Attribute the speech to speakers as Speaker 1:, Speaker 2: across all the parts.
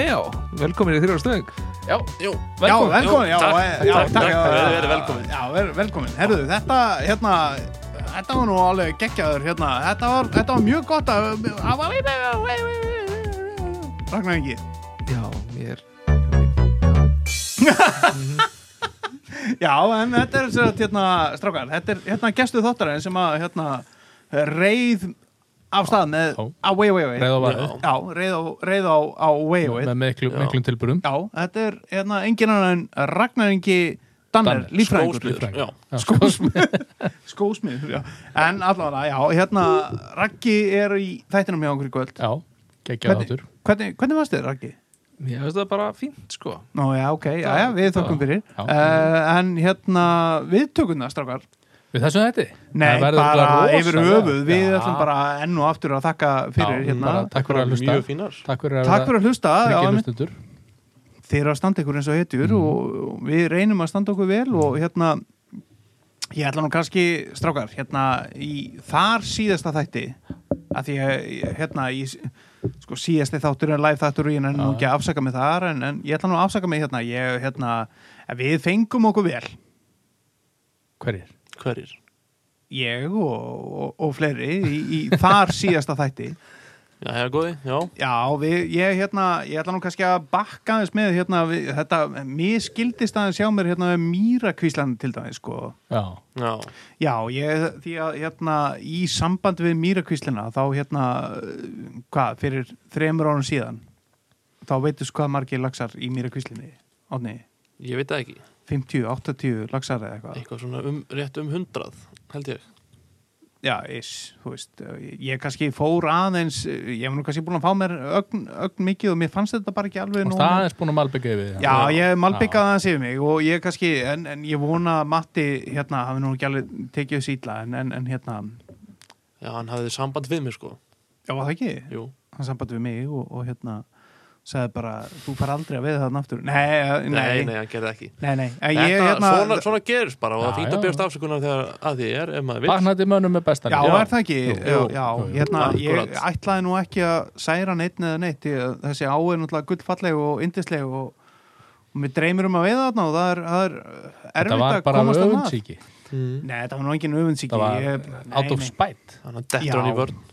Speaker 1: velkomin í þrjóra stöðing
Speaker 2: Já, jú,
Speaker 3: Já,
Speaker 1: Velkomin.
Speaker 3: velkomin, já, eh,
Speaker 2: takk,
Speaker 3: já,
Speaker 2: takk, takk,
Speaker 3: já,
Speaker 2: verið- verið velkomin.
Speaker 3: Já, verið velkomin, herðu, þetta, hérna, þetta var nú alveg geggjaður, hérna, þetta var, þetta var mjög gott að, að var, Ragnar Ingi,
Speaker 1: Já, ég er
Speaker 3: já, en þetta er sér að, hérna, strákar, þetta er, hérna, gestu þáttarinn sem að, hérna, reið af stað með,
Speaker 1: Já.
Speaker 3: á way, way, way,
Speaker 1: Reið á vaðið.
Speaker 3: já, reið á, reið á, á way, way,
Speaker 1: með miklu,
Speaker 2: Já.
Speaker 1: miklum tilburum
Speaker 3: já, þetta er, hérna, engin annan en Ragnar Ingi Danner,
Speaker 1: Danner,
Speaker 3: lífræðingur,
Speaker 2: Skósmiður, já
Speaker 1: Skósmið
Speaker 3: skósmið já. en allavega, já, hérna Raggi er í þættinum hjá okkur í kvöld
Speaker 1: Já, geggjað
Speaker 3: hvernig,
Speaker 1: áttur
Speaker 3: hvernig, hvernig varst þið, Raggi?
Speaker 2: Mér finnst það bara fínt, sko
Speaker 3: Nú, já, ok, já, já, við þökkum
Speaker 1: Já,
Speaker 3: fyrir
Speaker 1: já.
Speaker 3: uh, en hérna, við tökum það strákar
Speaker 1: Við þessu þetta?
Speaker 3: nei, bara yfir höfuð við ætlum bara enn og aftur að þakka fyrir hérna,
Speaker 1: Takk fyrir að hlusta
Speaker 2: Mjög fínar
Speaker 1: Takk fyrir að
Speaker 3: takk fyrir að hlusta já,
Speaker 1: Tryggir
Speaker 3: einmitt.
Speaker 1: hlustendur
Speaker 3: þið eru að standa ykkur eins og hetjur og og við reynum að standa okkur vel og hérna ég ætla nú kannski, strákar, hérna í þar síðasta þætti að því að hérna í sko síðasti þáttur en live þáttur og ég er nú
Speaker 1: Já.
Speaker 3: ekki að afsaka mig þar en, en ég ætla nú að afsaka mig hérna, ég, hérna að við fengum okkur vel
Speaker 1: Hverjir?
Speaker 2: Hverjir?
Speaker 3: ég og, og, og fleiri í, í þar síðasta þætti
Speaker 2: Já, já, góði, já
Speaker 3: Já, við, ég, hérna, ég ætla nú kannski að bakka aðeins með hérna, við, þetta, mér skildist aðeins hjá mér hérna mýrakvíslandi til dæmis, sko.
Speaker 1: Já
Speaker 2: Já,
Speaker 3: Já, ég, því að hérna í samband við mýrakvíslina, þá hérna, eh, hvað, fyrir þremur árum síðan, þá veitust hvað margir laxar í mýrakvíslinni, átni,
Speaker 2: ég veit það ekki
Speaker 3: 50, 80 laxar eða eitthvað.
Speaker 2: Eitthvað svona um, rétt um hundrað, held ég
Speaker 3: Já, ish, þú veist, ég, ég kannski fór aðeins, eh, ég var nú kannski búin að fá mér ögn, ögn mikið og mér fannst þetta bara ekki alveg
Speaker 1: Og staðins búin að malbyggja yfir það.
Speaker 3: Já,
Speaker 2: Já.
Speaker 3: ég malbyggaði hans yfir mig og ég kannski, en, en ég vona að Matti, hérna, hafi nú ekki alveg tekið þessu ítla, en, en, en hérna,
Speaker 2: Já, hann hafði samband við mig, sko
Speaker 3: já, var það ekki,
Speaker 2: Jú,
Speaker 3: hann sambandi við mig og, og hérna, sagði bara, þú far aldrei að veða þarna aftur. Nei, eh, nei,
Speaker 2: nei, nei, hann gerði ekki
Speaker 3: nei, nei, en
Speaker 2: Þetta,
Speaker 3: ég, hérna,
Speaker 2: svona, svona gerist bara og það
Speaker 1: Já,
Speaker 2: fínt að
Speaker 1: já.
Speaker 2: bjóðst afsökunar þegar að því er, ef maður vill
Speaker 1: Vaknandi mönnum er bestan
Speaker 3: já,
Speaker 2: Já.
Speaker 3: er það ekki,
Speaker 1: Jú,
Speaker 3: já,
Speaker 1: jú,
Speaker 3: já,
Speaker 1: jú, jú.
Speaker 3: hérna, ég
Speaker 2: Akkurat.
Speaker 3: ætlaði nú ekki að særa neitt neða neitt, því að þessi á er náttúrulega gullfalleg og yndisleg og, og mér dreymir um að veiða þarna og það er, það er
Speaker 1: Þetta
Speaker 3: erfitt
Speaker 1: var
Speaker 3: að
Speaker 1: bara
Speaker 3: komast að maður.
Speaker 1: öfundsíki
Speaker 2: mm.
Speaker 3: Nei, þetta var nú engin öfundsíki
Speaker 1: Það var
Speaker 3: ég- nei,
Speaker 1: out of
Speaker 3: nei.
Speaker 1: spite
Speaker 2: Þannig að dettur
Speaker 3: Já.
Speaker 2: hann í vörn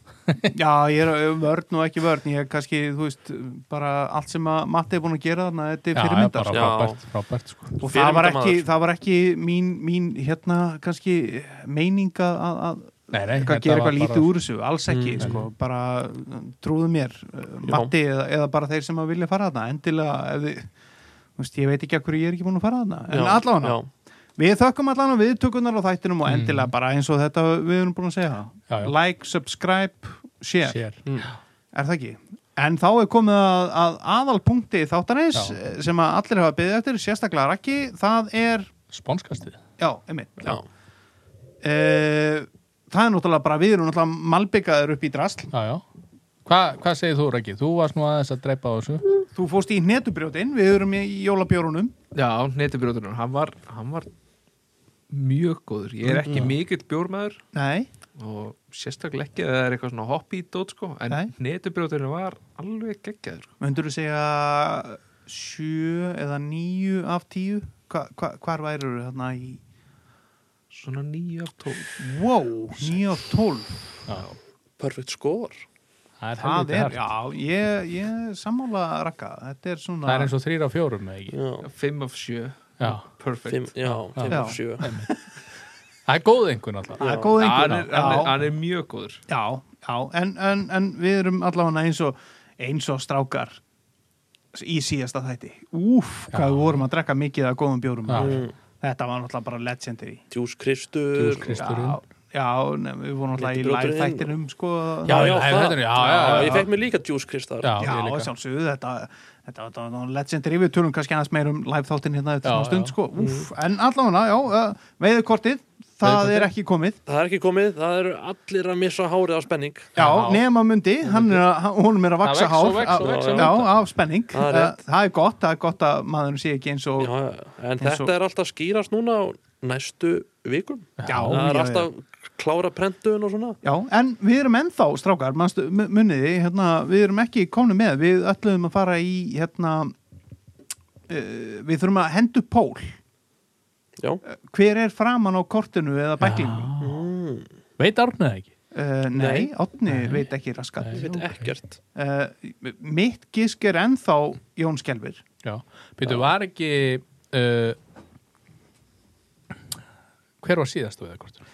Speaker 3: Já, ég er eh, vörn og ekki vörn Ég er kannski, þú veist, bara allt sem að Matti er búin að gera þarna Þetta er
Speaker 1: Já,
Speaker 3: fyrirmyndar
Speaker 1: bara
Speaker 3: sko.
Speaker 2: Já.
Speaker 1: frábært, frábært sko.
Speaker 3: Og það var, ekki,
Speaker 2: fyrirmyndarmaður.
Speaker 3: það var ekki mín, mín hérna, kannski meininga að, að
Speaker 1: Nei, nei,
Speaker 3: eitthvað
Speaker 1: þetta
Speaker 3: gera
Speaker 1: var
Speaker 3: eitthvað lítið
Speaker 1: bara-
Speaker 3: úr þessu Alls ekki,
Speaker 2: Mm.
Speaker 3: sko, bara um, trúðu mér uh, Matti eða, eða bara þeir sem að vilja fara þarna Endilega, ef þið þú Veist, ég veit ekki að hverju ég er ekki búin að fara þarna en
Speaker 2: Já,
Speaker 3: allavega,
Speaker 2: já.
Speaker 3: við þökkum allavega við tökunar á þættinum og
Speaker 1: Mm.
Speaker 3: endilega bara eins og þetta við erum búin að segja
Speaker 1: Já, já.
Speaker 3: like, subscribe, share
Speaker 1: Sér.
Speaker 2: Mm.
Speaker 3: Er það ekki? En þá er komið að, að aðalpunkti þáttanins
Speaker 1: Já.
Speaker 3: eh, sem að allir hafa byggðið eftir, sérstaklega Raki, það er,
Speaker 1: Spónskastið
Speaker 3: já, einmitt.
Speaker 2: Já,
Speaker 3: Uh, það er náttúrulega bara, við erum náttúrulega malbyggaður upp í drasl.
Speaker 1: Já, já Hva, Hvað segir þú, Rækki? Þú varst nú aðeins að dreipa á þessu
Speaker 3: Þú fóst í hnetubrjótin, við erum í jólabjórunum.
Speaker 4: Já, netubrjóðurinn, hann var, hann var mjög góður. Ég er ekki
Speaker 2: Mm.
Speaker 4: mikill bjórmaður
Speaker 3: Nei,
Speaker 4: og sérstaklega ekki að það er eitthvað svona hoppi í dót sko, en
Speaker 3: Nei.
Speaker 4: netubrjóðurinn var alveg geggjaður sko.
Speaker 3: myndur þú segja sjö eða níu af tíu? Hva, hva, hvar værið þú þarna í?
Speaker 4: Svona 9 af 12.
Speaker 3: Wow, níu af tólf.
Speaker 1: Já,
Speaker 2: perfect score
Speaker 1: það er,
Speaker 3: Það
Speaker 1: helviti
Speaker 3: er,
Speaker 1: hart.
Speaker 3: já, ég, ég sammála Raka, þetta er svona...
Speaker 1: Það er eins og þrýr á fjórum, eða ekki?
Speaker 2: Já,
Speaker 4: 5 af 7.
Speaker 1: Já,
Speaker 4: Perfect.
Speaker 2: fimm, já, fimm
Speaker 3: Já.
Speaker 2: og sjö
Speaker 1: það er góð einhvern alltaf
Speaker 3: Það er góð
Speaker 4: Hann
Speaker 3: einhverja.
Speaker 4: er, hann, er, hann er mjög góður.
Speaker 3: Já, já, en, en, en við erum allavega eins og, eins og strákar í síðasta þætti. Úf, hvað við vorum að drekka mikið af góðum bjórum.
Speaker 1: Já.
Speaker 2: Mm.
Speaker 3: Þetta var náttúrulega bara legendary.
Speaker 2: Djús Kristur
Speaker 1: Djús Kristur. Kristurinn.
Speaker 3: Já, já nefn, við vorum náttúrulega í
Speaker 2: Litli
Speaker 3: live
Speaker 2: bjóturinn.
Speaker 3: þættinum, sko.
Speaker 2: Já, já,
Speaker 1: Nei,
Speaker 2: það,
Speaker 1: þetta er- já, já, já,
Speaker 2: ég
Speaker 1: já.
Speaker 2: fekk mér líka Djús Kristar
Speaker 1: Já,
Speaker 3: Já,
Speaker 1: ég líka.
Speaker 3: sjálfsögðu, þetta, þetta, þetta var legendary, við tölum kannski aðeins meir um live þáttin hérna eftir
Speaker 1: Já,
Speaker 3: svona stund,
Speaker 1: já. Mm.
Speaker 3: sko, úf, en allavega, já, uh, veiðukortið, það
Speaker 1: Veiðikortið.
Speaker 3: er ekki komið,
Speaker 2: Það er ekki komið, það eru allir að missa hárið á spenning
Speaker 3: já,
Speaker 1: Já.
Speaker 3: nema mundi, hann er að, hann- honum er að
Speaker 1: Það
Speaker 3: vaksa
Speaker 1: vex og
Speaker 3: hár,
Speaker 1: vex og
Speaker 3: að-
Speaker 1: vex
Speaker 2: og
Speaker 3: já,
Speaker 1: vex.
Speaker 3: af spenning,
Speaker 2: Það er
Speaker 3: Eh,
Speaker 2: rétt.
Speaker 3: það er gott, það er gott að maðurinn sé ekki eins og
Speaker 2: já, já, En
Speaker 3: eins og-
Speaker 2: þetta er alltaf skýrast núna á næstu vikum
Speaker 3: Já,
Speaker 2: Það er
Speaker 3: já, já.
Speaker 2: alltaf klára prentun og svona
Speaker 3: Já, en við erum ennþá, strákar, manstu, mu- muniði, hérna, við erum ekki komni með, við ætluðum að fara í, hérna, uh, við þurfum að henda upp pól Eh,
Speaker 2: Já.
Speaker 3: hver er framan á kortinu eða bæklingu
Speaker 1: Já.
Speaker 2: Mm,
Speaker 1: Veit Árni það ekki?
Speaker 3: uh, nei,
Speaker 2: Nei.
Speaker 3: Átni
Speaker 1: Nei.
Speaker 3: veit ekki raskat
Speaker 1: Nei.
Speaker 2: ég veit ekkert.
Speaker 3: uh, mitt gísk er ennþá Jón Skelvir
Speaker 1: Já. Býtu, var ekki... Uh, hver var síðast á veðakortinu?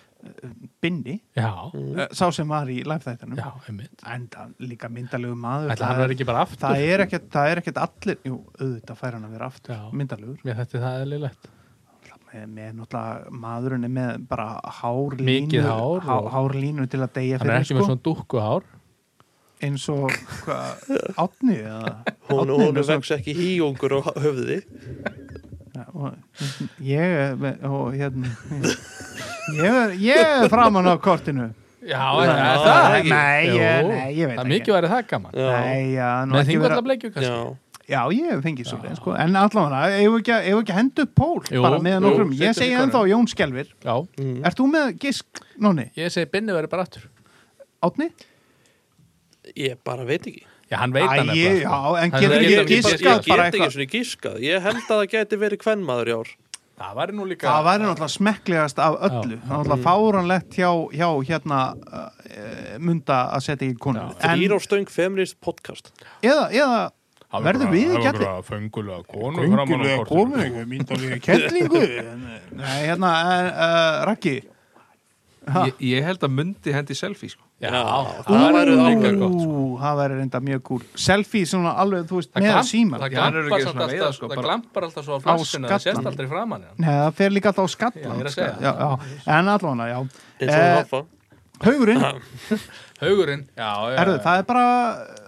Speaker 3: Bindi,
Speaker 1: Já,
Speaker 3: uh, sá sem var í live-þættanum
Speaker 1: já, einmitt.
Speaker 3: enda líka myndalegu maður
Speaker 1: Ætla hann
Speaker 3: það,
Speaker 1: var ekki bara aftur?
Speaker 3: það er ekkert, það er ekkert allir jú, auðvitað fær hann að vera aftur
Speaker 1: Já.
Speaker 3: myndalegur
Speaker 1: Mér þetta það er leilegt.
Speaker 3: með, með náttúrulega maðurinn er með bara hárlínu
Speaker 1: Mikið hár
Speaker 3: há,
Speaker 1: og-
Speaker 3: hárlínu til að deyja
Speaker 1: Hann
Speaker 3: fyrir sko.
Speaker 1: er ekki með svona dúkkuhár.
Speaker 3: eins og hvað, átni eða
Speaker 2: Hún,
Speaker 3: Árni er
Speaker 2: hún
Speaker 3: með svona-
Speaker 2: vex ekki híungur á höfði.
Speaker 3: Já, og- ég er með- og hérna ég er, ég er framan á kortinu
Speaker 1: Já,
Speaker 2: Já,
Speaker 1: er er
Speaker 2: það
Speaker 1: það
Speaker 2: er
Speaker 1: ekki?
Speaker 3: Nei, ég-
Speaker 1: Jú.
Speaker 3: nei, ég veit
Speaker 1: það
Speaker 3: ekki.
Speaker 1: Mikið væri það gaman.
Speaker 2: Já.
Speaker 3: Nei, já, nú
Speaker 1: Með
Speaker 3: ekki vera,
Speaker 1: þingvalla bleikju kannski.
Speaker 2: Já.
Speaker 3: já, ég hef fengið svo sko. en allavega, eigum við ekki, að- eigum við ekki að henda upp pól
Speaker 1: Jú,
Speaker 3: bara meðan
Speaker 1: jú,
Speaker 3: okkur, ég
Speaker 1: setjum
Speaker 3: segi
Speaker 1: í
Speaker 3: ennþá Jón Skelvir
Speaker 1: Já.
Speaker 2: Mm.
Speaker 3: Ert þú með gisk, Nóni?
Speaker 1: Ég segi Binni verið bara aftur.
Speaker 3: Átni?
Speaker 2: Ég bara veit ekki.
Speaker 1: Já, hann veit
Speaker 3: Æi,
Speaker 1: hann nefnilega,
Speaker 3: já,
Speaker 1: sko.
Speaker 3: en
Speaker 1: Hann
Speaker 3: getur
Speaker 1: veit
Speaker 3: ekki
Speaker 2: Ég, bara,
Speaker 1: hann bara-
Speaker 3: giskað?
Speaker 2: ég
Speaker 3: bara
Speaker 2: get
Speaker 3: eitthvað.
Speaker 2: ekki svona gískað. Ég held að það geti verið kvennmaður í ár.
Speaker 1: Það væri nú líka...
Speaker 3: Það væri náttúrulega smekklegast af öllu
Speaker 1: Já.
Speaker 3: Það er náttúrulega fáranlegt hjá, hjá hérna uh, munda að setja í konu
Speaker 2: Þrýr á stöng feminist podcast.
Speaker 3: eða, eða
Speaker 1: Það var
Speaker 3: verður
Speaker 1: bara-
Speaker 3: við
Speaker 1: það
Speaker 3: ekki
Speaker 1: var
Speaker 3: allir
Speaker 1: bara Föngulega konu framan á kortinu.
Speaker 3: myndalega kettlingu Nei, hérna, uh, Raggi Ha.
Speaker 4: ég, ég held að mundi hendi selfie sko.
Speaker 1: Já,
Speaker 2: Já,
Speaker 1: það væri
Speaker 2: ú.
Speaker 1: líka gott. sko.
Speaker 3: Ú, það væri reynda mjög kúl Selfie svona alveg, þú veist,
Speaker 1: Það
Speaker 3: með
Speaker 1: glamp-
Speaker 3: síma
Speaker 1: Það
Speaker 4: Já, hann er
Speaker 1: glampar
Speaker 4: ekki
Speaker 1: samt
Speaker 4: svona
Speaker 1: alltaf-
Speaker 4: veiða, sko,
Speaker 1: það
Speaker 4: bara-
Speaker 1: glampar alltaf svo á flassinu Það sést
Speaker 3: skallann.
Speaker 1: aldrei framan í hann
Speaker 3: Nei, það fer líka alltaf á
Speaker 1: Já, ég er
Speaker 3: skallan
Speaker 1: að
Speaker 3: sko.
Speaker 1: segja
Speaker 3: já, já. En allavega, já
Speaker 2: Eins og
Speaker 3: Eh,
Speaker 2: hafa.
Speaker 3: Haugurinn,
Speaker 1: Haugurinn, já, já,
Speaker 3: erðu,
Speaker 1: já.
Speaker 3: það er bara eh,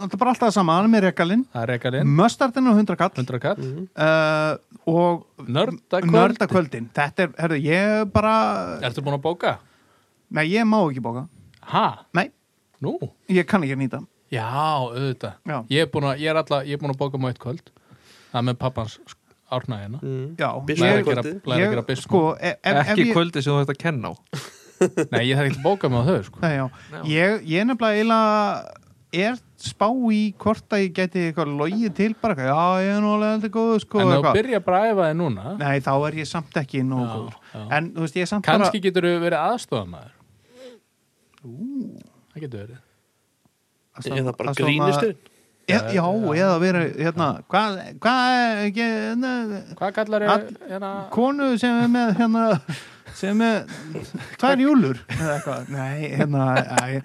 Speaker 3: Það er bara alltaf sama, hann er með rekalinn
Speaker 1: Það er rekalinn,
Speaker 3: Möstardinn og 100 kall
Speaker 1: 100 kall
Speaker 3: uh, og
Speaker 1: Nördakvöld Nörd.
Speaker 3: nördakvöldin þetta er, herðu, ég bara
Speaker 1: Ertu búin að bóka?
Speaker 3: nei, ég má ekki bóka,
Speaker 1: Ha?
Speaker 3: nei,
Speaker 1: Nú?
Speaker 3: ég kann ekki nýta
Speaker 1: Já, auðvitað
Speaker 3: Já.
Speaker 1: Ég er búin að, ég er alla, ég er búin að bóka mjög eitt kvöld Það er með pappans árna hérna
Speaker 2: Mm.
Speaker 3: já,
Speaker 2: Byssu-
Speaker 3: ég,
Speaker 1: Læra að gera,
Speaker 2: Kvöldið.
Speaker 1: læra að gera
Speaker 3: ég
Speaker 1: business
Speaker 3: sko, ef, ef, ef
Speaker 4: ekki
Speaker 3: ég,
Speaker 4: kvöldi sem þú ætti að kenna á
Speaker 1: Nei, ég þarf ekki að bóka með þau, sko
Speaker 3: nei, já, ég, ég nefnilega eiginlega er spá í hvort að ég geti eitthvað logið til bara, eitthvað, já, ég er nú alveg heldur góð sko,
Speaker 1: En þú
Speaker 3: eitthvað.
Speaker 1: byrja bara að æfa þig núna
Speaker 3: nei, þá er ég samt ekki nóg
Speaker 1: Já,
Speaker 3: góður,
Speaker 1: já.
Speaker 3: en þú veist, ég er samt
Speaker 1: Kanski getur þú verið aðstofamæður Það getur verið
Speaker 3: bara
Speaker 2: Ég það bara
Speaker 3: að stofna-
Speaker 2: grínistir.
Speaker 3: E- já, eða verið, hérna hvað, hvað, ekki, ne,
Speaker 1: Hvað kallar
Speaker 3: All-
Speaker 1: hérna
Speaker 3: konu sem er með hérna, sem er tvær júlur eða eitthvað, nei, hérna æ,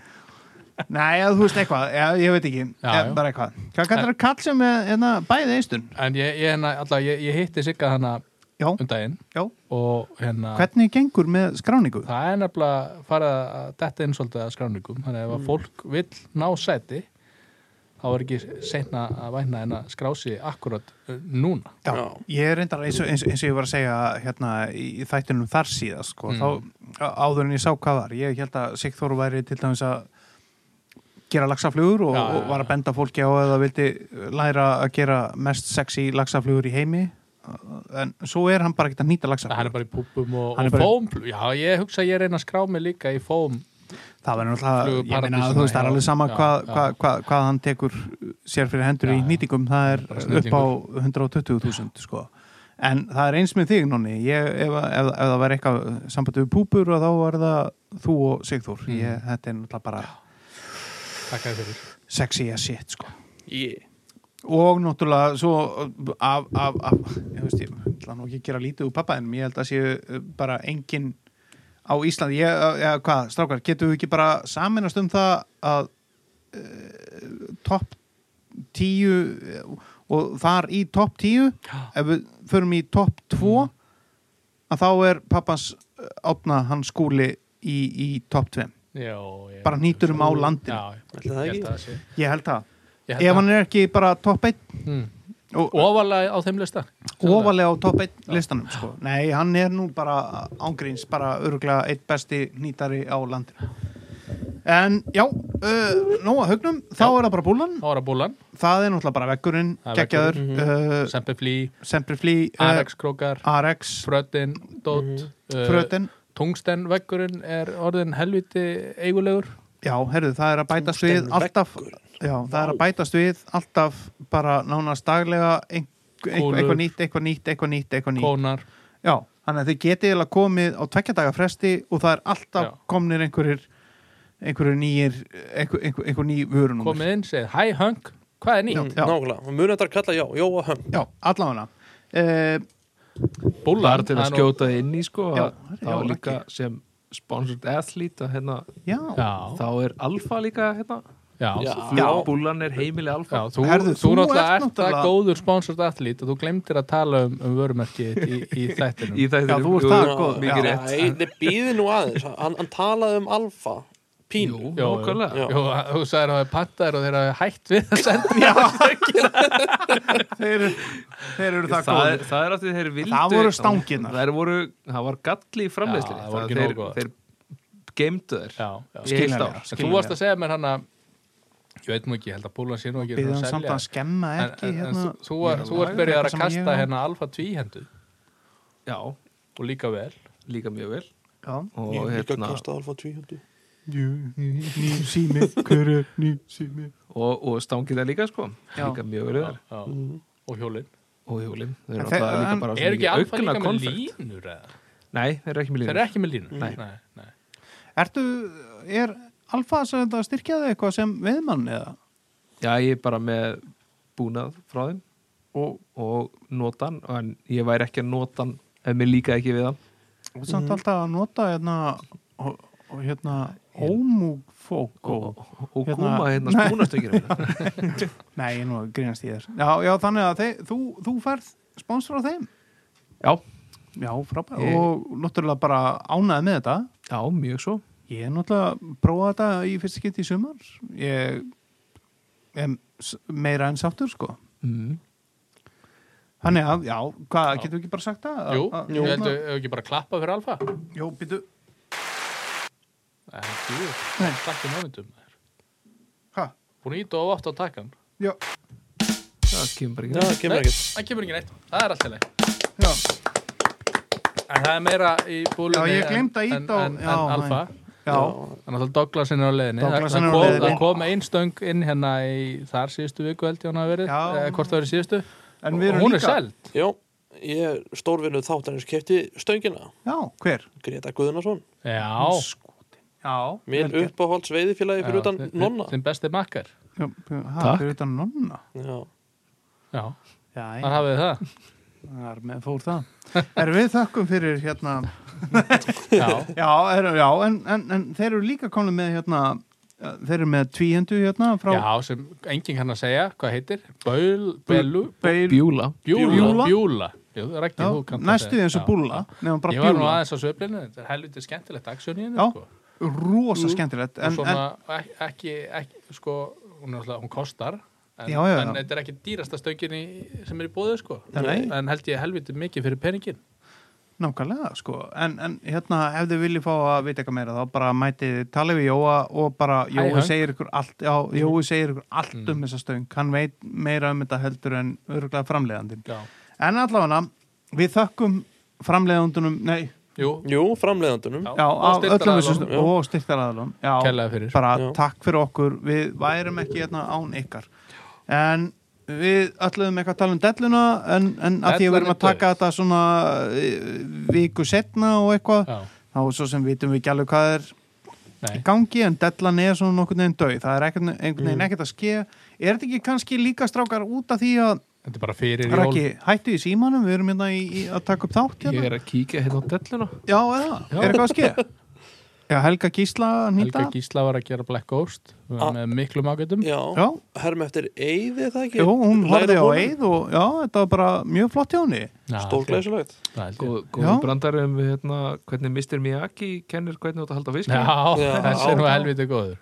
Speaker 3: nei, eða þú veist eitthvað ég, ég veit ekki,
Speaker 1: Já,
Speaker 3: ég,
Speaker 1: já.
Speaker 3: bara eitthvað hvað kallar það kall sem er hérna, bæði einstun
Speaker 1: En ég, ég, hérna, alla, ég, ég hitti Sigga hana
Speaker 3: já,
Speaker 1: um daginn
Speaker 3: já,
Speaker 1: og hérna
Speaker 3: hvernig gengur með skráningu
Speaker 1: það er nefnilega farið að detta inn svolítið að skráningum þannig
Speaker 3: Mm.
Speaker 1: ef að fólk vill ná sæti þá er ekki seinna að væna en að skrá sig akkurat uh, núna
Speaker 3: já,
Speaker 2: Já.
Speaker 3: ég er reyndar eins og, eins, eins og ég var að segja hérna í, í þættunum þar síðast sko,
Speaker 1: Mm.
Speaker 3: þá á- áður en ég sá hvað var ég held að Sigþór væri til dæmis að gera laxaflugur og,
Speaker 1: Já, já,
Speaker 3: og var að benda fólki á að það vildi læra að gera mest sexy laxaflugur í heimi en svo er hann bara ekkert að nýta
Speaker 1: það
Speaker 3: laxaflugur
Speaker 1: hann er bara í púpum og,
Speaker 3: Hann er
Speaker 1: og
Speaker 3: bara-
Speaker 1: fóm já ég hugsa að ég reyna að skrá mig líka í fóm
Speaker 3: það verður náttúrulega,
Speaker 1: Flugur
Speaker 3: ég meina
Speaker 1: paradísina,
Speaker 3: að þú veist, það er
Speaker 1: já,
Speaker 3: alveg sama
Speaker 1: já,
Speaker 3: hvað
Speaker 1: já.
Speaker 3: hva, hva, hva hann tekur sér fyrir hendur
Speaker 1: Já,
Speaker 3: í
Speaker 1: já.
Speaker 3: nýtingum það er
Speaker 1: Bara
Speaker 3: upp á
Speaker 1: snillingur.
Speaker 3: 120.000 sko. en það er eins með þig Nonni ég, ef, ef, ef það væri eitthvað sambandi við púpur þá var það þú og Sigþór
Speaker 1: Mm.
Speaker 3: ég, þetta er náttúrulega bara
Speaker 1: takk að fyrir
Speaker 3: sexy as shit sko.
Speaker 2: Ég.
Speaker 3: og náttúrulega svo af, af, af ég veist ég, ég ætla nú ekki að gera lítið úr pappaðinum, ég held að séu uh, bara engin á Íslandi ég, ég, hvað, strákar, getum við ekki bara saminast um það að uh, topp tíu uh, og þar í topp tíu ef við förum í topp tvo
Speaker 1: Mm.
Speaker 3: að þá er pappans átna hans skúli í, í topp tveim
Speaker 1: já, ég,
Speaker 3: Bara hnýtur um á landinu.
Speaker 1: já,
Speaker 2: Ætli það ekki?
Speaker 1: held að sé-
Speaker 3: ég held það,
Speaker 1: ég
Speaker 3: ef
Speaker 1: held
Speaker 3: hann er ekki bara topp einn
Speaker 1: að mm.
Speaker 3: og,
Speaker 1: ofalega á þeim lista
Speaker 3: ofalega á topp 1 listanum sko. nei, hann er nú bara ángríns, bara öruglega eitt besti nýtari á landinu en já, uh, nóga haugnum þá er það bara búlan,
Speaker 1: þá er að búlan
Speaker 3: það er náttúrulega bara vekkurinn
Speaker 1: Það er
Speaker 3: geggjaður, uh,
Speaker 1: Sempeflí
Speaker 3: Sempriflí uh,
Speaker 1: Arex krókar
Speaker 3: Arex,
Speaker 1: Frötin Dót
Speaker 3: Mhm.
Speaker 1: uh,
Speaker 3: Fröten
Speaker 1: Tungsten veggurinn er orðin helviti eigulegur
Speaker 3: já, herðu, það er að bætast við alltaf, já, það er að bætast við alltaf bara nánast daglega ein, eitthvað,
Speaker 1: Kólur.
Speaker 3: eitthvað nýtt, eitthvað nýtt, eitthvað nýtt, eitthvað nýtt
Speaker 1: kónar
Speaker 3: Já, þannig að þið getið eiginlega komið á tvekja daga fresti og það er alltaf
Speaker 1: Já.
Speaker 3: komnir einhverjir einhverjir nýjir, einhver, einhver, einhver ný vörunum
Speaker 1: komið inn, segir hæ hung, hvað er nýtt?
Speaker 3: Já.
Speaker 2: Nákvæmlega, og munið þetta kalla já, Jóa Höng
Speaker 3: Já, allavega uh,
Speaker 1: Búlar,
Speaker 4: Bara til að skjóta þið inn í sko
Speaker 3: Já,
Speaker 4: að
Speaker 3: já,
Speaker 4: þá er
Speaker 3: ekki.
Speaker 4: líka sem sponsored athlete að hérna,
Speaker 3: Já,
Speaker 1: Já,
Speaker 4: þá er alfa líka hérna,
Speaker 1: já, já,
Speaker 2: Já.
Speaker 4: búlan er heimili alfa
Speaker 1: þú,
Speaker 3: Herðu,
Speaker 1: þú,
Speaker 3: þú
Speaker 1: náttúrulega
Speaker 3: ert
Speaker 1: ert
Speaker 3: náttúrulega-
Speaker 1: það góður sponsored athlete og þú glemtir að tala um, um vörumerkið þitt í, í þættinum
Speaker 4: í þættinum
Speaker 3: Já, þú ert
Speaker 4: Jú,
Speaker 3: það góð.
Speaker 4: mikið
Speaker 3: Já.
Speaker 4: rétt
Speaker 2: Nei, býði nú aðeins Hann, hann talaði um alfa Pínu
Speaker 1: Jú, jú.
Speaker 4: nákvæmlega.
Speaker 2: Já.
Speaker 1: Jú, þú sagðir að það er pantaður og þeir hafa hætt við að senda mér
Speaker 3: þeir, eru- þeir eru það,
Speaker 4: það, er,
Speaker 3: góðir
Speaker 4: það er að því þeir vildu
Speaker 3: Það voru stanginnar.
Speaker 4: Það voru, það var galli í framleiðsli
Speaker 1: Já, það
Speaker 4: það,
Speaker 1: voru ekki nógu
Speaker 4: þeir,
Speaker 1: góðar.
Speaker 4: þeir geimdu þeir
Speaker 1: Já,
Speaker 4: Í
Speaker 1: já.
Speaker 4: heilt
Speaker 3: Skiljanlega,
Speaker 4: ár.
Speaker 1: En Þú varst að segja mér hann að ég veit nú ekki, ég held að búlan sé nú ekki
Speaker 3: Býðum
Speaker 1: að
Speaker 3: samt
Speaker 1: selja.
Speaker 3: að skemma
Speaker 1: En-
Speaker 3: ekki
Speaker 1: en- en
Speaker 3: hérna.
Speaker 1: þú- Þú var-
Speaker 3: Já,
Speaker 1: þú
Speaker 3: það
Speaker 1: ert
Speaker 3: er
Speaker 1: byrjað
Speaker 3: eitthvað
Speaker 1: að
Speaker 3: sem ég
Speaker 1: kasta
Speaker 3: á.
Speaker 1: hérna alfa tvíhendu
Speaker 4: Já,
Speaker 1: og líka vel
Speaker 4: líka mjög vel
Speaker 3: Já,
Speaker 4: og
Speaker 2: Ég líka
Speaker 4: hérna,
Speaker 2: kasta alfa 200
Speaker 3: ný sími, hver er ný sími
Speaker 4: og, og stangið það líka sko
Speaker 3: Já.
Speaker 4: líka mjög vel yfir
Speaker 1: Já.
Speaker 3: Mhm.
Speaker 1: og hjólinn
Speaker 4: og hjólin þeir
Speaker 3: En
Speaker 4: eru
Speaker 3: þeir-
Speaker 4: alltaf líka
Speaker 3: en-
Speaker 4: bara svo
Speaker 1: Er ekki
Speaker 4: mikið
Speaker 1: alfa
Speaker 4: aukna
Speaker 1: líka með
Speaker 4: konfekt.
Speaker 1: línur eða?
Speaker 4: Nei, þeir eru ekki með
Speaker 1: Þeir
Speaker 4: línur
Speaker 1: eru ekki með línur
Speaker 4: Nei.
Speaker 1: Nei, nei.
Speaker 3: Ertu, er Alfa sem þetta styrkjaði eitthvað sem viðmann eða?
Speaker 4: Já, ég er bara með búnað frá þeim
Speaker 3: Og,
Speaker 4: og notan en ég væri ekki að notan ef mér líka ekki við hann
Speaker 3: og samt alltaf að nota hérna og, og hérna homofóko
Speaker 4: og, og
Speaker 3: Hérna-
Speaker 4: kúma hérna
Speaker 3: Nei.
Speaker 4: spúnastökir
Speaker 3: Nei, ég er nú að grínast í þér Já, já þannig að þeir, þú, þú færð spons frá þeim
Speaker 4: Já,
Speaker 3: Já, frábæð
Speaker 4: Ég-
Speaker 3: Og náttúrulega bara ánæði með þetta
Speaker 4: já, mjög svo
Speaker 3: Ég er náttúrulega prófað þetta í fyrst skipti í sumar Ég er s- meira enn sáttur sko
Speaker 4: mm.
Speaker 3: Þannig að, já, hvað, getur við ekki bara sagt það? Að-
Speaker 1: Jú,
Speaker 3: að-
Speaker 1: ég held
Speaker 3: hérna-
Speaker 1: að hefur ekki bara klappa fyrir alfa
Speaker 3: Jú, býtu,
Speaker 1: Nei, ekki jú.
Speaker 3: Nei.
Speaker 1: Takk í mómentum
Speaker 3: hvað?
Speaker 1: Búin að íta og átt á takkan
Speaker 3: Já,
Speaker 4: Það kemur bara ekki
Speaker 2: Já, það kemur
Speaker 1: Nei,
Speaker 2: ekkert
Speaker 1: það kemur ekki neitt Það er alltaf leið
Speaker 3: já
Speaker 1: En það er meira í búlunni
Speaker 3: Já, ég gleymdi að
Speaker 1: en-
Speaker 3: ýta á-
Speaker 1: en, en,
Speaker 3: já,
Speaker 1: en alfa
Speaker 3: Já,
Speaker 1: Þannig að Douglasin er á leiðinni
Speaker 3: Douglasin er á
Speaker 1: Það- það kom-
Speaker 3: leiðinni.
Speaker 1: Það kom ein stöng inn hérna í þar síðustu viku held ég hann að verið
Speaker 3: Já.
Speaker 1: eh, Hvort það verið síðustu
Speaker 3: en við erum
Speaker 1: Hún er
Speaker 3: líka
Speaker 1: seld
Speaker 2: Já, ég stórvinnuð þáttanins kefti stöngina
Speaker 3: Já, hver?
Speaker 2: Greta Guðnason
Speaker 1: Já
Speaker 3: Skotin Já,
Speaker 2: Minn
Speaker 3: vel gert.
Speaker 2: uppáhalds veiðifélagi fyrir utan
Speaker 1: Já, þi-
Speaker 2: nonna
Speaker 1: þi- Þinn besti makkar
Speaker 3: Já, ha,
Speaker 4: Takk.
Speaker 3: Fyrir utan nonna
Speaker 2: Já,
Speaker 1: Já,
Speaker 3: Já,
Speaker 1: hann hafið það
Speaker 3: þar með fór það Er við þökkum fyrir hérna
Speaker 1: Já,
Speaker 3: Já, er, já en, en, en þeir eru líka komin með hérna eh, Þeir eru með tvíhendu hérna frá
Speaker 1: já sem enginn kann að segja Hvað heitir? Böl, Bölu
Speaker 3: Beil,
Speaker 4: Bjúla
Speaker 1: Bjúla
Speaker 3: Bjúla.
Speaker 1: Bjúla Jú, Raggi,
Speaker 3: já,
Speaker 1: þú kannt að
Speaker 3: Næstu
Speaker 1: segja.
Speaker 3: eins og
Speaker 1: Já.
Speaker 3: búlla Nefnum bara
Speaker 1: Ég var nú
Speaker 3: bjúla
Speaker 1: aðeins á sveiflinu Þetta er helviti skemmtilegt aksjón í henni
Speaker 3: Já.
Speaker 1: sko.
Speaker 3: Rosa skemmtilegt
Speaker 1: en,
Speaker 3: en, en,
Speaker 1: svona, ek- ekki, ekki sko, hún, er alltaf, hún kostar en,
Speaker 3: Já, já, já.
Speaker 1: en þetta er ekki dýrasta stöngin í, sem er í bóðu sko
Speaker 3: Nei.
Speaker 1: en held ég helviti mikið fyrir peningin
Speaker 3: Nákvæmlega sko En, en hérna ef þið viljið fá að vita eitthvað meira Þá bara mætið talið við Jóa Og bara Jói
Speaker 1: Hank.
Speaker 3: segir ykkur allt Já,
Speaker 1: Mm.
Speaker 3: Jói segir ykkur allt um þessa stöng Hann veit meira um þetta heldur en Örgulega framleiðandinn
Speaker 1: já.
Speaker 3: En allavega við þökkum framleiðandunum Nei,
Speaker 1: Jú,
Speaker 2: Jú, framleiðandunum
Speaker 1: Já.
Speaker 3: Já,
Speaker 1: Og
Speaker 3: af öllum
Speaker 1: styrktaraðilum.
Speaker 3: þessum
Speaker 2: Já.
Speaker 3: og styrktaraðalum Já,
Speaker 1: kærlega fyrir
Speaker 3: bara
Speaker 2: Já.
Speaker 3: takk fyrir okkur við værum ekki hérna án ykkar en við ætluðum eitthvað að tala um delluna en, en að því að við erum að
Speaker 1: Dellan er
Speaker 3: taka
Speaker 1: dauð.
Speaker 3: þetta svona e, viku setna og eitthvað
Speaker 1: já,
Speaker 3: þá svo sem vitum við ekki alveg hvað er
Speaker 1: nei,
Speaker 3: í gangi en dellan er svona nokkurn veginn döið það er ekkert, einhvern
Speaker 1: Mm.
Speaker 3: veginn ekkert að ske er þetta ekki kannski líka strákar út af því að
Speaker 1: þetta er bara fyrir jól
Speaker 3: Raki, hættu í símanum, við erum hérna í, í að taka upp þátt hérna.
Speaker 4: Ég er að kíkja hérna á delluna
Speaker 3: Já, eða,
Speaker 4: Já.
Speaker 3: er eitthvað að ske? Já, Helga Gísla nýta
Speaker 1: Helga Gísla var að gera Black Ghost
Speaker 2: Ah.
Speaker 1: með miklum ágætum
Speaker 2: Já,
Speaker 3: Já,
Speaker 2: herma eftir Eyði það ekki
Speaker 3: Jú, hún
Speaker 2: Læra
Speaker 3: horfði á
Speaker 2: honum.
Speaker 3: Eið og já, þetta var bara mjög flott hjá henni.
Speaker 1: Já,
Speaker 2: Stórglæsilegt
Speaker 1: það held ég.
Speaker 4: Góð,
Speaker 3: Já.
Speaker 4: góðum brandarum við hérna hvernig Mr. Miyagi kennir hvernig þú átt að halda fisk
Speaker 1: já,
Speaker 2: Já.
Speaker 1: þessi er nú helviti góður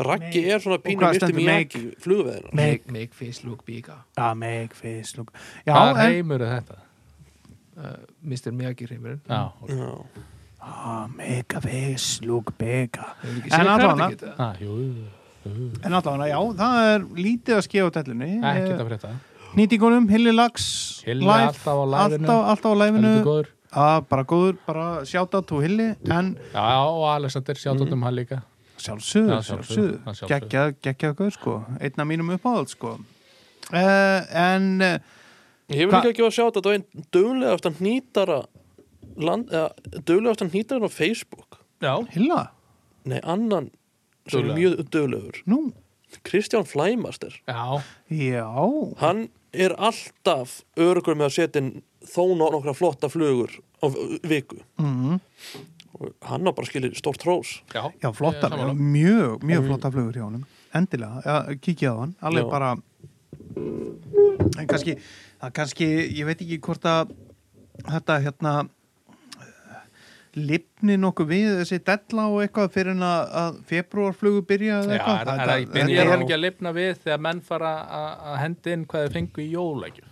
Speaker 2: Raggi er svona
Speaker 3: Og
Speaker 2: pínu
Speaker 3: hvað
Speaker 2: myrti
Speaker 3: stendur
Speaker 2: Miyagi flugveðina
Speaker 4: make, make fish look bigger
Speaker 3: Já, Ah, make face look. Já,
Speaker 1: hvað er
Speaker 3: en,
Speaker 1: heimur er þetta?
Speaker 4: uh, Mr. Miyagi reymurinn
Speaker 1: Já, ok.
Speaker 2: Já,
Speaker 3: ah, make a face look bigger. En
Speaker 4: En
Speaker 3: allavega-
Speaker 4: allavega
Speaker 1: ah, jú, jú.
Speaker 3: En allavega, já, það er lítið að skefa á tellunni.
Speaker 1: ekki það
Speaker 3: Eh,
Speaker 1: fyrir þetta
Speaker 3: Nýtingunum, Hilli Lax,
Speaker 1: Hilli
Speaker 3: live,
Speaker 1: alltaf á laginu.
Speaker 3: Alltaf, alltaf á læfinu.
Speaker 1: helviti góður
Speaker 3: Ah, bara góður, bara sjátt á tú Hilli, en Mhm.
Speaker 1: Já, og Alexander, sjátt um hann líka
Speaker 3: sjálfsögðu,
Speaker 1: Já, sjálfsögðu, já,
Speaker 3: sjálfsögðu
Speaker 1: sjálfsögðu.
Speaker 3: geggjað, geggjað gauð sko einn af mínum uppáhald sko uh, en uh,
Speaker 2: Ég vil
Speaker 3: Hva-
Speaker 2: líka ekki að sjá þetta Það er einn duglega eftir hnýtara land, eða, Duglega eftir hnýtara á Facebook
Speaker 1: Já,
Speaker 3: hilla,
Speaker 2: Nei, annan sem er
Speaker 1: Duglega.
Speaker 2: mjög duglegur
Speaker 3: nú,
Speaker 2: Kristján Flæmaster
Speaker 1: já,
Speaker 3: já
Speaker 2: Hann er alltaf örugur með að setja inn þó ná nokkra flotta flugur á viku
Speaker 3: mm,
Speaker 2: og hann á bara skilið stórt hrós
Speaker 1: já,
Speaker 3: já flottar,
Speaker 1: Ég er
Speaker 3: já,
Speaker 1: sammála.
Speaker 3: mjög, mjög flottar flugur hjá honum endilega, ja, kikið á hann alveg
Speaker 2: Já.
Speaker 3: bara en kannski, það kannski ég veit ekki hvort að þetta hérna lipni nokkuð við þessi della og eitthvað fyrir en að, að februarflugu byrja eða
Speaker 1: Já,
Speaker 3: eitthvað.
Speaker 1: er, er,
Speaker 3: Þetta-
Speaker 1: er,
Speaker 3: þetta
Speaker 1: er, ég er
Speaker 3: á-
Speaker 1: ekki að lifna við þegar menn fara að- að hendi inn hvað þau fengu í jólækjum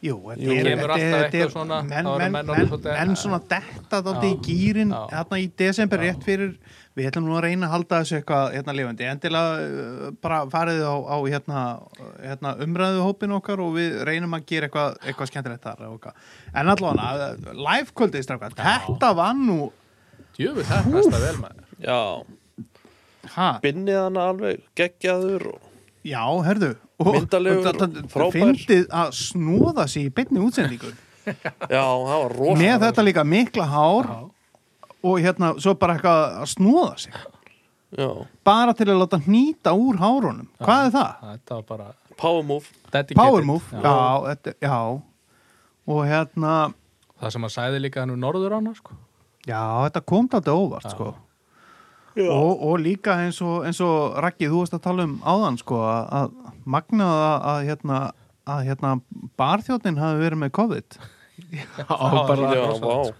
Speaker 3: Jú, þetta
Speaker 2: Jú.
Speaker 3: er-
Speaker 1: Kemur
Speaker 3: þetta
Speaker 1: alltaf
Speaker 3: er- þetta er-
Speaker 1: eitthvað svona,
Speaker 3: menn,
Speaker 1: þá
Speaker 3: menn,
Speaker 1: eru menn
Speaker 3: menn,
Speaker 1: orðnir
Speaker 3: menn,
Speaker 1: svolítið-
Speaker 3: svona detta þátti í
Speaker 1: Já.
Speaker 3: gýrin
Speaker 1: Já.
Speaker 3: hérna í desember rétt fyrir við ætlum nú að reyna að halda þessu eitthvað hérna lifandi, endilega uh, bara farið á, á hérna, hérna umræðu hópin okkar og við reynum að gera eitthvað, eitthvað skemmtilegt þar og eitthvað. en allavega, live kvöldið strákar, þetta var nú
Speaker 1: Djöfull, það er það vel maður
Speaker 2: Já,
Speaker 3: ha,
Speaker 2: binnið hann alveg geggjaður og
Speaker 3: já, herðu og,
Speaker 2: Myndarlegur
Speaker 3: og það- það-
Speaker 2: og frábær.
Speaker 3: fyndið að snóða sig í beinni útsendingu
Speaker 2: Já, það var rosa
Speaker 3: með þetta líka mikla hár og hérna svo bara eitthvað að snúða sig
Speaker 2: Já,
Speaker 3: bara til að láta hnýta úr hárunum hvað er það?
Speaker 1: Þetta var bara
Speaker 2: power move
Speaker 1: dedicated.
Speaker 3: Power move? Já,
Speaker 1: Já.
Speaker 3: þetta, já og hérna
Speaker 1: Það sem að sæði líka hann úr norður ána sko.
Speaker 3: já, þetta kom þetta óvart sko og, og líka eins og, eins og Raggi, þú varst að tala um áðan sko að- að magnað að, að hérna að hérna barþjóttin hafi verið með COVID
Speaker 4: á bara
Speaker 2: Já,
Speaker 4: rosalegt,
Speaker 2: vá
Speaker 4: sko.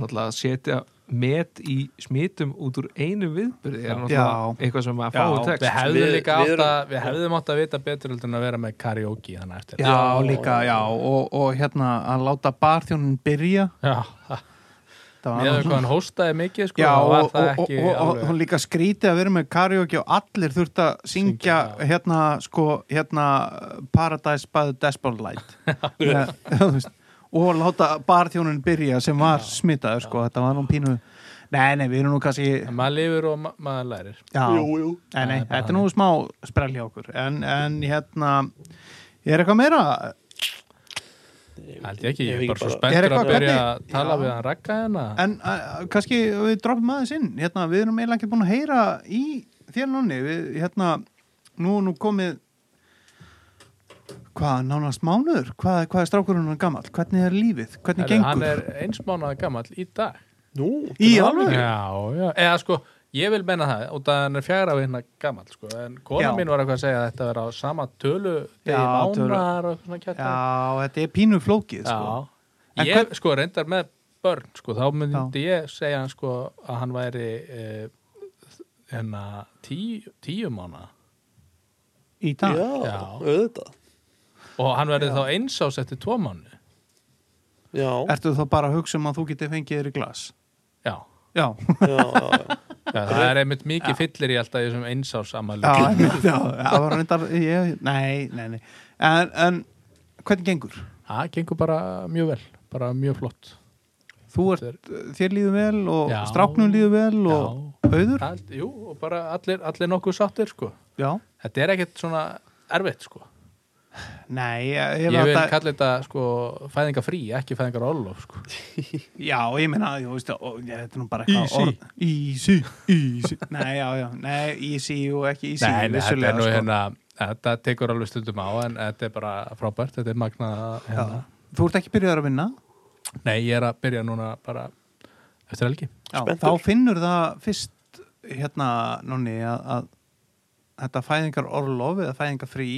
Speaker 4: Náttúrulega að setja met í smitum út úr einum viðbyrði er
Speaker 3: Já.
Speaker 4: náttúrulega eitthvað sem að
Speaker 3: Já,
Speaker 4: fáu
Speaker 1: Við
Speaker 4: text
Speaker 1: hefðum
Speaker 2: Við-
Speaker 1: líka
Speaker 2: við
Speaker 1: átt
Speaker 2: erum-
Speaker 1: að Við hefðum átt að vita betur heldur en að vera með karaoke þannig eftir
Speaker 3: já, líka, já og, og hérna að láta barþjónin byrja
Speaker 1: Já,
Speaker 3: það var
Speaker 1: með
Speaker 3: nú-
Speaker 1: hvað hann hóstaði mikið sko,
Speaker 3: Já,
Speaker 1: þá var
Speaker 3: og,
Speaker 1: það
Speaker 3: og,
Speaker 1: ekki
Speaker 3: og, og,
Speaker 1: alveg-
Speaker 3: og líka skrítið að vera með karaoke og allir þurft að syngja
Speaker 1: já.
Speaker 3: hérna, sko, hérna Paradise by the Desperate Light Með- þú veist, og láta barþjónin byrja sem var smitaður, sko, þetta var nú pínu Nei, nei, við erum nú kannski
Speaker 1: En maður lifir og ma maður lærir
Speaker 3: Já,
Speaker 2: jú.
Speaker 3: Nei, nei,
Speaker 1: Það er bara
Speaker 3: þetta er nú smá sprelli á okkur en, en hérna er eitthvað meira?
Speaker 1: Held ég ekki, ég
Speaker 2: Ég er
Speaker 1: er bara svo
Speaker 2: bara-
Speaker 3: Er
Speaker 1: spenntur
Speaker 3: eitthvað
Speaker 1: að byrja
Speaker 3: hvernig-
Speaker 1: að tala
Speaker 3: Já.
Speaker 1: við hann rakka hérna
Speaker 3: En uh, kannski við droppum aðeins inn hérna, við erum eiginlega ekki búin að heyra í þér nonni við, hérna, nú, nú komið hvað, nánast mánuður hvað, hvað er strákurinn hann gamall, hvernig er lífið hvernig
Speaker 1: Herru, Hann
Speaker 3: gengur
Speaker 1: er eins mánuða gamall í dag
Speaker 2: Nú,
Speaker 3: í
Speaker 2: til hamingju.
Speaker 3: alveg,
Speaker 1: Já, já, eða sko Ég vil menna það, út að hann er fjara við hérna gamall sko. en kona
Speaker 3: Já.
Speaker 1: mín var eitthvað að segja að þetta vera á sama tölu degi
Speaker 3: Já, tölu.
Speaker 1: mánar og eitthvað svona
Speaker 3: já,
Speaker 1: kjartar
Speaker 3: þetta er pínu flókið sko. En
Speaker 1: Ég
Speaker 3: hvern-
Speaker 1: sko reyndar með börn sko, þá myndi ég segja hann sko að hann væri eh, hérna tíu, tíu mánu
Speaker 3: í dag
Speaker 2: Já,
Speaker 1: Já.
Speaker 2: auðvitað
Speaker 1: og hann væri þá eins ás eftir tvo mánu
Speaker 2: Já,
Speaker 3: ertu þá bara að hugsa um að þú geti fengið þér í glas
Speaker 1: Já,
Speaker 3: já,
Speaker 2: já, já, já.
Speaker 1: það, er einmitt mikið fyllir í alltaf í þessum eins ás
Speaker 3: já,
Speaker 1: ammæli
Speaker 3: einmitt, já, það var reyndar ég, nei, nei, nei en, en hvernig gengur?
Speaker 1: Það gengur bara mjög vel, bara mjög flott
Speaker 3: Þú ert, þér líður vel og
Speaker 1: Já.
Speaker 3: stráknum líður vel og auður,
Speaker 1: Allt, Jú, og bara allir, allir nokkuð sáttir sko
Speaker 3: já
Speaker 1: Þetta er ekkert svona erfitt sko
Speaker 3: Nei, ég,
Speaker 1: Ég
Speaker 3: ég
Speaker 1: vil
Speaker 3: þetta,
Speaker 1: kalla þetta sko fæðinga frí, ekki fæðingar orlof sko
Speaker 3: Já, ég meina, þú veist, ó, ég, þetta er nú bara eitthvað orð Easy, easy Nei, já, já, nei, easy og ekki easy
Speaker 1: Nei, nei, þetta er
Speaker 3: vissulega,
Speaker 1: nú
Speaker 3: sko.
Speaker 1: hérna þetta tekur alveg stundum á en þetta er bara frábært, þetta er magna hérna.
Speaker 3: Já. Þú ert ekki byrjaður að vinna
Speaker 1: Nei, ég er að byrja núna bara eftir helgi
Speaker 3: já, Þá
Speaker 2: Spenntur.
Speaker 3: finnur það fyrst, hérna, nonni, að, að þetta fæðingar orlof eða fæðingar frí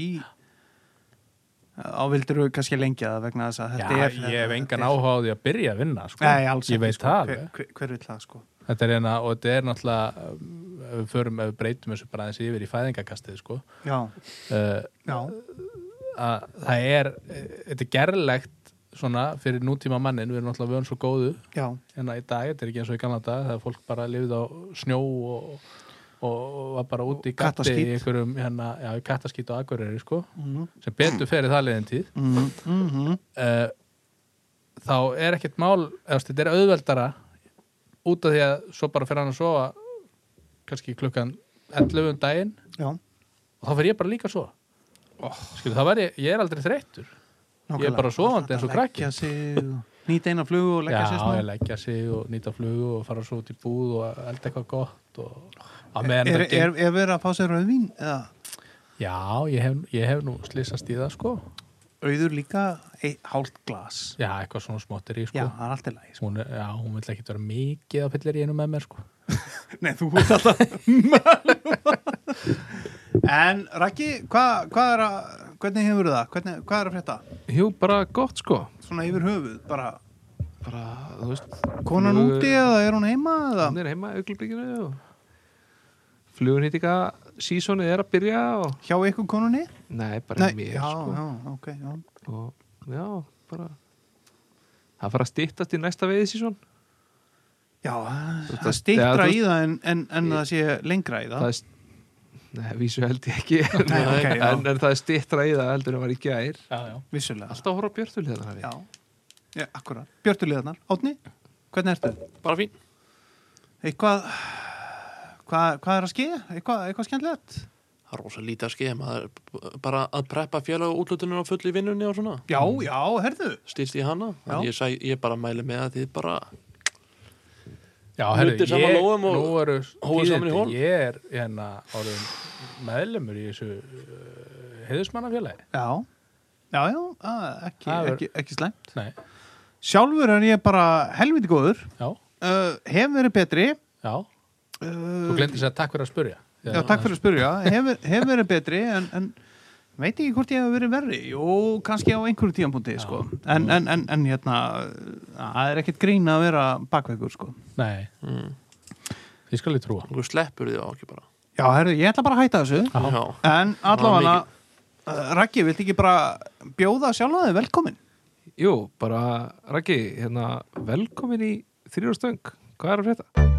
Speaker 3: á vildur við kannski lengja það vegna þess að
Speaker 1: Já,
Speaker 3: þetta er
Speaker 1: ég hef engan
Speaker 3: þetta er-
Speaker 1: áhuga á því að byrja að vinna sko.
Speaker 3: Nei, alls
Speaker 1: ég veit
Speaker 3: sko.
Speaker 1: það
Speaker 3: Hver,
Speaker 1: alveg.
Speaker 3: hver, hver vil það, sko
Speaker 1: þetta er hérna, og þetta er náttúrulega um, ef við förum, ef við breytum þessu bara aðeins yfir í fæðingakastið sko.
Speaker 3: Já,
Speaker 1: uh,
Speaker 3: já,
Speaker 1: að það er eh, þetta er gerlegt svona fyrir nútíma mannin, við erum náttúrulega vön svo góðu
Speaker 3: já
Speaker 1: en hérna í dag, þetta er ekki eins og í gamla dag þegar fólk bara lifið á snjó og, og, og var bara úti í gatti
Speaker 3: Kattaskít.
Speaker 1: í einhverjum, hérna, já, í kattaskít og agurri, sko,
Speaker 3: Mhm.
Speaker 1: sem betur fyrir það liðin tíð
Speaker 3: mm -hmm.
Speaker 1: uh, þá er ekkert mál eða þú veist, þetta er auðveldara út af því að svo bara fyrir hann að sofa kannski klukkan 11 um daginn
Speaker 3: já,
Speaker 1: og þá fer ég bara líka svo oh. skilur, það væri, ég er aldrei þreyttur Ég er bara sofandi eins og krakki.
Speaker 3: Leggja sig og- Nýta eina flugu og leggja sig
Speaker 1: já, ég leggja sig og nýta flugu og fara svo út í búð og elda eitthvað gott og að meðan
Speaker 3: Oh. Er,
Speaker 1: þetta
Speaker 3: er, er verið að fá sér rauðvín? Eða
Speaker 1: já, ég hef, ég hef nú slissast í það sko
Speaker 3: auður líka eitt hálft glas?
Speaker 1: já, eitthvað svona smottir í sko
Speaker 3: Já, það er allt í lagi.
Speaker 1: hún, er, já, hún vill ekkert vera mikið að pillir í einu með mér sko
Speaker 3: sko. Nei, þú ert alltaf En Raki, hvað hva er að hvernig hefur það? Hvernig, hvað er að frétta?
Speaker 4: Jú, bara gott sko
Speaker 3: Svona yfir höfuð, bara
Speaker 4: bara, þú veist
Speaker 3: konan
Speaker 4: flugu-
Speaker 3: úti eða er hún heima eða?
Speaker 4: Hún er heima í auglublikinu og flugunýtika sísonið er að byrja og
Speaker 3: Hjá ykkur konunni?
Speaker 4: nei, bara Nei, mér
Speaker 3: já,
Speaker 4: sko
Speaker 3: já, ok, já.
Speaker 4: og já, bara það fara að stýttast í næsta veiði síson
Speaker 3: Já,
Speaker 4: veist,
Speaker 3: það
Speaker 4: það- já,
Speaker 3: stýttra
Speaker 4: þú
Speaker 3: í það en, en, en það sé lengra í það.
Speaker 4: það er st- Nei, vísu held ég ekki en,
Speaker 3: Nei, ok, já.
Speaker 4: en, en það er stýttra í það heldur en var í gær
Speaker 1: já, já.
Speaker 3: Vissulega.
Speaker 4: Alltaf að horfa á hérna, björtuliðan hafi
Speaker 3: Já, já akkurat. Björtuliðarnar, Átni, hvernig ertu?
Speaker 2: bara fín
Speaker 3: Eitthvað, hvað, hvað er að ske? Eitthvað, eitthvað skemmtilegt?
Speaker 2: það er rosa lítið að skeið maður er bara að preppa félag útlutunum á fulli vinnunni og svona
Speaker 3: Já, Mm. já, herðu.
Speaker 2: stýrst í hana
Speaker 3: Já.
Speaker 2: Þannig ég, sæ, ég bara mæli með að þið bara
Speaker 1: Já,
Speaker 2: Nuddið
Speaker 1: herru,
Speaker 2: saman
Speaker 1: ég,
Speaker 2: lófum og
Speaker 1: nú eru
Speaker 2: hófið saman í
Speaker 1: tíðindi.
Speaker 2: hólf.
Speaker 1: ég er hérna orðin meðlemur í þessu uh, heiðismannafélagi
Speaker 3: Já, já, já, að, ekki,
Speaker 1: Það er-
Speaker 3: ekki, ekki slæmt.
Speaker 1: Nei,
Speaker 3: Sjálfur er ég bara helviti góður,
Speaker 1: já,
Speaker 3: uh, hef verið betri.
Speaker 1: já
Speaker 3: Uh,
Speaker 1: Þú glemdi sér að takk fyrir að spurja
Speaker 3: Já, takk fyrir að spyrja. Hef, hef verið betri, en, en veit ekki hvort ég hef verið verri. Jú, kannski á einhverju tíampunkti, sko. En, en, en, en hérna, það er ekkert grín að vera bakveikur, sko.
Speaker 1: Nei,
Speaker 2: mm,
Speaker 1: ég skal ég trúa
Speaker 2: einhver sleppur því á ekki bara
Speaker 3: Já, herru, ég ætla bara að hætta þessu.
Speaker 1: Já.
Speaker 2: Já.
Speaker 3: En allavega,
Speaker 2: mikið.
Speaker 3: uh, Raggi, vilt ekki bara bjóða sjálfa þig velkomin?
Speaker 4: Jú, bara Raggi, hérna velkomin í þrjúrstöng Hvað er að frétta?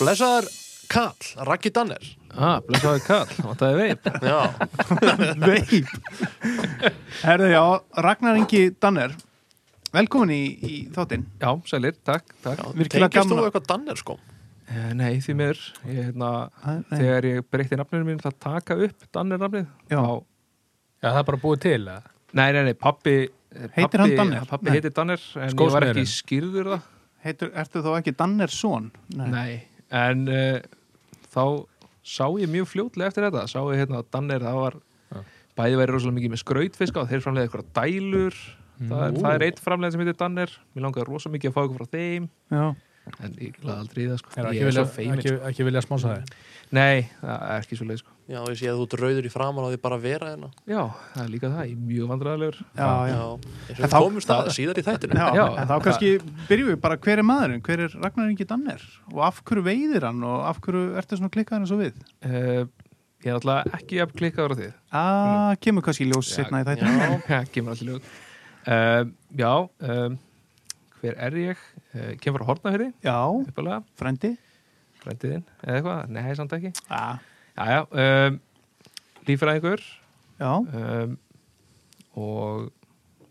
Speaker 2: Blessaður Karl, Raggi Danner
Speaker 4: Ah, blessaði kall, vantaði veip
Speaker 2: Já,
Speaker 3: Veip. herru, já, Ragnar Ingi Danner, velkomin í, í þáttinn.
Speaker 4: Já, sælir, takk, takk
Speaker 2: já
Speaker 3: Virkilega
Speaker 2: tengist
Speaker 3: gaman
Speaker 2: þú
Speaker 3: að-
Speaker 2: eitthvað Danner sko?
Speaker 4: Eh, Nei, því mér, ég, hérna,
Speaker 3: Æ, nei.
Speaker 4: þegar ég breytti nafninu mín það taka upp Danner nafnið
Speaker 3: Já.
Speaker 4: Þá-
Speaker 1: Já, það er bara búið til að
Speaker 4: Nei, nei, nei, pappi
Speaker 3: Heitir hann Danner?
Speaker 4: Pappi
Speaker 3: Nei.
Speaker 4: heitir Danner, en ég var
Speaker 1: Skósmiðurinn.
Speaker 4: ekki skýrður það
Speaker 3: Heitur, ertu þá ekki Dannersson?
Speaker 4: Nei, en uh, þá sá ég mjög fljótlega eftir þetta sá ég hérna að Danner, það var
Speaker 1: Já.
Speaker 4: bæði væri rosalega mikið með skrautfiska og þeir framlega eitthvað dælur það er, það er eitt framlega sem heitir Danner mér langaði rosalega mikið að fá eitthvað frá þeim
Speaker 3: Já.
Speaker 4: en ég laði aldrei í það sko
Speaker 1: Er
Speaker 4: Ég
Speaker 1: ekki
Speaker 4: er
Speaker 1: vilja,
Speaker 4: svo feiminn,
Speaker 1: ekki, ekki vilja smása það
Speaker 4: sko. Nei, það er ekki svo leið sko
Speaker 2: Já, ég sé að þú ert rauður í framan á því bara að vera hérna
Speaker 4: Já, það er líka það, ég er mjög vandræðilegur
Speaker 3: Já, já.
Speaker 2: Þess að
Speaker 3: þá-
Speaker 2: við komumst að það síðar í þættinu
Speaker 3: Já,
Speaker 4: Já,
Speaker 3: en þá
Speaker 4: það-
Speaker 3: kannski byrjum við bara hver er maðurinn, hver er Ragnar Ingi Danner og af hverju veiðir hann og af hverju ertu svona klikkaður eins og við?
Speaker 4: uh, Ég er alltaf ekki að klikkaður á þið
Speaker 3: Ah, kemur kannski í ljós setna í þetta.
Speaker 4: Mm. Já, kemur allir lög uh, Já, um, hver er ég? Uh, kemur frá Hortnafyrði,
Speaker 3: Já,
Speaker 4: uppalega
Speaker 3: frendi.
Speaker 4: Frændiðinn, eða eitthvað, nei, samt ekki
Speaker 3: Ah,
Speaker 4: Já, já, um, líffræðingur
Speaker 3: já,
Speaker 4: um, Og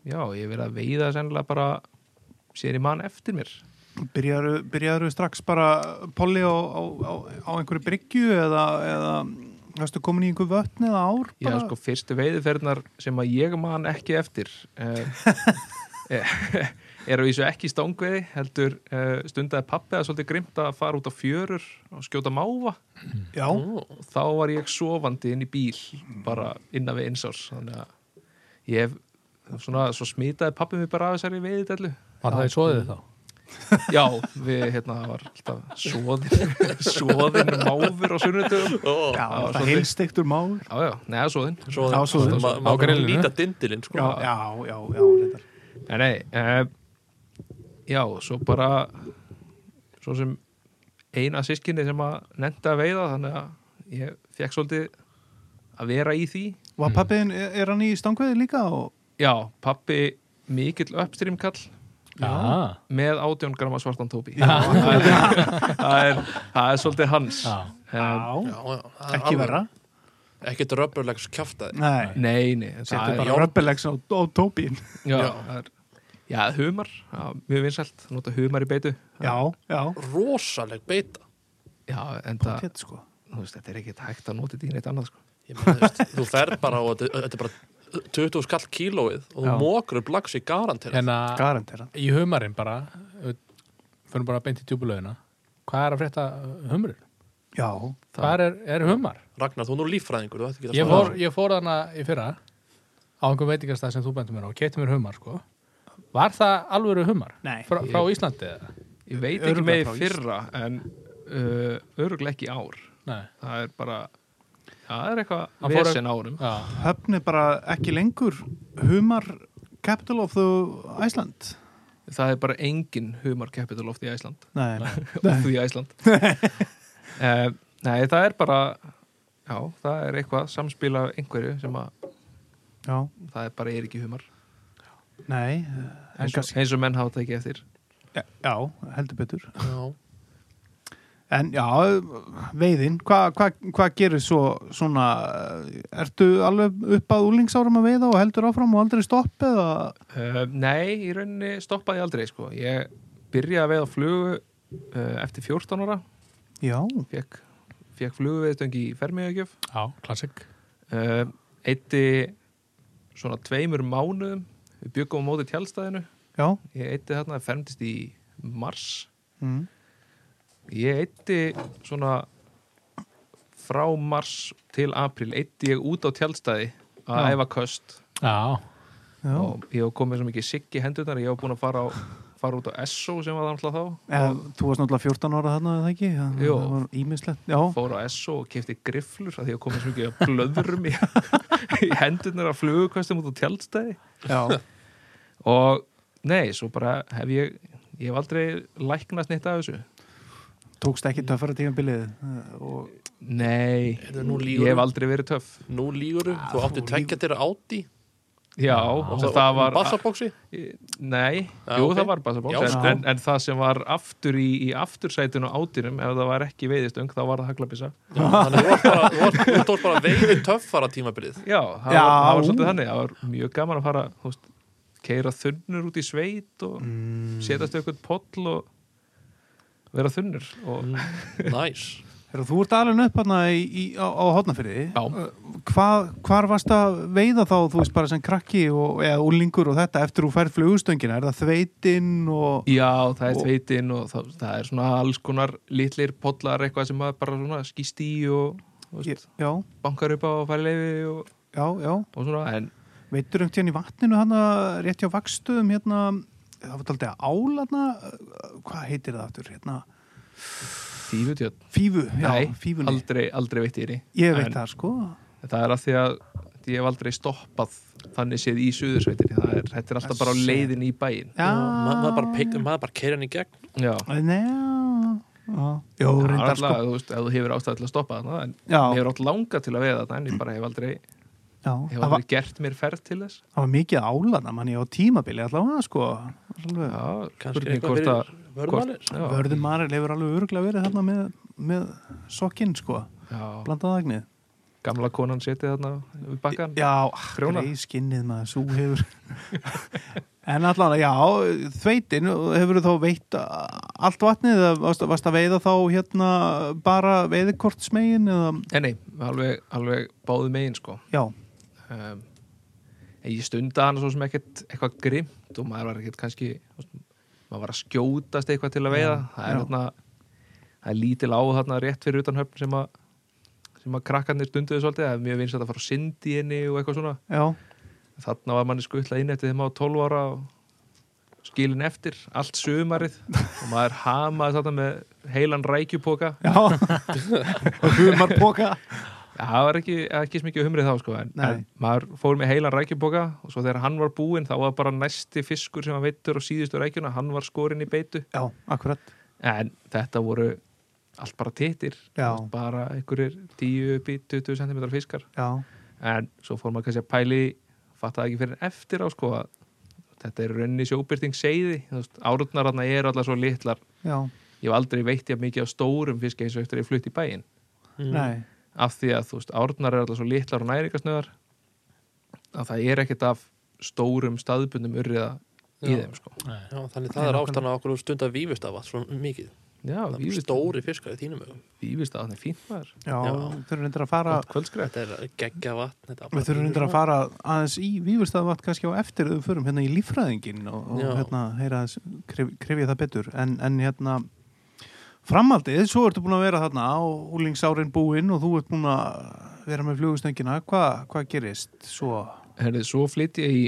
Speaker 4: já, ég hef verið að veiða sennilega bara sér í mann eftir mér
Speaker 3: byrjaru, byrjaru strax bara polli á, á, á, á einhverju bryggju eða, eða varstu komin í einhver vötn eða ár?
Speaker 4: Já,
Speaker 3: bara?
Speaker 4: sko, fyrstu veiðiferðnar sem að ég man ekki eftir uh, er að vísu ekki í stangveiði heldur uh, stundaði pappi að svolítið grimt að fara út á fjörur og skjóta máva
Speaker 3: Já,
Speaker 4: og þá var ég sofandi inn í bíl bara innan við einsás þannig að ég hef svona, svo smitaði pappi mig bara af þessari veiðdellu
Speaker 1: Var það í svoðið þá?
Speaker 4: já, við hérna það var alltaf soðin soðin máfur á sunnudögum
Speaker 2: Ó,
Speaker 3: já,
Speaker 4: Já,
Speaker 3: það
Speaker 4: svolítið.
Speaker 3: heilstektur mál.
Speaker 4: já, já, neða soðin
Speaker 2: Svo
Speaker 3: Já, svo-
Speaker 2: ma-
Speaker 1: á
Speaker 2: maður
Speaker 1: grillinu.
Speaker 2: líta dindilinn sko
Speaker 3: Já, já, já, já,
Speaker 4: nei,
Speaker 3: reyndar.
Speaker 4: nei, uh, já, svo bara svo sem eina sískinni sem að nefndi að veiða þannig að ég fekk svolítið að vera í því
Speaker 3: Var pappiðin, er, er hann í stangveði líka? Og...
Speaker 4: já, pappi mikill uppstrým kall
Speaker 1: Já,
Speaker 4: með 18 gramma svartan tóbi
Speaker 3: Já.
Speaker 4: það er, það er, það er svolítið hans
Speaker 1: já.
Speaker 4: um,
Speaker 2: Já, já, það er
Speaker 3: ekki
Speaker 2: alveg-
Speaker 3: verra.
Speaker 2: Ekkert röbburlegs kjaftaði
Speaker 3: Nei.
Speaker 4: nei, nei en það
Speaker 3: Settu
Speaker 4: er,
Speaker 3: bara röbbelegs á, á tópin
Speaker 4: já,
Speaker 2: Já.
Speaker 4: það er, já, humar já, mjög vinsælt, nota humar í beitu
Speaker 3: Já, já
Speaker 2: Rosaleg beita
Speaker 4: já, en það,
Speaker 3: pottet sko
Speaker 4: þú veist, þetta er ekkert hægt að nota þetta í neitt annað sko.
Speaker 2: Ég meina, þú veist, þú ferð bara og þetta þetta er bara 20 skall kílóið og þú
Speaker 3: Já.
Speaker 2: mókur upp lags í garantir
Speaker 1: en að
Speaker 3: garantera
Speaker 1: í humarinn bara ö, förum bara beint í djúbulöðina hvað er að frétta uh, humurinn?
Speaker 3: já,
Speaker 1: hvað er, er humar?
Speaker 2: Ragnar, þú er nú líffræðingur, þú ætti ekki að um
Speaker 1: Ég fór, ég fór þarna í fyrra á einhver veitingastæð sem þú bentum mér á og kefti mér humar sko var það alvöru humar?
Speaker 3: Nei.
Speaker 1: frá, frá Íslandi eða?
Speaker 4: ég veit ekki
Speaker 3: Örugglega
Speaker 4: með
Speaker 3: frá
Speaker 4: í fyrra en uh, öruglega ekki í ár
Speaker 1: Nei,
Speaker 4: það er bara það er
Speaker 1: Hann
Speaker 4: eitthvað
Speaker 1: fór-
Speaker 4: vesen árum
Speaker 1: já,
Speaker 3: höfni bara ekki lengur humar capital of the Iceland
Speaker 4: það er bara engin humar capital of the Iceland
Speaker 3: nei, nei.
Speaker 4: of the Iceland uh, nei, það er bara já, það er eitthvað samspila einhverju sem að
Speaker 3: já,
Speaker 4: það er bara er ekki humar
Speaker 3: nei en
Speaker 4: eins og,
Speaker 3: kannski,
Speaker 4: eins og menn hafa það ekki eftir
Speaker 3: já, heldur betur
Speaker 2: Já,
Speaker 3: En já, veiðin, hvað hva, hva gerir svo svona, ertu alveg upp að úlingsárum að veiða og heldur áfram og aldrei stopp eða?
Speaker 4: uh, nei, í rauninni stoppaði ég aldrei sko. ég byrjaði að veiða flugu uh, eftir 14 ára
Speaker 3: Já,
Speaker 4: fekk, fekk fluguveiðstöngi í fermiðagjöf
Speaker 1: já, klassik
Speaker 4: uh, eitti svona tveimur mánuðum við byggum á móti tjálstæðinu
Speaker 3: já,
Speaker 4: ég eitti þarna, fermdist í mars
Speaker 3: mm.
Speaker 4: ég eitti svona frá mars til april eitti ég út á tjálstæði að
Speaker 3: Já.
Speaker 4: æfa köst
Speaker 1: já,
Speaker 3: já.
Speaker 4: og ég hef komið svo mikið sigg í hendurnar ég hef búin að fara, á, fara út á SO sem var þannig þá
Speaker 3: Eða, þú varst náttúrulega 14 ára þarna eða ekki? Það-
Speaker 4: Jú.
Speaker 3: Það var ímislegt, já,
Speaker 4: fór á SO og kefti grifflur að því að komið svo mikið af blöðrum í, í hendurnar að flugukastum út á tjaldstæði
Speaker 3: já,
Speaker 4: og nei, svo bara hef ég ég hef aldrei læknast neitt af þessu
Speaker 3: tókst ekki töffara tímabilið eh, og
Speaker 4: nei,
Speaker 2: Heyrðu, nú
Speaker 4: ég
Speaker 2: lýgur
Speaker 4: hef
Speaker 2: þú.
Speaker 4: aldrei verið töff
Speaker 2: nú lígur þú átti tveggja til átti
Speaker 4: já,
Speaker 2: og
Speaker 4: það, það var
Speaker 2: Bassarbóksi
Speaker 4: nei,
Speaker 2: Já,
Speaker 4: jú
Speaker 2: ok.
Speaker 4: það var bassabóks
Speaker 2: Já,
Speaker 4: en,
Speaker 3: sko.
Speaker 4: en, en það sem var aftur í, í aftursætinu á átinum, ef það var ekki veiðistöng þá var það haglabissa
Speaker 2: Þannig þú varst bara, þú varst, þú tókst bara veiði töffara tímabilið
Speaker 4: já, það,
Speaker 3: Já.
Speaker 4: Var, það var svolítið þannig, það var mjög gaman að fara þú veist, keira þunnur út í sveit og
Speaker 3: mm,
Speaker 4: setjast eitthvað poll og vera þunnur og
Speaker 3: Mm.
Speaker 2: Næs
Speaker 3: Heyrðu, Þú ert alveg upp þarna í, í, á, á hotnafyrði.
Speaker 4: Já.
Speaker 3: Hva, hvar varst að veiða þá, þú veist, bara sem krakki og, eða úlingur og þetta eftir þú færð flugustöngina? Er það þveitinn og...
Speaker 4: Já, það er
Speaker 3: Og-
Speaker 4: tveitin og það, það er svona alls konar litlir pollar eitthvað sem maður bara svona skýst í og þú
Speaker 3: Ég,
Speaker 4: veist,
Speaker 3: já,
Speaker 4: bankar upp á að fara leifi og,
Speaker 3: já, já.
Speaker 4: og svona en
Speaker 3: Veitur um tíðan í vatninu hana, rétt hjá vakstuðum hérna, það var taldið að ál hana, hvað heitir það aftur, hérna,
Speaker 4: þýfutjörn,
Speaker 3: fífu, já,
Speaker 4: nei,
Speaker 3: fífunni.
Speaker 4: aldrei, aldrei veitt í því
Speaker 3: Ég veit
Speaker 4: en,
Speaker 3: það, sko.
Speaker 4: Það er að því að því ég hef aldrei stoppað þannig séð í suðursveitinni, það er, þetta er alltaf bara á
Speaker 3: Þessi.
Speaker 4: leiðin í bæin
Speaker 3: Já.
Speaker 2: Ma, Maður bara, peik- maður bara keir hann í gegn
Speaker 4: Já,
Speaker 3: Nei, já, já. Jó,
Speaker 4: Það er alltaf,
Speaker 3: reyndar, sko.
Speaker 4: þú veist, ef þú hefur ástæð til að stoppa þarna en
Speaker 3: Já,
Speaker 4: ég hefur átt langa til að veiða þarna en ég bara hef aldrei,
Speaker 3: já.
Speaker 4: hef
Speaker 3: Það var-
Speaker 4: aldrei gert mér ferð til þess
Speaker 3: Það var mikið álana manni á tímabili allavega sko alveg.
Speaker 4: Já,
Speaker 2: Kannski
Speaker 4: spurning
Speaker 2: eitthvað
Speaker 4: hvort að-
Speaker 2: fyrir vörmanir
Speaker 4: já,
Speaker 3: Vörður Marel hefur alveg öruglega verið þarna með, með sokkinn sko
Speaker 4: já.
Speaker 3: blandað agnið
Speaker 4: gamla konan setið þarna við bakkan
Speaker 3: Já,
Speaker 4: Grjóna.
Speaker 3: grei skinnið maður svo hefur En allavega, já, þveitin hefur þá veitt allt vatnið eða varst, varst að veiða þá hérna bara veiðikortsmegin eða,
Speaker 4: en nei, alveg, alveg báðu megin sko
Speaker 3: já,
Speaker 4: um, en ég stunda hana svo sem ekkert eitthvað grimt og maður var ekkert kannski þú veist, maður var að skjótast eitthvað til að veiða það er
Speaker 3: já.
Speaker 4: þarna það er lítil á þarna rétt fyrir utan höfn sem að sem að krakkarnir stunduðu svolítið það er mjög vinsætt að fara á syndi henni og eitthvað svona
Speaker 3: já,
Speaker 4: þarna var manni skutlað inn eftir þeim á 12 ára og skilin eftir allt sumarið og maður hamaði þarna með heilan rækjupoka
Speaker 3: já og humar póka
Speaker 4: Já, það var ekki, ekki smikið humrið þá sko, en,
Speaker 3: Nei.
Speaker 4: en maður fór með heilan rækjuboka og svo þegar hann var búinn þá var bara næsti fiskur sem hann veittur og síðustu rækjuna, hann var skorinn í beitu
Speaker 3: Já, akkurat,
Speaker 4: en þetta voru allt bara tittir
Speaker 3: Já.
Speaker 4: bara einhverjir 10 upp í 20 cm fiskar
Speaker 3: já,
Speaker 4: en svo fór maður kannski að pæli fattaði ekki fyrir en eftir á sko að þetta er raunni sjóbyrting seiði árutnar þarna eru allar svo litlar
Speaker 3: já,
Speaker 4: ég hef aldrei veitt jafn mikið á stórum fiski eins og eftir ég flutt í bæinn
Speaker 2: Mm.
Speaker 4: Mm.
Speaker 3: nei
Speaker 4: af því að þú veist, árnar er alltaf svo litlar og næringasnöðar að það er ekkert af stórum staðbundum urriða í
Speaker 2: Já.
Speaker 4: þeim sko.
Speaker 2: Já, þannig það er ástæðan að okkur stundar vífust af vatn svo mikið
Speaker 4: Já,
Speaker 2: það er
Speaker 4: vífist-
Speaker 2: stóri fiskar í þínum augum.
Speaker 4: Vífist að hann er fínt maður
Speaker 3: Já,
Speaker 2: Já.
Speaker 3: við þurfum reyndir að fara
Speaker 4: Gott kvöldskrætt
Speaker 2: Þetta er geggja vatn þetta er bara
Speaker 3: Við þurfum
Speaker 2: pínu
Speaker 3: reyndir að
Speaker 2: svona-
Speaker 3: fara aðeins í Vífurstaðvatt kannski á eftir þegar við förum hérna í líffræðingin og, og
Speaker 2: Já.
Speaker 3: hérna heyra þess, krif, krifja það betur en, en hérna framhaldið, svo ertu búin að vera þarna á úlingsárin búinn og þú ert búin að vera með flugustöngina, hvað hva gerist svo?
Speaker 4: Herði, Svo flytti ég í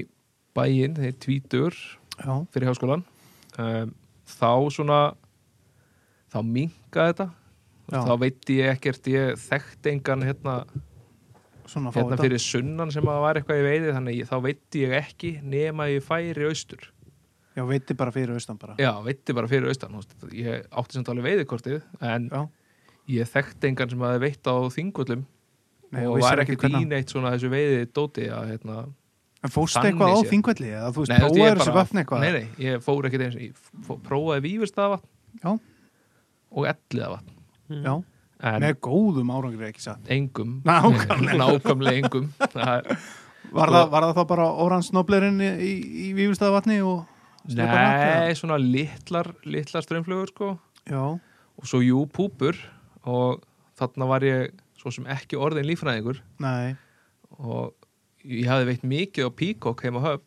Speaker 4: bæinn þegar ég tvítur
Speaker 3: Já,
Speaker 4: fyrir háskólan um, þá svona þá minkaði þetta
Speaker 3: Já.
Speaker 4: þá veit ég ekkert, ég þekkt engan hérna,
Speaker 3: svona fá
Speaker 4: hérna
Speaker 3: þetta
Speaker 4: fyrir sunnan sem að var eitthvað í veiði þannig að ég, þá veit ég ekki nema ég færi austur
Speaker 3: Já, veiti bara fyrir austan bara
Speaker 4: Já, veitti bara fyrir austan þú veist, ég átti samt alveg veiðikortið en
Speaker 3: Já.
Speaker 4: ég þekkti engan sem hafði veitt á þingullum
Speaker 3: Nei,
Speaker 4: og
Speaker 3: vissir
Speaker 4: var ekkert
Speaker 3: hvernig-
Speaker 4: í neitt svona þessu veiði dóti að hérna
Speaker 3: En fórstu
Speaker 4: Þannig
Speaker 3: eitthvað á
Speaker 4: séð.
Speaker 3: þingvelli eða þú veist,
Speaker 4: þú veist, ég
Speaker 3: prófaður
Speaker 4: bara-
Speaker 3: þessu vatn eitthvað
Speaker 4: Nei, nei, ég fór ekkert eins ég fó- prófaði vífurstaðavatn
Speaker 3: Já.
Speaker 4: og elliðavatn
Speaker 2: Mm.
Speaker 3: Já,
Speaker 4: en
Speaker 3: með góðum árangri ekki satt
Speaker 4: engum
Speaker 3: Nákvæmlega.
Speaker 4: nákvæmlega engum Það er-
Speaker 3: Var það, var það þá bara orans noblerinn í, í, í Vífurstaðavatni og Slepa
Speaker 4: Nei, svona litlar litlar strömmflugur sko
Speaker 3: Já,
Speaker 4: og svo jú púpur og þarna var ég svo sem ekki orðin lífræðingur
Speaker 3: nei,
Speaker 4: og ég hafði veitt mikið á Peacock heim á höfn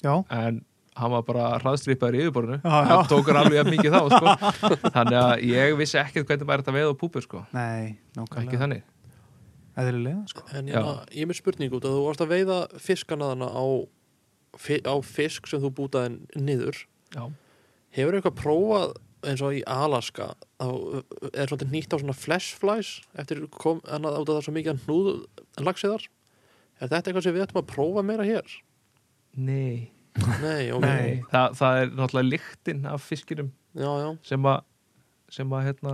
Speaker 3: já
Speaker 4: en hann var bara hraðstripaður í yfirborðinu
Speaker 3: Já, já.
Speaker 4: hann tókur alveg að mikið þá sko. þannig að ég vissi ekkert hvernig maður þetta veið á púpur sko.
Speaker 3: Nei,
Speaker 4: ekki
Speaker 3: nákvæmlega
Speaker 4: þannig
Speaker 3: Eðlilega, sko
Speaker 2: En ég, ég er með spurningu út að þú varst að veiða fiskana þarna á, fi- á fisk sem þú bútaði niður
Speaker 4: já.
Speaker 2: Hefur eitthvað prófað eins og í Alaska þá er svolítið nýtt á svona flash flies eftir kom hann að það er svo mikið hnúð lagsiðar Er þetta eitthvað sem við ættum að prófa meira hér?
Speaker 4: Nei.
Speaker 2: Nei, ok
Speaker 3: Nei.
Speaker 4: Þa, það er náttúrulega lyktin af fiskinum
Speaker 2: Já, já
Speaker 4: sem að sem að hérna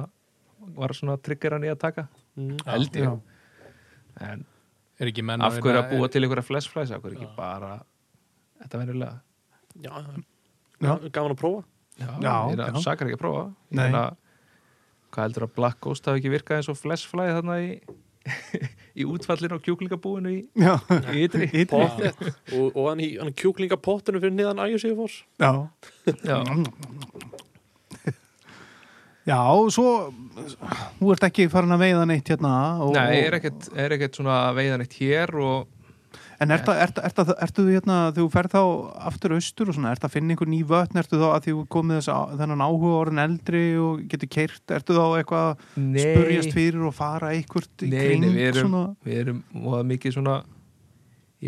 Speaker 4: var svona triggeran í að taka
Speaker 2: mm.
Speaker 4: held
Speaker 3: já.
Speaker 4: ég en
Speaker 1: er ekki menn
Speaker 4: af hverju að
Speaker 1: vinna-
Speaker 4: búa til einhverja flash flies af hverju ekki
Speaker 1: Já.
Speaker 4: bara þetta venulega
Speaker 2: Já,
Speaker 3: Já.
Speaker 2: já Gaman að prófa
Speaker 4: já,
Speaker 3: Já,
Speaker 4: ég er
Speaker 3: já.
Speaker 4: sakar ekki að prófa Ég
Speaker 3: Nei.
Speaker 4: meina, hvað heldur að Black Ghost hafi ekki virkað eins og flash fly þarna í í útfallinu og kjúklingabúinu í
Speaker 3: Já,
Speaker 4: í ytri
Speaker 3: Ytri.
Speaker 2: Pottet og, og hann í hann kjúklingapottinu fyrir niðan ægjusíðufors
Speaker 3: já
Speaker 4: já,
Speaker 3: Já, svo Þú ert ekki farin að veiða neitt hérna og,
Speaker 4: nei, er ekkert, er ekkert svona veiðan eitt hér og
Speaker 3: En ertu, ertu, ertu, ertu þú hérna þegar þú ferð þá aftur austur og svona ertu að finna einhver ný vötn, ertu þá að því þú komið þess að þennan áhuga orðin eldri og getur keirt, ertu þá eitthvað að
Speaker 4: nei,
Speaker 3: spurjast fyrir og fara einhvert í
Speaker 4: Nei, nei,
Speaker 3: kring
Speaker 4: við erum-
Speaker 3: svona
Speaker 4: við erum móða mikið svona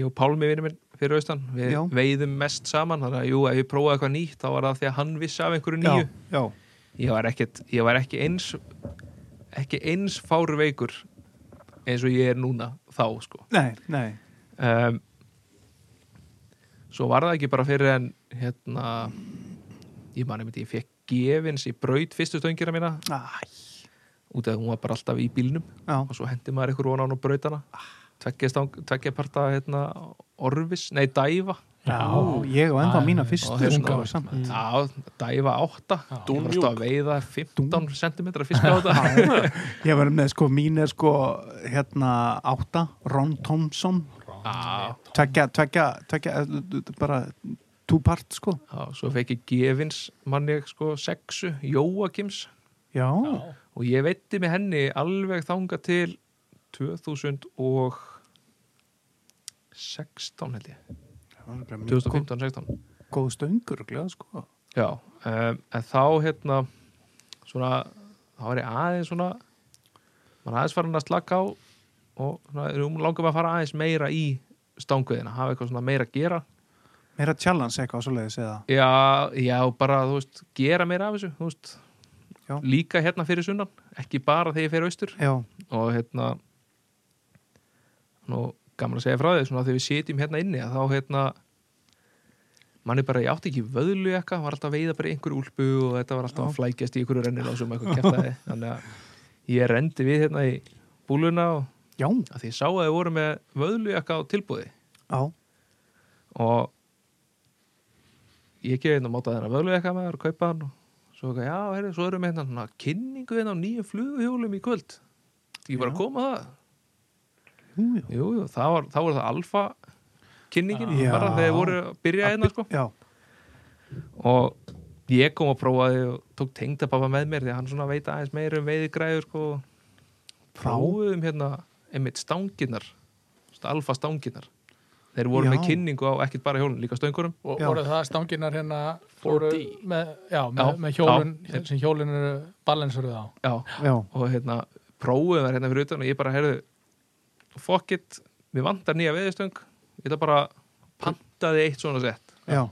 Speaker 4: ég og Pálmi vinur minn fyrir austan við
Speaker 3: Já.
Speaker 4: veiðum mest saman þannig að jú, ef ég prófaði eitthvað nýtt þá var það af því að hann vissi af einhverju
Speaker 3: Já,
Speaker 4: nýju
Speaker 3: já,
Speaker 4: ég var, ekkit, ég var ekki eins ekki eins fárveikur eins og ég er núna þá sko
Speaker 3: nei, nei
Speaker 4: um, svo var það ekki bara fyrir en hérna ég man einmitt ég fekk gefins í braut fyrstu stöngina mína
Speaker 3: Æ,
Speaker 4: út af því að hún var bara alltaf í bílnum
Speaker 3: já,
Speaker 4: og svo hendi maður ykkur vonan og brautana tveggja, stang, tveggja parta hérna, orvis, nei dæfa
Speaker 3: já, ég og enda
Speaker 1: Æ,
Speaker 3: mína
Speaker 4: Á
Speaker 3: fyrstu
Speaker 4: hausnum.
Speaker 3: sko, samt.
Speaker 4: Mm. já, dæfa átta
Speaker 1: Já.
Speaker 4: ég var alltaf að veiða 15 cm fisk á þetta
Speaker 3: Já, ég var með sko, mín er sko hérna átta, Ron Thompson
Speaker 4: já,
Speaker 3: tvekja, tvekja, tvekja bara two-part sko
Speaker 4: Já, svo fekk ég gefins manni sko sexu, Jóakims
Speaker 3: já,
Speaker 1: Já.
Speaker 4: og ég veitti með henni alveg þanga til 2016 held ég
Speaker 3: já.
Speaker 4: 2015-16
Speaker 3: góð stöngur glæða, sko.
Speaker 4: Já, um, en þá hérna svona, þá var ég aðeins svona mann aðeins farin að slaka á og svona, um langar maður að fara aðeins meira í stangveðina, hafa eitthvað svona meira að gera
Speaker 3: meira challenge eitthvað svoleiðis eða
Speaker 4: Já, já, bara, þú veist, gera meira af þessu, þú veist,
Speaker 3: Já.
Speaker 4: líka hérna fyrir sunnan, ekki bara þegar ég fer austur
Speaker 3: já,
Speaker 4: og hérna, nú, gaman að segja frá því, svona þegar við sitjum hérna inni, að þá hérna, mann er bara, ég átti ekki vöðlu eitthvað, var alltaf að veiða bara í einhverju úlpu og þetta var alltaf að flækjast í einhverju rennir á sem eitthvað kjartaði, þannig að ég rendi við hérna í búluna og
Speaker 3: já,
Speaker 4: að því ég sá að þið voru með vöðlu á tilbúði
Speaker 3: já,
Speaker 4: og ég gefið hérna móta þennan völu eitthvað með og kaupa hann og svo eitthvað, já, heyrðu, svo erum við hérna svona kynningu hérna á nýjum fluguhjólum í kvöld ég bara að koma á það
Speaker 3: jú, já.
Speaker 4: jú, jú, það var, þá var það alfa kynningin,
Speaker 3: Já.
Speaker 4: bara þegar þeir voru að byrja hérna sko
Speaker 3: já,
Speaker 4: og ég kom og prófaði og tók tengdapappa með mér því að hann svona veit aðeins meira um veiðigræður sko. prófuðum hérna einmitt stanginnar alfa stanginnar þeir voru
Speaker 3: Já.
Speaker 4: með kynningu á ekkert bara hjólun líka stöngurum
Speaker 1: og
Speaker 3: Já.
Speaker 1: voru það stanginar hérna
Speaker 2: 4D.
Speaker 1: voru með, já, með,
Speaker 4: Já,
Speaker 1: með hjólun sem hjólun eru balansuruð á
Speaker 4: já,
Speaker 3: já,
Speaker 4: og hérna prófuðum þær hérna fyrir utan og ég bara heyrðu fuck it, mér vantar nýja veiðistöng ég ætla bara að panta þig eitt svona sett
Speaker 3: já,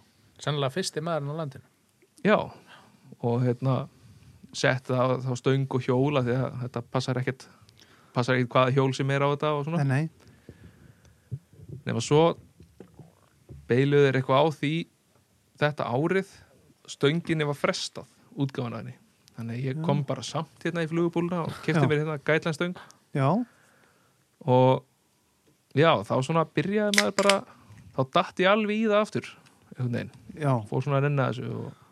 Speaker 1: sennilega fyrsti maðurinn á landinu
Speaker 4: já, og hérna sett það þá stöng og hjóla því að þetta passar ekkert passar ekkert hvaða hjól sem er á þetta og svona
Speaker 3: nei, nei
Speaker 4: nema svo beiluðu þeir eitthvað á því þetta árið stönginni var frestað útgáfan af henni þannig að ég kom bara samt hérna í flugubúluna og kefti
Speaker 3: Já.
Speaker 4: mér hérna gætlanstöng
Speaker 3: já,
Speaker 4: og já, þá svona byrjaði maður bara þá datt ég alveg í það aftur einhvern veginn,
Speaker 3: já
Speaker 4: fór svona að renna þessu og,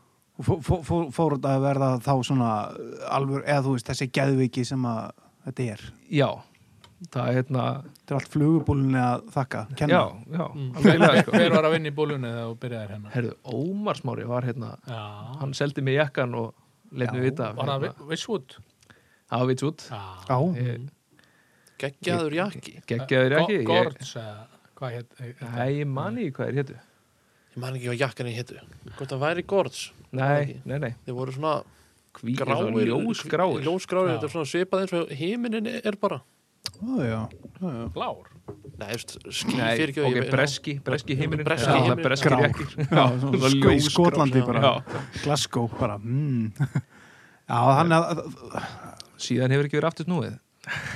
Speaker 3: Fó- fó- fó- fór þetta að verða þá svona alvör, eða þú veist, þessi geðviki sem að þetta er,
Speaker 4: já, það er hérna
Speaker 3: þetta er allt flugubúlunni að þakka, kenna,
Speaker 4: já, já, alveg eiginlega, sko.
Speaker 1: hver var að vinna í bólunni þegar þú byrjaði hérna
Speaker 4: herðu, Ómar Smári var hérna
Speaker 1: já,
Speaker 4: hann seldi mig jakkan og
Speaker 3: Já,
Speaker 4: lefni vita
Speaker 1: var það
Speaker 4: hérna,
Speaker 1: vissvút
Speaker 4: það vits út
Speaker 1: já,
Speaker 3: já,
Speaker 4: Ég-
Speaker 2: Geggjaður jakki
Speaker 4: geggjaður jakki ég-
Speaker 1: Gorts, eða hvað hétt
Speaker 4: Nei, ég manni ekki hvað er héttu.
Speaker 2: Ég man ekki hvað jakkanir hétu Hvort það væri Gords
Speaker 4: Nei, nei, nei.
Speaker 2: Þeir voru svona
Speaker 4: Hví,
Speaker 2: gráir
Speaker 4: ljósgráir.
Speaker 2: Ljósgráir,
Speaker 1: Já.
Speaker 2: þetta er svona svipað eins og himinin er bara
Speaker 3: Ó, já, já, já.
Speaker 1: blár
Speaker 2: Nei, þú veist, ský
Speaker 4: Nei,
Speaker 2: fyrir ekki
Speaker 4: ok, breski, breski himinin.
Speaker 2: Breski
Speaker 4: Já,
Speaker 2: himinin.
Speaker 4: Breski
Speaker 3: Grár.
Speaker 4: jakkir.
Speaker 3: Já, svona
Speaker 4: svona
Speaker 3: sko- í
Speaker 4: ljósgrá-
Speaker 3: Skotlandi
Speaker 2: já.
Speaker 3: bara Glasgow bara mm. Já, þannig að
Speaker 4: Síðan hefur ekki verið aftur snúið.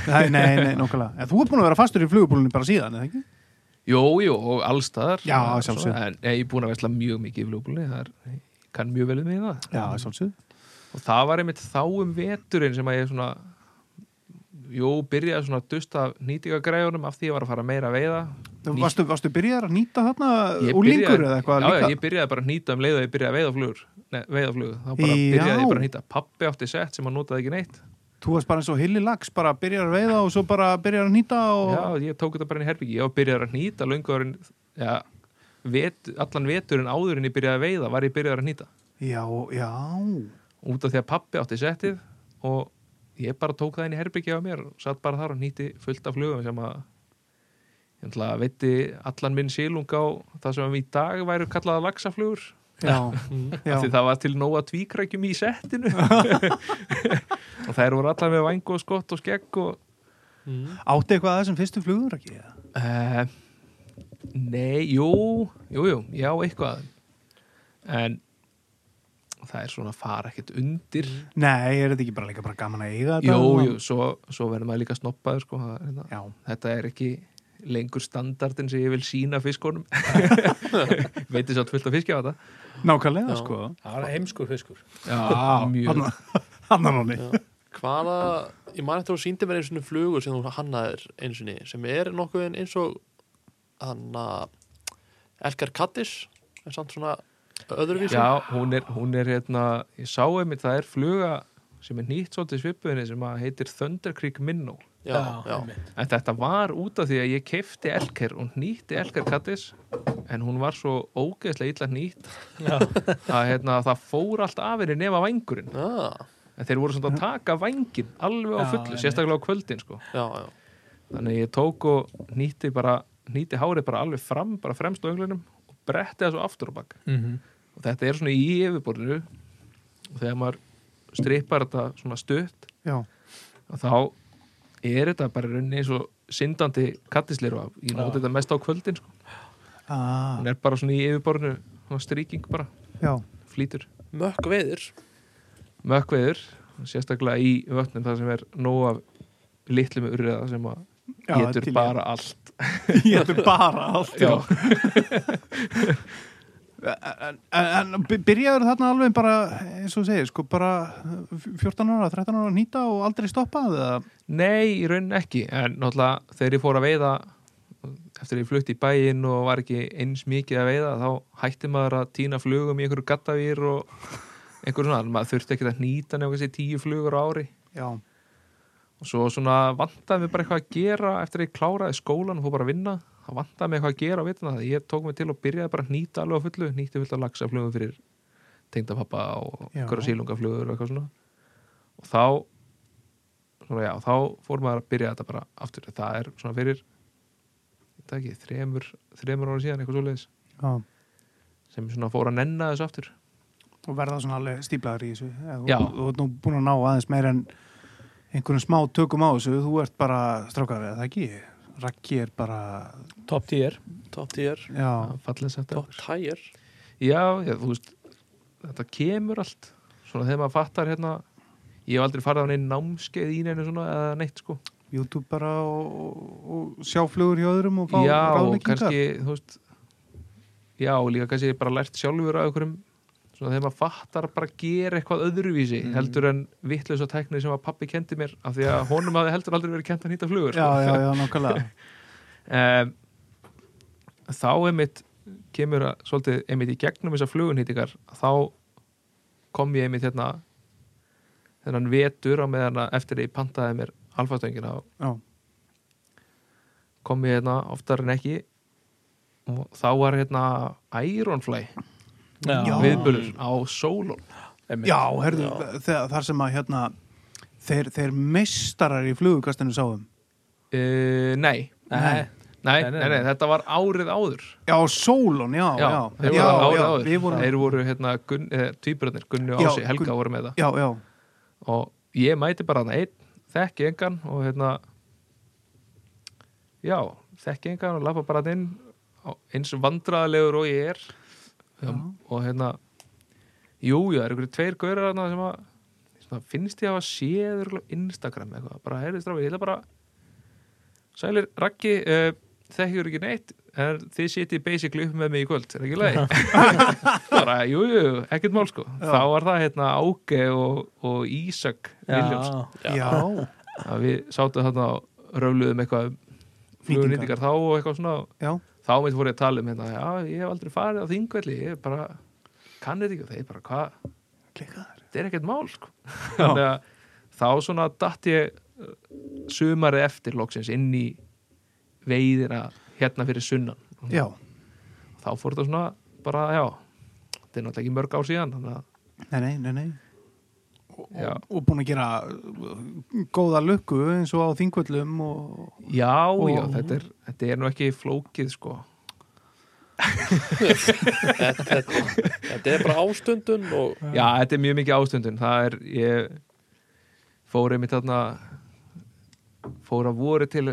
Speaker 3: Nei, nei, nei, nokkulega En þú ert búin að vera fastur í flugubúlunni bara síðan, eða ekki?
Speaker 4: Jú, jú, og allstaðar.
Speaker 3: Já,
Speaker 4: Svona,
Speaker 3: sjálfsögðu.
Speaker 4: En nei, ég er búin að vesla mjög mikið í fljókulni, það er, ég kann mjög vel við mig í það.
Speaker 3: Já, svolítið
Speaker 4: Og það var einmitt þá um veturinn sem að ég svona, jú, byrjaði svona að dusta nýtingagræðunum af því ég var að fara meira að veiða. Ný-
Speaker 3: varstu, varstu byrjar að nýta þarna
Speaker 4: Ég
Speaker 3: úlingur
Speaker 4: byrjaði-
Speaker 3: uh, eða eitthvað
Speaker 4: já, já,
Speaker 3: líka?
Speaker 4: ég byrjaði bara að nýta um leið og ég byrjaði að veiða flugur Nei, veiða flugur, þá bara
Speaker 3: Já.
Speaker 4: byrjaði ég bara að nýta pappi átti sett sem hann notaði ekki neitt
Speaker 3: Þú varst bara eins og hilli lags, bara byrjar að veiða og svo bara byrjar að nýta og
Speaker 4: Já, ég tók þetta bara inn í herbyggi, ég var byrjaði að nýta löngurinn, já vet, allan veturinn áður en ég byrjaði að veiða var ég byrjaði að nýta,
Speaker 3: já, já.
Speaker 4: út af því að pappi átti settið og ég bara tók það inn í herbyggi á mér og satt bara þar og nýti fullt af flugum sem að ég ætla að veiti allan minn sílung á það sem í dag væru kallaða laxaflugur
Speaker 3: Já,
Speaker 4: af því
Speaker 3: já.
Speaker 4: það var til nóga tvíkrækjum í settinu og þær voru allar með vang og skott og skegg og
Speaker 5: Mm.
Speaker 3: Átti eitthvað að þessum fyrstu flugur ekki? eða?
Speaker 4: uh, nei, jú jú, jú, já, eitthvað en það er svona að fara ekkert undir
Speaker 3: Nei, er þetta ekki bara líka bara gaman að eiga þetta?
Speaker 4: jú, jú, svo, svo verður maður líka snoppaður sko, það, er hérna,
Speaker 3: Já,
Speaker 4: þetta er ekki lengur standardin sem ég vil sína fiskunum veitir svo fullt af fiski á þetta
Speaker 3: nákvæmlega,
Speaker 2: Já.
Speaker 3: sko
Speaker 1: það var heimskur fiskur
Speaker 4: já, mjög
Speaker 3: Hanna nóni
Speaker 2: Hvaða, ég man eftir að þú síndi mér einu sinni flugur sem þú hannaðir einu sinni sem er nokkuð veginn eins og hann að Elkar Kattis en samt svona öðruvísi
Speaker 4: Já, hún er, hún er hérna, ég sá einmitt, það er fluga sem er nýtt svolítið svipuðinni sem að heitir Thunder Creek Minnow.
Speaker 2: já, já.
Speaker 1: einmitt.
Speaker 4: En þetta var út af því að ég keifti elker og nýtti elker kattis en hún var svo ógeðslega illa nýtt
Speaker 1: Já.
Speaker 4: að hérna, það fór allt af henni nema vængurinn.
Speaker 2: Já,
Speaker 4: En þeir voru svona að taka vængin alveg á
Speaker 1: Já,
Speaker 4: fullu,
Speaker 1: einmitt.
Speaker 4: sérstaklega á kvöldin sko.
Speaker 2: já, já.
Speaker 4: Þannig að ég tók og nýtti bara, nýtti hárið bara alveg fram, bara fremst á önglunum og bretti það svo aftur á bak
Speaker 1: Mhm.
Speaker 4: og þetta er svona í yfirborðinu og þegar maður strippar þetta svona stutt
Speaker 3: Já,
Speaker 4: og þá er þetta bara í rauninni eins og syndandi kattisleiru af ég
Speaker 1: Já.
Speaker 4: nóti þetta mest á kvöldin sko.
Speaker 3: ah,
Speaker 4: hún er bara svona í yfirborðinu svona stríking bara,
Speaker 3: já
Speaker 4: flýtur
Speaker 2: Mökk veður
Speaker 4: mökkveður, sérstaklega í vötnum þar sem er nóg af litlum urriða sem að
Speaker 3: Já,
Speaker 4: getur
Speaker 3: til í-
Speaker 4: bara allt
Speaker 3: Ég ætlum bara allt
Speaker 4: Já.
Speaker 3: En, en en by- byrjaður þarna alveg bara, eins og þú segir, sko bara eh, 14 ára, 13 ára að nýta og aldrei stoppað eða?
Speaker 4: nei, í rauninni ekki en náttúrulega þegar ég fór að veiða eftir að ég flutti í bæinn og var ekki eins mikið að veiða þá hætti maður að týna flugum í einhverju gattavýr og einhverju svona, maður þurfti ekki að nýta nefnum þessi tíu flugur á ári
Speaker 3: Já,
Speaker 4: og svo svona vantaði mér bara eitthvað að gera eftir að ég kláraði skólan og fór bara að vinna þá vantaði mér eitthvað að gera á vitna það ég tók mig til og byrjaði bara að nýta alveg á fullu nýtti fullt af laxaflugum fyrir tengdapappa og
Speaker 3: Já.
Speaker 4: einhverja sílungaflugur og eitthvað svona og þá svona já, þá fór maður að byrja þetta bara aftur það er svona fyrir þetta ekki, þremur, þremur ára síðan eitthvað svoleiðis
Speaker 3: Já.
Speaker 4: sem svona fór að nenna þessu aftur
Speaker 3: og verða svona alveg stíplaður í þessu Eða
Speaker 4: Já.
Speaker 3: þú, þú ert nú búin að ná aðeins meir en einhverjum smá tökum á þessu þú ert bara strákar eða það ekki Raggi er bara
Speaker 5: Top 10
Speaker 2: top tier,
Speaker 3: já,
Speaker 4: fallið sett
Speaker 2: top tier
Speaker 4: Já, já, þú veist þetta kemur allt svona þegar maður fattar hérna ég hef aldrei farið á neinn námskeið í neinu svona eða neitt sko
Speaker 3: YouTube bara og, og sjá flugur hjá öðrum og fá
Speaker 4: Já, og
Speaker 3: ráðleggingar
Speaker 4: kannski, þú veist já, og líka kannski bara lært sjálfur á einhverjum svona þegar maður fattar bara að gera eitthvað öðruvísi
Speaker 3: Mm.
Speaker 4: heldur en vittlösa tækni sem að pappi kendi mér af því að honum hafði heldur aldrei verið kent að nýta flugur sko.
Speaker 3: já, já, já, nákvæmlega
Speaker 4: um, þá einmitt kemur að svolítið einmitt í gegnum þessar flugunhýtingar þá kom ég einmitt hérna þennan vetur á meðan að eftir að ég pantaði mér alfastöngina og
Speaker 3: já,
Speaker 4: kom ég hérna oftar en ekki og þá var hérna Ironfly
Speaker 3: Já.
Speaker 4: viðbölur á Solon
Speaker 5: einmitt.
Speaker 3: já herðu, þegar, þar sem að hérna þeir, þeir meistarar í flugukastinu sáum
Speaker 4: uh, nei.
Speaker 5: Nei.
Speaker 4: Nei,
Speaker 5: Nei,
Speaker 4: nei,
Speaker 5: nei,
Speaker 4: nei, þetta var árið áður
Speaker 3: já, Solon, já, já,
Speaker 4: já, þeir
Speaker 3: já,
Speaker 4: voru árið
Speaker 3: já,
Speaker 4: áður
Speaker 3: við vorum,
Speaker 4: þeir voru hérna Gun- eh, tvíburarnir, Gunni og
Speaker 3: Já,
Speaker 4: Ási, Helga
Speaker 3: Gunn-
Speaker 4: voru með það
Speaker 3: já, já,
Speaker 4: og ég mæti bara hann einn þekki engan og hérna já, þekki engan og lappa bara hann inn á- eins vandraðalegur og ég er um, og hérna jú, já, það eru ykkur tveir gaurar hérna sem að svona, finnst ég að hafa séð örugglega á Instagram eitthvað, bara heyrði stráfið, ég ætla bara sælir, Raggi uh, þekkjur ekki neitt en þið sitið basically upp með mig í kvöld er ekki leið bara, jú, jú, jú, ekkert mál sko þá var það hérna Áge og, og Ísak Viljáms
Speaker 5: Já.
Speaker 3: já, já.
Speaker 4: að við sátum þarna og röfluðum eitthvað flugunýtingar þá og eitthvað svona
Speaker 3: Já.
Speaker 4: þá mitt fór ég að tala um hérna já, ég hef aldrei farið á þingvelli ég er bara, kann þetta ekki og þeir bara, hvað,
Speaker 3: Klikkaður.
Speaker 4: þetta er ekkert mál sko. þannig að þá svona datt ég uh, sumarið eftir loksins inn í veiðina hérna fyrir sunnan
Speaker 3: já,
Speaker 4: þá fór þetta svona bara, já þetta er náttúrulega ekki mörg ár síðan þannig að,
Speaker 3: nei, nei, nei, nei.
Speaker 4: já,
Speaker 3: Og, og búin að gera uh, góða lukku eins og á þingvöllum og
Speaker 4: já, já þetta, er, þetta er nú ekki flókið sko
Speaker 2: þetta, þetta, þetta er bara ástundun og
Speaker 4: Já, þetta er mjög mikið ástundun Það er, ég fór einmitt þarna fór að voru til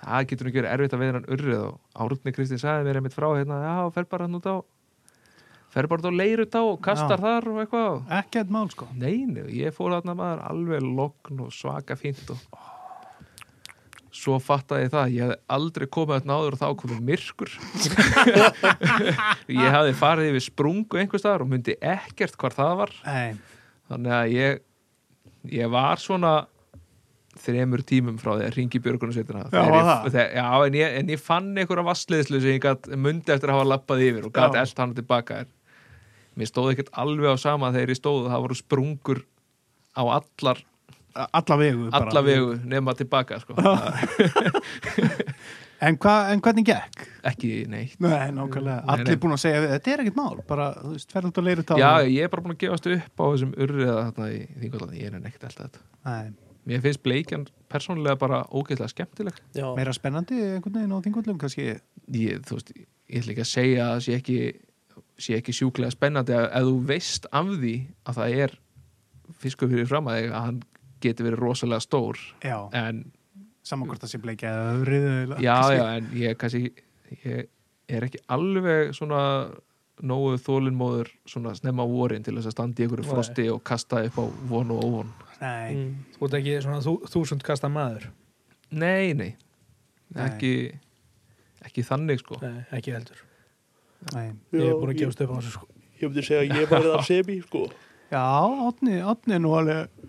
Speaker 4: það getur nú ekki verið erfitt að veða hann urrið og Árni Kristinn sagði mér einmitt frá hérna, já, fer bara hann út á fer bara út á leirut á og kastar
Speaker 3: Já.
Speaker 4: þar og eitthvað
Speaker 3: ekkert mál sko
Speaker 4: Neini, ég fór þarna maður alveg lokn og svaka fínt og svo fattaði ég það ég hefði aldrei komið þarna áður og þá komið myrkur ég hefði farið yfir sprungu einhvers staðar og myndi ekkert hvar það var
Speaker 3: nei,
Speaker 4: þannig að ég ég var svona þremur tímum frá því að ringi björgunarsveitina
Speaker 3: Já,
Speaker 4: Þegar
Speaker 3: var
Speaker 4: ég-
Speaker 3: það?
Speaker 4: þegar- já en, ég, en ég fann einhverja vassliðslu sem ég gat mundi eftir að hafa lappað yfir og gat
Speaker 3: Já.
Speaker 4: eld hann tilbaka en mér stóð ekkert alveg á sama þegar ég stóð það voru sprungur á allar,
Speaker 3: alla vegu bara.
Speaker 4: alla vegu nema tilbaka sko. Það-
Speaker 3: en, hva, en hvernig gekk?
Speaker 4: ekki neitt
Speaker 3: Nei, nákvæmlega,
Speaker 4: Nei,
Speaker 3: allir
Speaker 4: nei.
Speaker 3: búin að segja við, þetta er ekkert mál, bara, þú veist, ferðu út að leiru tánu
Speaker 4: já ég er bara búin að gefast upp á þessum urriða þarna í þingvallandi ég er neitt alltaf þetta
Speaker 3: Nei,
Speaker 4: mér finnst bleikjan persónulega bara ógeðslega skemmtileg
Speaker 2: já,
Speaker 3: meira spennandi einhvern veginn á þingvöllum kannski
Speaker 4: ég, þú veist, ég ætla ekki að segja að það sé ekki, sé ekki sjúklega spennandi að ef þú veist af því að það er fiskur fyrir fram að þig að hann geti verið rosalega stór
Speaker 3: Já,
Speaker 4: en
Speaker 3: saman hvort það sé bleikja eða öfrið eða-
Speaker 4: já,
Speaker 3: kannski.
Speaker 4: já, en ég kannski ég er ekki alveg svona nógu þólinmóður svona snemma á vorin til þess að standa í einhverju
Speaker 5: Nei.
Speaker 4: frosti og kasta upp á von og óvon
Speaker 3: Nei,
Speaker 2: mm,
Speaker 5: Þú ert ekki svona þú, þúsund kasta maður
Speaker 4: nei, nei,
Speaker 3: Nei.
Speaker 4: ekki ekki þannig sko
Speaker 5: Nei, ekki heldur
Speaker 3: nei
Speaker 5: Ég
Speaker 2: Já,
Speaker 5: er búin að
Speaker 2: ég-
Speaker 5: gefast upp á þessu sko
Speaker 2: ég myndi segja að ég væri það semi sko
Speaker 3: Já, átni, átni nú alveg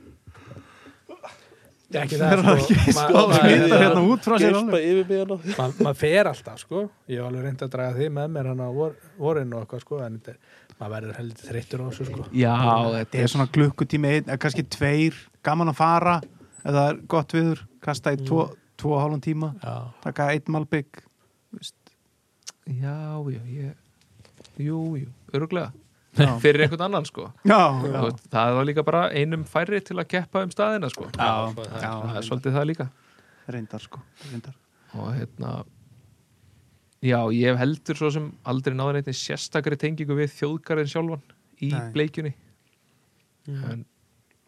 Speaker 5: Ekki
Speaker 3: Það
Speaker 5: það
Speaker 3: er ekki
Speaker 5: sko
Speaker 3: smá
Speaker 5: ma-
Speaker 3: smita
Speaker 5: ma-
Speaker 3: hérna út frá sér
Speaker 2: gespa
Speaker 3: alveg
Speaker 2: yfir mig hana
Speaker 5: ma- Maður fer alltaf sko Ég hef alveg reyndi að draga því með mér hann á vor, vorin og eitthvað sko En þetta er, maður verður heldur þreyttur á þessu sko
Speaker 4: já,
Speaker 3: Þetta er svona klukkutími, einn, eða kannski tveir, gaman að fara eða það er gott viður, kasta í tvo, tvo og hálfum tíma,
Speaker 5: Já,
Speaker 3: taka eitt malbygg
Speaker 4: Já, já, ég Jú, jú, öruglega
Speaker 3: Já.
Speaker 4: fyrir einhvern annan sko
Speaker 3: já,
Speaker 4: Þú veist, það var líka bara einum færri til að keppa um staðina sko
Speaker 3: Já,
Speaker 4: það,
Speaker 3: já,
Speaker 4: það
Speaker 3: reyndar.
Speaker 4: er svolítið það líka
Speaker 3: reyndar sko reyndar.
Speaker 4: og hérna já, ég hef heldur svo sem aldrei náður neitt sérstakri tengingu við þjóðgarðin sjálfan í
Speaker 3: Nei.
Speaker 4: bleikjunni
Speaker 2: Mm.
Speaker 4: en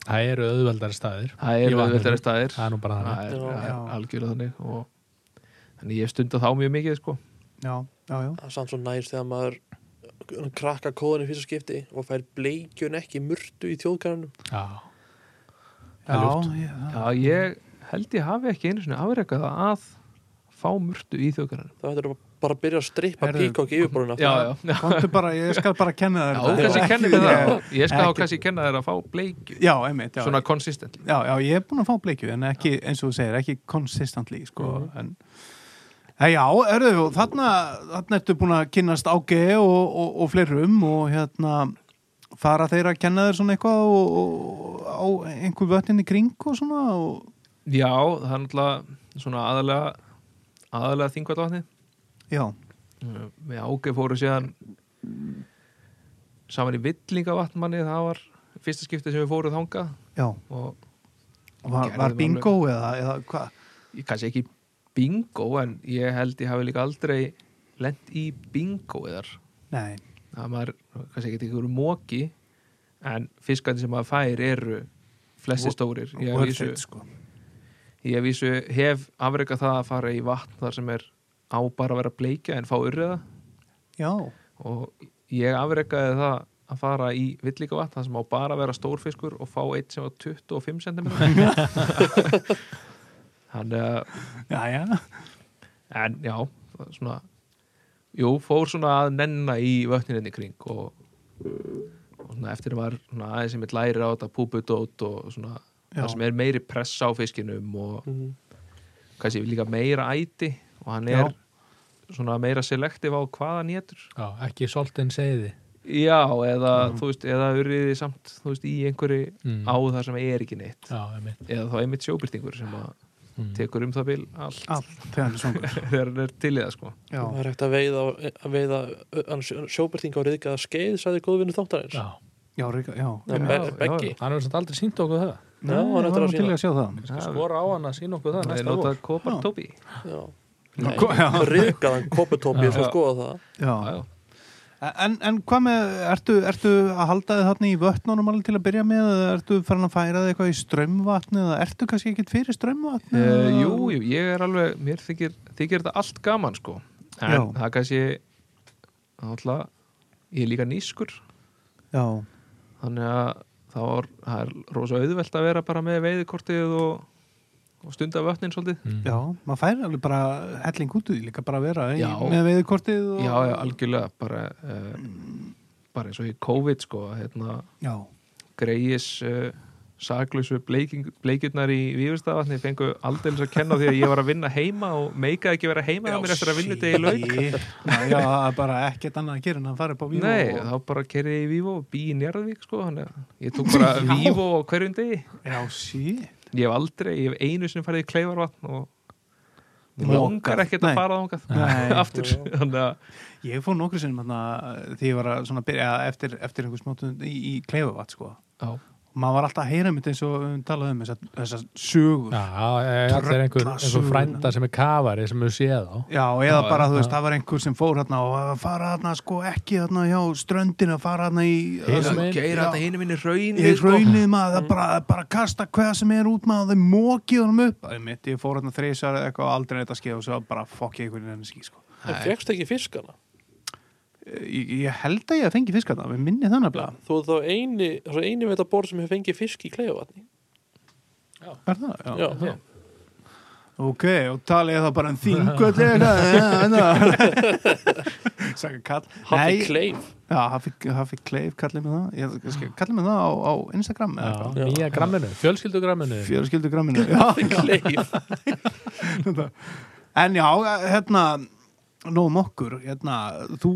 Speaker 5: Það eru auðveldari staðir
Speaker 4: það
Speaker 5: Í
Speaker 4: eru
Speaker 5: vatninu.
Speaker 4: auðvitað staðir
Speaker 5: Það er nú bara það
Speaker 4: það er,
Speaker 2: Já.
Speaker 4: það
Speaker 3: Já.
Speaker 4: er algjörlega þannig og þannig ég hef stundað þá mjög mikið sko
Speaker 3: já, já, já,
Speaker 2: það er samt svo næst þegar maður krakka kóðan í fyrsta skipti og fær bleikjun ekki murtu í þjóðgarðanum
Speaker 5: Já,
Speaker 3: já,
Speaker 5: Það er ljúft.
Speaker 3: ég- já.
Speaker 4: já, ég held ég hafi ekki einu svona afrekað að fá mörtu í þjóðgarðin
Speaker 2: þá hættur það bara að byrja að strippa
Speaker 3: Herðu,
Speaker 2: píkokk yfirborðin
Speaker 4: já, já, já,
Speaker 3: Komdu bara, ég skal bara kenna
Speaker 4: já
Speaker 3: þér þetta.
Speaker 4: kannski
Speaker 3: Ekki-
Speaker 4: kennir mér það
Speaker 3: Já,
Speaker 4: ég skal
Speaker 3: ekki-
Speaker 4: kannski kenna þér að fá bleikju
Speaker 3: já, einmitt, já,
Speaker 4: svona konsistentli
Speaker 3: já, já, ég er búin að fá bleikju en ekki, eins og þú segir, ekki consistently sko,
Speaker 4: Mhm.
Speaker 3: en Hei, já, erðu, þarna, þarna ertu búin að kynnast ágeði og, og, og fleirum og hérna fara þeir að kenna þér svona eitthvað og, og, á einhver vötninni kring og svona og,
Speaker 4: Já, það er náttúrulega svona aðalega aðalega þingvallavatni
Speaker 3: já,
Speaker 4: við ágæð fóru síðan saman í villingavatnmanni það var fyrsta skipti sem við fóruð þangað
Speaker 3: já,
Speaker 4: og
Speaker 3: var,
Speaker 4: Gerðu
Speaker 3: var
Speaker 4: það
Speaker 3: bingo eða, eða hvað
Speaker 4: ég kannski ekki bingo en ég held ég hafi líka aldrei lent í bingo eðar
Speaker 3: nei,
Speaker 4: það maður kannski ekki ekki verið móki en fiskandi sem maður fær eru flesti
Speaker 3: Wo-
Speaker 4: stórir ég
Speaker 3: worth
Speaker 4: vísu,
Speaker 3: it, sko.
Speaker 4: ég vísu hef afreika það að fara í vatn þar sem er á bara að vera bleikja en fá urriða
Speaker 3: já,
Speaker 4: og ég afrekaði það að fara í villíka vatn það sem á bara að vera stórfiskur og fá eitt sem var 25 cm þannig að
Speaker 3: já, já
Speaker 4: en já, það er svona jú, fór svona að nenna í vötninni kring og, og svona eftir var svona aðeins sem ég læri á þetta púpudót og svona
Speaker 3: Já.
Speaker 4: það sem er meiri pressa á fiskinum og
Speaker 2: Mhm.
Speaker 4: kannski líka meira æti og hann
Speaker 3: Já.
Speaker 4: er svona meira selektiv á hvaðan étur
Speaker 5: já ekki soltin segiði
Speaker 4: Já, eða þú veist, eða urriði samt, þú veist, í einhverju
Speaker 5: Mm.
Speaker 4: á það sem er ekki neitt
Speaker 5: Já, einmitt Mm.
Speaker 4: eða þá einmitt sjóbyrtingur sem að tekur um það bil allt
Speaker 3: allt þegar svongur
Speaker 4: þegar hann er til í það, sko
Speaker 3: já,
Speaker 2: það er hægt að veiða, að veiða sjóbyrting á reyðgaða skeið sagði góðvinni þáttarins
Speaker 5: Já,
Speaker 3: já, Ríka, já,
Speaker 2: Það er
Speaker 3: einmitt.
Speaker 2: be
Speaker 4: Já, já,
Speaker 2: beggi
Speaker 4: já.
Speaker 5: hann hefur samt aldrei sínt okkur það
Speaker 3: Nei,
Speaker 2: Já, hann
Speaker 3: ég
Speaker 2: ætlar
Speaker 3: var
Speaker 2: að
Speaker 3: nú til í að sjá það
Speaker 5: Skal skora á hann að sína okkur það
Speaker 4: Það er
Speaker 5: næsta vor
Speaker 4: notað kopartópi
Speaker 2: Já.
Speaker 3: Já, ko- já.
Speaker 2: reyðgaðan kopputópi ég ætla að skoða það
Speaker 3: Já. En, en hvað með, ertu, ertu að halda þið þarna í vötnunum alveg til að byrja með eða ertu farin að færa þið eitthvað í strömmvatni eða ertu kannski ekkit fyrir strömmvatni?
Speaker 4: Uh,
Speaker 3: eða-
Speaker 4: jú, jú, ég er alveg, mér þykir, þykir þetta allt gaman sko en
Speaker 3: Já.
Speaker 4: það kannski alltaf, ég er líka nýskur
Speaker 3: Já,
Speaker 4: þannig að það, var, það er rosa auðvelt að vera bara með veiðikortið og, og stunda vötnin svolítið
Speaker 3: já, maður færi alveg bara helling út úr því líka bara að vera í,
Speaker 4: Já.
Speaker 3: með veiðkortið og...
Speaker 4: Já, já, algjörlega bara, uh, bara eins og í COVID sko, að, hérna,
Speaker 3: Já,
Speaker 4: greiðis uh, saklausu bleiking- bleikjurnar í Vífurstaðavatni fengu aldrei að kenna á því að ég var að vinna heima og meika ekki vera heima hjá mér eftir að vinna þetta í lauk
Speaker 3: shit. Já, já, það er bara ekkert annað að gera en að fara upp á víma
Speaker 4: Nei,
Speaker 3: og...
Speaker 4: þá bara kerði ég í Vívo og bý í Njarðvík sko, þannig að ég tók bara Vívo á hverjum degi
Speaker 3: Já, sítt.
Speaker 4: Ég hef aldrei, ég hef einu sinni farið í Kleifarvatn og Mér
Speaker 3: Lokað.
Speaker 4: langar ekkert
Speaker 3: Nei.
Speaker 4: að fara þangað
Speaker 3: Nei.
Speaker 4: aftur, þannig að
Speaker 3: Ég fór nokkru sinnum þarna því ég var að svona byrja eftir, eftir einhver smátun í, í kleifavat, sko.
Speaker 4: Já,
Speaker 3: maður var alltaf að heyra mitt eins og við höfum talað um þessar þessa sögur
Speaker 5: Já, það
Speaker 3: já,
Speaker 5: er einhver, einhver
Speaker 3: Tröllasögur.
Speaker 5: frænda sem er kafari sem við séð á
Speaker 3: eða
Speaker 4: Já,
Speaker 3: bara,
Speaker 4: já,
Speaker 3: þú veist, það var einhver sem fór hérna og að fara hérna, sko, ekki hérna hjá ströndin að fara hérna í
Speaker 5: Hinum
Speaker 3: þarna-
Speaker 5: megin.
Speaker 4: geira þetta
Speaker 3: Já,
Speaker 4: hinu minni raun
Speaker 3: í raunnið maður, það er bara, bara kasta hvað sem er út maður, þeim mókið honum upp það er mitt, ég fór hérna þrísar eða eitthvað aldrei neitt að skeið og svo bara fokk ég einhvern veginn ský, sko
Speaker 2: en fegst ekki fiskana
Speaker 3: ég, ég held að ég að fengi fisk hérna, við minni þannig að
Speaker 2: þú er þá eini, þá eini við þetta borð sem hefur fengið fisk í kleiðavatni
Speaker 3: er það, já,
Speaker 2: já, já.
Speaker 3: ok, og talið ég þá bara um en þingu eitthvað Saka kall
Speaker 2: hafði
Speaker 3: Nei,
Speaker 2: kleif
Speaker 3: Já, Hafi Kleif kallið mig það Ég- ég skal- kallið mig það á, á Instagram eða eitthvað
Speaker 5: Já, Nýja gramminu, fjölskyldugramminu
Speaker 3: Fjörskildu gramminu já,
Speaker 2: kleif
Speaker 3: já. En já, hérna Nóðum okkur, hérna Þú,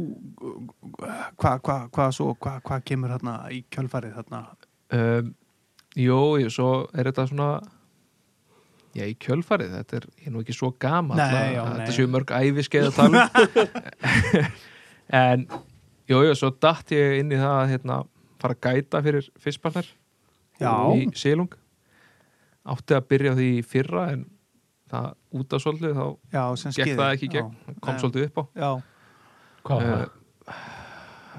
Speaker 3: hvað hva, hva, svo Hvað hva kemur hérna í kjölfarið hérna?
Speaker 4: um, Jó, jú, svo er þetta svona Já, í kjölfarið, þetta er, ég er nú ekki svo gama
Speaker 3: Nei, já,
Speaker 4: Þetta
Speaker 3: nei.
Speaker 4: séu mörg æviskeið að tala um. En Jú, jú, svo datt ég inn í það að hérna, fara að gæta fyrir fyrstbarnar
Speaker 3: Já.
Speaker 4: í Silung átti að byrja á því í fyrra en það út af svolítið þá
Speaker 3: já, sem
Speaker 4: gekk
Speaker 3: skeiði.
Speaker 4: það ekki í gegn, kom
Speaker 3: Nei.
Speaker 4: svolítið upp á
Speaker 3: Já,
Speaker 1: Hvað
Speaker 4: Eh,
Speaker 1: var það?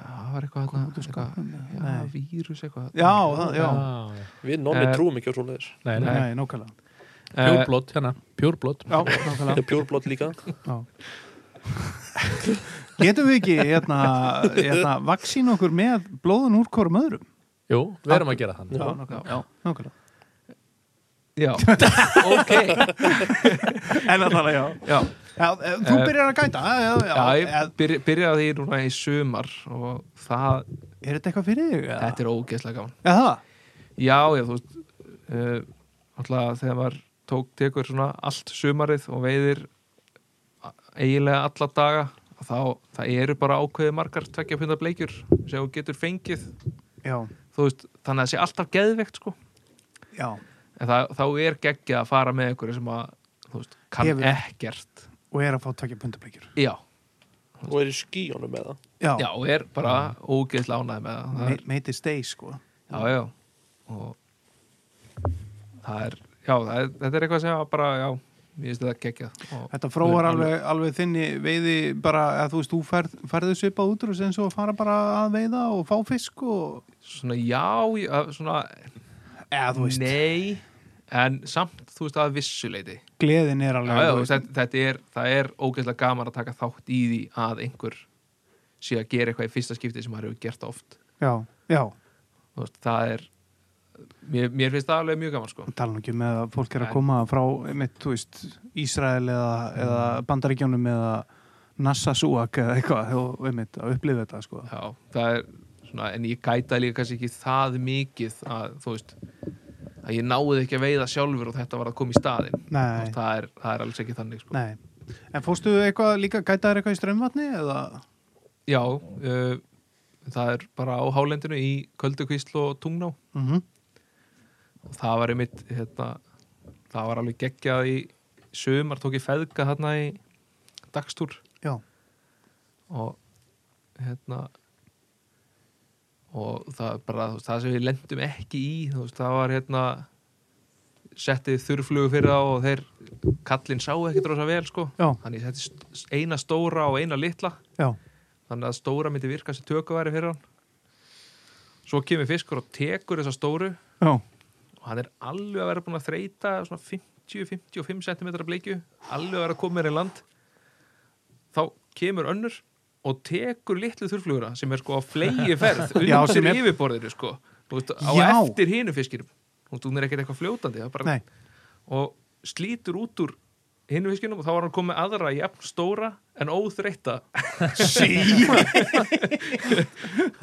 Speaker 4: það var eitthvað
Speaker 3: Kom
Speaker 4: hérna,
Speaker 3: út úr
Speaker 4: eitthvað,
Speaker 3: skápnum, já.
Speaker 4: já,
Speaker 3: Nei.
Speaker 4: vírus eitthvað
Speaker 3: já, það, já.
Speaker 5: Ah, já.
Speaker 2: Við nonni
Speaker 4: Eh,
Speaker 2: trúum ekki á svoleiðis
Speaker 5: Nei,
Speaker 3: Nei,
Speaker 5: nei.
Speaker 3: nei nákvæmlega.
Speaker 4: Eh,
Speaker 1: Pjórblót, hérna, pjórblót
Speaker 3: Já, nákvæmlega.
Speaker 2: Þetta er pjórblót líka
Speaker 3: Getum við ekki hérna, hérna, vaksín okkur með blóðun úr hvorum öðrum?
Speaker 1: Jú, við erum að gera þann
Speaker 2: Já.
Speaker 3: nákvæmlega. nákvæmlega.
Speaker 4: já, ok
Speaker 3: En allavega, já.
Speaker 4: já,
Speaker 3: já. eh, Þú
Speaker 4: Eh,
Speaker 3: byrjar að gæta, já, já, já.
Speaker 4: já, ég
Speaker 3: Eh,
Speaker 4: byrja, byrjaði því núna í sumar og það,
Speaker 3: Er þetta eitthvað fyrir þig? eða?
Speaker 4: þetta er ógeðslega gaman
Speaker 3: Já, það.
Speaker 4: Já, já, þú veist uh, alltaf þegar maður tók tekur svona allt sumarið og veiðir a- eiginlega alla daga þá, það eru bara ákveðið margar tvekja punda bleikjur sem þú getur fengið
Speaker 3: Já,
Speaker 4: þú veist, þannig að það sé alltaf geðveikt sko
Speaker 3: já.
Speaker 4: en það, þá er geggja að fara með einhverju sem að, þú veist, kann
Speaker 3: Hefur.
Speaker 4: ekkert
Speaker 3: Og er að fá tvekja pundableikjur.
Speaker 4: Já,
Speaker 2: og er í skíunum með það
Speaker 3: Já,
Speaker 4: já, og er bara ógeðslega ánægð með það, það
Speaker 3: Me,
Speaker 4: er,
Speaker 3: made it stay, sko.
Speaker 4: Já, já og það er, já, það er, þetta er eitthvað sem að bara, já, ég veist þetta geggjað og
Speaker 3: Þetta fróar
Speaker 4: Alveg-
Speaker 3: alveg, alveg þinni veiði bara, að þú veist, þú færð, færðu svipað út úr þessu eins og að fara bara að veiða og fá fisk og,
Speaker 4: svona já, ég- að svona
Speaker 3: eða þú veist,
Speaker 4: nei en samt, þú veist, að vissuleiti
Speaker 3: gleðin er
Speaker 4: já,
Speaker 3: alveg,
Speaker 4: já,
Speaker 3: þú
Speaker 4: þú veist,
Speaker 3: veist,
Speaker 4: þetta, þetta er það er ógeðslega gaman að taka þátt í því að einhver sé að gera eitthvað í fyrsta skipti sem maður hefur gert oft
Speaker 3: já, já,
Speaker 4: þú veist, það er mér, mér finnst það alveg mjög gaman, sko
Speaker 3: og tala nú ekki með að fólk er
Speaker 4: Nei.
Speaker 3: að koma frá, mitt, þú veist, Ísrael eða, eða
Speaker 4: Mm.
Speaker 3: Bandaríkjónum eða Nassa Suak eða eitthvað og einmitt að upplifa þetta, sko.
Speaker 4: já, það er svona, en ég gæta líka kannski ekki það mikið að, þú veist að ég náði ekki að veiða sjálfur og þetta var að koma í staðinn Þú
Speaker 3: Nei,
Speaker 4: veist, það er, það er alls ekki þannig, sko
Speaker 3: nei. En fórstu eitthvað líka, gætaður eitthvað í strömmvatni eða?
Speaker 4: já, uh, það er bara á hálendinu í Köldukvísl og Tungná
Speaker 3: Mm
Speaker 4: og það var einmitt hérna, það var alveg geggjað í sömar tók ég feðga þarna í dagstúr
Speaker 3: Já,
Speaker 4: og hérna og það er bara þú veist, það sem við lendum ekki í þú veist, það var hérna settið þurrflugu fyrir þá og þeir kallinn sá ekkert rosa vel sko
Speaker 3: já,
Speaker 4: þannig ég setti st- eina stóra og eina litla
Speaker 3: já,
Speaker 4: þannig að stóra myndi virka sem tökuværi fyrir hann svo kemur fiskur og tekur þessa stóru
Speaker 3: já,
Speaker 4: og hann er alveg að vera búin að þreita svona 50-55 cm bleikju alveg að vera að koma mér í land þá kemur önnur og tekur litlu þurflugura sem er sko á flegi ferð
Speaker 3: Já, sem
Speaker 4: undir
Speaker 3: er-
Speaker 4: yfirborðinu sko Þú veist, á
Speaker 3: Já.
Speaker 4: eftir hinu fiskinum Þú veist, hún er ekkert eitthvað fljótandi það er bara...
Speaker 3: nei,
Speaker 4: og slítur út úr hinu fiskinum og þá var hann komið aðra jafn stóra en óþreita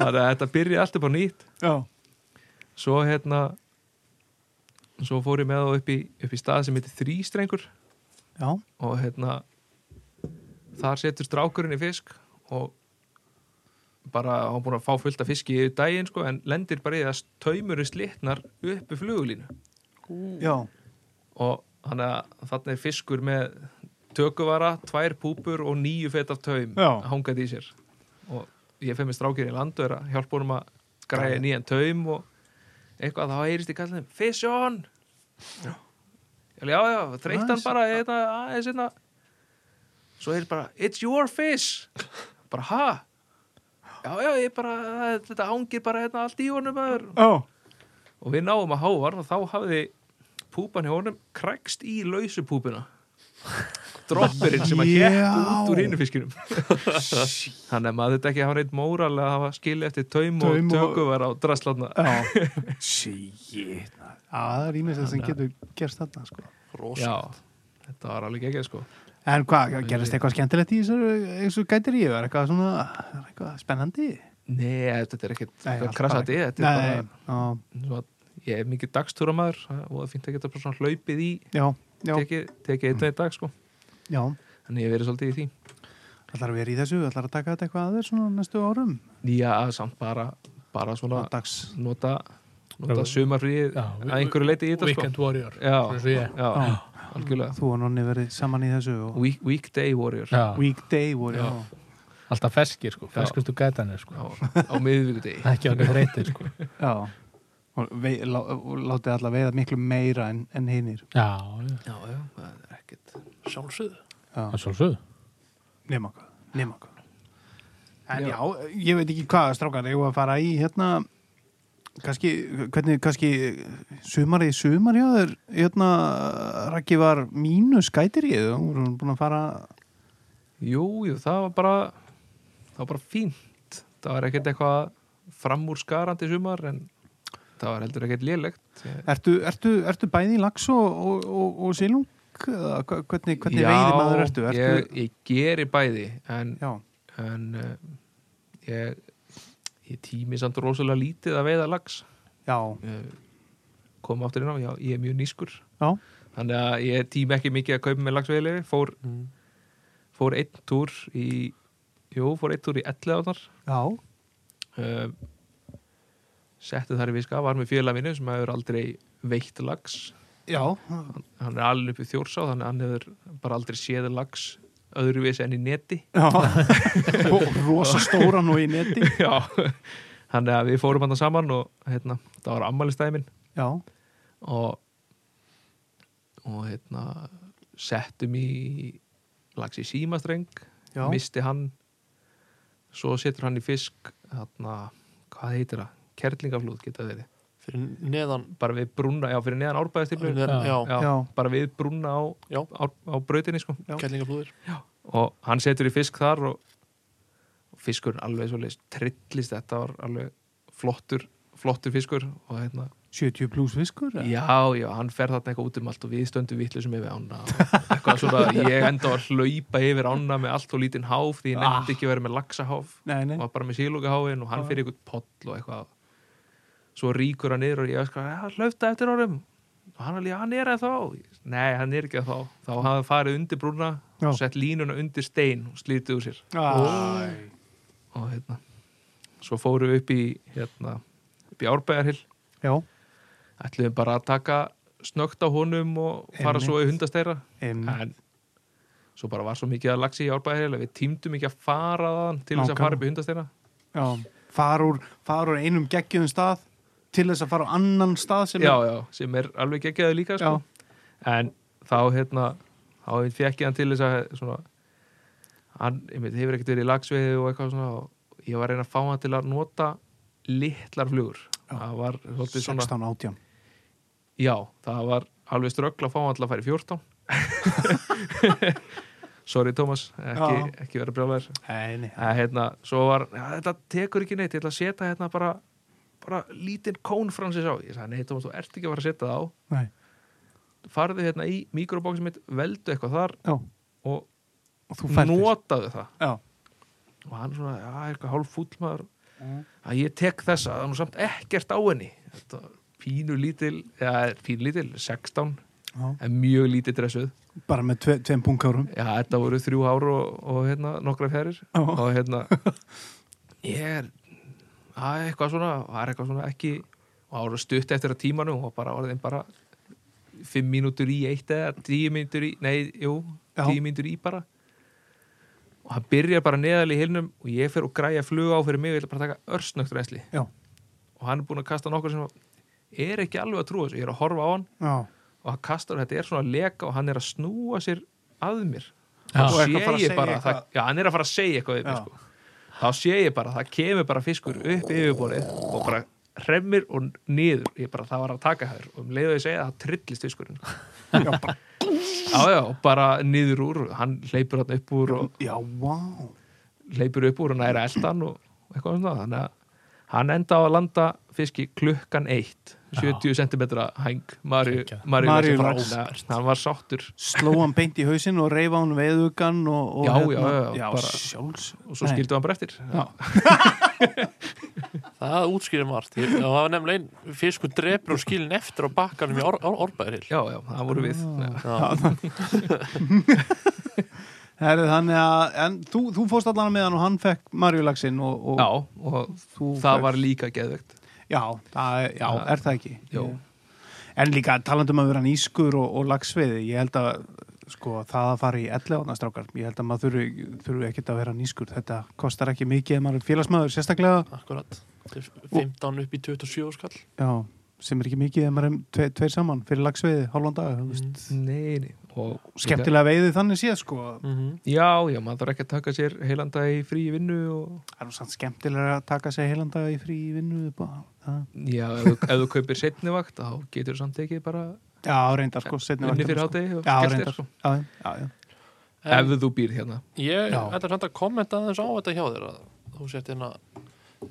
Speaker 4: þannig að þetta byrja allt upp á nýtt
Speaker 3: já,
Speaker 4: svo hérna svo fór ég með þá upp í, upp í stað sem heitir þrýstrengur
Speaker 3: já,
Speaker 4: og hérna þar setur strákurinn í fisk og bara hann búin að fá fullt af fiski yfir daginn sko, en lendir bara í það að taumurinn slitnar uppi flugulínu
Speaker 3: já.
Speaker 4: og þannig að þarna er fiskur með tökuvara, tvær púpur og níu fett af taum
Speaker 3: Já.
Speaker 4: hangað í sér og ég feg með strákir í land og er að hjálpa honum að græja nýjan taum og eitthvað þá heyrist ég kallið fish on já já, já þreytt hann
Speaker 3: Nice.
Speaker 4: bara eitthvað, aðeins einna svo heyrist bara it's your fish bara ha já já, ég bara, þetta hangir bara hérna allt í honum maður
Speaker 3: Já,
Speaker 4: og við náum að háa hann og þá hafði púpan hjá honum krækst í lausu púpuna droppurinn sem að
Speaker 3: Já.
Speaker 4: hétt út úr hinu fiskinum þannig að maður þetta ekki hafa neitt móral að hafa skilið eftir taum,
Speaker 3: Taum og-
Speaker 4: og tökuvar á draslatna
Speaker 3: já. Shit. Já, það er ímest sem getur gerst þarna, sko.
Speaker 2: Rosa.
Speaker 4: já, þetta var alveg ekki sko
Speaker 3: En hvað, gerist eitthvað skemmtilegt í þessu, þessu gætir ég? Er eitthvað svona, er eitthvað spennandi?
Speaker 4: nei, þetta er ekkit
Speaker 3: Nei, allt
Speaker 4: krasandi þetta er
Speaker 3: Nei,
Speaker 4: bara,
Speaker 3: já,
Speaker 4: svo, ég er mikið dagstúramæður og það fínt að geta bara svona hlaupið í
Speaker 3: já, já,
Speaker 4: tekið teki einn og einn dag sko
Speaker 3: já.
Speaker 4: þannig ég hef verið svolítið í því
Speaker 3: Ætlar að vera í þessu, ætlar að taka þetta eitthvað að þér svona næstu árum?
Speaker 4: nýja samt bara, bara svona
Speaker 3: Á dags.
Speaker 4: nota, nota
Speaker 1: Já.
Speaker 4: sumarfríð
Speaker 1: Já,
Speaker 4: að
Speaker 1: við-
Speaker 4: einhverju leiti í þetta sko.
Speaker 1: Weekend Warrior
Speaker 4: já,
Speaker 1: svona eins og
Speaker 4: já,
Speaker 1: ég.
Speaker 3: Já.
Speaker 4: algjörlega
Speaker 3: Þú og nonni verið saman í þessu og
Speaker 4: Week, weekday warrior
Speaker 1: Já.
Speaker 3: weekday voru,
Speaker 1: Já.
Speaker 3: já.
Speaker 5: alltaf ferskir sko,
Speaker 4: Já.
Speaker 5: ferskustu gætanir sko
Speaker 4: á, á miðvíkudegi
Speaker 5: ekki alveg reytir sko
Speaker 3: já og vei, lá, og látið alla veiða miklu meira en, en hinnir
Speaker 5: já, já,
Speaker 4: Já, já, það er ekkert
Speaker 2: sjálfsögðu
Speaker 5: það er svolsöð
Speaker 3: nema hvað nema hvað en
Speaker 4: Já.
Speaker 3: já. ég veit ekki hvað strákar ég var að fara í hérna kannski, hvernig kannski sumari, sumari á þér hérna, Raggi var mínus gætir ég, þú voru búin að fara
Speaker 4: Jú, jú, það var bara það var bara fínt það var ekkert eitthvað framúrskarandi sumar en það var heldur ekkert lélegt
Speaker 3: ertu, ertu, ertu bæði í lax og, og, og, og silung Eða hva- hvernig, hvernig
Speaker 4: Já,
Speaker 3: veiði maður ertu, ertu
Speaker 4: Ég, ég geri bæði en,
Speaker 3: já,
Speaker 4: en uh, ég, ég tími samt rosalega lítið að veiða lags
Speaker 3: já,
Speaker 4: koma áttur inn á, já, ég er mjög nýskur
Speaker 3: já,
Speaker 4: þannig að ég tími ekki mikið að kaupa með lagsveiðilegi, fór,
Speaker 2: Mm.
Speaker 4: fór einn túr í jú, fór einn túr í 11 átnar
Speaker 3: já.
Speaker 4: uh, setti þar í viska, var með félag minni sem hefur aldrei veitt lags
Speaker 3: Já,
Speaker 4: hann er alveg upp í þjórsá þannig að hann hefur bara aldrei séð lags öðruvís enn í neti
Speaker 3: Já, og rosa stóran og í neti
Speaker 4: já, þannig að við fórum hann saman og hérna, það var ammælistæmin
Speaker 3: Já,
Speaker 4: og og hérna settum í lags í símastreng,
Speaker 3: já,
Speaker 4: misti hann svo setur hann í fisk þarna, hvað heitir það? kerlingaflúð geta verið
Speaker 2: fyrir neðan
Speaker 4: bara við brúna, já fyrir neðan árbæðastiflu
Speaker 2: fyrir neðan- já,
Speaker 4: já,
Speaker 3: já,
Speaker 4: bara við brúna á,
Speaker 2: Já.
Speaker 4: á, á brautinni sko.
Speaker 3: Já.
Speaker 2: kellingaflúðir
Speaker 4: og hann setur í fisk þar og, og fiskurinn alveg svo leist trillist, þetta var alveg flottur, flottur fiskur og hérna,
Speaker 3: 70 pluss fiskur eða?
Speaker 4: já, já, hann fer þarna eitthvað út um allt og við stöndum vittlisum yfir ána og eitthvað svona, ég enda var að hlaupa yfir ána með allt og lítinn háf því ég nefndi ekki að vera með laxaháf
Speaker 3: Nei, nei,
Speaker 4: og var bara með sílúkaháfin og hann fyrir eitthvað poll og eitthvað svo ríkur hann niður og ég öskar ja, hlöfta eftir honum og hann alveg, hann er eða þá nei, hann er ekki eða þá þá hafði hann farið undir brúna
Speaker 3: Já.
Speaker 4: og sett línuna undir stein og slítið úr sér
Speaker 3: Æ,
Speaker 4: og hérna svo fórum við upp í hérna, upp í árbæðarhill
Speaker 3: já,
Speaker 4: ætluðum bara að taka snögt á honum og fara svo í hundasteira
Speaker 3: em,
Speaker 4: en svo bara var svo mikið að lagsi í árbæðarhill að við tímdum ekki að fara þaðan til þess að
Speaker 3: Nákvæmlega.
Speaker 4: fara upp í hundasteira
Speaker 3: já fara úr, fara úr einum geggjum stað til þess að fara á annan stað sem
Speaker 4: já, já, sem er alveg geggjaði líka sko. en þá hérna þá fekk ég hann til þess að svona, hann, ég veit, hefur ekkert verið í lagsveiði og eitthvað svona og ég var að reyna að fá hann til að nota litlar flugur
Speaker 3: Já.
Speaker 4: það var
Speaker 3: já,
Speaker 4: svolítið svona
Speaker 3: 16, 18
Speaker 4: já, það var alveg ströggla að fá hann til að fara í 14 sorry Thomas ekki, ekki verið brjálæður
Speaker 3: Nei, nei,
Speaker 4: að hérna, svo var já, þetta tekur ekki neitt, ég ætla að setja hérna bara bara lítinn kón fransins á ég sagði, nei Thomas, þú ert ekki að fara að setja það á
Speaker 3: nei,
Speaker 4: farðu hérna í mikrobóksin mitt, veldu eitthvað þar
Speaker 3: já og
Speaker 4: og
Speaker 3: þú færðir
Speaker 4: notaðu það
Speaker 3: Já,
Speaker 4: og hann svona, já, er eitthvað hálf fúllmaður
Speaker 3: Mm.
Speaker 4: að ég tek þessa, það er nú samt ekkert á henni þetta var pínu lítil já, pínu lítil, 16
Speaker 3: já,
Speaker 4: en mjög lítið dressuð
Speaker 3: bara með tve, tveim punkárum
Speaker 4: já, þetta voru þrjú ár og, og hérna, nokkra fjærir
Speaker 3: Já.
Speaker 4: og hérna ég er að eitthvað svona, var eitthvað svona ekki og ára stutt eftir að tímanum og bara orðin bara fimm mínútur í eitt eða tíu mínútur í, nei, jú
Speaker 3: Já.
Speaker 4: tíu mínútur í bara og hann byrjar bara neðal í hilnum og ég fer og græja flug á fyrir mig og ég ætla bara að taka örsnögt reynsli
Speaker 3: Já,
Speaker 4: og hann er búin að kasta nokkur sem er ekki alveg að trúa þessu, ég er að horfa á hann
Speaker 3: já,
Speaker 4: og hann kastar og þetta er svona leka og hann er að snúa sér að mér
Speaker 5: Já.
Speaker 4: þá
Speaker 3: Og
Speaker 4: sé
Speaker 3: eitthvað fara að
Speaker 4: ég
Speaker 3: segja
Speaker 4: bara
Speaker 3: eitthvað.
Speaker 4: það, já, hann er að fara að segja eitthvað við
Speaker 3: Já.
Speaker 4: mér sko. þá sé ég bara, það kemur bara fiskur upp yfirborið og bara hremmir og niður, ég bara, það var að taka hér og um leiðu ég segja það, það trillist fiskurinn
Speaker 3: já, bara,
Speaker 4: já, já, og bara niður úr hann hleypur hann upp úr og
Speaker 3: já, vá
Speaker 4: hleypur upp úr og næra eldan og eitthvað svona þannig að hann enda á að landa fiski klukkan eitt 70 cm hæng Maríu
Speaker 5: Kekja.
Speaker 4: Maríu
Speaker 3: Maríu
Speaker 4: Laxar frá.
Speaker 3: Lax.
Speaker 4: Þannig að hann var sáttur
Speaker 3: Sló hann beint í hausinn og reyfa hann veiðugan og, og
Speaker 4: Já, já,
Speaker 3: hérna,
Speaker 4: já,
Speaker 3: já,
Speaker 4: bara-
Speaker 3: sjálfs
Speaker 4: og svo
Speaker 3: Nei.
Speaker 4: skildu hann bara eftir
Speaker 2: það útskýrir margt Ég- það var nefnilega einn fiskur drepur og skilin eftir á bakkanum í or, or, orbaðiril
Speaker 4: já, já, það voru við
Speaker 3: Ah.
Speaker 4: Já.
Speaker 2: já,
Speaker 3: Herri, þannig að en, þú, þú fórst allan með hann og hann fekk Marjulaxinn og, og
Speaker 4: já, og
Speaker 3: þú
Speaker 4: það
Speaker 3: fékkst-
Speaker 4: var líka geðvegt
Speaker 3: já, það, er- já,
Speaker 4: Það-
Speaker 3: er það ekki
Speaker 4: Jó.
Speaker 3: En líka talandum að vera nýskur og, og lagsveiði, ég held að sko, það að fara í 11 ána strákar, ég held að maður þurfi, þurfi ekkit að vera nýskur, þetta kostar ekki mikið ef maður er félagsmaður, sérstaklega
Speaker 2: akkurat Þetta er 15 upp í 27 skall
Speaker 3: já, sem er ekki mikið ef maður er tve, tveir saman fyrir lagsveiði, hálfan dag mm.
Speaker 4: Nei, nei. Og
Speaker 3: skemmtilega veiði þannig síðan sko
Speaker 2: mm -hmm.
Speaker 4: Já, já, maður þarf ekki að taka sér heilanda í frí vinnu og
Speaker 3: það er nú samt skemmtilega að taka sig heilan dag í frí í vinnu bara, það.
Speaker 4: já, ef, þú- ef þú kaupir setni vakt þá getur þú samt ekki bara
Speaker 3: já, reyndar sko, seinni
Speaker 4: unni
Speaker 3: vaktina,
Speaker 4: fyrir
Speaker 3: sko.
Speaker 4: hátegi og
Speaker 3: Já,
Speaker 4: skellt
Speaker 3: reyndar.
Speaker 4: þér sko.
Speaker 3: já, já, já.
Speaker 4: Ef þú býr hérna
Speaker 2: Ég
Speaker 3: Já.
Speaker 2: ætla samt að kommenta aðeins á þetta hjá þér að þú sért hérna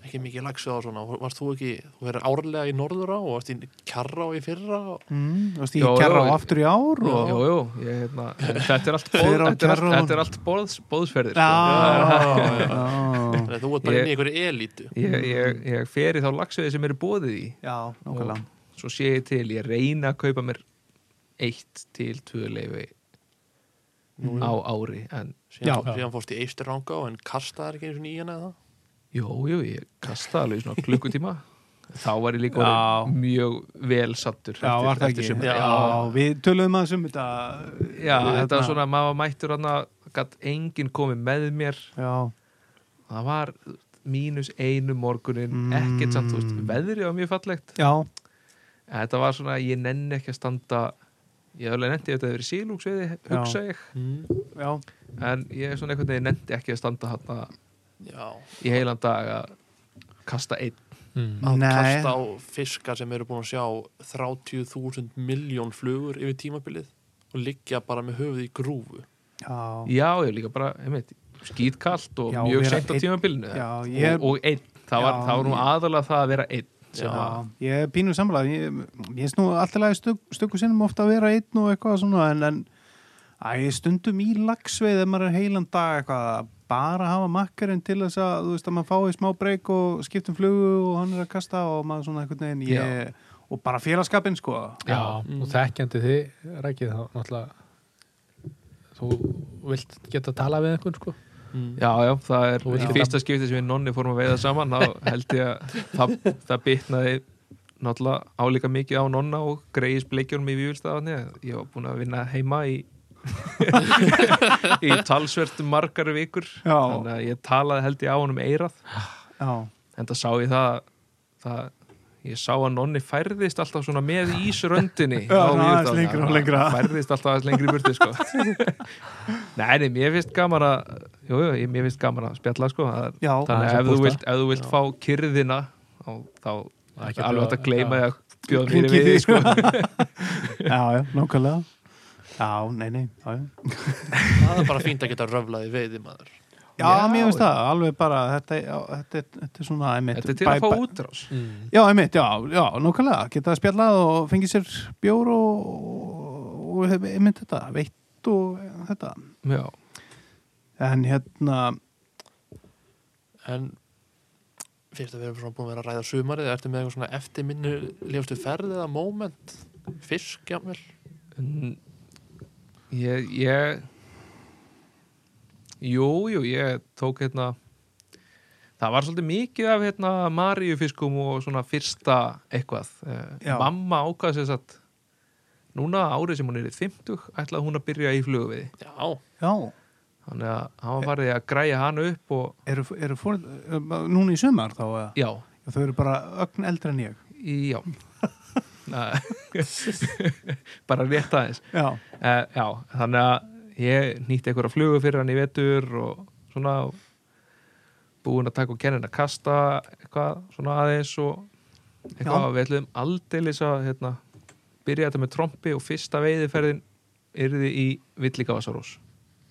Speaker 2: ekki mikið lagsið á svona, varst þú ekki þú verður árlega í norður á og varst í kjarra á í fyrra og
Speaker 3: Mm, þú veist, ég
Speaker 4: Já,
Speaker 3: gerra
Speaker 4: já,
Speaker 3: á aftur í ár
Speaker 4: Jú,
Speaker 3: og...
Speaker 4: jú, ég, hérna, en þetta er allt, boð,
Speaker 3: Þeir á
Speaker 4: þetta er allt,
Speaker 3: Kjarró.
Speaker 4: þetta er allt boðs, boðsferðir sko.
Speaker 3: já,
Speaker 2: Já, já,
Speaker 3: já, já.
Speaker 2: Þannig að þú ert bara inn í
Speaker 4: Ég-
Speaker 2: einhverju elítu
Speaker 4: sko. ég, ég, ég fer í þá lagsveði sem eru bóðið í
Speaker 3: já, nákvæmlega
Speaker 4: svo sé ég til, ég reyna að kaupa mér eitt til tvö leifi
Speaker 2: Nú,
Speaker 4: á ári en
Speaker 2: síðan,
Speaker 5: Já.
Speaker 2: síðan fórst í eistur ranga og en kastaði ekki eins og nýjan eða það.
Speaker 4: jú, jú, ég kasta alveg í svona klukkutíma þá var ég líka
Speaker 3: Já.
Speaker 4: orðinn mjög vel sattur
Speaker 3: Já, var það ekki?
Speaker 4: sumar.
Speaker 3: já.
Speaker 4: já,
Speaker 3: við töluðum aðeins um þetta.
Speaker 4: já,
Speaker 3: Við
Speaker 4: þetta var
Speaker 3: hérna-
Speaker 4: svona, maður var mættur hann að gatt enginn komið með mér
Speaker 3: Já,
Speaker 4: það var mínus einu morgunin
Speaker 3: Mm.
Speaker 4: ekkert samt, þú veist, veðrið var mjög fallegt
Speaker 3: já,
Speaker 4: En þetta var svona, ég nenni ekki að standa ég alveg nennti ef þetta hefði verið sílungsveiði hugsa ég,
Speaker 2: Mm.
Speaker 3: já.
Speaker 4: en ég er svona einhvern veginn nennti ekki að standa hann
Speaker 2: Já,
Speaker 4: í heilan dag að kasta einn
Speaker 5: Mm.
Speaker 2: að
Speaker 3: Nei.
Speaker 2: kasta á fiska sem eru búin að sjá 30.000 miljón flugur yfir tímabilið og liggja bara með höfuð í grúfu
Speaker 3: Já,
Speaker 4: já, ég er líka bara, einmitt, skýtkalt og
Speaker 3: Já,
Speaker 4: mjög
Speaker 3: vera
Speaker 4: seint á
Speaker 3: einn.
Speaker 4: tímabilinu
Speaker 3: já, ég,
Speaker 4: og, og einn, það var,
Speaker 3: Já,
Speaker 4: það var nú
Speaker 3: ég-
Speaker 4: aðalega það að vera einn
Speaker 2: sem
Speaker 3: já,
Speaker 2: að
Speaker 3: ég er pínu samlega. Ég, ég snú alltaf í stök, stöku sinnum ofta að vera einn og eitthvað svona, en, en að ég stundum í lagsveið ef maður er heilan dag eitthvað að bara hafa makkarinn til þess að, þú veist, að maður fái smá breyk og skiptum flugu og hann er að kasta og maður svona einhvern veginn, ég, og bara félagskapinn, sko.
Speaker 5: Já, og þekkjandi þið rækið þá náttúrulega þú vilt geta að tala við einhvern sko
Speaker 2: mm,
Speaker 4: já, já, það er
Speaker 5: Þú vilt
Speaker 4: í
Speaker 5: geta-
Speaker 4: fyrsta skipti sem við nonni fórum að veiða saman þá held ég að það, það bitnaði náttúrulega álíka mikið á nonna og greiðis bleikjónum í vývilstaðanni ég var búin að vinna heima í í talsvert margar vikur
Speaker 3: Já.
Speaker 4: þannig að ég talaði held ég á honum eirað
Speaker 3: Já,
Speaker 4: en það sá ég það, það ég sá að nonni færðist alltaf svona með ísröndinni
Speaker 3: Já,
Speaker 4: á
Speaker 3: svona
Speaker 4: Víðurdal.
Speaker 3: aðeins lengra og lengra.
Speaker 4: Hann færðist alltaf aðeins lengri í burti sko. nei, nei, mér finnst gaman að jú, jú, ég- mér finnst gaman að spjalla sko. það, er-
Speaker 3: já,
Speaker 4: þannig
Speaker 5: aðeins að
Speaker 4: að ef þú
Speaker 5: bústa.
Speaker 4: vilt, ef þú vilt fá kyrðina þá, þá
Speaker 5: Það er ekki að
Speaker 4: alveg hægt
Speaker 5: bjóða-
Speaker 4: að gleyma
Speaker 5: já.
Speaker 4: því að bjóða mér
Speaker 3: Hringi
Speaker 4: í við
Speaker 3: þig.
Speaker 4: sko.
Speaker 3: sko. já, já, nákvæmlega Já, nei, nei, já, já
Speaker 2: það er bara fínt að geta röflaði veiði maður
Speaker 3: Já,
Speaker 4: Já,
Speaker 3: mér finnst
Speaker 4: já.
Speaker 3: það, alveg bara þetta, já, þetta, er- þetta er svona einmitt,
Speaker 4: þetta er til að fá útrás
Speaker 5: mm.
Speaker 3: Já, einmitt, já, já, nákvæmlega geta spjallað og fengið sér bjór og, og einmitt þetta veitt og þetta
Speaker 4: já,
Speaker 3: en hérna,
Speaker 2: en fyrst að við erum svona búin að vera að ræða sumarið ertu með eitthvað svona eftirminni lífastu ferð eða moment fisk jáfnvel
Speaker 4: Mm, Ég, ég Jú, jú, ég tók hérna Það var svolítið mikið af hérna Maríufiskum og svona fyrsta eitthvað. Eh,
Speaker 3: Já.
Speaker 4: Mamma ákvað sér satt Núna árið sem hún er í 50 ætlaði hún að byrja í flugviði.
Speaker 2: já,
Speaker 3: já
Speaker 4: Þannig að hann var farið að græja hann upp og
Speaker 3: eru, eru fór, núna í sumar þá eða?
Speaker 4: já,
Speaker 3: þau eru bara ögn eldri en ég
Speaker 4: í- já. Nei. Bara rétt aðeins.
Speaker 3: Já,
Speaker 4: Uh, já, þannig að ég nýtti einhverja flugu fyrir hann í vetur og svona búin að taka og kennin að kasta eitthvað svona aðeins og eitthvað
Speaker 3: Já.
Speaker 4: við ætlum aldeilis að hérna, byrja þetta með trompi og fyrsta veiðiferðin yrði í Villigavasarós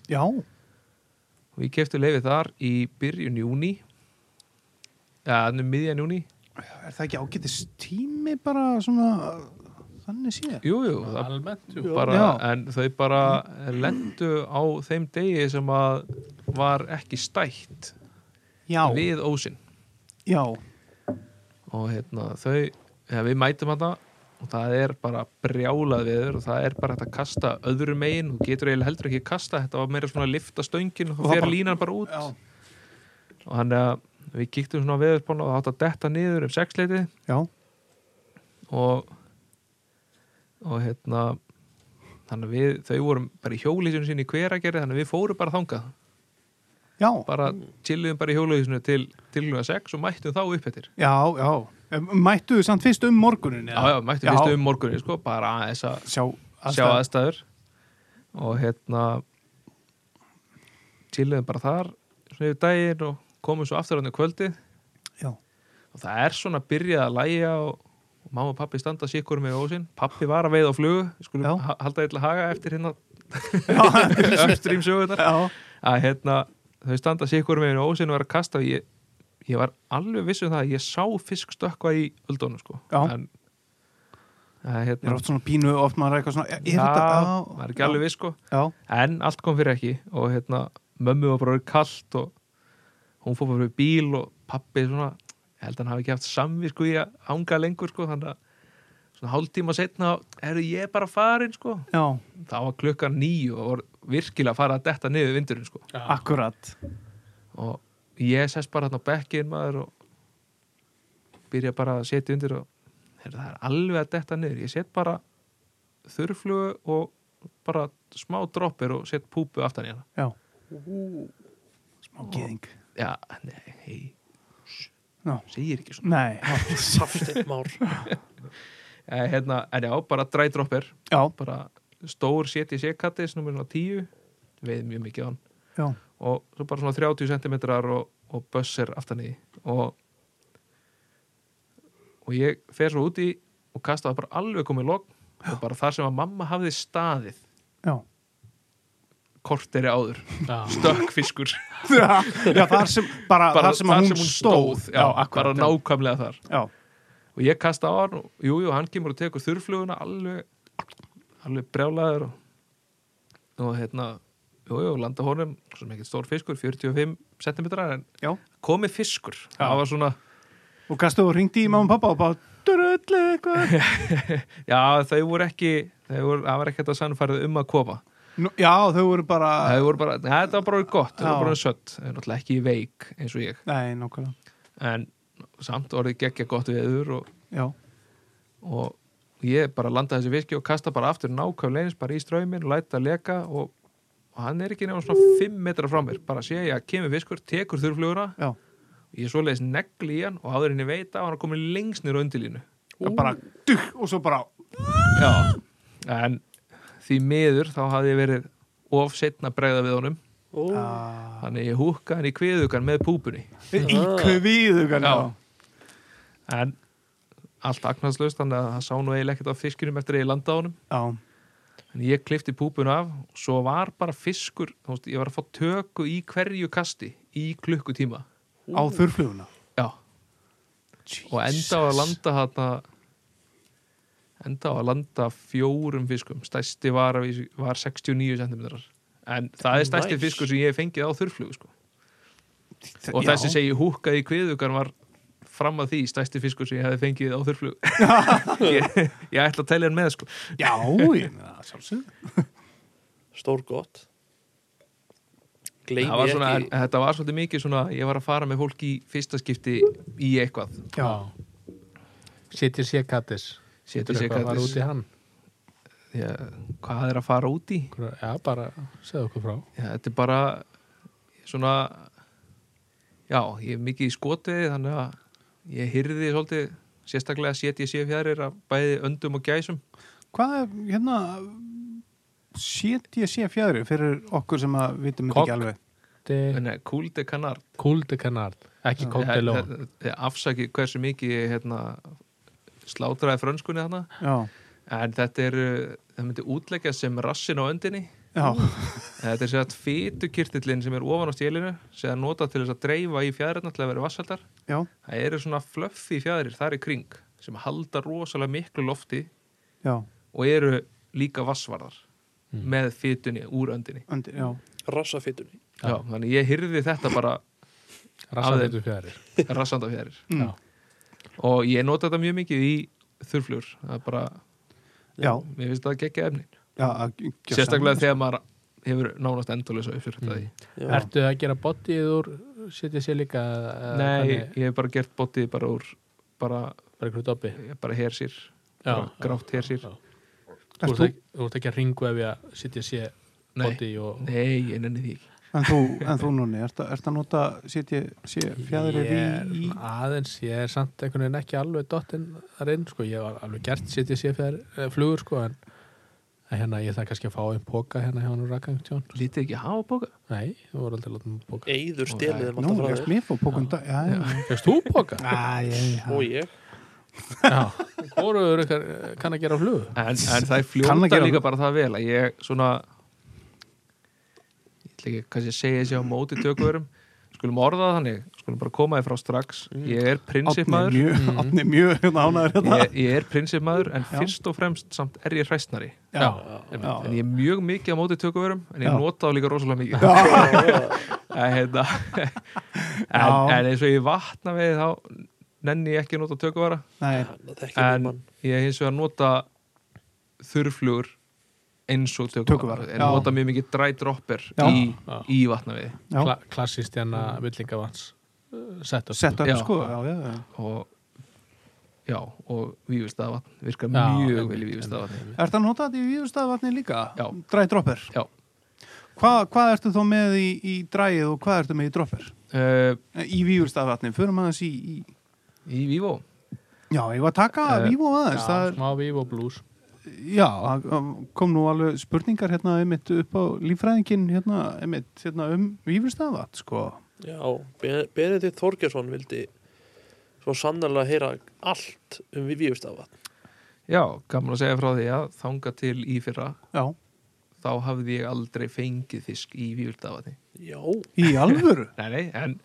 Speaker 3: já,
Speaker 4: og ég kefti leifið þar í byrjun júni eða ja, miðjan júni
Speaker 3: er það ekki ágætis tími bara svona þannig séð?
Speaker 4: jú, jú, það
Speaker 5: almennt jú.
Speaker 4: bara,
Speaker 3: Já.
Speaker 4: en þau bara lendu á þeim degi sem að var ekki stætt
Speaker 3: Já,
Speaker 4: við ósinn
Speaker 3: já,
Speaker 4: og hérna þau ja, við mætum hana og það er bara brjálað viður og það er bara hægt að kasta öðru megin og getur eiginlega heldur ekki að kasta þetta var meira svona að lifta stöngin og
Speaker 3: Og það
Speaker 4: fer
Speaker 3: bara-
Speaker 4: línan bara út
Speaker 3: já
Speaker 4: og þannig að við kíktum svona á veðurspána og það átt að detta niður um sexleiti
Speaker 3: Já,
Speaker 4: og og hérna þannig að við, þau vorum bara í hjólísinu sinni í hveragerði, þannig að við fórum bara þangað
Speaker 3: já,
Speaker 4: bara
Speaker 3: Mm.
Speaker 4: chilluðum bara í hjólísinu til til hljóða 6 og mættum þá upp eftir
Speaker 3: já, já mættu þið samt fyrst um morgunin
Speaker 4: já, já, mættum við stöðum morgunni, sko, bara aðeins að
Speaker 3: sjá,
Speaker 4: sjá aðstæður og hérna chilluðum bara þar svona yfir daginn og komum svo aftur hann í kvöldi
Speaker 3: já,
Speaker 4: og það er svona byrjað að læja og, og mamma og pappi standa sikkur með ósinn pappi var að veiða á flugu við skulum
Speaker 3: Já.
Speaker 4: ha- halda eitthvað haga eftir hérna
Speaker 3: já,
Speaker 4: upstreamsögunar
Speaker 3: já.
Speaker 4: að hérna þau standa sikkur með hérna ósinn og er að kasta og ég, ég var alveg viss um það að ég sá fisk stökkva í öldunum sko
Speaker 3: Já.
Speaker 4: en að,
Speaker 3: Ég er
Speaker 4: hérna,
Speaker 3: oft svona pínu, oft maður er eitthvað svona, er
Speaker 4: já,
Speaker 3: þetta, já,
Speaker 4: maður er ekki alveg viss sko
Speaker 3: Já,
Speaker 4: en allt kom fyrir ekki og hérna mömmu var bara orðið kalt og hún fór bara fyrir bíl og pappi svona, ég held að hann hafi ekki haft samvisku í að hanga lengur sko þannig að svona hálftíma setna er ég bara farin sko
Speaker 3: já,
Speaker 4: það var klukkan nýju og var virkilega að fara að detta niður vindurinn sko
Speaker 3: akkurat,
Speaker 4: og ég sest bara hann á bekkin maður og byrja bara að setja undir og heyrðu, það er alveg að detta niður ég set bara þurrflugu og bara smá droppir og set púpu aftan í hana
Speaker 3: já. Smá geðing.
Speaker 4: já, nei,
Speaker 3: Já.
Speaker 4: segir ekki svona
Speaker 3: Nei,
Speaker 2: Safsteinn Már
Speaker 4: eh, hérna, en já, bara drædroppir
Speaker 3: já,
Speaker 4: bara stór setji sékattis nummer svona 10, veið mjög mikið á hann
Speaker 3: já,
Speaker 4: og svo bara svona 30 cm og, og bössir aftan í og og ég fer svo úti og kasta það bara alveg komið logg og bara þar sem að mamma hafði staðið
Speaker 3: já.
Speaker 4: kort er áður,
Speaker 5: Já.
Speaker 4: stökkfiskur
Speaker 3: Já, þar sem, bara,
Speaker 4: bara
Speaker 3: þar sem að hún stóð.
Speaker 4: já, bara
Speaker 3: akkurat,
Speaker 4: nákvæmlega þar
Speaker 3: Já,
Speaker 4: og ég kasta á hann og jú, jú, hann kemur og tekur þurrfluguna alveg, alveg brjálaður og, og hérna jú, jú, landa honum, sem ekkert stór fiskur 45 cm en
Speaker 3: já.
Speaker 4: komið fiskur,
Speaker 3: Já.
Speaker 4: það var svona
Speaker 3: Og gastu og ringdi í mamma og pappa og bara, dröllu eitthvað.
Speaker 4: já, þau voru ekki þau voru, það var ekki þetta sannfærið um að koma
Speaker 3: Nú, já, þau voru bara,
Speaker 4: þau voru bara, ja, þetta var bara orðið gott þau
Speaker 3: Já.
Speaker 4: voru bara orðin sött, þau er náttúrulega ekki veik eins og ég,
Speaker 3: nei, nákvæmlega,
Speaker 4: en samt orðið geggja gott veður og,
Speaker 3: já,
Speaker 4: og ég bara landa þessi viski og kasta bara aftur nákvæmlega eins bara í strömmin og læta að leka og, og hann er ekki nefnum svona 5 metra frá mér bara sé ég að kemur fiskur, tekur þurrfluguna
Speaker 3: já.
Speaker 4: ég svo leiðis negli í hann og áður henni veita og hann er komin lengst nýr á undilínu
Speaker 3: Það bara, dugg, og svo bara,
Speaker 4: já, en því miður þá hafði ég verið of setna bregða við honum
Speaker 2: Ó,
Speaker 3: ah,
Speaker 4: þannig ég húkka hann í kviðugan með púpunni
Speaker 3: í kviðu,
Speaker 4: Já. en allt agnarslaust þannig að það sá nú eiginlega ekkert á fiskinum eftir að ég landa á honum
Speaker 3: Já,
Speaker 4: en ég klifti púpun af og svo var bara fiskur þú veist, ég var að fá töku í hverju kasti í klukkutíma
Speaker 3: á þurfluguna.
Speaker 4: já, og enda á að landa þarna enda á að landa fjórum fiskum stæsti var, að vísu- var 69 cm en það er stæsti
Speaker 2: Nice.
Speaker 4: fiskur sem ég hef fengið á þurrflugu sko. og
Speaker 3: Já.
Speaker 4: þessi segi húkkaði í kviðugan var fram að því stæsti fiskur sem ég hefði fengið á þurrflugu ég, ég ætla að telja hann með sko.
Speaker 3: Já, ég meina það sjálfsög
Speaker 2: stór gott
Speaker 4: Það
Speaker 2: Gleimi
Speaker 4: var
Speaker 2: ekki
Speaker 4: svona, en, þetta var svolítið mikið svona ég var að fara með fólk í fyrsta skipti í eitthvað
Speaker 3: Já,
Speaker 5: Sittir sé kattis
Speaker 4: Setja sér
Speaker 5: Var
Speaker 4: hvað,
Speaker 5: út í hann
Speaker 4: hvað er að fara út í
Speaker 5: Já, bara segðu okkur frá
Speaker 4: Já, þetta er bara svona já, ég er mikið í skotveði þannig að ég hyrði svolítið sérstaklega setja sér fjærir af bæði öndum og gæsum
Speaker 3: hvað er, hérna Sétt ég sé fjæðri fyrir okkur sem að vitum þetta
Speaker 5: Kokk.
Speaker 3: ekki alveg
Speaker 4: en eh, kúldi kannar
Speaker 5: Kúldi kanard Ekki
Speaker 4: Eh,
Speaker 5: kóttilón
Speaker 4: afsaki hversu mikið ég, hérna, slátraði frönskunni þarna
Speaker 3: Já,
Speaker 4: en þetta er, uh, það myndi útleggja sem rassin á öndinni
Speaker 3: já,
Speaker 4: þetta er sér að fytukirtillin sem er ofan á stélinu sem er notað til þess að dreifa í fjæðirna til að vera vassaldar
Speaker 3: já,
Speaker 4: það eru svona flöffi fjæðir þar í kring sem halda rosalega miklu lofti
Speaker 3: já,
Speaker 4: og eru líka vassvarðar með fytunni úr öndinni
Speaker 3: undir, já
Speaker 2: Rassafittunni
Speaker 4: Já. þannig ég hyrði þetta bara
Speaker 5: Rassaðið fjarir
Speaker 4: rassanda fjæðir
Speaker 3: Mm.
Speaker 4: og ég nota þetta mjög mikið í þurflur það er bara,
Speaker 3: Já,
Speaker 4: mér finnst það geggja efnin
Speaker 3: já, að gjöra
Speaker 4: sérstaklega þegar maður hefur nánast endalösa uppfyrir þetta
Speaker 5: Mm.
Speaker 4: því
Speaker 2: Já.
Speaker 5: Ertu að gera bodyð úr Sittir sé líka eða
Speaker 4: nei,
Speaker 5: hvernig?
Speaker 4: ég hef bara gert bótið bara úr bara, Eh,
Speaker 5: Bara hverju dobbi
Speaker 4: bara hersýr bara grátt hersýr
Speaker 1: Þú
Speaker 3: Ert
Speaker 1: ert ekki- þú ert ekki að ringu ef ég að sitja sé
Speaker 4: Nei.
Speaker 1: bóti og
Speaker 4: Nei, ég nenni því ekki
Speaker 3: En þú, en þú Nóni, ert að- ert að nota sé, sé fjæðrið í,
Speaker 5: Ég er
Speaker 3: í
Speaker 5: aðeins, ég er samt einhvern veginn ekki alveg dottinn þar inn, sko, ég var alveg gert setja sér fyrir flugur, sko, en en hérna, ég ætla kannski að fá einn póka hérna hjá hann og rakka tjón.
Speaker 4: Lítið ekki hafa bóka?
Speaker 5: Nei, þú voru aldrei að láta mig póka.
Speaker 2: Eður stelið þeim
Speaker 3: Nú,
Speaker 2: alltaf frá
Speaker 3: ég
Speaker 2: þér
Speaker 3: mér fór bókum dag Já, já,
Speaker 5: Fyrst þú póka?
Speaker 3: já, já,
Speaker 2: Og
Speaker 3: já.
Speaker 2: ég
Speaker 5: Já. Hvoruður ykkar eh, kann að gera flug?
Speaker 4: En, en það er
Speaker 3: Kann að
Speaker 4: fljóta
Speaker 3: gera
Speaker 4: líka
Speaker 3: það.
Speaker 4: bara það vel að ég svona ég ætla ekki kannski að segja þessi á móti tökuverum skulum orða það þannig, skulum bara koma þér frá strax ég er
Speaker 3: Átni er
Speaker 4: prinsipmaður
Speaker 3: mjög,
Speaker 5: Mm.
Speaker 3: Árni er mjög ánæður hérna
Speaker 4: ég, ég er prinsipmaður en
Speaker 3: Já.
Speaker 4: fyrst og fremst samt er ég hræstnari
Speaker 3: Já,
Speaker 4: en,
Speaker 3: Já.
Speaker 4: en ég er mjög mikið á móti tökuverum en ég
Speaker 3: Já.
Speaker 4: nota það líka rosalega mikið en, hérna, en,
Speaker 3: Já.
Speaker 4: en eins og ég vatna við þá nenni ég ekki að nota tökuvera
Speaker 3: nei,
Speaker 2: Það þekki mér
Speaker 4: en
Speaker 2: mann
Speaker 4: ég hins vegar nota þurrflugur eins og tökuvara
Speaker 3: Tökuvara,
Speaker 4: en
Speaker 3: já.
Speaker 4: nota mjög mikið dry dropper
Speaker 3: Já.
Speaker 4: í,
Speaker 5: Já.
Speaker 4: í vatnaviði
Speaker 3: Já.
Speaker 5: Kla, klassist hérna eh, villingavans sett upp.
Speaker 3: sett upp
Speaker 4: Já.
Speaker 3: sko Já, já, já
Speaker 4: og já, og vífustaða vatn virkar
Speaker 5: Já,
Speaker 4: mjög
Speaker 5: einmitt,
Speaker 4: vel í vífustaða vatni
Speaker 3: Ert að nota þetta í viðurstaðavatni líka?
Speaker 4: Já.
Speaker 3: Dry dropper?
Speaker 4: já,
Speaker 3: Hvað, hvað ertu þá með í, í dræið og hvað ertu með í dropper?
Speaker 4: uh,
Speaker 3: Eh, Í viðurstaðavatni, förum aðeins í, í...
Speaker 4: í vívo
Speaker 3: Já, ég var að taka uh,
Speaker 4: Eh,
Speaker 3: vívo
Speaker 5: Já,
Speaker 3: aðeins það er,
Speaker 5: smá vív og blús.
Speaker 3: Já, það um, kom nú alveg spurningar hérna einmitt upp á líffræðingin hérna einmitt hérna um viðurstaðavat sko
Speaker 2: Já, Ben- Benedikt Þorgesson vildi svo sannarlega heyra allt um við vífustafatn
Speaker 4: já, gaman að segja frá því að þanga til í fyrra
Speaker 3: Já,
Speaker 4: þá hafði ég aldrei fengið fisk í vífustaða vatni
Speaker 2: Já,
Speaker 3: í alvöru
Speaker 4: Nei, nei, en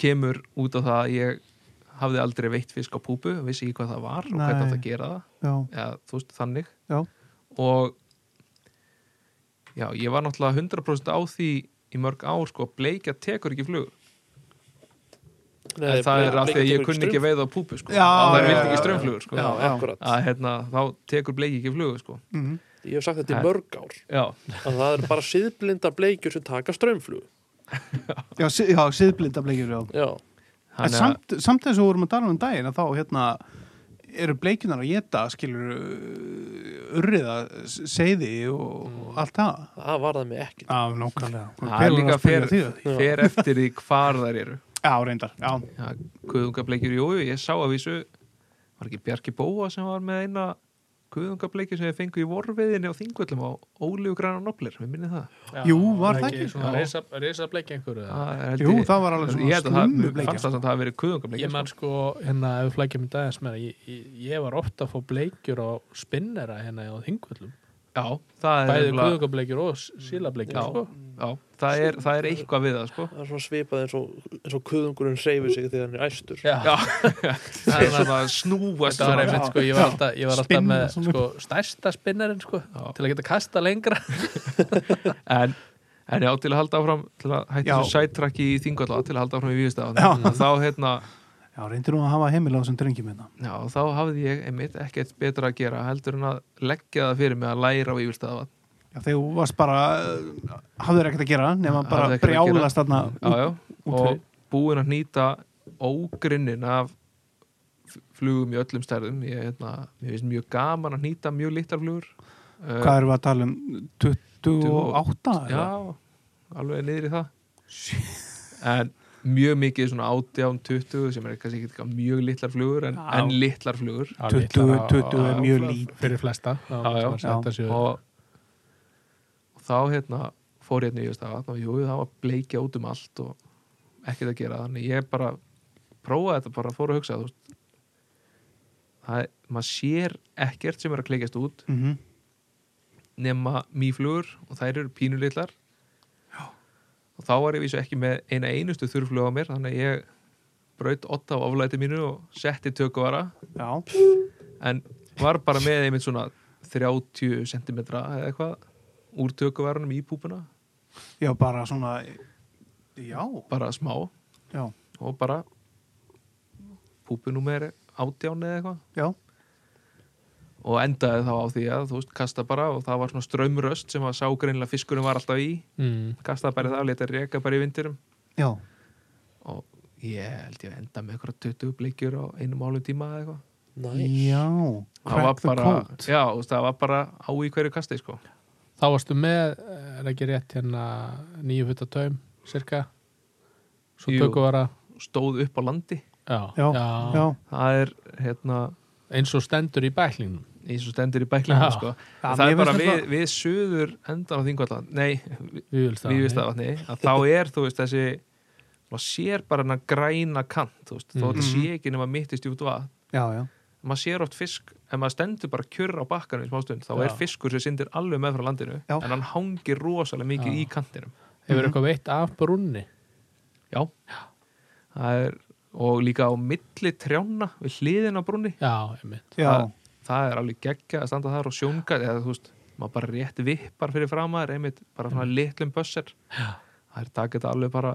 Speaker 4: kemur út af það að ég hafði aldrei veitt fisk á púpu, vissi ekki hvað það var og
Speaker 3: Nei.
Speaker 4: hvernig átt að gera það,
Speaker 3: Já,
Speaker 4: eða þú veist, þannig
Speaker 3: já,
Speaker 4: og já, ég var náttúrulega 100% á því í mörg ár, sko, að bleikja tekur ekki flug,
Speaker 2: Nei,
Speaker 4: en það
Speaker 2: Blake-
Speaker 4: er af því
Speaker 2: Blake
Speaker 4: að ég
Speaker 2: tekur
Speaker 4: kunni ekki
Speaker 2: straum.
Speaker 4: að veiða á púpu, sko
Speaker 3: Já,
Speaker 4: og
Speaker 3: já,
Speaker 4: það vildi
Speaker 3: já,
Speaker 4: ekki
Speaker 3: já,
Speaker 4: strömflugur, sko
Speaker 2: Já,
Speaker 3: Já.
Speaker 2: akkurat
Speaker 4: að hérna, þá tekur bleiki ekki flug, sko
Speaker 3: mhm
Speaker 2: Ég hef sagt þetta
Speaker 4: Það-
Speaker 2: í mörg ár
Speaker 4: já,
Speaker 2: að það er bara síðblinda bleikjur sem taka strömmflug
Speaker 3: Já, si- já siðblinda bleikjur, já
Speaker 2: Já,
Speaker 3: En
Speaker 4: þannig að
Speaker 3: samt, samt þess að við vorum að tala um daginn að þá hérna eru bleikjunar að geta skilur urriða seiði og allt það
Speaker 2: það var það mig ekki
Speaker 3: Já, nákvæmlega
Speaker 4: Mm. það er líka fer,
Speaker 2: Já.
Speaker 4: fer eftir því hvar þær eru
Speaker 3: Já, reyndar, já,
Speaker 4: Já, kuðungableikjur, jú, jú, ég sá að vísu var ekki Bjarki Bóa sem var með eina kuðungableikjur sem ég fengu í vorfiðinni á þingvöllum á ólíu græna nobler, við minnið það
Speaker 3: Jú, var það ekki?
Speaker 5: Svona
Speaker 4: Já.
Speaker 5: risa, risa bleik einhverju. eða?
Speaker 4: Það er held
Speaker 3: Jú,
Speaker 4: ég-
Speaker 3: það var alveg svona
Speaker 4: ég held að það- mér
Speaker 3: slummu bleikja.
Speaker 4: fannst það samt að það hafi verið
Speaker 5: Ég
Speaker 4: kuðungableikjur
Speaker 5: man sko, hérna, ef við flækjum í dagins meira, ég, ég, ég var oft að fá bleikjur á spinnera hérna á þingvöllum.
Speaker 4: já, það er,
Speaker 5: Bæði
Speaker 4: nefnilega-
Speaker 5: guðungableikjur og sílableikjur,
Speaker 4: Já.
Speaker 5: sko.
Speaker 4: já, það er, það er eitthvað við það sko.
Speaker 2: Það er svona svipað eins og, eins og kuðungurinn hreyfir sig þegar hann er æstur
Speaker 4: já, það er svona að
Speaker 5: Þetta
Speaker 4: snúast
Speaker 5: var
Speaker 4: svona.
Speaker 5: einmitt, sko, ég var alltaf, ég var alltaf
Speaker 3: Spinna
Speaker 5: með
Speaker 3: svona.
Speaker 5: sko, stærsta spinnerinn, sko,
Speaker 4: Já.
Speaker 5: til að geta kasta lengra.
Speaker 4: en, en já, til að halda áfram til að hætta
Speaker 3: Já.
Speaker 4: þessu sættrakki í þingvalla til að halda áfram í výðustafan þá hérna
Speaker 3: Já, reyndir nú að hafa heimil á þessum drengjum hérna
Speaker 4: Já, þá hafði ég einmitt ekkert betra að gera heldur en að leggja það fyrir mig að læra á yfirstaðavatn.
Speaker 3: Já, þegar þú varst bara, eh, hafðir ekkert að gera nema
Speaker 4: Hafði
Speaker 3: bara
Speaker 4: ekkert að gera.
Speaker 3: brjálast þarna
Speaker 4: Já, já,
Speaker 3: út
Speaker 4: og
Speaker 3: fyrir.
Speaker 4: búin að nýta ógrinnin af f- flugum í öllum stærðum. Ég, hérna, ég finnst mjög gaman að nýta mjög littar flugur. Uh,
Speaker 3: Hvað erum við að tala um? 28?
Speaker 4: Já, alveg niður í það. En mjög mikið svona 18, 20 sem er kannski ekki mjög litlar flugur en,
Speaker 3: Já.
Speaker 4: en litlar flugur.
Speaker 3: 20 20 er
Speaker 5: Já,
Speaker 3: mjög
Speaker 5: já,
Speaker 3: lítið.
Speaker 5: Fyrir flesta.
Speaker 4: Já, já.
Speaker 5: já.
Speaker 4: og, og þá hérna fór hérna í Ístavatn og jú, það var bleikja út um allt og ekkert að gera þannig ég bara prófaði þetta bara fór að hugsa þú veist það, er- maður sér ekkert sem er að kleikjast út
Speaker 3: Mm
Speaker 4: nema mýflugur og þær eru pínulitlar og þá var ég vísu ekki með eina einustu þurrflug á mér þannig að ég braut otta á oflæti mínu og setti tökuvara
Speaker 3: Já,
Speaker 4: en var bara með einmitt svona 30 cm eða eitthvað úr tökuverunum í púpuna
Speaker 3: já, bara svona, já,
Speaker 4: bara smá
Speaker 3: já,
Speaker 4: og bara púpunum er átján eða eitthvað
Speaker 3: já.
Speaker 4: og endaði þá á því að þú veist kasta bara og það var svona strömröst sem að sá greinlega fiskurinn var alltaf í
Speaker 5: Mm.
Speaker 4: kastaði bara í það og leta reka bara í vindirum
Speaker 3: Já,
Speaker 4: og ég held ég að enda með eitthvað 20 bleikjur á einum álum tíma eða eitthvað
Speaker 2: Nice.
Speaker 3: Já,
Speaker 4: það var
Speaker 3: crack the
Speaker 4: bara,
Speaker 3: code
Speaker 4: já, þú veist, það var bara á í hverju kasti sko.
Speaker 5: Þá varstu með, er ekki rétt hérna nýju futta taum, cirka Svo
Speaker 4: Jú.
Speaker 5: tökum var að
Speaker 4: stóð upp á landi
Speaker 5: já,
Speaker 3: Já, já,
Speaker 4: það er hérna,
Speaker 5: eins og stendur í bæklingum
Speaker 4: eins og stendur í bæklingum
Speaker 5: Já.
Speaker 4: sko.
Speaker 3: Já,
Speaker 4: það
Speaker 3: mér
Speaker 4: er bara
Speaker 3: finnst
Speaker 4: við,
Speaker 3: þetta-
Speaker 4: við suður endan á þingvallan nei,
Speaker 5: Við vilst
Speaker 4: við veist að þá er þú veist þessi maður sér bara hennar græna kant þú veist, þó
Speaker 5: Mhm.
Speaker 4: þetta sé ekki nema mitt í stjúpt vatn
Speaker 3: já, já
Speaker 4: maður sér oft fisk, ef maður stendur bara kjurr á bakkanum í smástund, þá
Speaker 5: Já.
Speaker 4: er fiskur sem syndir alveg með frá landinu,
Speaker 3: Já.
Speaker 4: en hann hangir rosalega
Speaker 5: Já.
Speaker 4: mikið í kantinum
Speaker 5: Hefur eitthvað veitt af brunni
Speaker 4: já, það er og líka á milli trjána við hliðin á brúnni,
Speaker 5: Já, einmitt
Speaker 3: Já,
Speaker 4: það er alveg geggja að standa þar og sjónga, eða þú veist maður bara rétt vippar fyrir framar, einmitt bara svona
Speaker 3: Mm.
Speaker 4: litlum bössir það er takið þetta alveg bara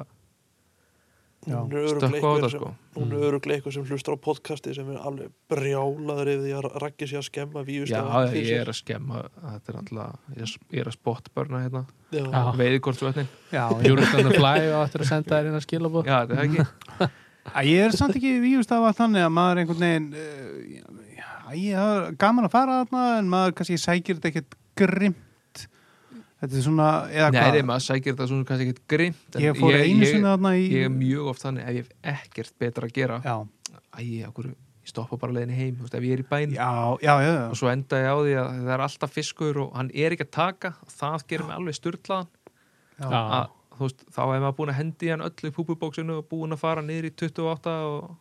Speaker 3: já,
Speaker 2: Hún er örugglega
Speaker 4: stökku á
Speaker 2: einhver
Speaker 4: þetta
Speaker 2: sem-
Speaker 4: sko
Speaker 2: hún er örugglega eitthvað sem hlustar á podcasti sem er alveg brjálaður yfir því að rakki sér að skemma
Speaker 4: Já,
Speaker 2: vífustafa
Speaker 4: ég er að skemma þetta er alltaf, ég er- ég er að spottbörna hérna,
Speaker 2: Já,
Speaker 5: Já.
Speaker 4: veiðikortsvötnin
Speaker 3: já, já.
Speaker 5: Júristan að fly og áttur að senda þær inn að skilabóð
Speaker 4: Já, þetta er ekki
Speaker 3: Æ, Ég er samt ekki vífust af allt þannig að maður einhvern veginn uh, já, já, það er gaman að fara þarna en maður kannski sækir þetta ekkert grimt Þetta er svona eða
Speaker 4: Nei,
Speaker 3: hvað
Speaker 4: nei, maður sækir þetta svona kannski ekkert grimt en
Speaker 3: Ég fór einu sinni þarna í
Speaker 4: Ég er mjög oft þannig ef ég hef ekkert betra að gera
Speaker 3: já,
Speaker 4: Æ, ég, okkur, ég stoppa bara leiðin heim þú veist, ef ég er í bæn
Speaker 3: já, já, já, já.
Speaker 4: og svo enda ég á því að það er alltaf fiskur og hann er ekki að taka það gerir mig alveg styrlaðan
Speaker 5: Já,
Speaker 4: að, þú veist, þá hef maður búin að hendi hann öll í púpubóksinu og búin að fara niður í 28 og,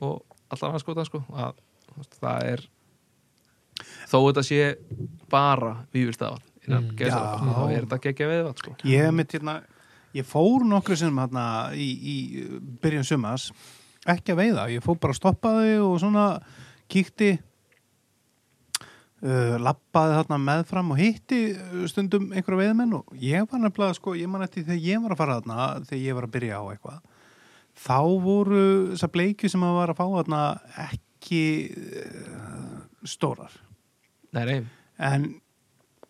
Speaker 4: og allan að skota sko að, þú veist, það er þó þetta sé bara vývilstafan innan
Speaker 5: Mm.
Speaker 4: mm, geðsafan
Speaker 3: Já.
Speaker 4: þá er þetta geggja veiðvall sko
Speaker 3: Ég hef mitt hérna ég fór nokkru sinnum hérna í, í byrjun sumas ekki að veiða, ég fór bara að stoppa þau og svona kíkti uh, lappaði þarna meðfram og hitti uh, stundum einhverja veiðmenn og ég var nefnilega sko, ég man eftir þegar ég var að fara þarna þegar ég var að byrja á eitthvað þá voru þessar bleikju sem maður var að fá þarna ekki uh, stórar
Speaker 4: Nei, nei,
Speaker 3: en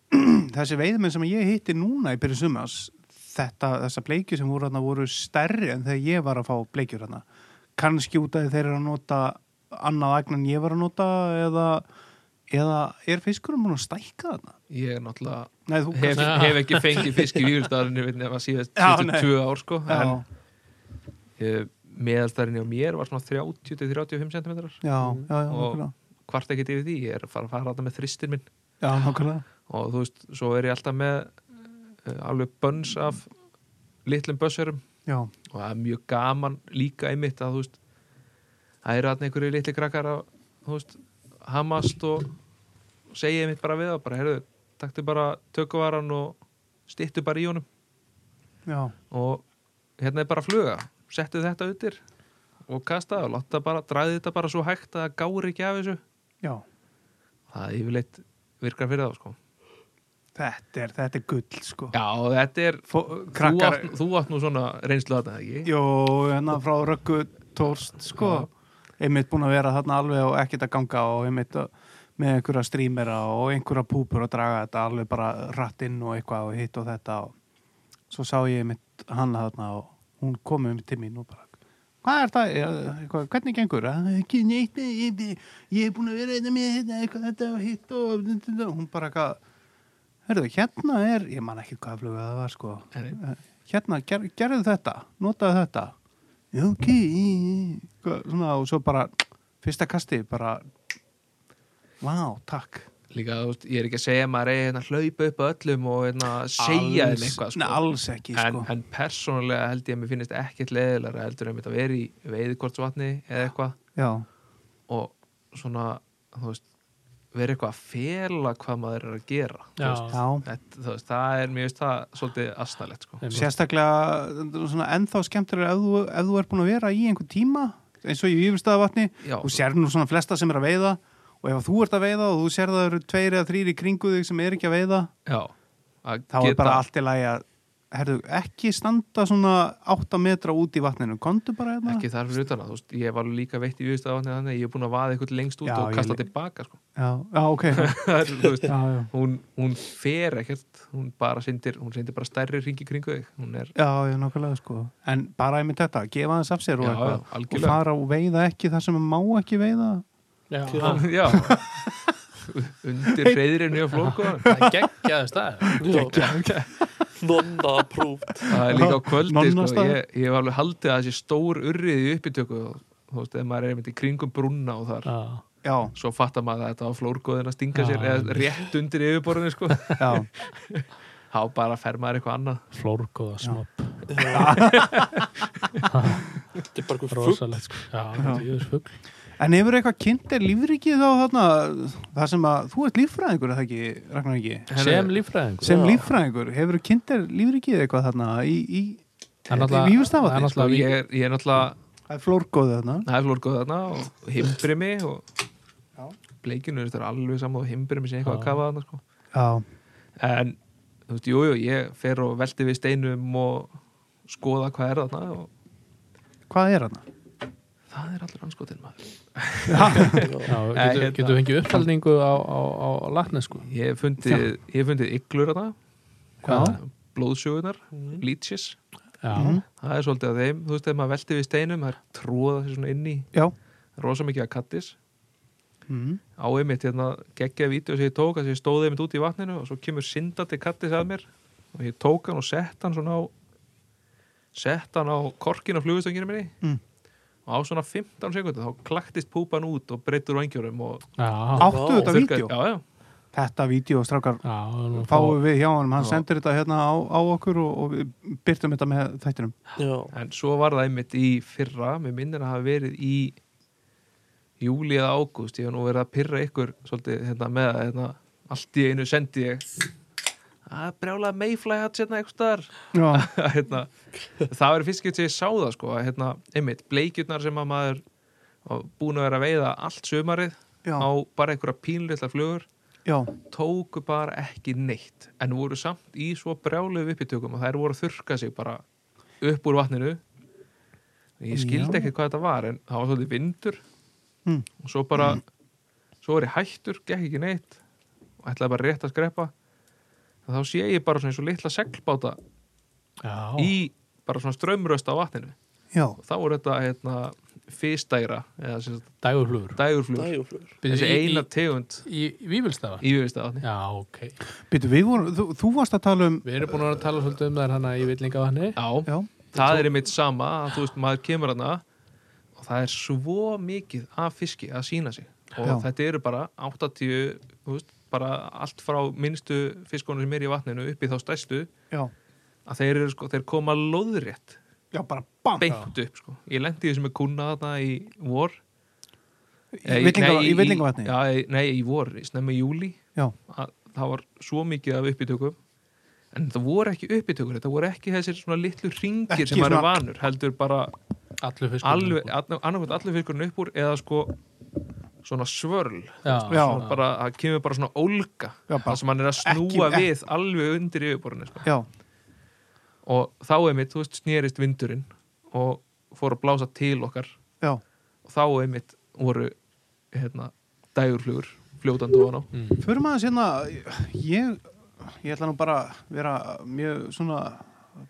Speaker 3: þessi veiðmenn sem ég hitti núna í byrjun sumas þetta, þessa bleikju sem voru, hana, voru stærri en þegar ég var að fá bleikjur hana. kannski út að þeir eru að nota annað agn en ég var að nota eða, eða er fiskurum múin að stækka þarna?
Speaker 4: ég er náttúrulega
Speaker 3: Nei, þú
Speaker 4: hef,
Speaker 3: kannski
Speaker 4: hef ekki fengið fisk í vývilstafarinu nema síðast
Speaker 3: Já, nei.
Speaker 4: síðustu tvö ár sko en
Speaker 3: Já,
Speaker 4: eh, meðalstærinni á mér var svona 30-35 cm
Speaker 3: já, já, já,
Speaker 4: Mm. Og-
Speaker 3: nákvæmlega.
Speaker 4: hvart ekkert yfir því, ég er að fara, fara þetta með þristin minn
Speaker 3: já, nákvæmlega
Speaker 4: og þú veist, svo er ég alltaf með uh, alveg bönns af litlum bössurum
Speaker 3: Já,
Speaker 4: og það er mjög gaman líka einmitt að þú veist, það eru þarna einhverju litli krakkar að, þú veist, hamast og segja einmitt bara við það, bara, heyrðu, taktu bara tökuvaran og stittu bara í honum
Speaker 3: já,
Speaker 4: og hérna er bara fluga settu þetta utir og kasta og láta bara, dræði þetta bara svo hægt að það gári ekki af þessu
Speaker 3: já
Speaker 4: það er yfirleitt virkar fyrir þá sko
Speaker 3: Þetta er, þetta er gull, sko
Speaker 4: Já, þetta er
Speaker 3: Fó,
Speaker 4: þú
Speaker 3: Krakkar,
Speaker 4: átt, þú átt nú svona reynslu að þetta ekki
Speaker 3: Jó, hérna frá Röggu Tórst, sko einmitt búin að vera þarna alveg og ekkert að ganga og einmitt að- með einhverja strímera og einhverja púpur og draga þetta alveg bara ratt inn og eitthvað og hitt og þetta og svo sá ég einmitt hana þarna og hún kom um til mín og bara hvað er það, Eh, eitthvað, hvernig gengur "Eh, ekki neitt, ég, ég, ég er búin að vera einna með þetta, eitthvað, þetta og hitt og hún bara eitthvað Hörðu, hérna er, ég man ekki hvað fluga það var sko,
Speaker 4: Nei.
Speaker 3: Eh, hérna, ger, gerðu þetta, notaðu þetta, já, ok, Hvað, svona, og svo bara, fyrsta kasti, bara, vá, takk.
Speaker 4: Líka, þú veist, ég er ekki að segja að maður eigi hérna að hlaupa upp að öllum og hérna að segja þeim
Speaker 3: Alls-
Speaker 4: eitthvað
Speaker 3: Nei,
Speaker 4: sko.
Speaker 3: alls ekki,
Speaker 4: en,
Speaker 3: sko.
Speaker 4: en persónulega held ég að mér finnist ekkert leðilega heldur um þetta að vera í veiðkortsvatni eða eitthvað
Speaker 3: já,
Speaker 4: og svona, þú veist vera eitthvað að fela hvað maður er að gera þú
Speaker 5: Já.
Speaker 4: veist.
Speaker 3: já,
Speaker 4: Þetta, þú veist, það er mjög veist það svolítið asnalegt sko.
Speaker 5: einmitt.
Speaker 3: sérstaklega, þetta er svona, ennþá skemmtilega ef þú, ef þú er búin að vera í einhver tíma, eins og í yfirstaðavatni,
Speaker 4: Já,
Speaker 3: þú sér nú svona flesta sem er að veiða og ef þú ert að veiða og þú sér það eru tveir eða þrýr í kringu þig sem er ekki að veiða,
Speaker 4: já að
Speaker 3: þá er
Speaker 4: geta-
Speaker 3: bara allt í lagi að herðu, ekki standa svona 8 metra út í vatninu, kondu bara hérna
Speaker 4: ekki þar fyrir utan að, þú veist, ég var líka veitt í viðstæðavatni þannig að ég er búin að vaða eitthvað lengst út
Speaker 3: Já,
Speaker 4: og
Speaker 3: ég
Speaker 4: kasta
Speaker 3: lí-
Speaker 4: tilbaka sko.
Speaker 3: já, já, ok já,
Speaker 4: Það er, þú veist,
Speaker 3: já,
Speaker 4: hún, hún fer ekkert hún bara sindir, hún sindir bara stærri ringi kringu þig hún er,
Speaker 3: já, já nokkulega sko en bara einmitt þetta, gefa þess af sér
Speaker 4: Já, já,
Speaker 3: og, eitthvað. og
Speaker 4: algjörlega.
Speaker 3: fara og veiða ekki þar sem má ekki veiða
Speaker 5: Já,
Speaker 2: Kjöðan.
Speaker 4: já undir reyðirinn í flóku
Speaker 5: það geggjaði staðið.
Speaker 2: Nonna approved
Speaker 4: það er líka á kvöldi sko.
Speaker 3: Nonnastaður.
Speaker 4: ég, ég var alveg haldið að þessi stór urrið í uppbytöku og þú veist, ef maður er einmitt í kringum brúnna og þar,
Speaker 5: Já,
Speaker 3: já,
Speaker 4: svo fattar maður að þetta var flórgóðin að stinga sér,
Speaker 5: Já,
Speaker 4: eða rétt undir yfirborðinu, sko,
Speaker 3: já
Speaker 4: þá bara fer maður eitthvað annað
Speaker 5: flórgóða snopp.
Speaker 2: Þetta er bara einhver fugg
Speaker 5: Rósalegt, sko. Já, þetta er jöðis fugg.
Speaker 3: En hefur eitthvað kynnt er lífrikið þá þarna, það sem að þú ert líffræðingur er það ekki, Ragnar ekki?
Speaker 5: Sem líffræðingur.
Speaker 3: Sem líffræðingur, hefur kynnt er lífrikið eitthvað þarna í, í,
Speaker 5: Það er náttúrulega-
Speaker 3: Vífurstafarnir,
Speaker 5: það er
Speaker 4: sko,
Speaker 5: náttúrulega
Speaker 4: ég, er- ég er náttúrulega,
Speaker 3: það er flórgóðu þarna?
Speaker 4: það er flórgóð þarna og himbrimi og bleikinu, þetta er alveg saman og himbrimi sem eitthvað að
Speaker 5: Já.
Speaker 4: kafa þarna, sko
Speaker 3: Já,
Speaker 4: en, þú veist, jú, jú, ég fer og velti við steinum og skoða hvað er þarna og
Speaker 3: hvað er þarna?
Speaker 4: það er allir anskotin maður
Speaker 5: Já,
Speaker 4: Nei,
Speaker 5: getur,
Speaker 4: hérna-
Speaker 5: getur fengið uppfælningu á, á, á, á latni, sko.
Speaker 4: ég hef fundið, ég hef fundið yglur þarna
Speaker 3: Hvað?
Speaker 4: blóðsjögunar, leeches
Speaker 5: Já,
Speaker 4: það er svolítið að þeim, þú veist, ef maður velti við steinum það er tróða þessi svona inn í
Speaker 3: Já,
Speaker 4: rosa mikið að kattis
Speaker 3: mm.
Speaker 4: á einmitt hérna geggjaði vídeo sem ég tók að ég stóði einmitt út í vatninu og svo kemur syndandi kattis að mér og ég tók hann og sett hann svona á sett hann á korkin á flugustönginu minni
Speaker 3: Mm.
Speaker 4: og á svona 15 sekundu þá klaktist púpan út og breytur vangjörum og
Speaker 5: já,
Speaker 3: áttu
Speaker 2: Vá.
Speaker 3: þetta
Speaker 4: þurrkaði-
Speaker 3: vídeo?
Speaker 4: já, já,
Speaker 3: Þetta vídeo, strákar,
Speaker 5: já. nú
Speaker 3: fáum við hjá honum, hann
Speaker 4: Já.
Speaker 3: sendir þetta hérna á, á okkur og, og við byrtum þetta með þættinum.
Speaker 2: Já,
Speaker 4: en svo var það einmitt í fyrra, mér minnir að hafa verið í júli eða ágúst, ég hef nú verið að pyrra ykkur svolítið hérna með að hérna, allt í einu sendi ég "Ah, að brjála Mayfly hatt sérna eitthvað hérna staðar
Speaker 3: Já,
Speaker 4: Að, hérna, það var fyrst getur ég sá það sko, að, hérna, einmitt, bleikjurnar sem að maður var búin að vera að veiða allt sömarið
Speaker 3: já,
Speaker 4: á bara einhverja pínlitla flugur
Speaker 3: já,
Speaker 4: tóku bara ekki neitt en voru samt í svo brjálegu uppitökum að þær voru að þurka sig bara upp úr vatninu ég skildi
Speaker 3: Já.
Speaker 4: ekki hvað þetta var en það var svolítið vindur
Speaker 3: Mm.
Speaker 4: og svo bara
Speaker 3: Hmm.
Speaker 4: svo var ég hættur, gekk ekki neitt og ætlaði bara rétt að skreppa þá sé ég bara svona eins og litla seglbáta
Speaker 5: Já,
Speaker 4: í bara svona strömmröst á vatninu
Speaker 3: já,
Speaker 4: og þá voru þetta hérna, fyrstæra eða sem sagt,
Speaker 5: dagurflugur.
Speaker 4: dægurflugur
Speaker 2: dægjuflugur
Speaker 4: þessi eina tegund
Speaker 5: Í, í Vífilstafa?
Speaker 4: í viðvistaðatni
Speaker 5: Já, ok.
Speaker 3: byrtu við vorum, þú, þú varst að tala um,
Speaker 5: Við erum búin að vera að tala svolítið um þær hana í Villingavatni.
Speaker 4: já,
Speaker 3: já,
Speaker 4: það er einmitt sama að þú veist maður kemur hana og það er svo mikið af fiski að sína sig og
Speaker 3: Já.
Speaker 4: þetta eru bara 80 þú veist, bara allt frá minnstu fiskunum sem er í vatninu upp í þá stærstu
Speaker 3: já,
Speaker 4: að þeir, eru, sko, þeir koma loðrétt
Speaker 3: já, bara bam,
Speaker 4: beint upp sko. ég lendi í þessu með kunna þarna í vor Eh,
Speaker 3: í villinga- í villingavatni,
Speaker 4: já, í- nei, í vor, í snemma í júli
Speaker 3: já,
Speaker 4: að það var svo mikið af uppítökum en það voru ekki uppítökur þetta voru ekki þessir svona litlu ringir
Speaker 3: Ekki
Speaker 4: sem maður er
Speaker 3: svona-
Speaker 4: vanur, heldur bara
Speaker 5: Allu fiskur.
Speaker 4: alveg, annarkvæmt allir fyrkurinn upp úr eða sko svona svörl
Speaker 5: Já,
Speaker 3: Já.
Speaker 4: Svona bara, það kemur bara svona ólga
Speaker 3: Já, bara
Speaker 4: það sem hann er að snúa
Speaker 3: ekki-
Speaker 4: við alveg undir yfirborðinu sko.
Speaker 3: já,
Speaker 4: og þá einmitt, þú veist, snerist vindurinn og fór að blása til okkar
Speaker 3: já,
Speaker 4: og þá einmitt voru hérna, dægurflugur fljótandi ofan á
Speaker 3: Förum aðeins hérna, ég, ég ætla nú bara að vera mjög svona,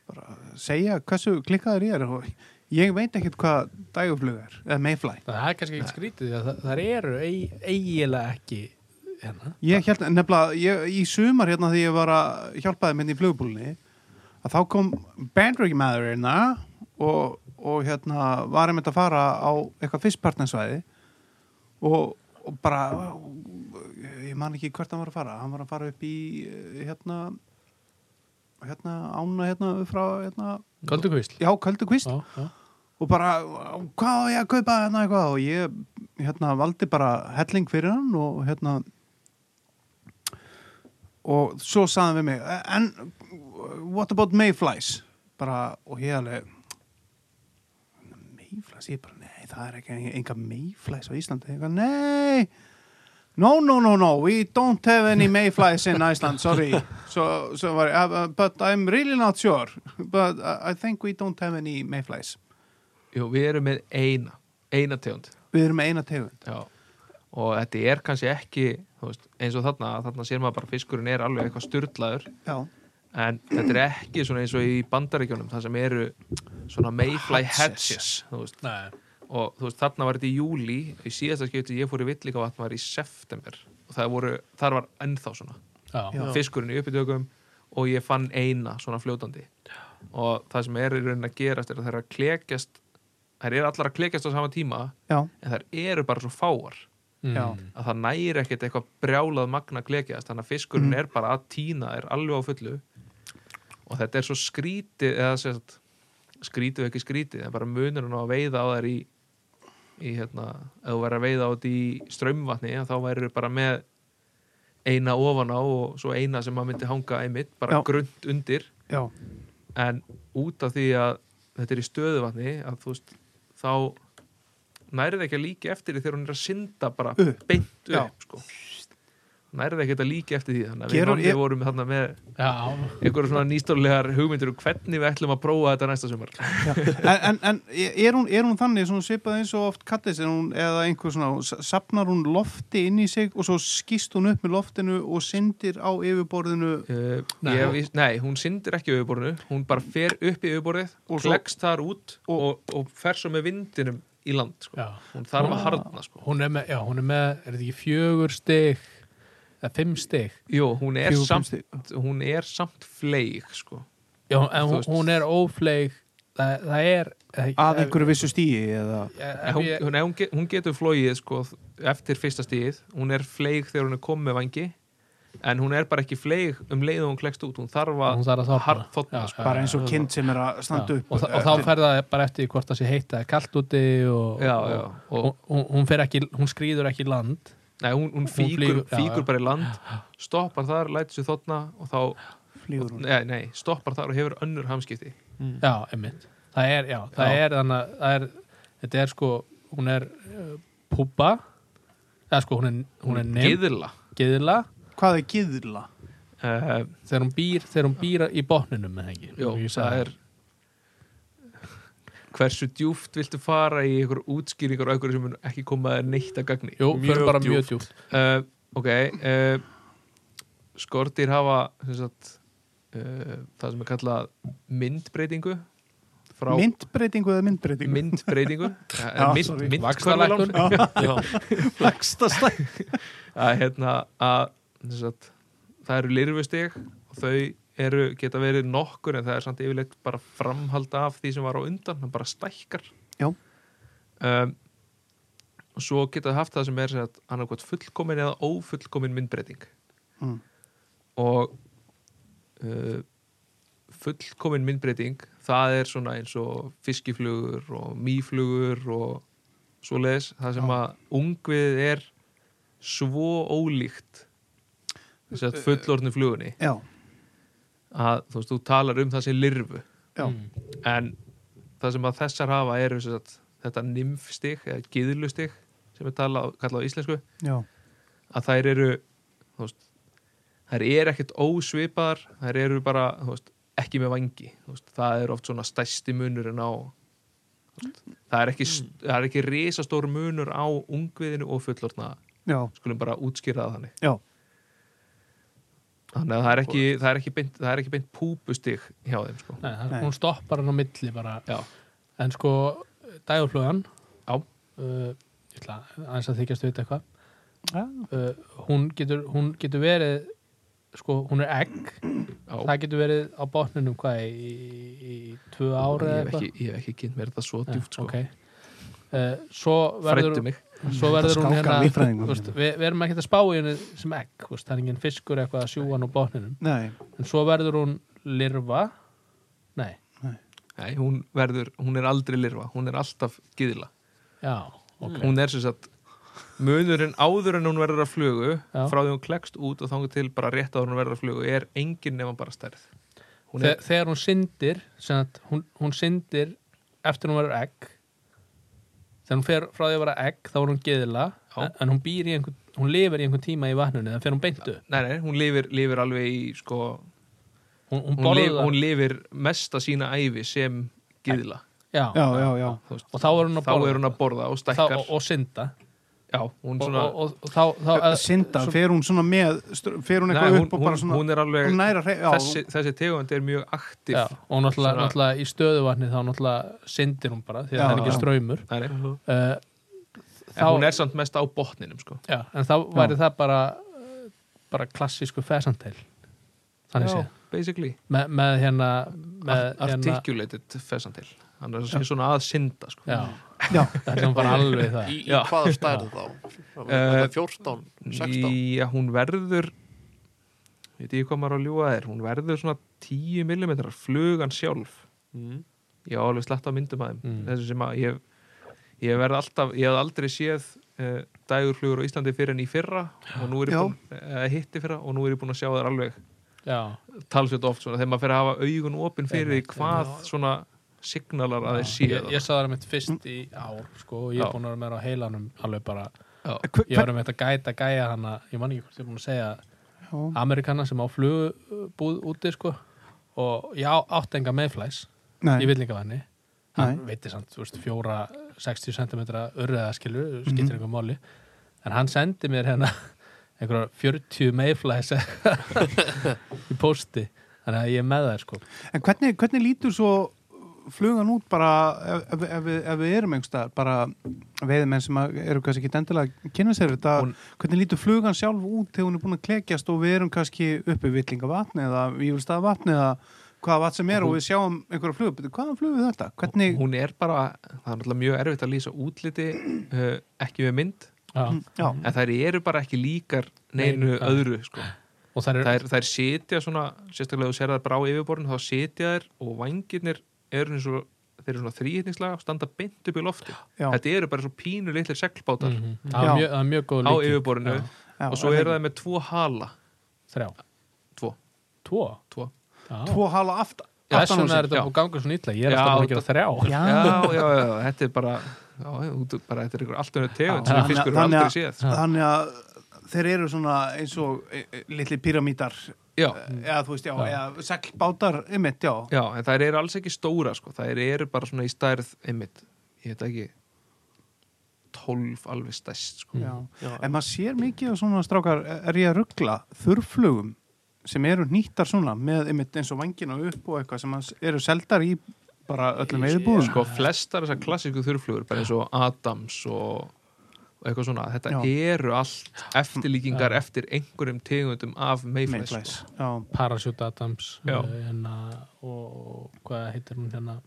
Speaker 3: bara að segja hversu klikkaður ég er og ég veit ekkert hvað daguflug er, eða mayfly.
Speaker 5: Það er kannski ekki skrítið því að það, það eru eig- eiginlega ekki hérna.
Speaker 3: Ég held nefnilega, ég, í sumar hérna því ég var að hjálpaði minni í flugbúlunni, að þá kom bandryggmaður hérna og, og hérna var einmitt að fara á eitthvað fyrstpartnarsvæði og, og bara, ég man ekki hvert hann var að fara, hann var að fara upp í eh, hérna, hérna ána hérna frá hérna,
Speaker 5: Koldu kvísl.
Speaker 3: já, Köldukvist
Speaker 5: Já, já.
Speaker 3: og bara, hvað á ég að kaupa hérna eitthvað og ég, hérna, valdi bara helling fyrir hann og hérna og svo saðan við mig en what about mayflies bara, og ég alveg mayflies, ég bara, nei, það er ekki enga mayflies á Íslandi, ég bara, nei No, no, no, no, we don't have any mayflies in Iceland, sorry. So, so sorry, uh, but I'm really not sure. But uh, I I think we don't have any mayflies.
Speaker 4: Jú, við erum með eina eina tegund
Speaker 3: Við erum með eina tegund.
Speaker 4: Já. og þetta er kannski ekki þú veist, eins og þarna, þarna sér maður bara fiskurinn er alveg eitthvað styrlaður
Speaker 3: Já.
Speaker 4: en þetta er ekki svona eins og í bandaríkjónum það sem eru svona mayfly hedges þú veist,
Speaker 5: Nei.
Speaker 4: og þú veist, þarna var þetta í júli í síðasta skipti ég fór í Villingavatn var í september og það voru, þar var ennþá svona
Speaker 6: já,
Speaker 3: Já.
Speaker 4: fiskurinn í uppbytökum og ég fann eina svona fljótandi og það sem er í rauninni að gerast er að það er að klekjast það er allar að klekjast á sama tíma
Speaker 3: já,
Speaker 4: en það eru bara svo fáar
Speaker 1: Mm.
Speaker 3: já,
Speaker 4: að það næri ekkert eitthvað brjálað magna klekjast þannig að fiskurinn er bara að tína er alveg á fullu og þetta er svo skrítið eða sérst, skrítið og ekki skrítið það er bara munurinn á að veiða á þær í, í hérna, ef þú verður að veiða á þetta í strömmvatni þá værir bara með eina ofan á og svo eina sem maður myndi hanga einmitt, bara
Speaker 3: Já.
Speaker 4: grund undir
Speaker 3: já,
Speaker 4: en út af því að þetta er í stöðuvatni að þú veist, þá nærið ekki að líka eftir því þegar hún er að synda bara
Speaker 3: Upp.
Speaker 4: beint
Speaker 3: Já.
Speaker 4: upp sko. nærið ekki að líka eftir því þannig að við
Speaker 3: Gerur-
Speaker 4: nonni
Speaker 3: ég-
Speaker 4: vorum þarna með
Speaker 1: já,
Speaker 4: einhverjum svona nýstoflegar hugmyndir um hvernig við ætlum að prófa þetta næsta sumar
Speaker 3: já. En, en, en er, hún, er hún þannig svona svipað eins og oft kallist er hún, eða einhver svona, hún sa- safnar hún lofti inn í sig og svo skýst hún upp með loftinu og syndir á yfirborðinu
Speaker 4: Uh,
Speaker 1: Nei.
Speaker 4: nei. Ég, nei, hún syndir ekki auðborinu hún bara fer upp í auðborið
Speaker 3: Og
Speaker 4: og
Speaker 3: svo-
Speaker 4: klekst þar út og, og, fer svo með vindinum í land sko.
Speaker 1: já.
Speaker 4: hún þarf
Speaker 3: Ah.
Speaker 4: að harðna sko.
Speaker 1: Hún er með, já, hún er með, er þetta ekki fjögur stig eða fimm stig
Speaker 4: Jú, hún, er
Speaker 3: Fjögur, fimm
Speaker 4: samt,
Speaker 3: stig.
Speaker 4: hún er samt fleig sko.
Speaker 1: Já, en
Speaker 4: Þú
Speaker 1: hún,
Speaker 4: veist.
Speaker 1: hún er ófleig það, það er eh,
Speaker 3: að einhverju vissu stíi eða
Speaker 4: Nei, hún,
Speaker 1: einhver
Speaker 4: hún, nei, hún, ge- hún getur flóið sko, eftir fyrsta stíð hún er fleig þegar hún er komið með vangi en hún er bara ekki fleig um leið og hún klekst út, hún þarf að
Speaker 1: Hún þarf að þorna.
Speaker 4: harðþotna,
Speaker 1: Já,
Speaker 4: sko.
Speaker 3: bara eins og kind sem er að standa upp
Speaker 1: og, þa- og þá fer það bara eftir hvort það sé heita eða kalt úti og,
Speaker 4: Já, já.
Speaker 1: og
Speaker 4: Og,
Speaker 1: hún, hún, fer ekki, hún skrýður ekki í land
Speaker 4: nei, hún, hún fíkur,
Speaker 1: flýgur- já, já.
Speaker 4: fíkur bara í land stoppar þar, lætur sér þotna og þá,
Speaker 3: flýgur hún
Speaker 4: nei, nei, stoppar þar og hefur önnur hamskipti
Speaker 1: já, einmitt það er, já, það
Speaker 4: Já.
Speaker 1: er þannig að það er, þetta er sko, hún er uh, púpa eða sko, hún er, hún er nefn,
Speaker 4: Gyðla
Speaker 1: geðla
Speaker 3: hvað er gíðla?
Speaker 4: uh,
Speaker 1: þegar hún býr, þegar hún býr í botninum eða ekki,
Speaker 4: Jó,
Speaker 1: Ég
Speaker 4: það
Speaker 1: sagði
Speaker 4: er hversu djúft viltu fara í einhver útskýringar og einhver sem mun ekki koma þér neitt að gagni
Speaker 1: Jú, mjög bara mjög djúpt
Speaker 4: uh, ok uh, skortir hafa sem sagt, uh, það sem er kallað myndbreytingu frá
Speaker 3: myndbreytingu eða myndbreytingu?
Speaker 4: myndbreytingu
Speaker 3: Já,
Speaker 4: Eh, mynd,
Speaker 3: sorry. Ah,
Speaker 4: myndkörfuláns.
Speaker 3: Vaxtastæ
Speaker 4: að hérna að sem sagt, það eru lirfusteg og þau eru, geta verið nokkur en það er samt yfirleitt bara framhald af því sem var á undan, hann bara stækkar
Speaker 3: Já.
Speaker 4: um, og svo geta það haft það sem er sem sagt, annarkvæmt fullkomin eða ófullkomin myndbreyting
Speaker 3: Mm.
Speaker 4: og uh, fullkomin myndbreyting það er svona eins og fiskiflugur og mýflugur og svoleiðis, það sem að ungvið er svo ólíkt þess að fullorðnu flugunni
Speaker 3: já,
Speaker 4: að þú veist, þú talar um það sem lirfu
Speaker 3: já,
Speaker 4: en það sem að þessar hafa er þess að, þetta nymfstig eða gíðlustig sem er talað, kallað á íslensku
Speaker 3: já,
Speaker 4: að þær eru þú veist, þær eru ekkert ósvipaðar þær eru bara þú veist, ekki með vangi þú veist, það er oft svona stæsti munur en á þú veist, það er ekki, mm. það er ekki risastór munur á ungviðinu og fullorðna
Speaker 3: já,
Speaker 4: skulum bara útskýra það þannig
Speaker 3: já.
Speaker 4: þannig að það er ekki, það er ekki, beint, það er ekki beint púpustig hjá þeim sko.
Speaker 1: Nei, það-
Speaker 3: Nei.
Speaker 1: hún stoppar hann á milli bara
Speaker 4: já,
Speaker 1: en sko, dægurflugan
Speaker 4: Já.
Speaker 1: uh, ég ætla aðeins að þykjast við eitthvað
Speaker 3: Já.
Speaker 1: uh, hún, getur, hún getur verið sko, hún er egg
Speaker 4: já.
Speaker 1: það getur verið á botninum hvað í, í, í tvö ára
Speaker 4: ég hef ekki, ég hef ekki kynnt mér þetta svo djúft sko.
Speaker 1: okay. uh, svo verður
Speaker 4: frættu mig
Speaker 1: svo verður
Speaker 3: Skákar
Speaker 1: hún hérna
Speaker 3: líffræðingum
Speaker 1: þú veist,
Speaker 3: hérna.
Speaker 1: við, við erum ekkert að spá í henni sem egg þú veist, það er enginn fiskur eitthvað að sjúa hann á botninum
Speaker 3: Nei,
Speaker 1: en svo verður hún lirfa nei,
Speaker 4: Nei, hún, verður, hún er aldrei lirfa, hún er alltaf gyðla
Speaker 1: já, ok
Speaker 4: hún er sem sagt munurinn áður en hún verður að flugu
Speaker 1: Já.
Speaker 4: frá því hún klekst út og þangu til bara rétt áður en hún verður að flugu er engin nefn bara stærð hún
Speaker 1: Þe,
Speaker 4: er,
Speaker 1: þegar hún syndir sem að hún, hún syndir eftir hún verður egg þegar hún fer frá því að vera egg þá er hún geðila
Speaker 4: Já.
Speaker 1: en, en hún býr í einhvern hún lifir í einhvern tíma í vatnunni þannig fer hún beintu
Speaker 4: nei, nei, hún lifir, lifir alveg í sko,
Speaker 1: hún, hún,
Speaker 4: hún, lif,
Speaker 1: borðar
Speaker 4: hún lifir mesta sína ævi sem gyðla
Speaker 1: já.
Speaker 3: já, já, já
Speaker 4: Þú veist,
Speaker 1: og þá er hún að
Speaker 4: þá
Speaker 1: borða
Speaker 4: er hún að borða og
Speaker 1: þá,
Speaker 4: stækkar
Speaker 1: og, og synda
Speaker 4: já, hún
Speaker 1: og,
Speaker 4: svona
Speaker 1: og, og, og þá, þá að-
Speaker 3: Sinda,
Speaker 1: svo-
Speaker 3: fer hún svona með str- fer hún
Speaker 4: nei,
Speaker 3: eitthvað
Speaker 4: hún,
Speaker 3: upp og
Speaker 4: hún,
Speaker 3: bara svona
Speaker 4: hún er alveg
Speaker 3: hún nær að hreyfa
Speaker 4: þessi, þessi tegund er mjög aktiv
Speaker 1: Já, og náttúrulega,
Speaker 4: Svona-
Speaker 1: náttúrulega í stöðuvatni þá náttúrulega syndir hún bara því að
Speaker 3: Já,
Speaker 1: það er ekki
Speaker 3: já.
Speaker 1: ströymur
Speaker 4: Nei, nei.
Speaker 1: uh,
Speaker 4: En hún er samt mest á botninum sko.
Speaker 1: já, en þá væri það bara eh, bara klassísku fesantel þannig
Speaker 4: Já,
Speaker 1: séð
Speaker 4: basically
Speaker 1: með, með hérna með hérna-
Speaker 4: Art- Articulated fesantil hann er svona að synda sko.
Speaker 1: já,
Speaker 3: Já.
Speaker 1: það er sem bara alveg það
Speaker 2: Í, í
Speaker 4: Já.
Speaker 2: hvaða stærð þá? Það
Speaker 4: Eh,
Speaker 2: var 14, 16
Speaker 4: Já, hún verður veit ég hvað maður á að ljúga þér hún verður svona 10 mm flugan sjálf
Speaker 2: mm.
Speaker 4: ég á alveg slett á myndum aðeim
Speaker 1: Mm.
Speaker 4: þessu sem að ég, ég verð alltaf ég hafði aldrei séð uh, dagurflugur á Íslandi fyrir en í fyrra og nú er ég
Speaker 3: Já.
Speaker 4: búin, uh, hitti fyrra og nú er ég búin að sjá þær alveg
Speaker 1: já,
Speaker 4: talsveit oft svona þegar maður fer að hafa augun opin fyrir því
Speaker 1: Einmitt,
Speaker 4: hvað svona signalar að þeir
Speaker 1: ég,
Speaker 4: séu
Speaker 1: ég sá það mitt fyrst í ár sko, og ég
Speaker 4: Já.
Speaker 1: er búin að vera með það á heilanum alveg bara,
Speaker 3: Hver-
Speaker 1: ég var með þetta gæta gæja hana, ég man ekki hvort ég er búin að segja
Speaker 3: Já.
Speaker 1: Amerikana sem á flugbúð úti sko og ég á- átti enga meðflæs
Speaker 3: Nei.
Speaker 1: í villingavæðinni hann
Speaker 3: Nei.
Speaker 1: veitir samt, þú veist, fjóra 60 cm urriða skilur,
Speaker 3: Mhm.
Speaker 1: skiptir mm einhver máli en hann sendi mér hérna einhverjar 40 meðflæs í posti þannig að ég er með það sko
Speaker 3: En hvernig, hvernig lítur svo flugan út bara ef, ef, ef, við, ef við erum einhverstað bara veiðmenn sem að- eru kannski ekki endilega að kynna sér þetta,
Speaker 4: Hún-
Speaker 3: hvernig lítur flugan sjálf út þegar hún er búin að klekjast og við erum kannski uppi villinga vatni eða vývilstaða vatni eða hvaða vatn sem er og, við sjáum einhverja flugu, Bíddu, hvaðan flugu er þetta? Hvernig,
Speaker 4: hún er bara, það er náttúrulega mjög erfitt að lýsa útliti uh, ekki með mynd
Speaker 1: já.
Speaker 3: já,
Speaker 4: en þær eru bara ekki líkar neinu
Speaker 1: Nei, já.
Speaker 4: öðru sko.
Speaker 1: og Mhm. það er,
Speaker 4: þær, þær sitja svona sérstaklega þú sér þær brá yfirborðin þá sitja þær og vangirnir eru eins og þeir eru svona þrýhittningslaga og standa beint upp í lofti
Speaker 3: já,
Speaker 4: þetta eru bara svo pínu litlir seglbátar
Speaker 1: mm það er
Speaker 3: Já.
Speaker 1: mjög, það er mjög góð
Speaker 4: á
Speaker 1: líking.
Speaker 4: yfirborðinu
Speaker 1: Já.
Speaker 3: já,
Speaker 4: og svo
Speaker 3: er
Speaker 4: eru það með tvo hala
Speaker 1: þrjá,
Speaker 4: tvo,
Speaker 1: tvo,
Speaker 4: tvo
Speaker 1: Já.
Speaker 3: tvo hala aft, aftan
Speaker 1: Já,
Speaker 3: á
Speaker 1: þessum
Speaker 3: sér.
Speaker 1: er þetta
Speaker 4: já.
Speaker 1: búið að ganga svo nýtla ég er
Speaker 4: Já,
Speaker 1: alltaf búin að gera þrjá
Speaker 3: Já,
Speaker 4: já, já, já, já, þetta er bara já, út, bara þetta er einhver allt önnur tegund sem
Speaker 3: Þannig-
Speaker 4: fiskur eru
Speaker 3: þannig að-
Speaker 4: aldrei séð sko.
Speaker 3: þannig að þeir eru svona eins og e, e, litli pyramítar
Speaker 4: já,
Speaker 3: eða þú veist, já, eða seglbátar ymmit, já,
Speaker 4: já, en þær eru alls ekki stóra sko. þær eru bara svona í stærð einmitt, ég veit ekki 12 alveg stærst sko.
Speaker 3: já.
Speaker 2: Já.
Speaker 3: en maður sér mikið af svona strákar, er ég að ruggla þurrflugum sem eru nýttar svona með ymmit eins og vangina upp og eitthvað sem að s- eru seldar í bara öllum veiðbúðum
Speaker 4: sko, flestar þessar klassíku þurrflugur bara eins og Adams og og eitthvað svona, þetta
Speaker 3: Já.
Speaker 4: eru allt eftirlíkingar eftir einhverjum tegundum af Mayflies,
Speaker 3: Mayflies,
Speaker 4: Sko.
Speaker 3: já,
Speaker 1: Parachute Adams
Speaker 4: Já.
Speaker 1: eh, hérna, og hvað heitir hún hérna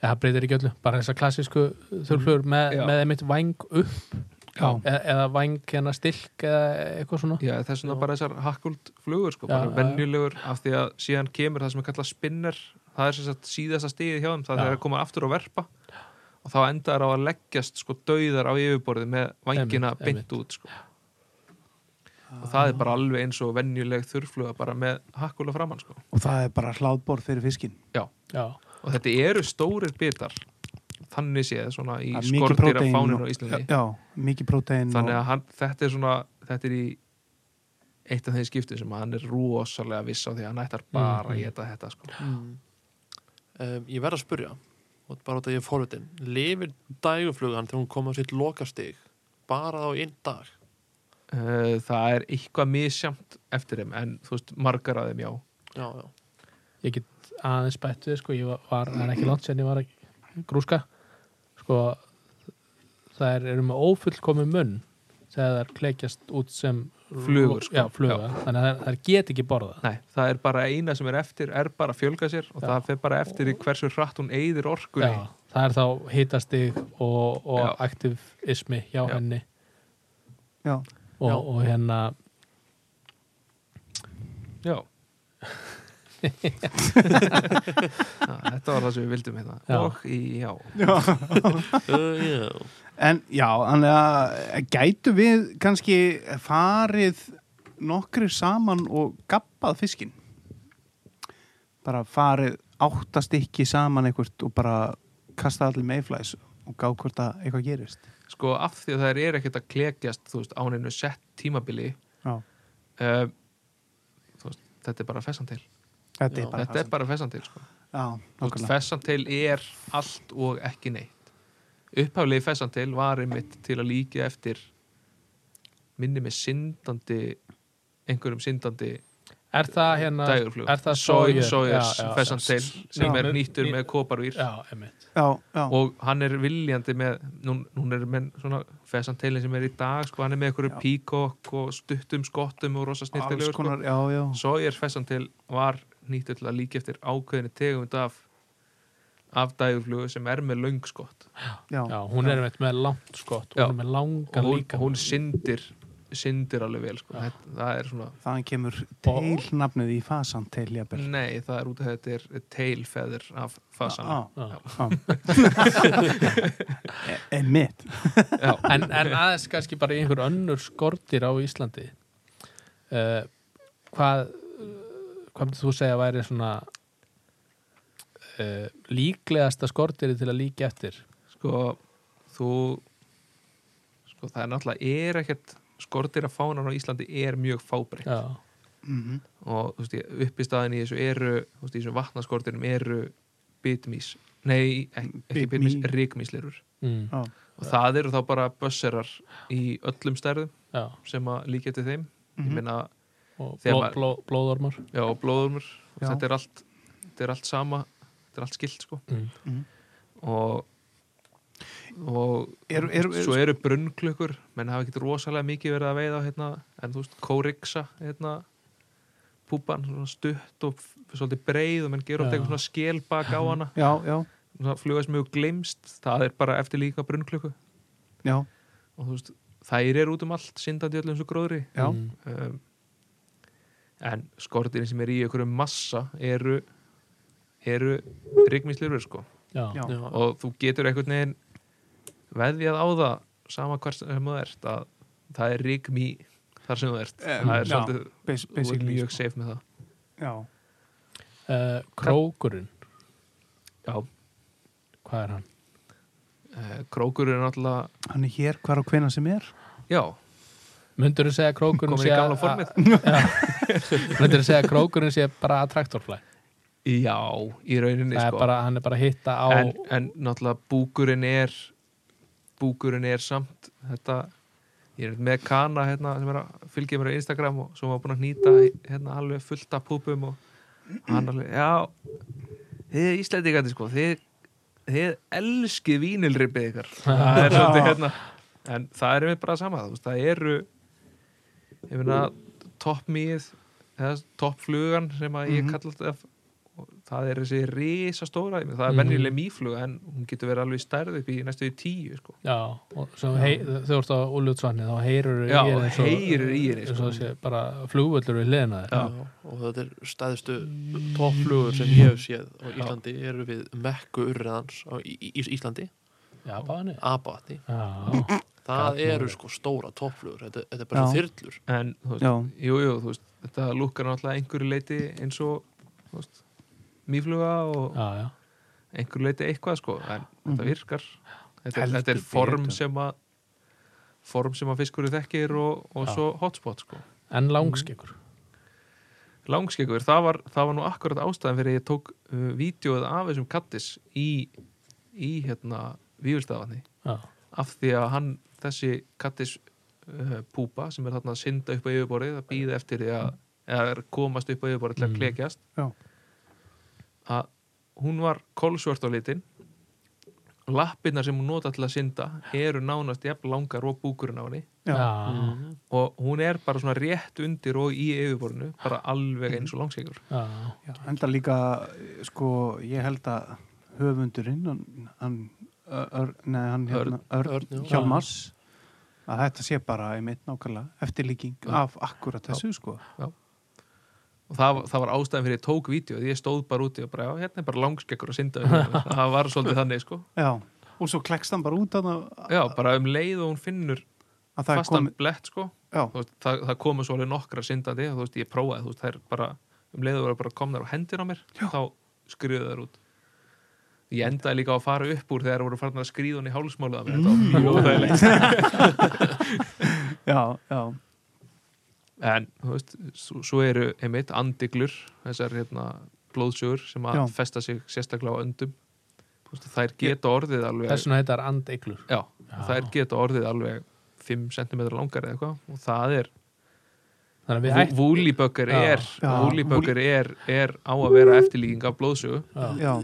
Speaker 1: Já, það breytir ekki öllu, bara þessar klassísku þurflugur með,
Speaker 4: Mhm. Já.
Speaker 1: með einmitt væng upp
Speaker 3: Já.
Speaker 1: eða, eða væng hérna stilk eða eitthvað svona
Speaker 4: Já, þess vegna bara þessar hakkuld flugur sko,
Speaker 1: Já,
Speaker 4: bara
Speaker 1: já, já.
Speaker 4: venjulegur af því að síðan kemur það sem er kallað spinner það er sem sagt síðasta stigið hjá þeim það
Speaker 1: Já.
Speaker 4: er að koma aftur og verpa og þá enda þær á að leggjast sko dauðar á yfirborðið með vangina
Speaker 1: Einmitt, einmitt.
Speaker 4: beint út sko. og það er bara alveg eins og venjuleg þurrfluga bara með hakkula framann sko.
Speaker 3: og það er bara hláðbor fyrir fiskin
Speaker 4: Já,
Speaker 1: Já,
Speaker 4: og þetta eru stórir bitar þannig séð svona í
Speaker 3: Það er mikið
Speaker 4: skortýra
Speaker 3: prótein
Speaker 4: fáninu
Speaker 3: og-
Speaker 4: á Íslandi
Speaker 3: já, mikið prótein
Speaker 4: þannig að hann, þetta er svona þetta er í eitt af þeim skiptum sem hann er rosalega viss á því að hann ættar bara
Speaker 1: Mm-hmm.
Speaker 4: að geta þetta sko.
Speaker 2: Mm. Um, ég verð að spurja og bara út að ég er forvitin lifir dæguflugan þegar hún kom á sitt lokastig bara á einn dag
Speaker 4: Uh, það er eitthvað misjamt eftir þeim en þú veist margar af þeim já
Speaker 2: já, já,
Speaker 1: ég get aðeins bættu sko, ég var- var, það er ekki langt sen ég var að grúska sko, þær eru með ófullkomi munn þegar þær klekjast út sem
Speaker 4: Flugur, sko.
Speaker 1: Já, fluga, þannig að þær, þær get ekki borðað
Speaker 4: Nei, það er bara eina sem er eftir er bara að fjölga sér og
Speaker 1: Já.
Speaker 4: það fer bara eftir í hversu hratt hún eyðir orkunni
Speaker 1: Já, það er þá hitastig og,
Speaker 4: Já.
Speaker 1: og aktivismi hjá
Speaker 4: Já.
Speaker 1: henni
Speaker 3: já,
Speaker 1: og,
Speaker 2: Já.
Speaker 1: og hérna
Speaker 4: Já Já, Þetta var það sem við vildum hérna
Speaker 1: Já.
Speaker 4: Og í, já
Speaker 2: uh, yeah.
Speaker 3: en já, þannig að gætu við kannski farið nokkri saman og gabbað fiskin bara farið átta stykki saman einhvert og bara kasta allir meiflæs og gá hvort að eitthvað gerist
Speaker 4: Sko af því að það er ekkert að klekjast Þú veist áninu sett tímabili
Speaker 3: já,
Speaker 4: uh, Þú veist Þetta er bara fessantil
Speaker 3: þetta
Speaker 2: Já,
Speaker 3: er bara
Speaker 4: Þetta er bara fessantil sko.
Speaker 3: já,
Speaker 4: Þú veist,
Speaker 3: nákvæmlega.
Speaker 4: Fessantil er allt og ekki neitt upphaflegi fessan til var einmitt til að líka eftir minni með syndandi einhverjum syndandi
Speaker 1: Er það hérna
Speaker 4: dægurflug
Speaker 1: Er það
Speaker 4: Sawyer,
Speaker 1: Sawyer?
Speaker 4: Sawyers
Speaker 1: Já, já,
Speaker 4: fessan
Speaker 1: já.
Speaker 4: til sem
Speaker 3: Já.
Speaker 4: er nýttur
Speaker 1: Ný-
Speaker 4: með koparvír
Speaker 1: Já, emitt
Speaker 3: já, já,
Speaker 4: og hann er viljandi með nú, nú er með svona fessan til sem er í dag sko, hann er með einhverju
Speaker 3: Já.
Speaker 4: píkokk og stuttum skottum og rosa
Speaker 3: alls
Speaker 4: snirtilegur sko.
Speaker 3: konar, já, já
Speaker 4: Sawyer fessan til var nýttur til að líka eftir ákveðinu tegund af af dægurflugu sem er með löngskott
Speaker 3: já,
Speaker 1: Já, hún er emitt með langt skott
Speaker 4: Já.
Speaker 1: Hún er með
Speaker 4: og
Speaker 1: langan
Speaker 4: hún,
Speaker 1: líka
Speaker 4: hún syndir syndir alveg vel sko. þetta, það er svona,
Speaker 3: þaðan kemur teilnafnið í fasan til jafnvel.
Speaker 4: nei það er út af þetta er tail feather af fasana
Speaker 3: Já,
Speaker 1: Já.
Speaker 3: já. en mitt
Speaker 4: já,
Speaker 1: en, en aðeins kannski bara í einhver önnur skortir á Íslandi uh, hvað hvað myndir þú segja að væri svona uh, líklegasta skortiri til að líka eftir
Speaker 4: sko þú sko það er náttúrulega er ekkert skortir að fánan á Íslandi er mjög fábreytt
Speaker 1: já,
Speaker 3: Mhm.
Speaker 4: og þú veist, uppistaðin í þessu eru þú veist, í þessum vatnaskortinum eru bitmís, nei ek, ekki
Speaker 3: Bitmý.
Speaker 4: bitmís, ríkmíslirur
Speaker 1: mm,
Speaker 3: já,
Speaker 4: og það eru þá bara bösserar í öllum stærðum
Speaker 1: já.
Speaker 4: sem að líka eftir þeim
Speaker 3: Mhm.
Speaker 4: ég meina
Speaker 1: og
Speaker 4: Þegar
Speaker 1: bló,
Speaker 4: maður-
Speaker 1: bló, blóðormar
Speaker 4: Já, og blóðurmur
Speaker 3: Já.
Speaker 4: þetta er, allt, þetta er allt sama Þetta er allt skilt sko
Speaker 1: Mm.
Speaker 3: Mhm.
Speaker 4: Og og
Speaker 3: Eru- eru- eru-
Speaker 4: svo eru brunnklukkur menn hafa ekkert rosalega mikið verið að veiða á, hérna, en þú veist, kóriksa hérna, púpan, svona stutt og f- svolítið breið og menn gera oft
Speaker 1: Já.
Speaker 4: eitthvað svona skel bak á hana
Speaker 3: já, já,
Speaker 4: svona flugast mjög glimst, það er bara eftir líka brunnklukku
Speaker 3: já,
Speaker 4: og þú veist, þær eru út um allt syndandi í öllum svo gróðri
Speaker 3: já.
Speaker 1: mm,
Speaker 4: um, en skortirinn sem er í einhverjum massa eru eru rigmislirur sko
Speaker 1: já,
Speaker 3: Já.
Speaker 1: já.
Speaker 4: og þú getur einhvern veginn veðjað á það sama hvers sem þú ert að það er rigmi þar sem þú ert
Speaker 3: Eh,
Speaker 4: það er
Speaker 3: já,
Speaker 4: svolítið,
Speaker 3: Bas-
Speaker 4: þú ert
Speaker 3: basically sko.
Speaker 4: mjög safe með það
Speaker 3: já.
Speaker 1: Uh, krókurinn,
Speaker 4: já,
Speaker 1: hvað er hann?
Speaker 4: eh, krókur er náttúrulega
Speaker 3: hann er hér hvar og hvena sem er
Speaker 4: já,
Speaker 1: Myndur þú segja að krókurinn
Speaker 4: komin í
Speaker 1: sé að
Speaker 4: gamla formið
Speaker 1: Myndur þú segja að krókurinn sé bara að traktorflæ
Speaker 4: já, í rauninni
Speaker 1: Það er
Speaker 4: sko
Speaker 1: bara, hann er bara að hitta á
Speaker 4: en, en náttúrulega búkurinn er búkurinn er samt þetta, ég er með kana hérna, sem er að fylgja mér á Instagram og svo var búin að nýta hérna, alveg fullt af púpum og hann alveg, já þið Íslandingandi sko þið, þið elskið vínilripið ykkar það er svolítið hérna en það er mér bara sama þú veist, það eru ég meina toppmýð eða toppflugan sem að ég
Speaker 3: Mhm.
Speaker 4: kalla þetta og það er þessi risastóra ég meina, það er
Speaker 1: Mhm.
Speaker 4: venjuleg mýfluga en hún getur verið alveg stærð upp í næstu í tíu sko.
Speaker 1: Já, og sem hei, þau ert á úljótsvanni þá heyrur
Speaker 4: Já, heyrir í henni,
Speaker 1: eins
Speaker 4: sko.
Speaker 1: og sé bara flugvöllur við hliðina þér
Speaker 4: Já.
Speaker 2: og þetta er stæðstu toppflugur sem ég hef séð á Íslandi eru við mekku urriðans á Í- Í- Í- Íslandi,
Speaker 1: Já, báni
Speaker 2: Abavatni
Speaker 1: Já,
Speaker 2: það
Speaker 1: Gat-
Speaker 2: eru sko stóra toppflugur þetta, þetta er bara
Speaker 3: Já.
Speaker 2: þyrlur
Speaker 4: en þú veist,
Speaker 3: já,
Speaker 4: jú, jú, þú veist þetta lukkar náttúrulega einhverju leiti eins og þú veist, mýfluga og
Speaker 1: já, já
Speaker 4: einhverju leiti eitthvað sko, en þetta
Speaker 3: Mhm.
Speaker 4: virkar þetta,
Speaker 3: Heldur
Speaker 4: þetta er form
Speaker 3: betur.
Speaker 4: sem að form sem að fiskur þekkir og, og
Speaker 1: Já.
Speaker 4: svo hotspot sko
Speaker 1: En langskekur
Speaker 4: Langskekur, það var, það var nú akkurat ástæðan fyrir að ég tók uh, vídjóið af þessum kattis í, í hérna výfylstafanni
Speaker 1: Já,
Speaker 4: af því að hann, þessi kattis uh, púpa sem er þarna að synda upp á yfirborðið að býða eftir því að eða er að komast upp á yfirborðið til að
Speaker 1: Mm.
Speaker 4: klekjast
Speaker 3: Já.
Speaker 4: að hún var kolsvört á litin lappirnar sem hún nota til að synda eru nánast jafn langar og búkurinn á henni
Speaker 3: já,
Speaker 1: já,
Speaker 4: og hún er bara svona rétt undir og í yfirborðinu bara alveg eins og langskekur
Speaker 1: já,
Speaker 3: já. enda líka eh, sko, ég held að höfundurinn hann, hann, ör, nei, hann hérna, örn,
Speaker 2: Örn, já.
Speaker 3: Hjálmars að þetta sé bara einmitt nákvæmlega eftirlíking
Speaker 4: Já.
Speaker 3: af akkurat þessu sko
Speaker 4: og það, það var ástæðan fyrir ég tók vídeo því ég stóð bara úti og bara, já, hérna er bara langskekkur að synda um hana." það var svolítið þannig, sko
Speaker 3: já, og svo klekst hann bara út að, að
Speaker 4: já, bara um leið og hún finnur
Speaker 3: það er
Speaker 4: fastan
Speaker 3: komið
Speaker 4: blett, sko
Speaker 3: já,
Speaker 4: Þú veist, það, það komu svo alveg nokkra syndandi og þú veist, ég prófaði, þú veist, það er bara um leið og það bara komnar á hendir á mér þá skriðu þær út ég endaði líka á að fara upp úr þegar voru farin að skriða hún í hálsmálið á mér þetta var mjög óþægilegt.
Speaker 3: já, já,
Speaker 4: en þú veist, svo, svo eru einmitt andiglur, þessar hérna blóðsugur sem að
Speaker 3: Já.
Speaker 4: festa sig sérstaklega á öndum Þú veist, þær geta orðið alveg
Speaker 1: Þess vegna heitar andeiglur
Speaker 4: já, þær geta orðið alveg 5 cm langar eða eitthvað og það er,
Speaker 1: Þannig að við hættum
Speaker 4: vúliböggar
Speaker 1: Já.
Speaker 4: er
Speaker 3: Já.
Speaker 4: vúliböggar er, er á að vera eftirlíking af blóðsugu
Speaker 3: já,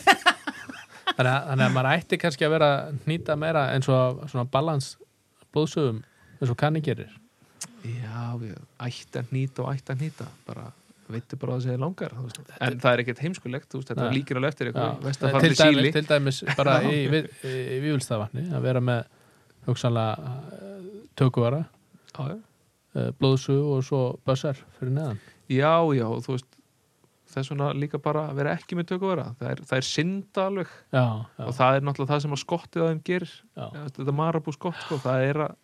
Speaker 1: þannig, að- þannig að maður ætti kannski að vera að hnýta meira eins og svona balans blóðsögum eins og kanni gerir
Speaker 4: já, við ætti að nýta og ætti að nýta bara veitir bara að það segja langar þú veist. en það er ekkert heimskulegt, þú veist, þetta
Speaker 1: Nei.
Speaker 4: líkir alveg eftir
Speaker 1: Já.
Speaker 4: eitthvað, vest að
Speaker 1: til
Speaker 4: fara til síli
Speaker 1: dæmis, til dæmis bara í, í, í, í vývulstaðvatni að vera með hugsanlega eh, tökuvara
Speaker 4: Já, já.
Speaker 1: eh, blóðsugu og svo bössar fyrir neðan
Speaker 4: já, já, og þú veist þess vegna líka bara að vera ekki með tökuvara það er, það er synda alveg
Speaker 1: já, já,
Speaker 4: og það er náttúrulega það sem að skottið að þeim gerir
Speaker 1: já,
Speaker 4: Já, þetta marabú skott sko, það er að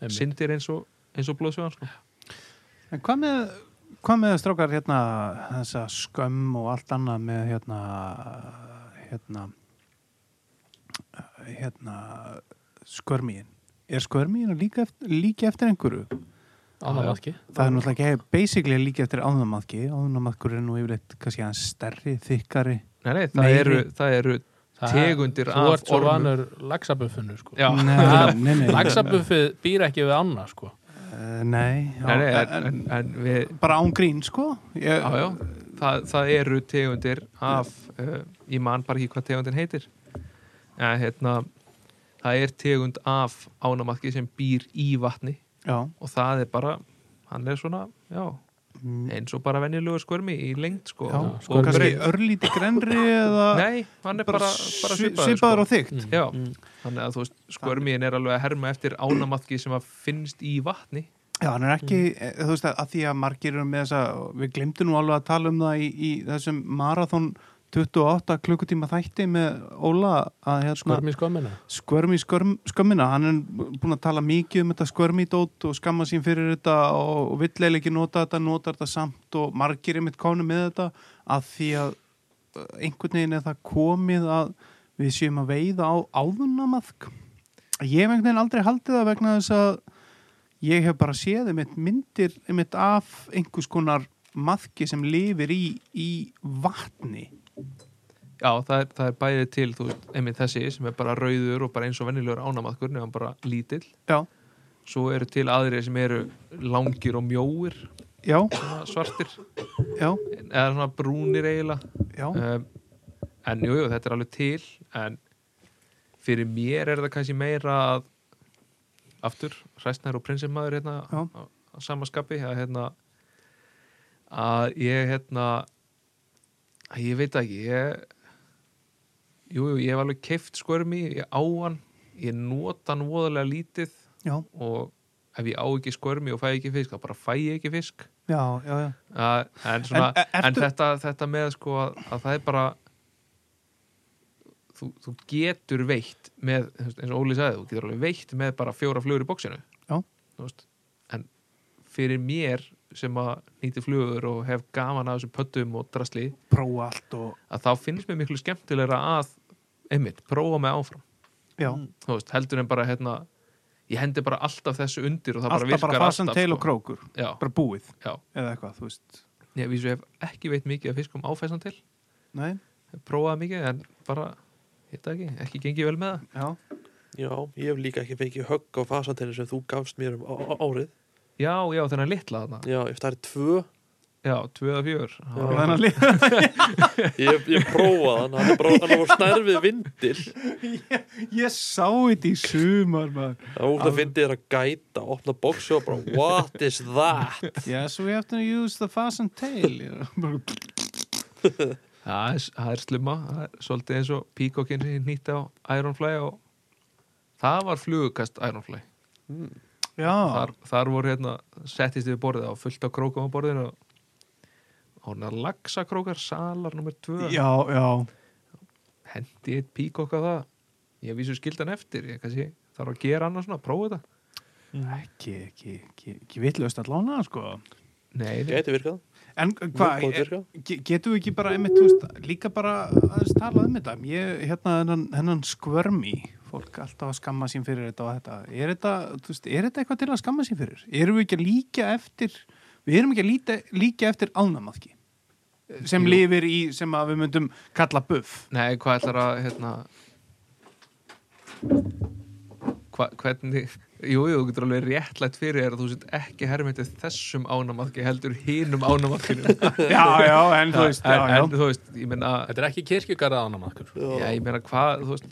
Speaker 1: einmitt.
Speaker 4: syndir eins og, eins og blóðsjóðan sko.
Speaker 3: En hvað með, hvað með strákar hérna þessa skömm og allt annað með hérna hérna hérna skörmíin er skörmíin líka eftir, líka eftir einhverju?
Speaker 1: ánamaðki
Speaker 3: Það er náttúrulega ekki basically líka eftir ánamaðki ánamaðkur er nú yfirleitt kannski aðeins stærri, þykkari
Speaker 4: nei, nei, það,
Speaker 3: Meiri.
Speaker 4: eru, það eru Tegundir
Speaker 1: þú
Speaker 4: af
Speaker 1: ert svo
Speaker 4: ormum.
Speaker 1: vanur laxabuffinu sko.
Speaker 4: já, nei,
Speaker 3: Nei, nei, nei,
Speaker 1: laxabuffið býr ekki við ána sko.
Speaker 3: Eh, nei, já, Eh,
Speaker 4: nei, en,
Speaker 3: en,
Speaker 4: en, en við,
Speaker 3: bara án grín sko ég,
Speaker 4: já, já, það, það eru tegundir af uh, ég man bara ekki hvað tegundin heitir ja, hérna, það er tegund af ánamatki sem býr í vatni
Speaker 3: já.
Speaker 4: og það er bara hann er svona, já,
Speaker 3: Mm,
Speaker 4: eins og bara venjulegu skvörmi í lengd sko,
Speaker 3: já.
Speaker 4: Eh, og
Speaker 3: og kannski
Speaker 4: breidd.
Speaker 3: örlíti grenri eða
Speaker 4: nei, hann er bara, bara svipaður,
Speaker 3: svipaður
Speaker 4: sko.
Speaker 3: og Mm. þygt
Speaker 4: Já, þannig að þú veist, skörmiðin er alveg að herma eftir ánamaðki sem að finnst í vatni.
Speaker 3: Já, hann er ekki,
Speaker 4: Mm.
Speaker 3: eh, þú veist að, að því að margir eru með þess að, við glemtum nú alveg að tala um það í, í þessum marathon 28 klukkutíma þætti með Óla að hérna,
Speaker 1: skörmi skömmina
Speaker 3: skvörmi skörm, skömmina, hann er búin að tala mikið um þetta skvörmidót og skamma sín fyrir þetta og, og vill eiginlega ekki nota þetta, nota þetta samt og margir er mitt konu með þetta að því að eh, einhvern veginn er það komið að við séum að veiða á áðunamaðk. Ég hef einhvern veginn aldrei haldið það vegna þess að ég hef bara séð einmitt myndir einmitt af einhvers konar maðki sem lifir í, í vatni.
Speaker 4: Já, það er, það er bæðið til, þú veist, einmitt þessi sem er bara rauður og bara eins og venjulegur ánamaðkur nefnum bara lítill.
Speaker 3: Já,
Speaker 4: Svo eru til aðrið sem eru langir og mjóir,
Speaker 3: já,
Speaker 4: svona svartir,
Speaker 3: já,
Speaker 4: eða svona brúnir eiginlega.
Speaker 3: já,
Speaker 4: Um, en jú, jú, þetta er alveg til, en fyrir mér er það kannski meira að, aftur, hræstnær og prinsimaður hérna,
Speaker 3: Já.
Speaker 4: á, á samaskapi, að hérna, að ég hérna að ég veit ekki ég jú, jú, ég hef alveg keift skörmi ég á hann, ég nota hann voðalega lítið
Speaker 3: já,
Speaker 4: og ef ég á ekki skörmi og fæ ekki fisk þá bara fæ ég ekki fisk
Speaker 3: já, já, já.
Speaker 4: að, en, svona, en,
Speaker 3: En, e- ertu-
Speaker 4: þetta, þetta með sko að, að það er bara þú, þú getur veitt með, þú veist, eins og Óli sagði þú getur alveg veitt með bara fjóra flugur í bóksinu
Speaker 3: Já.
Speaker 4: Þú veist, en fyrir mér sem að nýti flugur og hef gaman af þessum pöttum og drasli
Speaker 3: prófa allt og
Speaker 4: að þá finnst mér miklu skemmtilegra að einmitt, prófa mig áfram
Speaker 3: já,
Speaker 4: Þú veist, heldur en bara hérna ég hendi bara alltaf þessu undir og það bara
Speaker 3: alltaf
Speaker 4: virkar
Speaker 3: bara fasan
Speaker 4: alltaf,
Speaker 3: teil
Speaker 4: sko.
Speaker 3: og krókur
Speaker 4: Já,
Speaker 3: bara búið
Speaker 4: já,
Speaker 3: eða eitthvað, þú veist
Speaker 4: ég vísu hef ekki veit mikið að fiskum áfæsan til
Speaker 3: Nei,
Speaker 4: prófaði mikið en bara hitta ekki, ekki gengið vel með það
Speaker 3: já,
Speaker 2: Já, ég hef líka ekki fengið högg á fasantenni sem þú gafst mér um á- á- árið
Speaker 4: já, já, þennan litla þarna
Speaker 2: Já, ef það er tvö
Speaker 4: já, 2 að 4 já,
Speaker 3: og þannig að líka
Speaker 2: Ég, ég prófaði hann, hann er bara hann var snærfið vindil
Speaker 3: ég sá þetta í sumar maður
Speaker 2: Það var út að fyndi þér að gæta, opna bóksi og bara What is that?
Speaker 3: yes, we have to use the fasan tail já, bara-
Speaker 4: það er- það er slumma það er svolítið eins og píkokinn sem nýtti á Ironfly og það var flugukast Ironfly
Speaker 3: já,
Speaker 4: þar, þar voru hérna, settist við borðið á fullt á krókum á borðinu og hún er laxakrókar salar nummer 2
Speaker 3: já, já
Speaker 4: hendi eitt píkokk á það ég vísu skildan eftir, ég kannski þarf að gera annars svona, prófa þetta
Speaker 3: ekki, ekki, ekki, ekki vitlaust að lána sko
Speaker 4: nei, nei.
Speaker 2: Gæti virkað
Speaker 3: En hvað,
Speaker 2: Mjög góð
Speaker 3: er-
Speaker 2: virka.
Speaker 3: ge- getum við ekki bara einmitt, þú veist, líka bara aðeins talað um þetta ég, hérna, hennan, hennan skvörmi fólk alltaf að skamma sín fyrir þetta og þetta er þetta, þú veist, er þetta eitthvað til að skamma sín fyrir erum við ekki að líka eftir við erum ekki að líka, líka eftir ánamaðki eh, sem lifir í sem að við myndum kalla buff
Speaker 4: Nei, hvað ætlar að, hérna hva, Hvernig Jú, jú, þú getur alveg réttlætt fyrir þér að þú sett ekki hermitið þessum ánamaðki heldur hínum ánamaðkinu
Speaker 3: já, já, en þú veist já,
Speaker 4: en
Speaker 3: já.
Speaker 4: þú veist, ég meina
Speaker 1: Þetta er ekki kirkjugarða ánamaðkur
Speaker 4: Já, ég meina hvað, þú veist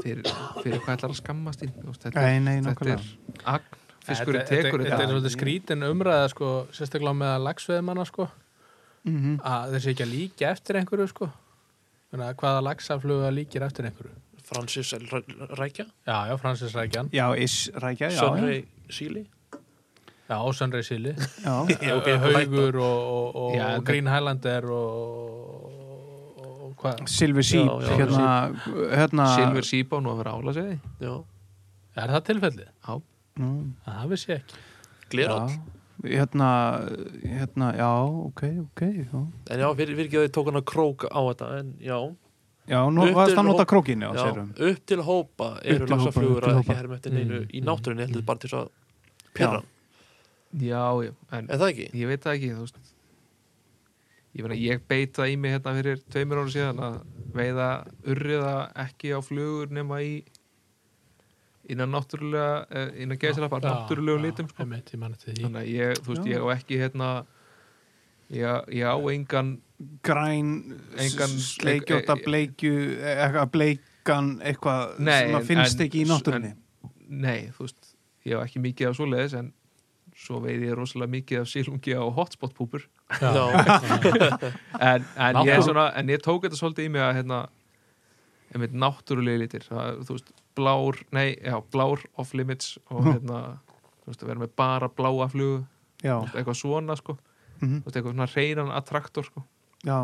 Speaker 4: fyrir, fyrir hvað ætlar að skammast þín þú veist, þetta,
Speaker 3: Nei, nei,
Speaker 4: þetta
Speaker 3: nákvæmlega
Speaker 4: er agn, fiskur tekur
Speaker 1: Þetta er svolítið skrítin umræða sko, sérstaklega með að lagsveðmanna sko,
Speaker 3: Mhm.
Speaker 1: að þeir sé ekki að líka eftir einhverju sko. Þannig að hvaða lagsafluga líkir eftir einhverju
Speaker 2: Francis El Ra- Rækja
Speaker 1: Já, já, Francis Rækjan
Speaker 3: já, is rækja, já, já,
Speaker 2: Sönri Síli
Speaker 1: Já, Sönrei Sili
Speaker 3: já.
Speaker 2: Já, ok,
Speaker 1: Haugur og, og, og,
Speaker 4: Já,
Speaker 1: og
Speaker 4: en-
Speaker 1: Green Highlander og, og, og hvað
Speaker 3: Silver Sheep
Speaker 2: Já, já,
Speaker 3: hérna, hérna
Speaker 4: Silver Seabone og að vera ála sig
Speaker 2: Já,
Speaker 1: Er það tilfellið?
Speaker 4: Já,
Speaker 3: Nú,
Speaker 1: Það vissi ég ekki
Speaker 2: Glerall
Speaker 3: já. hérna, hérna, já, ok, ok já,
Speaker 2: En já, vir, virkið að þið tók hann að króka á þetta En já,
Speaker 3: já nú
Speaker 2: Upp
Speaker 3: varst
Speaker 2: til
Speaker 3: að nota
Speaker 2: hóp-
Speaker 3: krókin já,
Speaker 2: já
Speaker 3: sérum
Speaker 2: upp til hópa eru
Speaker 3: Upp til hópa, upp
Speaker 2: lagsaflugur
Speaker 3: til
Speaker 2: að
Speaker 3: hópa.
Speaker 2: ekki herma eftir neinu í náttúrunni heldur bara til þess að pyrra,
Speaker 4: já, já en
Speaker 2: er það ekki?
Speaker 4: ég veit það ekki, þú veist ég meina, ég beit það í mig hérna fyrir tveimur ára síðan að veiða urriða ekki á flugur nema í innan náttúrulega, eh, innan gæsir bara náttúrulegum litum, sko
Speaker 1: einmitt, ég man eftir því.
Speaker 4: þannig að ég, þú veist,
Speaker 3: Já.
Speaker 4: ég á ekki hérna ég, ég á engan
Speaker 3: græn,
Speaker 4: Engan-
Speaker 3: s- sleikjóta,
Speaker 4: e- e-
Speaker 3: bleikju eitthvað bleikan, eitthvað
Speaker 4: Nei,
Speaker 3: sem
Speaker 4: en-
Speaker 3: að finnst
Speaker 4: en-
Speaker 3: ekki í náttúrunni
Speaker 4: nei, þú veist, ég á ekki mikið af svoleiðis en svo veið ég rosalega mikið af sílungi á hotspot púpur
Speaker 1: Já.
Speaker 4: en, en, ég,
Speaker 1: Náttúru-
Speaker 4: er svona, en ég tók þetta svolítið í mig að hérna, einmitt náttúrulegi litir það, er, þú veist, blár, nei, já, blár off limits og hérna þú veist, að vera með bara bláa flugu
Speaker 3: já,
Speaker 4: þú veist, eitthvað svona, sko,
Speaker 3: mhm,
Speaker 4: þú veist, eitthvað svona reynan attraktor, sko
Speaker 3: já,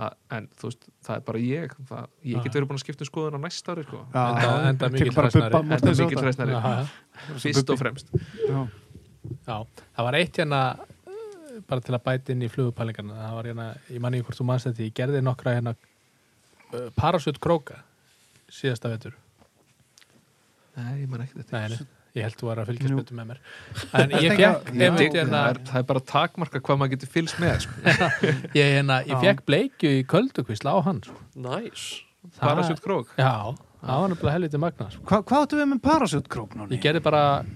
Speaker 4: að, en þú veist, það er bara ég það, ég get verið búin að skipta um skoðun á næsta ári, sko
Speaker 3: já
Speaker 1: Enda- enda
Speaker 3: tekur
Speaker 1: mikill
Speaker 3: bara
Speaker 1: hræsnari.
Speaker 3: bubba, mást
Speaker 4: Enda
Speaker 3: þessu
Speaker 4: mikil
Speaker 3: átta.
Speaker 4: hræsnari,
Speaker 1: Já, já.
Speaker 4: fyrst og fremst
Speaker 3: Já.
Speaker 1: Já, það var eitt hérna eh, bara til að bæta inn í flugupælingarna það var hérna, ég manni hvort þú manst þetta ég gerði nokkra hérna eh, parasut króka síðasta vetur
Speaker 4: Nei, ég man ekki þetta
Speaker 1: Nei, nei, ég held þú var að fylgjast
Speaker 3: Nú.
Speaker 1: betur með mér en ég
Speaker 3: Þetta
Speaker 1: fekk
Speaker 3: ekki-
Speaker 4: Ég
Speaker 1: einmitt
Speaker 4: tek-
Speaker 1: hérna
Speaker 4: það, er, það er bara takmarka hvað maður getur fylgst með sko.
Speaker 1: ég, hérna,
Speaker 3: Já.
Speaker 1: ég fekk bleikju í köldukvísla á hann sko.
Speaker 2: Næs
Speaker 1: Það-
Speaker 4: bara sjöld krók
Speaker 1: Já, það var nefnilega helviti magna sko.
Speaker 3: Hva, hvað áttu við með parasjótkrók núna?
Speaker 1: Ég gerði bara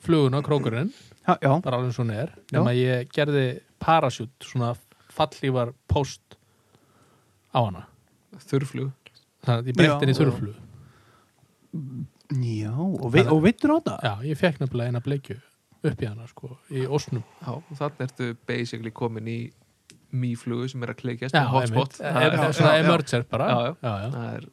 Speaker 1: fluguna, krókurinn
Speaker 3: ha, já,
Speaker 1: bara alveg svona er
Speaker 3: Já.
Speaker 1: nema ég gerði parasut svona fallívar post á hana
Speaker 4: þurrflug
Speaker 1: þannig að ég
Speaker 3: Já.
Speaker 1: breytti henni í þurrflug
Speaker 3: já, og, vi, og vittur á það?
Speaker 1: Já, ég fekk nefnilega eina bleikju upp í hana sko, í ósnum
Speaker 4: Já, og þannig ertu basically komin í mýflugu sem er að kleikjast
Speaker 1: Já,
Speaker 4: með hotspot
Speaker 1: einmitt. Er-
Speaker 4: Það
Speaker 1: er-
Speaker 4: er-
Speaker 1: svona
Speaker 3: já.
Speaker 1: emerger bara
Speaker 4: Já, já.
Speaker 1: já, já.
Speaker 4: það er-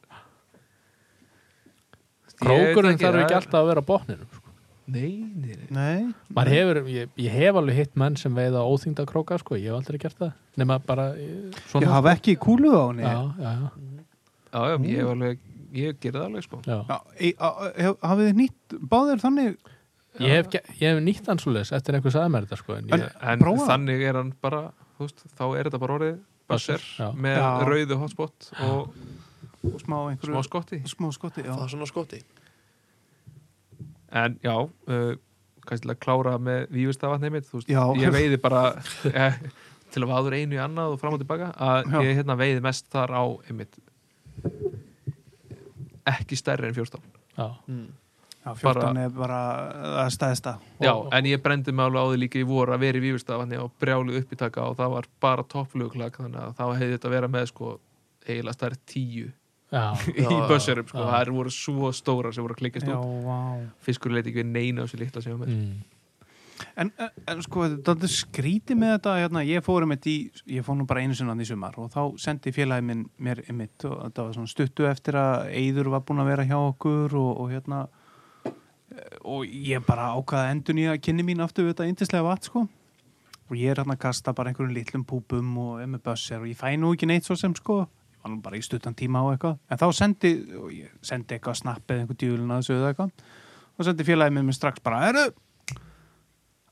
Speaker 4: Ég veit
Speaker 1: Krókurinn þarf
Speaker 4: það
Speaker 1: ekki
Speaker 4: er-
Speaker 1: alltaf að vera á botninum sko.
Speaker 4: Nei, nei, nei
Speaker 3: Nei,
Speaker 1: Maður hefur, ég, ég hef alveg hitt menn sem veiða óþyngda króka, sko, ég hef aldrei gert það nema bara eh,
Speaker 3: ég
Speaker 1: svona
Speaker 3: hafa ekki kúlu á henni
Speaker 1: já, já, já,
Speaker 4: Já, já, ég hef alveg, ég gerði það alveg sko
Speaker 1: já.
Speaker 3: Já, í- á- hef- hafið þið nýtt báðir þannig
Speaker 1: Ég, hef, ge- ég hef nýtt hann svo leis eftir einhver sagði mér þetta sko, en ég,
Speaker 4: En
Speaker 3: Prófaðu.
Speaker 4: þannig er hann bara, þú veist, þá er þetta bara orðið
Speaker 1: Buzzer,
Speaker 4: Basser
Speaker 1: já.
Speaker 4: með
Speaker 3: Já.
Speaker 4: rauðu hotspot og
Speaker 3: og smá einhverju
Speaker 4: smá skotti
Speaker 3: smá skoti, já
Speaker 2: Það er svona skoti
Speaker 4: En já, uh, kannski til að klára með vífustafatnið mitt, þú veist,
Speaker 3: Já.
Speaker 4: ég veiði bara eh, til að vaður einu í annað og fram og tilbaka, að
Speaker 3: Já.
Speaker 4: ég hérna veiði mest þar á, einmitt, ekki stærri en 14.
Speaker 1: já,
Speaker 2: mm.
Speaker 3: Já, 14 er bara að stæðsta
Speaker 4: Já,
Speaker 1: Og-
Speaker 4: en ég brendi mig alveg á því líka í voru að vera í vífustafatni og brjáluð upp í taka og það var bara topplugulag, þannig að þá hefði þetta verið með, sko, eiginlega stærri tíu
Speaker 1: já,
Speaker 2: Já,
Speaker 4: í
Speaker 2: já,
Speaker 4: bössurum, sko,
Speaker 1: já.
Speaker 4: það voru svo stórar sem voru að klikast
Speaker 3: Já,
Speaker 4: út,
Speaker 3: vá
Speaker 4: fiskur leiti ekki við neina á þessu litla sem ég var með.
Speaker 1: mm.
Speaker 3: En, en- en sko, þetta er skrítið með þetta hérna, ég fór um þetta í, ég fór nú bara einu sinna í sumar og þá sendi félagi minn mér um og þetta var svona stuttu eftir að Eiður var búin að vera hjá okkur og, og hérna eh, og ég bara ákvaða endun í að kynni mín aftur við þetta yndislega vatn sko og ég er hérna að kasta bara einhverjum litlum púpum og emmi bösser og ég fæ nú ekki neitt svo sem sko ég var nú bara í stuttan tíma á eitthvað en þá sendi, og ég sendi eitthvað snappið einhver djúlun að þessu eða eitthvað og sendi félagið mér mér strax bara, eru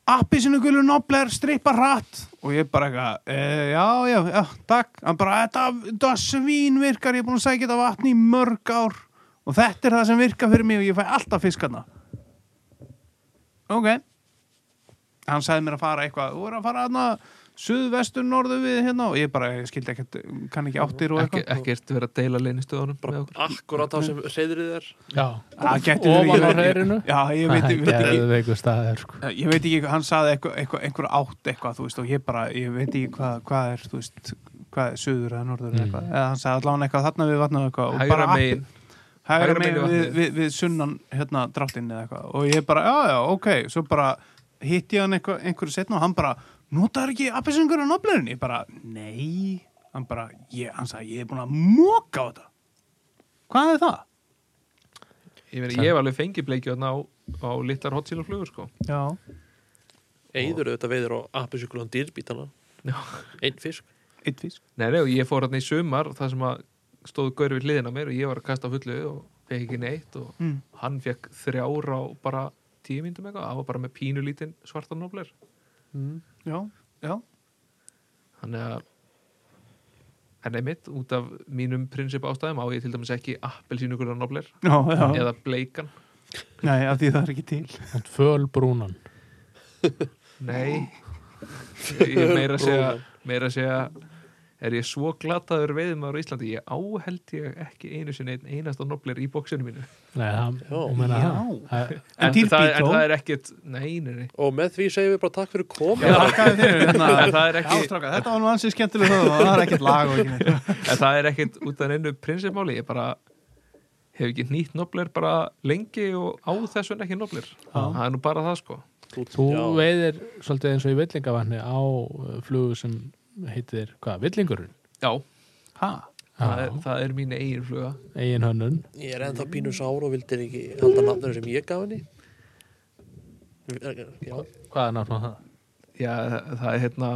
Speaker 3: appi sinu gulu nobler, strippa hratt og ég bara eitthvað, e, já, já, já takk, hann bara, þetta, þetta svín virkar, ég er búin að sækja þetta vatn í mörg ár og þetta er það sem virkar fyrir mig og ég fæ alltaf fiskarna ok hann sagði mér að fara eitthvað, þú er að fara aðna suðvestur norðu við hérna og ég bara, ég skildi ekkert, kann ekki áttir og
Speaker 4: ekki,
Speaker 3: eitthvað
Speaker 4: ekkert verið að deila leynistöðunum með okkur.
Speaker 2: Akkurat það sem reyðrið er
Speaker 1: já,
Speaker 3: Það gæti verið-
Speaker 1: ofan á
Speaker 3: ég-
Speaker 1: hreirinu
Speaker 3: Já, ég veit, ég veit ekki
Speaker 1: geðveikur staður sko.
Speaker 3: Eh, Ég veit ekki, hann saði eitthvað, eitthvað, einhver átt eitthvað, þú veist, og ég bara, ég veit ekki hvað, hvað er, þú veist, hvað er suður eða norður eða
Speaker 1: Mm.
Speaker 3: eitthvað, eða hann saði allan eitthvað þarna við vatnað eitthvað og
Speaker 4: hægra
Speaker 3: bara allt-
Speaker 4: megin
Speaker 3: hægra
Speaker 4: Hægra
Speaker 3: megin
Speaker 4: megin
Speaker 3: við,
Speaker 4: vatnið.
Speaker 3: við, við sunnan hérna dráttinn eða eitthvað og ég bara, já, já, ok, svo bara hitti ég hann eitthvað, einhverju setna og hann bara notaður ekki appisengur á noblerinn ég bara, nei hann bara, ég, hann sagði, ég er búin að móka á þetta hvað er það?
Speaker 4: ég, meina, ég hef alveg fengið bleikju á, á litlar hotsílaflugur sko.
Speaker 3: Já,
Speaker 2: Eður auðvitað veiðir á appisjökulegum dýrbítana
Speaker 4: Já.
Speaker 2: Einn fisk
Speaker 3: eitt fisk
Speaker 4: nei, nei, og ég fór hann í sumar þar sem að stóðu gaur við hliðina á mér og ég var að kasta á fullu og fekk ekki neitt og
Speaker 3: mm.
Speaker 4: hann fekk þrjára á bara tíu myndum eitthvað, það var bara með pínulítinn svartan nobler
Speaker 3: Já, já,
Speaker 4: þannig að hann er mitt út af mínum prinsip ástæðum á ég til dæmis ekki appelsínugur á nobler
Speaker 3: já, já,
Speaker 4: eða bleikan
Speaker 3: nei, af því það er ekki til
Speaker 1: Hann fölbrúnan
Speaker 4: Nei Ég er meira að segja meira að segja er ég svo glataður veiðmaður á Íslandi ég áheld ég ekki einu sinni einn einasta nobler í bóksinu mínu
Speaker 1: Nei, hann,
Speaker 2: Já.
Speaker 1: hún meina
Speaker 3: Já.
Speaker 1: hann Það-
Speaker 3: En
Speaker 4: en, það,
Speaker 3: dýrbít
Speaker 4: en
Speaker 3: þó?
Speaker 4: það er ekkit nei, nei, nei.
Speaker 2: Og með því segjum við bara takk fyrir komið
Speaker 3: Já, þakkaði fyrir hérna.
Speaker 4: En það er
Speaker 3: Já,
Speaker 4: ekki-
Speaker 3: stráka, þetta var nú ansið skemmtileg það og það er ekkert lag og ekki neitt
Speaker 4: en það er ekkit út af neinu prinsipmáli ég bara hef ekki nýtt nobler bara lengi og á þessu en ekki nobler það er nú bara það sko
Speaker 1: Þú veiðir svolítið eins og í villingavatni á uh, flugu sem heitir, hvað, villingurinn?
Speaker 4: já,
Speaker 3: Ha?
Speaker 4: það er, það er mín eigin fluga
Speaker 1: Egin hönnun
Speaker 2: Ég er ennþá pínu sár og vildir ekki halda nafnir sem ég gaf henni Já,
Speaker 1: Hvað er náttúrulega það?
Speaker 4: já, það- það er hérna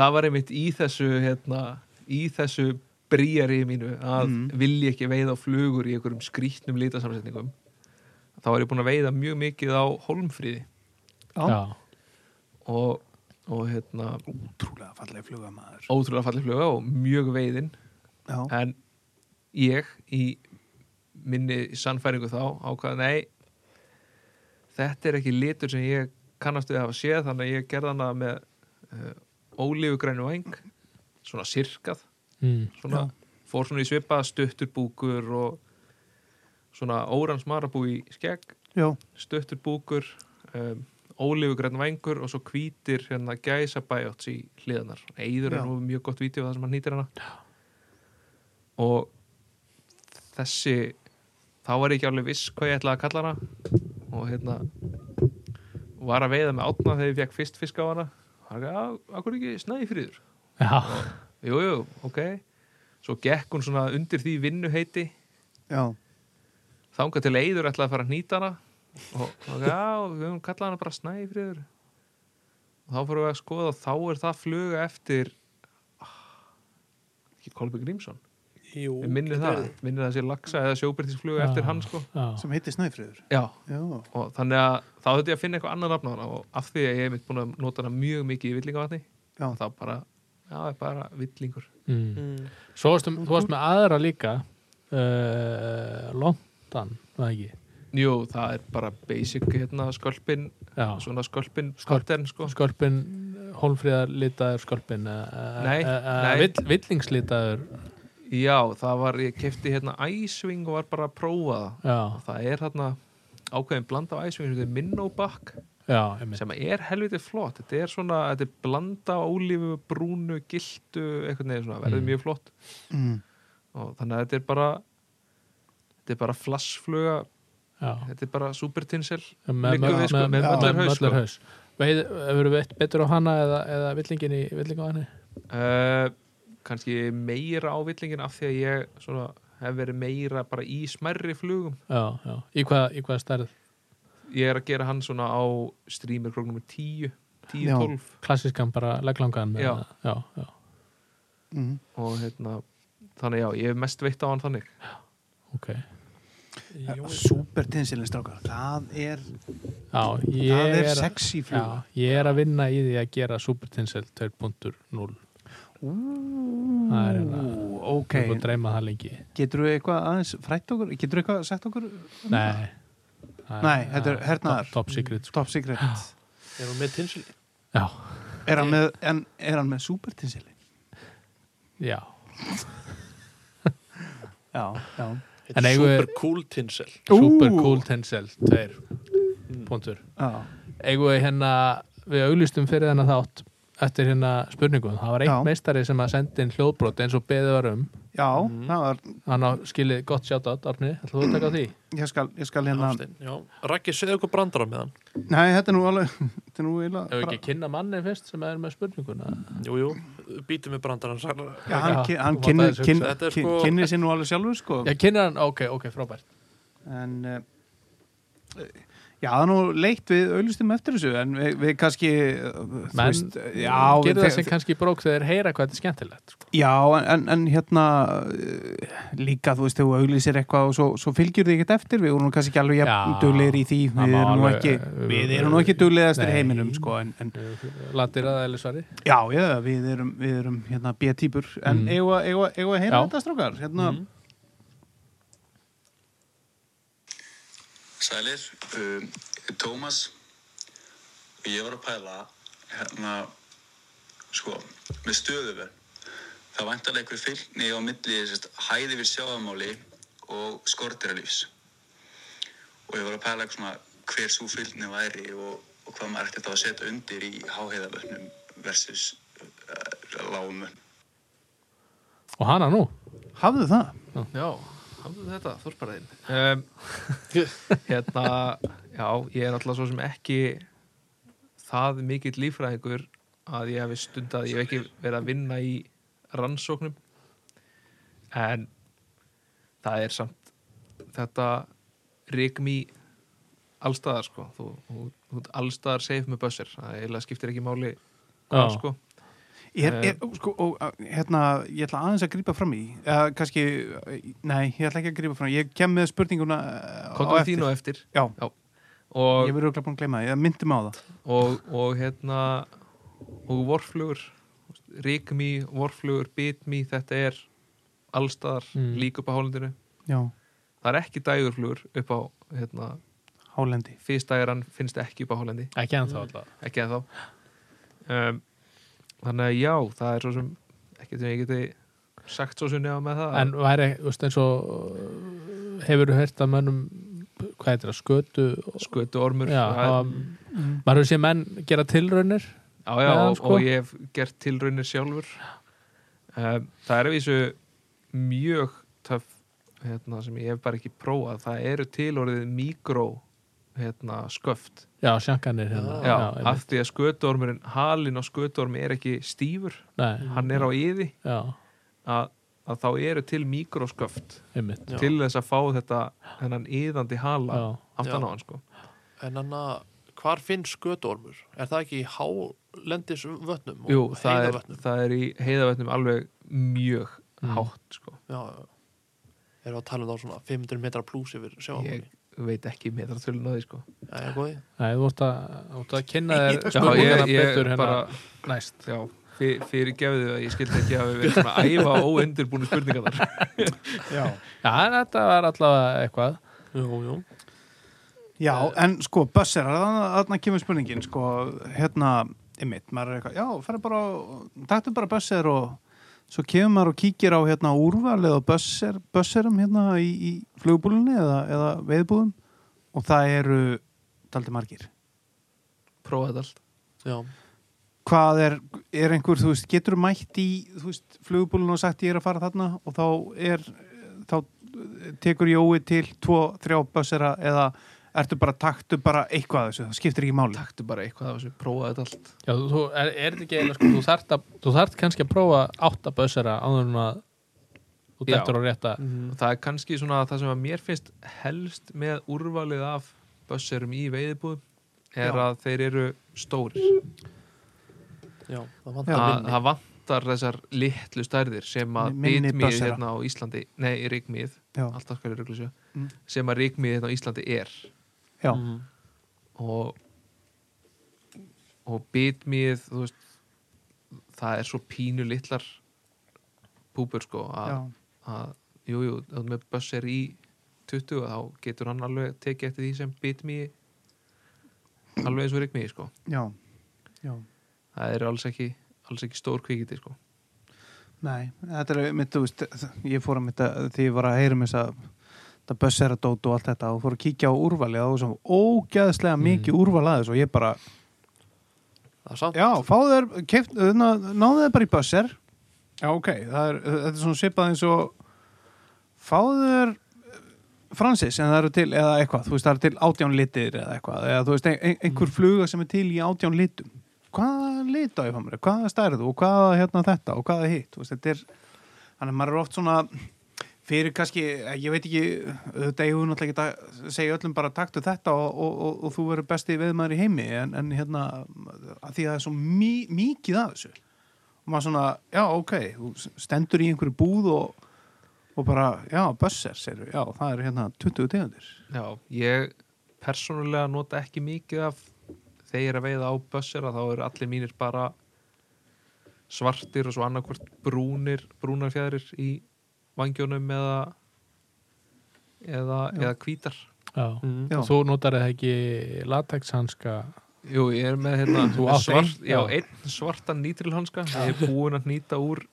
Speaker 4: það var einmitt í þessu hérna, í þessu brýjari mínu að
Speaker 3: Mm.
Speaker 4: vilja ekki veiða á flugur í einhverjum skrýtnum litasamsetningum þá er ég búin að veiða mjög mikið á holmfríði
Speaker 3: Já.
Speaker 4: og, og hérna
Speaker 3: Útrúlega falleg flugamaður
Speaker 4: ótrúlega fallið fluga og mjög veiðin
Speaker 3: Já,
Speaker 4: en ég í minni sannfæringu þá ákvað nei þetta er ekki litur sem ég kannast við að hafa séð þannig að ég gerði hana með uh, ólífugrænu væng svona sirkað
Speaker 1: Mm.
Speaker 4: svona, fór svona í svipa stuttur búkur og svona órans marabú í skegg
Speaker 3: já,
Speaker 4: stuttur búkur um, ólífugræn vængur og svo hvítir hérna gæsa bæjóts í hliðanar Eður
Speaker 3: Já.
Speaker 4: er nú mjög gott vídeo það sem hann nýtir hana og þessi þá var ég ekki alveg viss hvað ég ætlaði að kalla hana og hérna var að veiða með átna þegar ég fekk fyrst fisk á hana hann er að, akkur ekki snæði friður
Speaker 1: Já.
Speaker 4: jú, jú, ok svo gekk hún svona undir því vinnuheiti
Speaker 3: já
Speaker 4: þangað til Eiður ætlaði að fara að nýta hana og, og já, við höfum kallað hana bara Snæfriður og þá fórum við að skoða þá er það fluga eftir Ah, ekki Kolby Grímsson
Speaker 2: jú
Speaker 4: ég minni
Speaker 2: getur
Speaker 4: það,
Speaker 2: verið.
Speaker 4: minni það sé laksa eða sjóbyrtisfluga
Speaker 1: Já.
Speaker 4: eftir hann sko
Speaker 1: Já.
Speaker 3: sem heitir Snæfriður
Speaker 4: já,
Speaker 3: Já,
Speaker 4: og þannig að þá þurfti ég að finna eitthvað annan nafn á hana og af því að ég hef mitt búin að nota hana mjög mikið í villingavatni
Speaker 3: já,
Speaker 4: þá bara, já, er bara villingur
Speaker 1: Mm.
Speaker 2: Mm.
Speaker 1: Svo varstu, þú varst með aðra líka uh, London, var það ekki?
Speaker 4: jú, það er bara basic hérna skölpin,
Speaker 1: Já.
Speaker 4: svona skölpin
Speaker 1: Skölp-
Speaker 4: pattern sko
Speaker 1: Skorpin, hólfríðarlitaður skorpin
Speaker 4: Nei,
Speaker 1: eh,
Speaker 4: nei.
Speaker 1: Villingslitaður
Speaker 4: Já, það var, ég kefti hérna æsving og var bara að prófa það
Speaker 1: Já,
Speaker 4: og það er hérna ákveðin blanda af æsving sem þetta er minnóbakk
Speaker 1: já, einmitt
Speaker 4: sem er helviti flott, þetta er svona þetta er blanda af ólífu, brúnu, giltu eitthvað neður svona, verður
Speaker 1: Mm.
Speaker 4: mjög flott
Speaker 3: mm.
Speaker 4: og þannig að þetta er bara þetta er bara flassfluga
Speaker 1: Já.
Speaker 4: þetta er bara supertinsel
Speaker 1: með,
Speaker 4: Liggur við, sko,
Speaker 1: með, með,
Speaker 4: með
Speaker 1: með,
Speaker 4: möllur
Speaker 1: með
Speaker 4: haus, sko.
Speaker 1: möllur haus Veið, hefur við betur á hana eða, eða villingin í villingaðanni?
Speaker 4: uh, kannski meira ávillingin af því að ég svona hef verið meira bara í smerri flugum
Speaker 1: Já, já, í hvað, í hvað stærð
Speaker 4: ég er að gera hann svona á streamer króknum 10, 10,
Speaker 3: Já.
Speaker 4: 12
Speaker 1: klassískan bara legglangan
Speaker 4: Já.
Speaker 1: eða- já, já.
Speaker 3: Mm.
Speaker 4: og hérna þannig já, ég hef mest veitt á hann þannig
Speaker 1: ok
Speaker 3: Súper tinsilin strákar Það er,
Speaker 1: já, ég
Speaker 3: það er
Speaker 1: að-
Speaker 3: sexy fluga
Speaker 1: já, ég er að vinna í því að gera Supertinsel 2.0
Speaker 3: Ú,
Speaker 1: Það er hérna-
Speaker 3: ok
Speaker 1: okay. og dreyma það lengi
Speaker 3: Getur þú eitthvað aðeins frætt okkur? Getur þú eitthvað sett okkur?
Speaker 1: nei,
Speaker 3: Nei, þetta er hernaðar.
Speaker 1: top, top secret sko.
Speaker 3: Top secret
Speaker 2: Er hún með tinsli?
Speaker 1: já,
Speaker 3: Er hann með, en, er hann með supertinsili?
Speaker 1: já,
Speaker 3: Já, já.
Speaker 1: En eigum við-
Speaker 2: Super cool tinsel
Speaker 3: Ú. Hmm.
Speaker 1: super cool tensel tveir, punktur
Speaker 3: já.
Speaker 1: eigum við hérna, við auðlistum fyrir þennan þátt eftir hérna spurningum það var
Speaker 3: Já.
Speaker 1: einn meistari sem að senda inn hljóðbrot eins og beðið var um
Speaker 3: Já, það var,
Speaker 1: hann á skilið gott sjátt Arni, ætlaðu að taka því?
Speaker 3: ég skal, ég skal hérna,
Speaker 2: Hafstein, já. Raggi, segðu okkur brandara með hann
Speaker 3: nei, þetta er nú alveg, þetta er nú eiginlega
Speaker 1: Ef við
Speaker 3: bara-
Speaker 1: ekki kynna manni fyrst sem er með spurninguna
Speaker 2: Jú, jú, býtum við brandaran sagði hann.
Speaker 3: Já, hann,
Speaker 1: Já,
Speaker 3: ki- hann
Speaker 1: þú
Speaker 3: kynni,
Speaker 1: mátt aðeins
Speaker 3: kynni,
Speaker 2: hugsa. Þetta er
Speaker 3: kynni,
Speaker 2: sko-
Speaker 3: kynni sér nú alveg sjálfur, sko.
Speaker 1: Já, kynna hann, ok, ok, frábært
Speaker 3: En, uh, já, það er nú leitt við auðlustum eftir þessu, en við, við kannski, eh, þú
Speaker 1: Menn
Speaker 3: veist, eh, já, við,
Speaker 1: Gerðu það sem kannski brók þegar þeir heyra hvað þetta er skemmtilegt sko.
Speaker 3: já, en- en, en hérna, eh, líka, þú veist, þegar þú auðlýsir eitthvað og svo, svo fylgjur þið ekkert eftir, við vorum nú kannski ekki alveg jafn
Speaker 1: Já,
Speaker 3: duglegir í því,
Speaker 1: það
Speaker 3: við
Speaker 1: má
Speaker 3: erum nú
Speaker 1: alveg,
Speaker 3: ekki,
Speaker 1: eh,
Speaker 3: við erum nú ekki duglegast í
Speaker 1: Nei.
Speaker 3: heiminum, sko, en, en
Speaker 1: Latir að Elisvari
Speaker 3: já, já, við erum, við erum, hérna, B-týpur, en
Speaker 1: Mm.
Speaker 3: mm. eigum að- eigum að eigum að heyra
Speaker 1: Já.
Speaker 3: þetta, strókar, hérna,
Speaker 2: Mhm.
Speaker 7: Sælir, um, ég er Tómas og ég var að pæla hérna, sko, með stöðuverð. Það vantar einhver fylgni á milli sérst, hæði við sjáamáli og skortiralífs. Og ég var að pæla eitthvað svona hver svo fylgni væri og, og hvað maður ætti þá að setja undir í háheiðavötnum versus uh, lágum vötnum.
Speaker 1: Og hana nú
Speaker 3: hafðu það?
Speaker 4: Já, hafðu þetta, þorparæðin um, Hérna, já, ég er alltaf svo sem ekki það mikill líffræðingur að ég hef stundað, ég hef ekki verið að vinna í rannsóknum en það er samt þetta reikmi allstaðar sko þú, þú, þú ert allstaðar safe með bössir það eiginlega skiptir ekki máli hvað
Speaker 1: Já.
Speaker 4: sko
Speaker 3: Er,
Speaker 4: Eh,
Speaker 3: er, sko, og, uh, hérna, ég ætla aðeins að grípa fram í uh, kannski, uh, nei, ég ætla ekki að grípa fram í ég kem með spurninguna uh,
Speaker 4: kontum við þín og eftir
Speaker 3: Já,
Speaker 4: og
Speaker 3: ég verður örugglega búin að gleyma það, ég myndi mig á það
Speaker 4: og, og hérna og vorflugur ríkmi, vorflugur, bitmi þetta er allstaðar
Speaker 1: Mm.
Speaker 4: líka upp á hálendinu
Speaker 3: Já,
Speaker 4: það er ekki dægurflugur upp á hérna,
Speaker 3: hálendi
Speaker 4: fyrstægran finnst ekki upp á hálendi
Speaker 1: Ekki
Speaker 3: Mm.
Speaker 1: ennþá alltaf
Speaker 4: ekki að þá um, þannig að já, það er svo sem ekki sem ég geti sagt svo sem nefna með það
Speaker 1: En væri, þú veist, eins og hefur þú heyrt að mönnum hvað heitir það, skötu
Speaker 4: skötu ormur
Speaker 1: Já,
Speaker 4: það er,
Speaker 1: það,
Speaker 4: Mhm.
Speaker 1: maður hefur séð menn gera tilraunir
Speaker 4: Já, já,
Speaker 1: meðan,
Speaker 4: og,
Speaker 1: sko.
Speaker 4: og ég hef gert tilraunir sjálfur um, Það er að vísu mjög töff hérna, sem ég hef bara ekki prófað það eru til orðið mikró hérna, sköft
Speaker 1: Já, sjankanir hérna
Speaker 4: já,
Speaker 1: einmitt.
Speaker 4: af því að skötuormurinn, halinn á skötuormi er ekki stífur,
Speaker 1: Nei,
Speaker 4: hann er á yði
Speaker 1: já,
Speaker 4: að, að þá eru til mikró sköft
Speaker 1: einmitt
Speaker 2: Já.
Speaker 4: til þess að fá þetta þennan yðandi hala
Speaker 1: Já.
Speaker 4: aftan
Speaker 2: Já.
Speaker 4: á hann sko
Speaker 2: En hann að hvar finnst skötormur? Er það ekki í hálendis vötnum?
Speaker 4: Jú, það er,
Speaker 2: Vötnum?
Speaker 4: það er í heiðavötnum alveg mjög
Speaker 1: Mm.
Speaker 4: hátt sko
Speaker 2: Já, já. Erum við að tala um þá svona 500 metra pluss yfir sjáamáli?
Speaker 4: ég veit ekki metratölun á því sko
Speaker 2: Jæja, góði.
Speaker 1: Nei, þú vart að, þú vart að kynna þér
Speaker 4: Já, ég,
Speaker 1: spurningana
Speaker 4: ég
Speaker 1: betur hérna
Speaker 4: bara,
Speaker 1: næst
Speaker 4: já, fyr, fyrir gefðu að ég skildi ekki að við verðum svona að æfa óundirbúinu spurningar þar.
Speaker 3: Já,
Speaker 1: Já, þetta var allavega eitthvað
Speaker 2: Jú, jú.
Speaker 3: já en sko, Bösser, þarna kemur spurningin sko, hérna, ymmit, maður er eitthvað já, ferðu bara, á- taktu bara Bösser og svo kemur maður og kíkir á hérna úrvalið og Bösser, Bösserum hérna í, í flugbúlunni eða, eða veiðbúðum og það eru daldi margir
Speaker 4: prófa þetta allt
Speaker 2: Já.
Speaker 3: hvað er, er einhver, þú veist, getur mætt í, þú veist, flugubúlun og sagt ég er að fara þarna og þá er þá tekur Jói til tvo, þrjá bössera eða ertu bara, taktu bara eitthvað af þessu, það skiptir ekki máli.
Speaker 4: taktu bara eitthvað af þessu, prófa þetta allt
Speaker 1: Já, þú- þú, er, er þetta ekki eiginlega sko, þú þart, að, þú þart kannski að prófa átta bössara áður en að þú
Speaker 4: Já.
Speaker 1: dættur á rétta
Speaker 4: og það er kannski svona það sem að mér finnst helst með úrvalið af bösserum í veiðbúðum er
Speaker 3: Já.
Speaker 4: að þeir eru stórir
Speaker 2: Já, það
Speaker 3: Já.
Speaker 2: vantar
Speaker 4: það,
Speaker 2: minni.
Speaker 4: það vantar þessar litlu stærðir sem að
Speaker 3: Minni
Speaker 4: bitmið
Speaker 3: bössera.
Speaker 4: hérna á Íslandi nei, ríkmið,
Speaker 3: Já,
Speaker 4: alltaf skal ég röglisja
Speaker 3: Mm.
Speaker 4: sem að ríkmið hérna á Íslandi er
Speaker 3: já,
Speaker 2: Mhm.
Speaker 4: og og bitmið þú veist það er svo pínu litlar púpur sko
Speaker 3: já,
Speaker 4: að, að jú, jú, ef þú ert með Bösser í 20 þá getur hann alveg tekið eftir því sem bitmið alveg eins og rigmið sko
Speaker 3: já, já.
Speaker 4: það er alls ekki, alls ekki stór kvikiti sko.
Speaker 3: Nei, þetta er mitt, þú veist, ég fór að mitt að því ég var að heyra um þess að þetta bösseradót og allt þetta og fór að kíkja á úrvalið og svo ógæðslega mikið úrval aðeins og ég bara,
Speaker 2: það er samt
Speaker 3: já, fáðu þér, keypt- eh, ná- náðu þér bara í bösser. Já, ok, það er, þetta er svona svipað eins og fáðu þér Francis en það eru til, eða eitthvað, þú veist, það eru til átján litir eða eitthvað, eða þú veist, ein, ein, einhver fluga sem er til í átján litum. Hvaða lit á ég fá mér, hvaða stærðu og hvaða hérna þetta og hvaða hitt, þú veist, þetta er, þannig að maður er oft svona fyrir kannski, eh, ég veit ekki auðvitað ég hún náttúrulega ekki að segja öllum bara taktu þetta og, og, og, og þú verður besti veðmaður í heimi en, en hérna að því að það er svo mí, mikið af þessu og maður svona, já ok þú stendur í einhverju búð og, og bara, já, bösser segir, já, það eru hérna 20 tegundir
Speaker 4: Já, ég persónulega nota ekki mikið af þegar ég er að veiða á bössir að þá eru allir mínir bara svartir og svo annarkvort brúnir brúnar fjæðrir í vangjónum eða eða, eða hvítar
Speaker 1: Já.
Speaker 2: Mhm.
Speaker 3: Já.
Speaker 4: Mm.
Speaker 1: Þú notar það ekki latexhanska
Speaker 4: Jú, ég er með hérna
Speaker 1: Þú átt
Speaker 4: svart,
Speaker 1: einn,
Speaker 4: já,
Speaker 1: já.
Speaker 4: einn svartan nýtrilhanska ég er búinn að nýta úr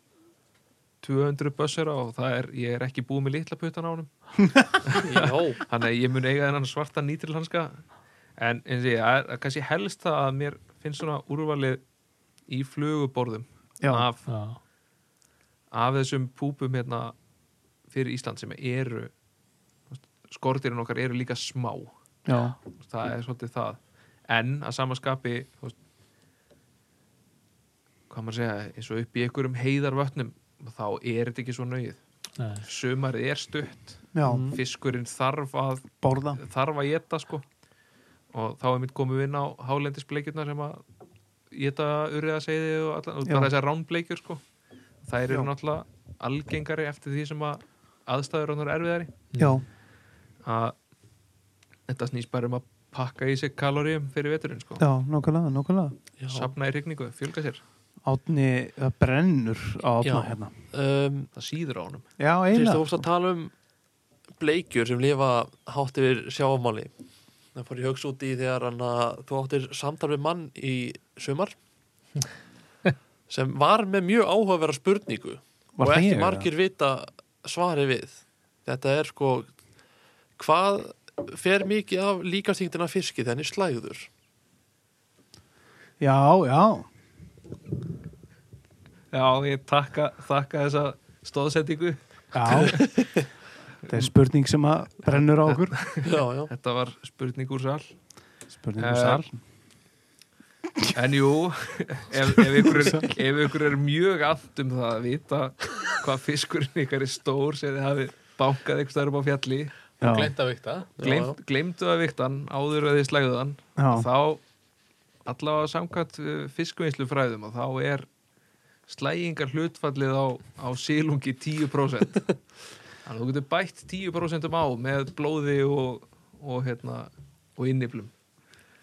Speaker 4: 200 bössera og það er, ég er ekki búinn með litla puttan á honum
Speaker 2: já,
Speaker 4: Þannig að ég mun eiga þennan svarta nýtilhanska en eins og ég, það er- það er kannski helst það að mér finnst svona úrvalið í fluguborðum
Speaker 3: Já.
Speaker 2: Ah.
Speaker 4: af,
Speaker 1: Já.
Speaker 4: af þessum púpum hérna fyrir Ísland sem eru skortirinn okkar eru líka smá
Speaker 3: já,
Speaker 4: Þú veist, það er svolítið það en að samaskapi hvað maður segja eins og upp í einhverjum heiðarvötnum þá er þetta ekki svo nöyð
Speaker 1: Nei.
Speaker 4: sumarið er stutt
Speaker 3: já,
Speaker 2: Mm.
Speaker 4: fiskurinn þarf að
Speaker 3: borða
Speaker 4: þarf að geta sko og þá er mitt komið inn á hálendisbleikjurna sem að geta urriða segði og, allan, og
Speaker 3: Já.
Speaker 4: bara þessar ránbleikjur sko þær eru
Speaker 3: Já.
Speaker 4: náttúrulega algengari eftir því sem að aðstæður hann eru erfiðari
Speaker 3: já,
Speaker 4: að þetta snýst bara um að pakka í sig kaloríum fyrir veturinn sko
Speaker 3: já, nákvæmlega, nákvæmlega
Speaker 2: já.
Speaker 4: safna í rigningu, fjölga sér,
Speaker 3: átni það brennur á átna
Speaker 2: Já.
Speaker 3: hérna
Speaker 2: Um,
Speaker 4: það síður á honum
Speaker 3: já,
Speaker 2: Þeir þú
Speaker 3: eiginlega,
Speaker 2: fórst að tala um bleikjur sem lifa hátt yfir sjáumáli það fór ég hugsa út í þegar hann að þú áttir samtal við mann í sumar sem var með mjög áhugaverða spurningu
Speaker 3: Var
Speaker 2: og
Speaker 3: það
Speaker 2: ekki
Speaker 3: ég,
Speaker 2: margir vita svari við þetta er sko hvað fer mikið af líkastingdina fiski þegar hann er slæður
Speaker 3: já, já
Speaker 4: Já, ég takka, takka þessa stóðsendingu
Speaker 3: já þetta er spurning sem að brennur á okkur
Speaker 2: já, já,
Speaker 4: þetta var spurning úr sal
Speaker 3: spurning
Speaker 4: Eh,
Speaker 3: um sal
Speaker 4: En jú, ef, ef, ykkur er, ef ykkur er mjög allt um það að vita hvað fiskurinn ykkar er stór sem þið hafið bankað ykkur staður upp á fjalli
Speaker 3: Já.
Speaker 1: Gleint að vikta
Speaker 4: gleymd, gleymdu að viktan áður að þið slægðu hann
Speaker 3: Já.
Speaker 4: þá allavega samkvæmt fiskvinnslu fræðum og þá er slægingar hlutfallið á, á sílungi 10% þannig að þú getur bætt 10% á með blóði og, og, hérna, og inniflum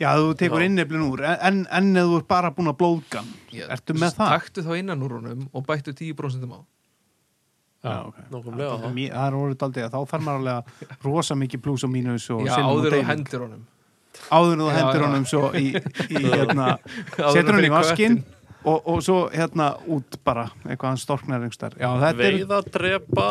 Speaker 3: Já, þú tekur inneflin úr, en, en eða þú ert bara búin að blóðgan, ertu með það?
Speaker 4: Taktu þá innan úr honum og bættu 10% á
Speaker 3: Já, ok.
Speaker 2: nákvæmlega
Speaker 3: Það er mí- það er orðið daldið að þá þarf maður alveg að rosa mikið plús og mínus og
Speaker 4: Já,
Speaker 3: sinnum og
Speaker 4: áður og
Speaker 3: deilum.
Speaker 4: hendur honum
Speaker 3: áður en þú
Speaker 4: Já,
Speaker 3: hendur
Speaker 4: já.
Speaker 3: honum svo í, í hérna,
Speaker 4: Áður en
Speaker 3: setur hann
Speaker 4: fyrir
Speaker 3: í vaskinn og, og svo hérna út bara eitthvað hann storknar einhverstaðar. Já, þetta er,
Speaker 2: veiða, drepa,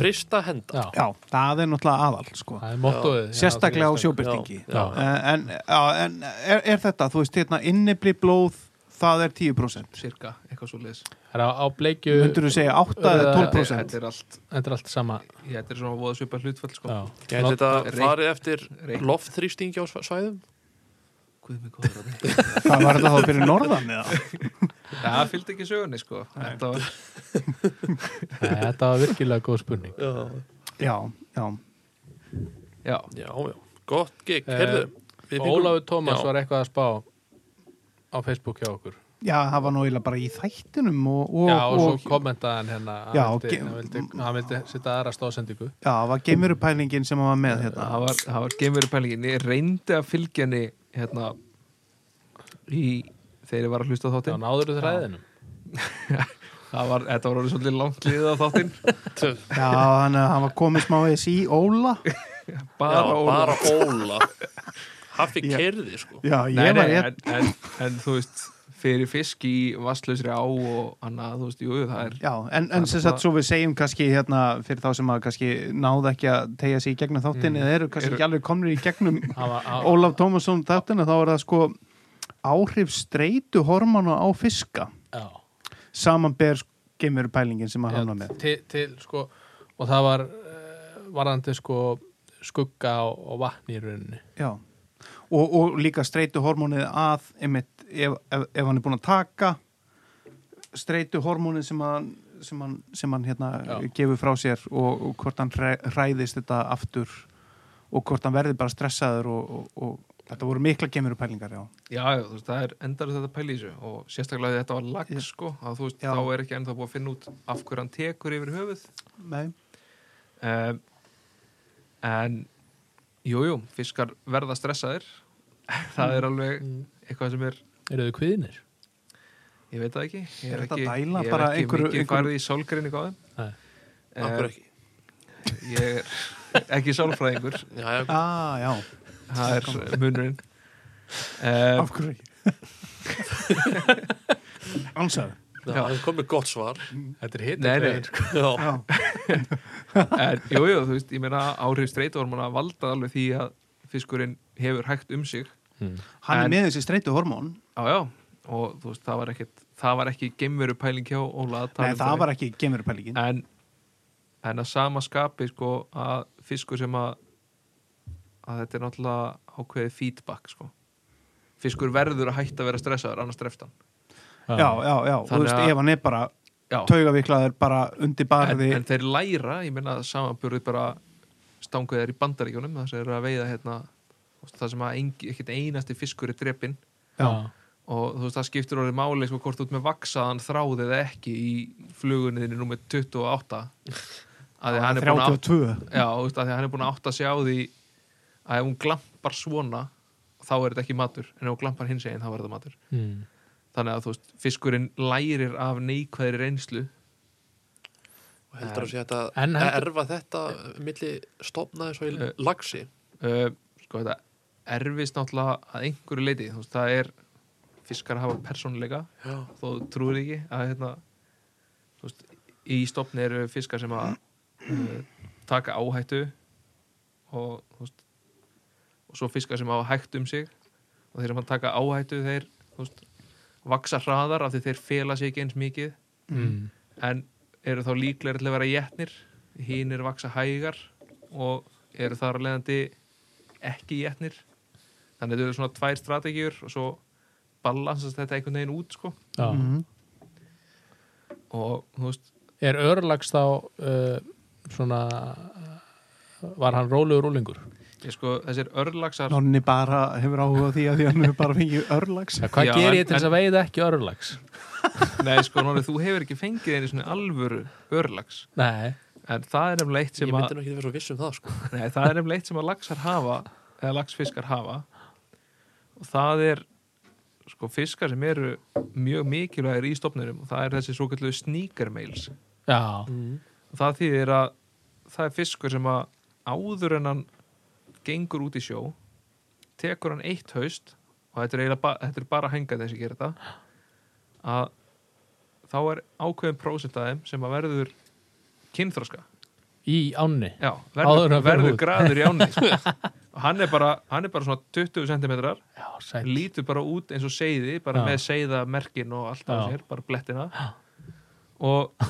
Speaker 2: frista, henda
Speaker 1: Já,
Speaker 3: já, það er náttúrulega aðal, sko.
Speaker 1: það er mottoðið Já,
Speaker 3: Sérstaklega á
Speaker 1: það er
Speaker 3: sjóbyrtingi.
Speaker 2: Já, já.
Speaker 3: En, já, en er, er þetta, þú veist, hérna, innibli blóð, það er 10%.
Speaker 4: cirka, eitthvað svo liðs
Speaker 1: Það er á, á bleikju
Speaker 3: Mundur þú segja 8 eða
Speaker 1: Þetta-
Speaker 3: 12%?
Speaker 4: Þetta er allt,
Speaker 1: Þetta er allt sama
Speaker 4: ég, þetta er svona voða svipað hlutfall sko.
Speaker 1: Já.
Speaker 2: Gæti
Speaker 1: Not-
Speaker 2: þetta
Speaker 4: reynt-
Speaker 2: farið eftir
Speaker 4: reynt.
Speaker 2: loftþrýstingi á svæ- svæðum?
Speaker 4: Guð mig góður að þetta.
Speaker 3: Hvað var þetta þá fyrir norðan eða?
Speaker 4: Það fylgdi ekki sögunni sko. Þetta var,
Speaker 1: Nei, Þetta var virkilega góð spurning
Speaker 2: Já,
Speaker 3: Já, já.
Speaker 4: Já,
Speaker 2: já, já. Gott gig,
Speaker 1: Eh,
Speaker 2: heyrðu við fengum-
Speaker 1: Ólafur Tómas
Speaker 2: Já.
Speaker 1: var eitthvað að spá á Facebook hjá okkur
Speaker 3: Já, það var náðilega bara í þættinum og, og,
Speaker 1: Já, og svo
Speaker 3: og
Speaker 1: kommentaði hann hérna hann
Speaker 3: Já,
Speaker 1: vildi,
Speaker 3: ge-
Speaker 1: hann vildi, hann vildi sitta aðra stóðsendingu
Speaker 3: já, það var geimurupælingin sem hann var með hérna.
Speaker 4: það var, það var geimveru pælingin Ég reyndi að fylgja henni hérna, í, þegar ég var að hlusta á
Speaker 1: Já,
Speaker 4: þáttinn
Speaker 1: náður þú þræðinum
Speaker 4: Það var, Þetta var orðið svolítið langt liðið á þáttinn
Speaker 3: Já, hann, hann var komið smá eða í óla
Speaker 4: Bara
Speaker 2: já,
Speaker 4: Ólaf
Speaker 2: bara óla Hafi kerði sko
Speaker 3: Já, ég
Speaker 4: Nei,
Speaker 3: var
Speaker 4: nei,
Speaker 3: ég
Speaker 4: en, en, en þú veist fyrir fisk í vasslausri á og annað, þú veist, jú, það er
Speaker 3: Já, en, en
Speaker 4: Það er
Speaker 3: sem
Speaker 4: bara-
Speaker 3: sagt svo við segjum kannski hérna fyrir þá sem að kannski náða ekki að tegja sig í gegnum þáttin eða eru kannski
Speaker 4: Eru-
Speaker 3: ekki alveg komnir í gegnum
Speaker 1: Hafa- hafa-
Speaker 3: Ólaf Tómasson þáttin þá er það sko áhrif streitu hormona á fiska
Speaker 1: já,
Speaker 3: samanber gemur pælingin sem að
Speaker 1: já,
Speaker 3: hafna með
Speaker 1: til, til sko og það var uh, varðandi sko skugga og, og vatn í rauninni
Speaker 3: Já, og, og líka streitu hormonið að einmitt, ef, ef, ef hann er búin að taka streitu hormonið sem hann, sem hann, sem hann hérna
Speaker 1: Já.
Speaker 3: gefur frá sér og, og hvort hann hræ- hræðist þetta aftur og hvort hann verði bara stressaður og, og, og þetta voru mikla gemur pælingar, já.
Speaker 4: Já, já, þú veist, það er endar þetta pæli í þessu og sérstaklega ef þetta var lag,
Speaker 3: Já.
Speaker 4: sko, að þú veist,
Speaker 3: Já.
Speaker 4: þá er ekki ennþá búið að finna út af hverju hann tekur yfir höfuð.
Speaker 3: Nei.
Speaker 4: Um, en, jú, jú, fiskar verða stressaðir, það er alveg eitthvað sem er,
Speaker 1: eru þau kviðinir?
Speaker 4: ég veit það ekki, ég
Speaker 3: Er
Speaker 4: er
Speaker 3: þetta
Speaker 4: ekki,
Speaker 3: að
Speaker 4: ég
Speaker 3: dæla
Speaker 4: er
Speaker 3: bara
Speaker 4: ekki
Speaker 3: einhverju-
Speaker 4: mikið
Speaker 3: einhverju-
Speaker 4: farið í sólgrinni gáðum.
Speaker 1: Nei.
Speaker 2: af hverju ekki
Speaker 4: Ég er ekki sálfræðingur,
Speaker 2: já, já,
Speaker 3: Ah, já.
Speaker 4: það er munurinn. Um,
Speaker 3: Af hverju ekki? Ansæðu.
Speaker 2: já,
Speaker 4: Já.
Speaker 2: það kom með gott svar
Speaker 1: Þetta er
Speaker 4: nei, nei,
Speaker 2: já,
Speaker 3: Já,
Speaker 4: en, jú, jú, þú veist, ég meina áhrif streituhormona valda alveg því að fiskurinn hefur hægt um sig
Speaker 3: hann
Speaker 4: En-
Speaker 3: er með þessi streitu hormón.
Speaker 4: já, já, og þú veist, það var ekkit það var ekki geimveru pæling hjá Óla að tala
Speaker 3: Nei,
Speaker 4: um
Speaker 3: það var ekki gemur pælingin.
Speaker 4: en, en að sama skapi sko, að fiskur sem að að þetta er náttúrulega ákveðið feedback sko. fiskur verður að hætta að vera stressaður annars dreftan
Speaker 3: Já, já, já. Þú
Speaker 4: Þannig
Speaker 3: veist,
Speaker 4: að-
Speaker 3: ef hann er bara
Speaker 4: já,
Speaker 3: taugaviklaður bara undir
Speaker 4: en,
Speaker 3: barði
Speaker 4: en þeir læra, ég meina að samanburðið bara stanguð er í bandaríkjónum þess að er að veiða hérna þú veist, það sem að engi, ekkit einasti fiskur er drepinn
Speaker 1: já.
Speaker 4: og þú veist það skiptir orðið máli sko hvort út með vaksaðan þráð eða ekki í flugunniðinni númer 28 að því hann er búin að átt-
Speaker 3: 32
Speaker 4: já, þú veist, af því að hann er búin að átta sig á því að ef hún glampar svona þá er þetta ekki matur en ef hún glampar hins einn þá er þetta matur
Speaker 1: Mm.
Speaker 4: þannig að þú veist fiskurinn lærir af neikvæðri reynslu
Speaker 2: og heldur að sé þetta
Speaker 1: En
Speaker 2: að
Speaker 1: heldur-
Speaker 2: erfa þetta milli stopnaði svo í
Speaker 4: Eh.
Speaker 2: lagsi
Speaker 4: uh, sko þetta erfist náttúrulega að einhverju leiti þú veist það er fiskar hafa persónuleika
Speaker 2: já,
Speaker 4: þó þú trúir því ekki að hérna, þú veist, í stopni eru fiskar sem að uh, taka áhættu og, þú veist, og svo fiskar sem hafa hægt um sig og þeir sem að taka áhættu þeir þú veist, vaksa hraðar af því þeir fela sig ekki eins mikið
Speaker 1: Mm.
Speaker 4: en eru þá líklegri til að vera jætnir hínir vaksa hægar og eru þar af leiðandi ekki jætnir þannig að þetta eru svona tvær strategíur og svo balansast þetta einhvern veginn út sko
Speaker 1: Já.
Speaker 3: Mhm.
Speaker 4: og þú veist,
Speaker 1: er örlags þá uh, svona var hann rólegur rúlingur
Speaker 4: ég sko, þessir örlagsar
Speaker 3: Nonni bara hefur áhuga á því að því hann hefur bara fengið örlags
Speaker 1: ja, hvað
Speaker 4: Já,
Speaker 1: gerir
Speaker 4: en-
Speaker 1: ég til þess að veiða ekki örlags
Speaker 4: nei sko, Nóri, þú hefur ekki fengið einu svona alvöru örlags
Speaker 1: nei,
Speaker 4: en það er nefnilegt
Speaker 2: ég
Speaker 4: sem
Speaker 2: myndi
Speaker 4: að
Speaker 2: nú ekki vera svo viss um það sko.
Speaker 4: nei, það er nefnilegt sem að lagsar hafa eða lagsfiskar hafa og það er sko fiskar sem eru mjög mikilvægir í stofnunum og það er þessi svo kallu sníkermeils
Speaker 1: já,
Speaker 4: og það þýðir að það er fiskur sem að áður en hann gengur út í sjó tekur hann eitt haust og þetta er, eiginlega ba þetta er bara að henga þess að gera þetta að þá er ákveðin prósent af þeim sem að verður kynþroska
Speaker 1: í ánni
Speaker 4: Já,
Speaker 1: Áður
Speaker 4: verður,
Speaker 1: en hann fer
Speaker 4: verður
Speaker 1: út.
Speaker 4: graður í áni sko. og hann er, bara, hann er bara svona 20 cm
Speaker 1: já, sæll.
Speaker 4: lítur bara út eins og seiði bara
Speaker 1: Já.
Speaker 4: með seiðamerkin og allt á
Speaker 1: Já.
Speaker 4: sér, bara blettina og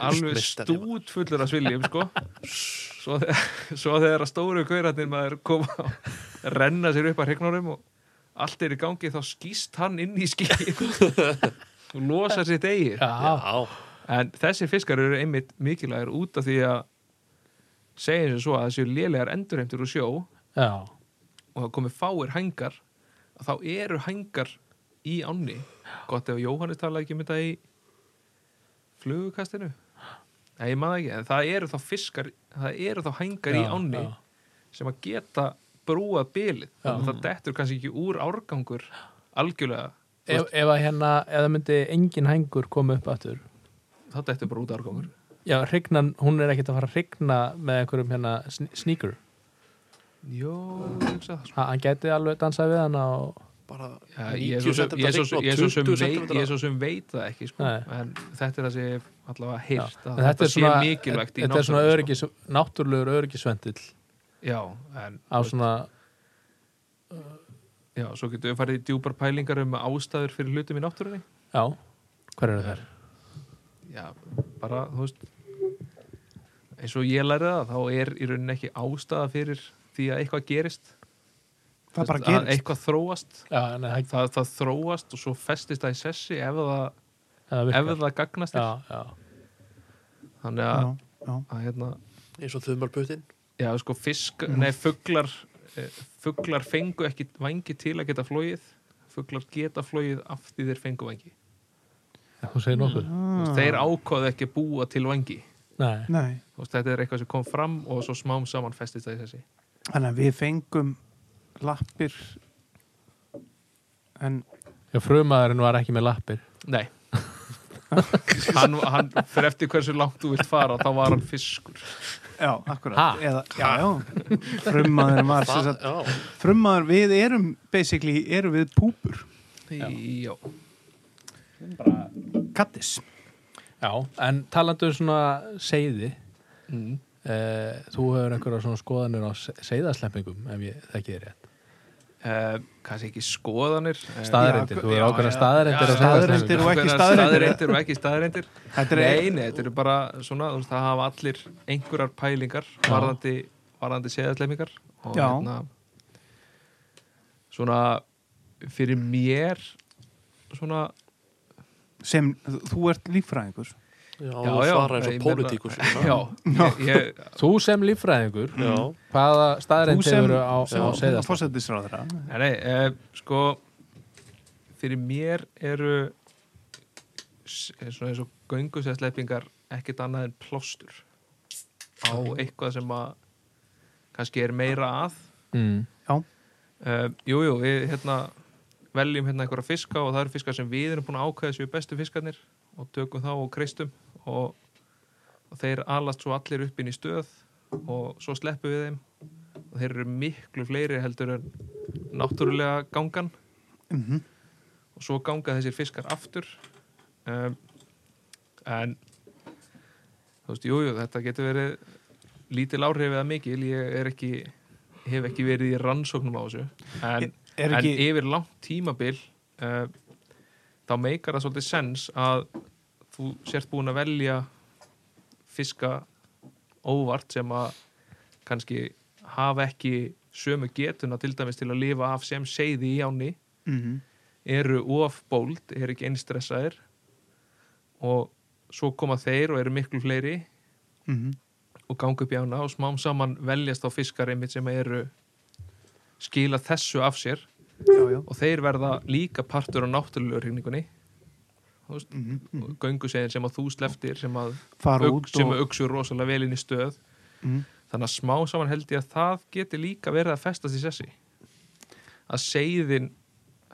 Speaker 4: alveg
Speaker 2: meistari maður.
Speaker 4: stút fullur af sviljum sko svo, þe- svo þegar að stóru kaurarnir maður koma og renna sér upp að hregnunum og allt er í gangi þá skýst hann inn í skýr og losar sitt eigir
Speaker 1: já,
Speaker 2: já,
Speaker 4: en þessir fiskar eru einmitt mikilvægir út af því að segja eins og svo að þessi lélegar endurheimtur úr sjó
Speaker 1: já,
Speaker 4: og það komið fáir hængar að þá eru hængar í ánni gott ef Jóhannes talaði ekki um þetta í flugukastinu Nei, ég maður ekki, en það eru þá fiskar það eru þá hængar í
Speaker 1: Já,
Speaker 4: ánni
Speaker 1: já.
Speaker 4: sem að geta brúað bilið, þannig að það dettur kannski ekki úr árgangur algjörlega
Speaker 1: Ef, ef að hérna, ef það myndi engin hængur koma upp aftur
Speaker 4: þá dettur bara út árgangur
Speaker 1: já, hrygnan, hún er ekkert að fara að hrygna með einhverjum hérna sn sneaker
Speaker 4: Jó, ég hugsa það sko.
Speaker 1: ha, hann gæti alveg dansað við hana og
Speaker 2: bara
Speaker 4: Ja, ég er
Speaker 2: 90
Speaker 4: svo sem-
Speaker 2: cm
Speaker 4: ég er svo-
Speaker 2: rign
Speaker 4: ég er svo
Speaker 2: og
Speaker 4: sem
Speaker 2: 20
Speaker 4: veit- ég er
Speaker 2: cm
Speaker 4: svo sem veit það ekki sko.
Speaker 1: Nei.
Speaker 4: en þetta er það sem ég hef allavega heyrt
Speaker 1: En
Speaker 4: að
Speaker 1: þetta,
Speaker 4: þetta
Speaker 1: er
Speaker 4: sé
Speaker 1: svona,
Speaker 4: mikilvægt í
Speaker 1: þetta er svona
Speaker 4: náttúrunni,
Speaker 1: öryggis, náttúrulegur öryggisvendill
Speaker 4: sko. já, en,
Speaker 1: á svona
Speaker 4: já, svo getur við farið í djúpar pælingar um ástæður fyrir hlutum í náttúrunni
Speaker 1: já, hver eru þær?
Speaker 4: já, bara, þú veist eins og ég lærði það þá er í rauninni ekki ástæða fyrir því að eitthvað gerist
Speaker 3: það bara
Speaker 4: Þú veist, að
Speaker 3: gerist
Speaker 4: eitthvað þróast
Speaker 1: Já, en það,
Speaker 4: það, það þróast og svo festist það í sessi ef það,
Speaker 1: það
Speaker 4: ef
Speaker 1: virkar
Speaker 4: það gagnast
Speaker 1: já,
Speaker 4: þér.
Speaker 1: já,
Speaker 4: þannig að,
Speaker 3: Já, já.
Speaker 4: að hérna,
Speaker 2: eins og þumalputtin
Speaker 4: já, sko, fisk, nei, fuglar eh, fuglar fengu ekki vangi til að geta flóið fuglar geta flóið af því þeir fengu vangi
Speaker 1: þú segir nokkuð
Speaker 4: ah. þeir ákváðu ekki að búa til vangi
Speaker 1: Nei,
Speaker 3: Nei,
Speaker 4: Þú veist, þetta er eitthvað sem kom fram og svo smám saman festist það í sessi
Speaker 3: þannig að við fengum lappir en
Speaker 1: já, frumaðurinn var ekki með lappir
Speaker 4: Nei hann, hann, fyrir eftir hversu langt þú vilt fara þá var hann fiskur
Speaker 3: já, akkurat
Speaker 1: Ha?
Speaker 3: Eða, já, já, frummaður var sem sagt, frummaður, við erum basically, erum við púpur
Speaker 4: Já, já.
Speaker 3: kattis
Speaker 1: Já, en talandi um svona seiði
Speaker 4: Mm.
Speaker 1: eh, þú hefur einhverja svona skoðanir á se- seiðasleppingum ef ég þekki þér rétt
Speaker 4: Uh, kannski ekki skoðanir eh,
Speaker 1: staðarindir,
Speaker 3: já,
Speaker 1: þú hefur
Speaker 3: já,
Speaker 1: ákveðna
Speaker 3: já.
Speaker 1: staðarindir
Speaker 3: Já, staðreyndir og- ekki staðreyndir.
Speaker 4: staðarindir og ekki staðarindir
Speaker 3: þetta er
Speaker 4: nei, nei, þetta eru bara svona þú veist, það hafa allir einhverjar pælingar varðandi, varðandi séðaslemmingar og hérna,
Speaker 3: Já.
Speaker 4: svona fyrir mér svona
Speaker 3: sem, þú ert líffræðingur
Speaker 2: já, já, já svara eins og sko.
Speaker 4: ég meina-
Speaker 2: pólitíkus
Speaker 4: já, ég, ég,
Speaker 1: Þú sem líffræðingur
Speaker 2: já,
Speaker 1: hvaða
Speaker 3: þú
Speaker 1: staðarind
Speaker 3: sem,
Speaker 1: hefur á, á
Speaker 3: sem
Speaker 1: seiðasleppingum
Speaker 3: fósættisráðra
Speaker 4: Nei, nei, eh, sko fyrir mér eru s- eh, svona eins og göngusæðsleipingar ekkert annað en plástur á eitthvað sem að kannski er meira að
Speaker 1: mm.
Speaker 4: eh, Jú, jú, við hérna veljum hérna einhverja fiska og það eru fiskar sem við erum búin að ákveða séu bestu fiskarnir og tökum þá og kreistum og, og þeir alast svo allir upp inn í stöð og svo sleppum við þeim og þeir eru miklu fleiri heldur en náttúrulega gangan
Speaker 3: mm -hmm.
Speaker 4: og svo ganga þessir fiskar aftur um, en þú veist, jújú, jú, þetta getur verið lítil áhrif eða mikil ég er ekki, hef ekki verið í rannsóknum á þessu en, en
Speaker 3: er ekki,
Speaker 4: yfir langt tímabil uh, þá meikar það svolítið sens að þú sért búin að velja fiska óvart sem að kannski hafa ekki sömu getuna til dæmis til að lifa af sem seiði í áni
Speaker 3: mm
Speaker 4: eru ofbóld, eru ekki einstressaðir og svo koma þeir og eru miklu fleiri
Speaker 3: mhm,
Speaker 4: og ganga upp í ána og smám saman veljast á fiskar einmitt sem eru skila þessu af sér
Speaker 3: já, já
Speaker 4: og þeir verða líka partur á náttúrulegu hringningunni
Speaker 3: mm
Speaker 4: mm. göngusegin sem að þú sleftir sem að
Speaker 3: fara
Speaker 4: ugg,
Speaker 3: út
Speaker 4: sem
Speaker 3: og
Speaker 4: að ugsur rosalega vel inn í stöð
Speaker 3: mm,
Speaker 4: þannig að smá saman held ég að það geti líka verið að festast í sessi að seiðin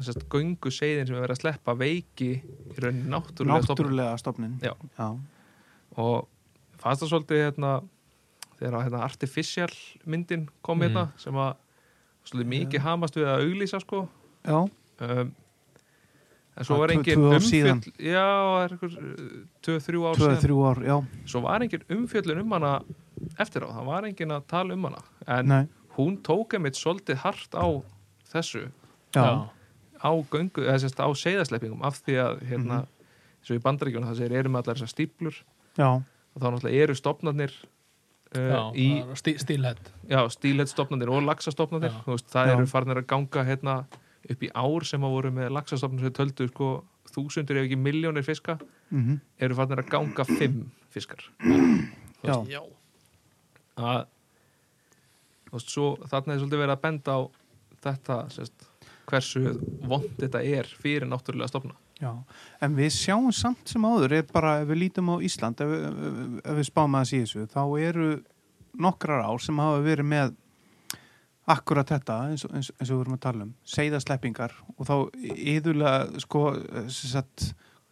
Speaker 4: þessast göngu seiðin sem er verið að sleppa veiki í raunin náttúrulega, náttúrulega.
Speaker 3: náttúrulega stofnin
Speaker 4: Já.
Speaker 3: já.
Speaker 4: og fannst það svolítið hérna, þegar að, hérna artificial myndin kom hérna
Speaker 3: Mhm.
Speaker 4: sem að svolítið mikið hamast við að auglýsa sko
Speaker 3: já.
Speaker 4: um, en svo
Speaker 3: Það
Speaker 4: var
Speaker 3: tvö-
Speaker 4: engin
Speaker 3: tvö ár síðan.
Speaker 4: umfjöll já, það er einhver 2-3 ár
Speaker 3: tvö,
Speaker 4: síðan
Speaker 3: þrjú ár, já
Speaker 4: svo var engin umfjöllun um hana eftir á, það var engin að tala um hana en
Speaker 3: Nei,
Speaker 4: hún tók einmitt svolítið hart á þessu
Speaker 3: já,
Speaker 4: á göngu, eða sérst á seiðasleppingum af því að
Speaker 1: Mhm.
Speaker 4: hérna, eins og í bandaríkjunum það segir erum allar þessar stíplur
Speaker 3: já,
Speaker 4: og þá náttúrulega eru stopnarnir
Speaker 1: já,
Speaker 4: uh,
Speaker 1: Eh, í...
Speaker 4: í,
Speaker 1: stí, stílhett
Speaker 4: já, stílheitstopnarnir og laxastopnarnir,
Speaker 1: Já.
Speaker 4: þú veist, það
Speaker 3: Já.
Speaker 4: eru farnir að ganga hérna upp í ár sem að voru með laxastopnir sem töldu sko þúsundur ef ekki miljónir fiska,
Speaker 3: mm
Speaker 4: eru farnir að ganga fimm fiskar
Speaker 3: já,
Speaker 2: já.
Speaker 4: að þú veist, svo þarna er svolítið verið að benda á þetta, sérst, hversu vond þetta er fyrir náttúrulega stopna
Speaker 3: já en við sjáum samt sem áður er bara ef við lítum á Ísland ef, við- ef, ef við spáum að þessi þessu þá eru nokkrar ár sem hafa verið með akkurat þetta eins og, eins, eins og við vorum að tala um seiðasleppingar og þá yðurlega sko sem sagt,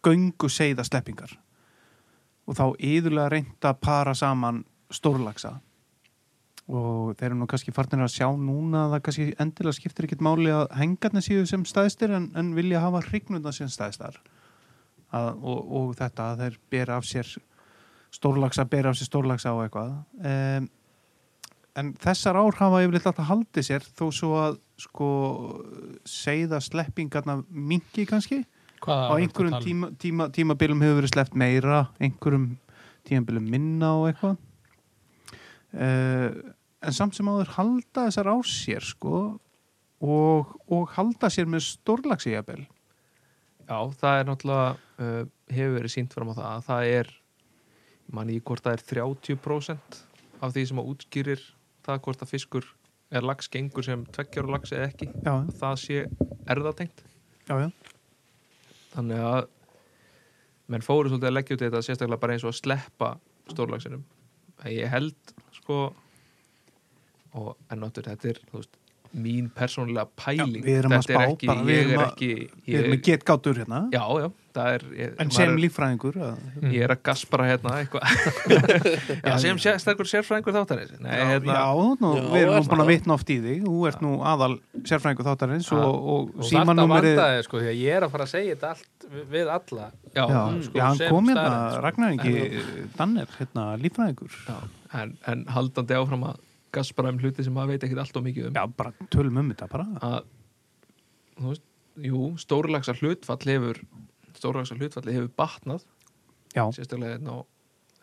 Speaker 3: göngu seiðasleppingar og þá yðurlega reynda að para saman stórlaxa og þeir eru nú kannski farnir að sjá núna að það kannski endilega skiptir ekkit máli að hengarnir síðu sem staðstir en, en vilja hafa hrygnuna sem staðstar að, og, og þetta að þeir bera af sér stórlaksa, bera af sér stórlaksa og eitthvað um, en þessar ár hafa yfirleitt alltaf haldið sér þó svo að sko segða sleppingarna mingi kannski á
Speaker 1: Hvaða var þetta
Speaker 3: einhverjum
Speaker 1: að tala um?
Speaker 3: tíma, tíma, tímabilum hefur verið sleppt meira einhverjum tímabilum minna og eitthvað uh, en samt sem áður halda þessar á sér sko og, og halda sér með stórlags í jafnvel
Speaker 4: Já, það er náttúrulega uh, hefur verið sínt fram á það að það er manni í hvort það er 30% af því sem að útskýrir það hvort að fiskur er lags gengur sem tveggjar og lags eða ekki
Speaker 3: já,
Speaker 4: að það sé erðatengt
Speaker 3: já, já,
Speaker 4: þannig að menn fóru svolítið að leggja út í þetta sérstaklega bara eins og að sleppa stórlagsinum en ég held sko og en náttúrulega þetta er þú veist, mín persónulega pæling
Speaker 3: Já, við erum að
Speaker 4: þetta er
Speaker 3: spá
Speaker 4: ekki,
Speaker 3: bara, við
Speaker 4: ég
Speaker 3: erum
Speaker 4: er
Speaker 3: að-
Speaker 4: ekki
Speaker 3: við erum með
Speaker 4: ég,
Speaker 3: get gátur hérna
Speaker 4: já, já, það er ég,
Speaker 3: en
Speaker 4: maður
Speaker 3: sem
Speaker 4: er-
Speaker 3: líffræðingur eh, að,
Speaker 4: ég er að gaspara hérna eitthvað já, sem sérstakur sérfræðingur þáttarins nei,
Speaker 3: já,
Speaker 4: hérna,
Speaker 3: nú,
Speaker 2: Já,
Speaker 3: við
Speaker 2: er
Speaker 3: erum nú búin
Speaker 2: það?
Speaker 3: að vitna oft í þig þú ert nú aðal sérfræðingur þáttarins
Speaker 1: Já.
Speaker 3: og, og,
Speaker 1: og þarf að
Speaker 3: símanúmerið-
Speaker 1: vanda þig sko því að ég er að fara að segja þetta allt vi- við alla
Speaker 4: já, Mm.
Speaker 3: já,
Speaker 1: sko,
Speaker 3: já, hann
Speaker 1: sem
Speaker 3: kom hérna,
Speaker 1: staðreynd, sko.
Speaker 3: Ragnar Ingi Danner, hérna, líffræðingur
Speaker 4: já, en, en haldandi áfram að gaspara um hluti sem maður veit ekkert allt og mikið um
Speaker 3: Já, bara tölum um þetta bara.
Speaker 4: að þú veist, jú, stórlagsar hlutfall hefur stórlagsar hlutfall hefur batnað
Speaker 3: Já,
Speaker 4: sérstaklega hérna á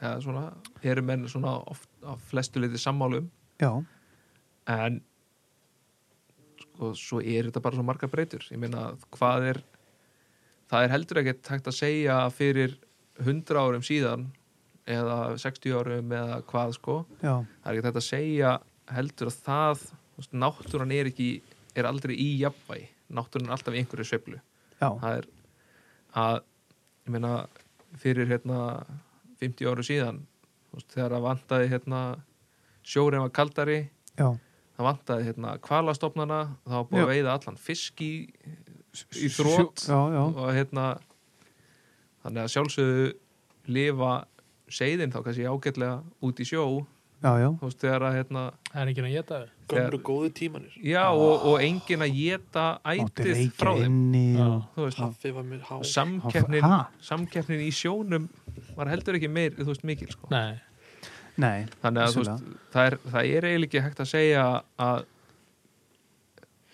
Speaker 4: eða svona, eru menn svona oft, á flestu liti sammálum
Speaker 3: já,
Speaker 4: en sko, svo er þetta bara svo margar breytur ég meina, hvað er það er heldur ekkert hægt að segja fyrir 100 árum síðan eða 60 árum eða hvað sko,
Speaker 3: já,
Speaker 4: það er ekkert hægt að segja heldur að það þú veist, náttúran er ekki, er aldrei í jafnvægi, náttúran er alltaf í einhverju sveiflu
Speaker 3: já,
Speaker 4: það er að ég meina fyrir hérna 50 áru síðan þú veist, þegar það vantaði hérna sjórið var kaldari
Speaker 3: já,
Speaker 4: það vantaði hérna kvalastofnana það var búið að
Speaker 3: Já.
Speaker 4: veiða allan fisk í, í þrótt
Speaker 3: já, já,
Speaker 4: og hérna þannig að sjálfsögðu lifa seiðin þá kannski ágætlega út í sjó
Speaker 3: já, já,
Speaker 4: þú veist þegar að hérna
Speaker 1: það er ekki að geta þau
Speaker 2: Gömlu góðu tímanir
Speaker 4: já og, og engin að geta
Speaker 3: Ah. mátti
Speaker 4: ætið frá
Speaker 3: reykja
Speaker 4: þeim
Speaker 3: inni og...
Speaker 4: þú veist
Speaker 2: Haffi var mér há
Speaker 4: samkeppnin,
Speaker 3: Ha?
Speaker 4: samkeppnin í sjónum var heldur ekki meir, þú veist, mikil sko.
Speaker 1: nei,
Speaker 3: Nei,
Speaker 4: þannig að þú veist, það er, það er eiginlega ekki hægt að segja að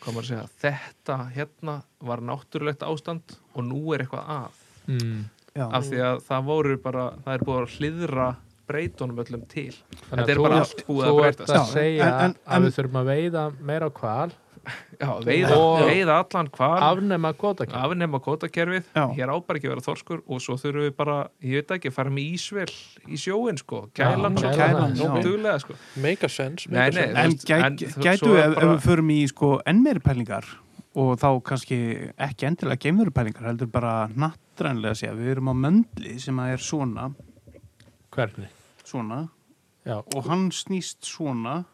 Speaker 4: hvað maður að segja, þetta hérna var náttúrulegt ástand og nú er eitthvað að
Speaker 1: mm.
Speaker 3: já,
Speaker 4: af því að það voru bara, það er búið að hlýðra breytunum öllum til
Speaker 1: Þannig að
Speaker 4: þetta er
Speaker 1: þú-
Speaker 4: bara allt búið að
Speaker 1: þú ert
Speaker 4: breytast
Speaker 1: að
Speaker 3: Já,
Speaker 1: segja
Speaker 3: en- en- en-
Speaker 1: að við þurfum að veiða meira á kval
Speaker 4: já, veiða,
Speaker 1: Og-
Speaker 4: veiða allan hvar
Speaker 1: afnema kvótakjál
Speaker 4: afnema kótakerfið,
Speaker 3: Já.
Speaker 4: hér á bara ekki að vera þorskur og svo þurfum við bara, ég veit ekki, fara með ísvel í sjóin sko, kælan
Speaker 1: Já,
Speaker 4: svo
Speaker 1: kælan,
Speaker 4: svo
Speaker 3: já.
Speaker 4: duglega sko
Speaker 2: Make a sense,
Speaker 4: Nei,
Speaker 2: make a
Speaker 4: nei,
Speaker 2: sense.
Speaker 3: En
Speaker 4: veist, en
Speaker 3: gæt,
Speaker 4: þú-
Speaker 3: gætu
Speaker 4: svo er
Speaker 3: ef,
Speaker 4: bara-
Speaker 3: ef við förum í sko enn meiri pælingar og þá kannski ekki endilega geimveru pælingar, heldur bara nattrænlega sé við erum á möndli sem að er svona
Speaker 1: hvernig
Speaker 3: svona
Speaker 1: Já.
Speaker 3: og hann snýst svona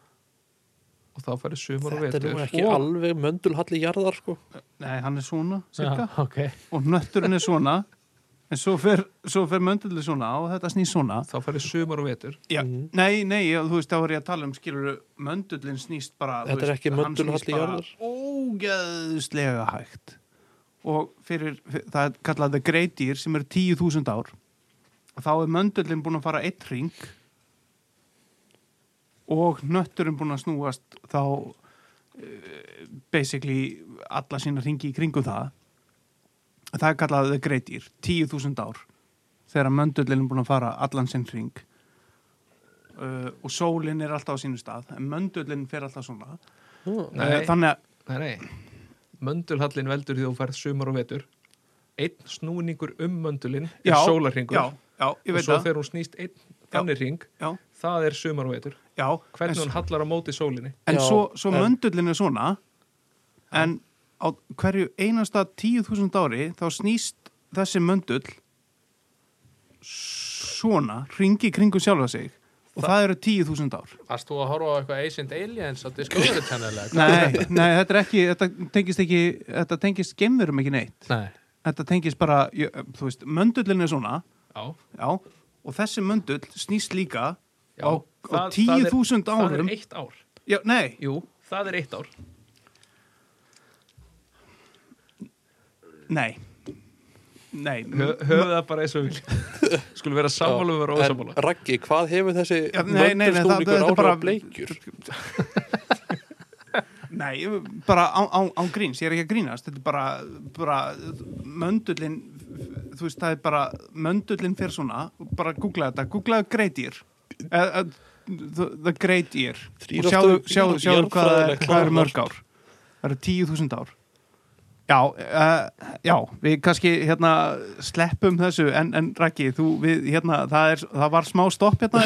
Speaker 4: og þá færi sumar og
Speaker 2: Þetta er nú
Speaker 4: vetur
Speaker 2: ekki alveg möndulhalli jarðar sko
Speaker 3: nei, hann er svona cirka,
Speaker 1: Já, ok.
Speaker 3: og nötturinn er svona en svo fer, svo fer möndli svona og þetta snýst svona
Speaker 4: þá færi sumar og vetur
Speaker 3: Já,
Speaker 2: Mhm.
Speaker 3: nei, nei, já, þú veist, þá er ég að tala um skilur möndullin snýst bara þú
Speaker 2: Þetta er
Speaker 3: veist,
Speaker 2: ekki
Speaker 3: hann
Speaker 2: möndulhalli
Speaker 3: snýst bara
Speaker 2: jarðar.
Speaker 3: Ógeðslega hægt og fyrir, fyrir það er kallað The Great Deer sem er 10.000 ár þá er möndullin búin að fara eitt ring og nötturinn búin að snúast þá uh, basically alla sína ringi í kringum það það er kallað The Great Deer 10.000 ár þegar möndullin er búin að fara allan sinn ring uh, og sólinn er alltaf á sínu stað en möndullin fer alltaf svona uh,
Speaker 4: nei,
Speaker 3: þannig að
Speaker 4: nei, nei möndulhallin veldur því þú færð sumar og vetur einn snúningur um möndulin
Speaker 3: já,
Speaker 4: er sólarringur
Speaker 3: já, já, ég
Speaker 4: og
Speaker 3: veit
Speaker 4: svo
Speaker 3: það
Speaker 4: þegar hún snýst einn þannig ring,
Speaker 3: já,
Speaker 4: það er sumar og vetur
Speaker 3: já, en,
Speaker 4: hvernig hún hallar á móti sólinni
Speaker 3: en
Speaker 2: Já,
Speaker 3: svo, svo
Speaker 2: en-
Speaker 3: möndullin er svona en á hverju einasta 10.000 ári þá snýst þessi möndull svona ringi kringum sjálfa sig og það eru 10.000 ár
Speaker 1: Varst þú að horfa á eitthvað Ancient Aliens á Discovery Channel eða hvað?
Speaker 3: nei, nei, þetta er ekki þetta tengist ekki, þetta tengist gemverum ekki neitt
Speaker 1: Nei.
Speaker 3: þetta tengist bara, ég- þú veist, möndullin er svona
Speaker 4: já,
Speaker 3: Já, og þessi möndull snýst líka
Speaker 4: Já,
Speaker 3: á, á
Speaker 4: það- það er-
Speaker 3: 10.000
Speaker 4: Það er
Speaker 3: árum
Speaker 4: eitt ár.
Speaker 3: já, nei,
Speaker 4: Jú, það er eitt ár.
Speaker 3: nei nei,
Speaker 4: Hö, höfðu það bara eins og við viljum. Skulum vera sammála og vera ósammála.
Speaker 2: En Raggi, hvað hefur þessi
Speaker 3: Já, nei, nei, nei, það-
Speaker 2: möndulsnúningur
Speaker 3: þetta er
Speaker 2: áhrif
Speaker 3: bara-
Speaker 2: á bleikjur?
Speaker 3: nei bara á, á, á gríns, ég er ekki að grínast þetta er bara, bara möndullin þú veist, það er bara möndullin fyrir svona, bara googla þetta googla Great Ear Eh, eh, the, the Great Ear og
Speaker 2: Þrír
Speaker 3: sjáðu,
Speaker 2: átta-
Speaker 3: sjáðu,
Speaker 2: þrír
Speaker 3: sjáðu hvað, það
Speaker 2: jarðfræðileg
Speaker 3: er- hvað er
Speaker 2: klárar.
Speaker 3: mörg ár það eru 10.000 ár Já, uh, já, við kannski hérna sleppum þessu en, en Raki, þú við hérna, það, er, það var smá stopp hérna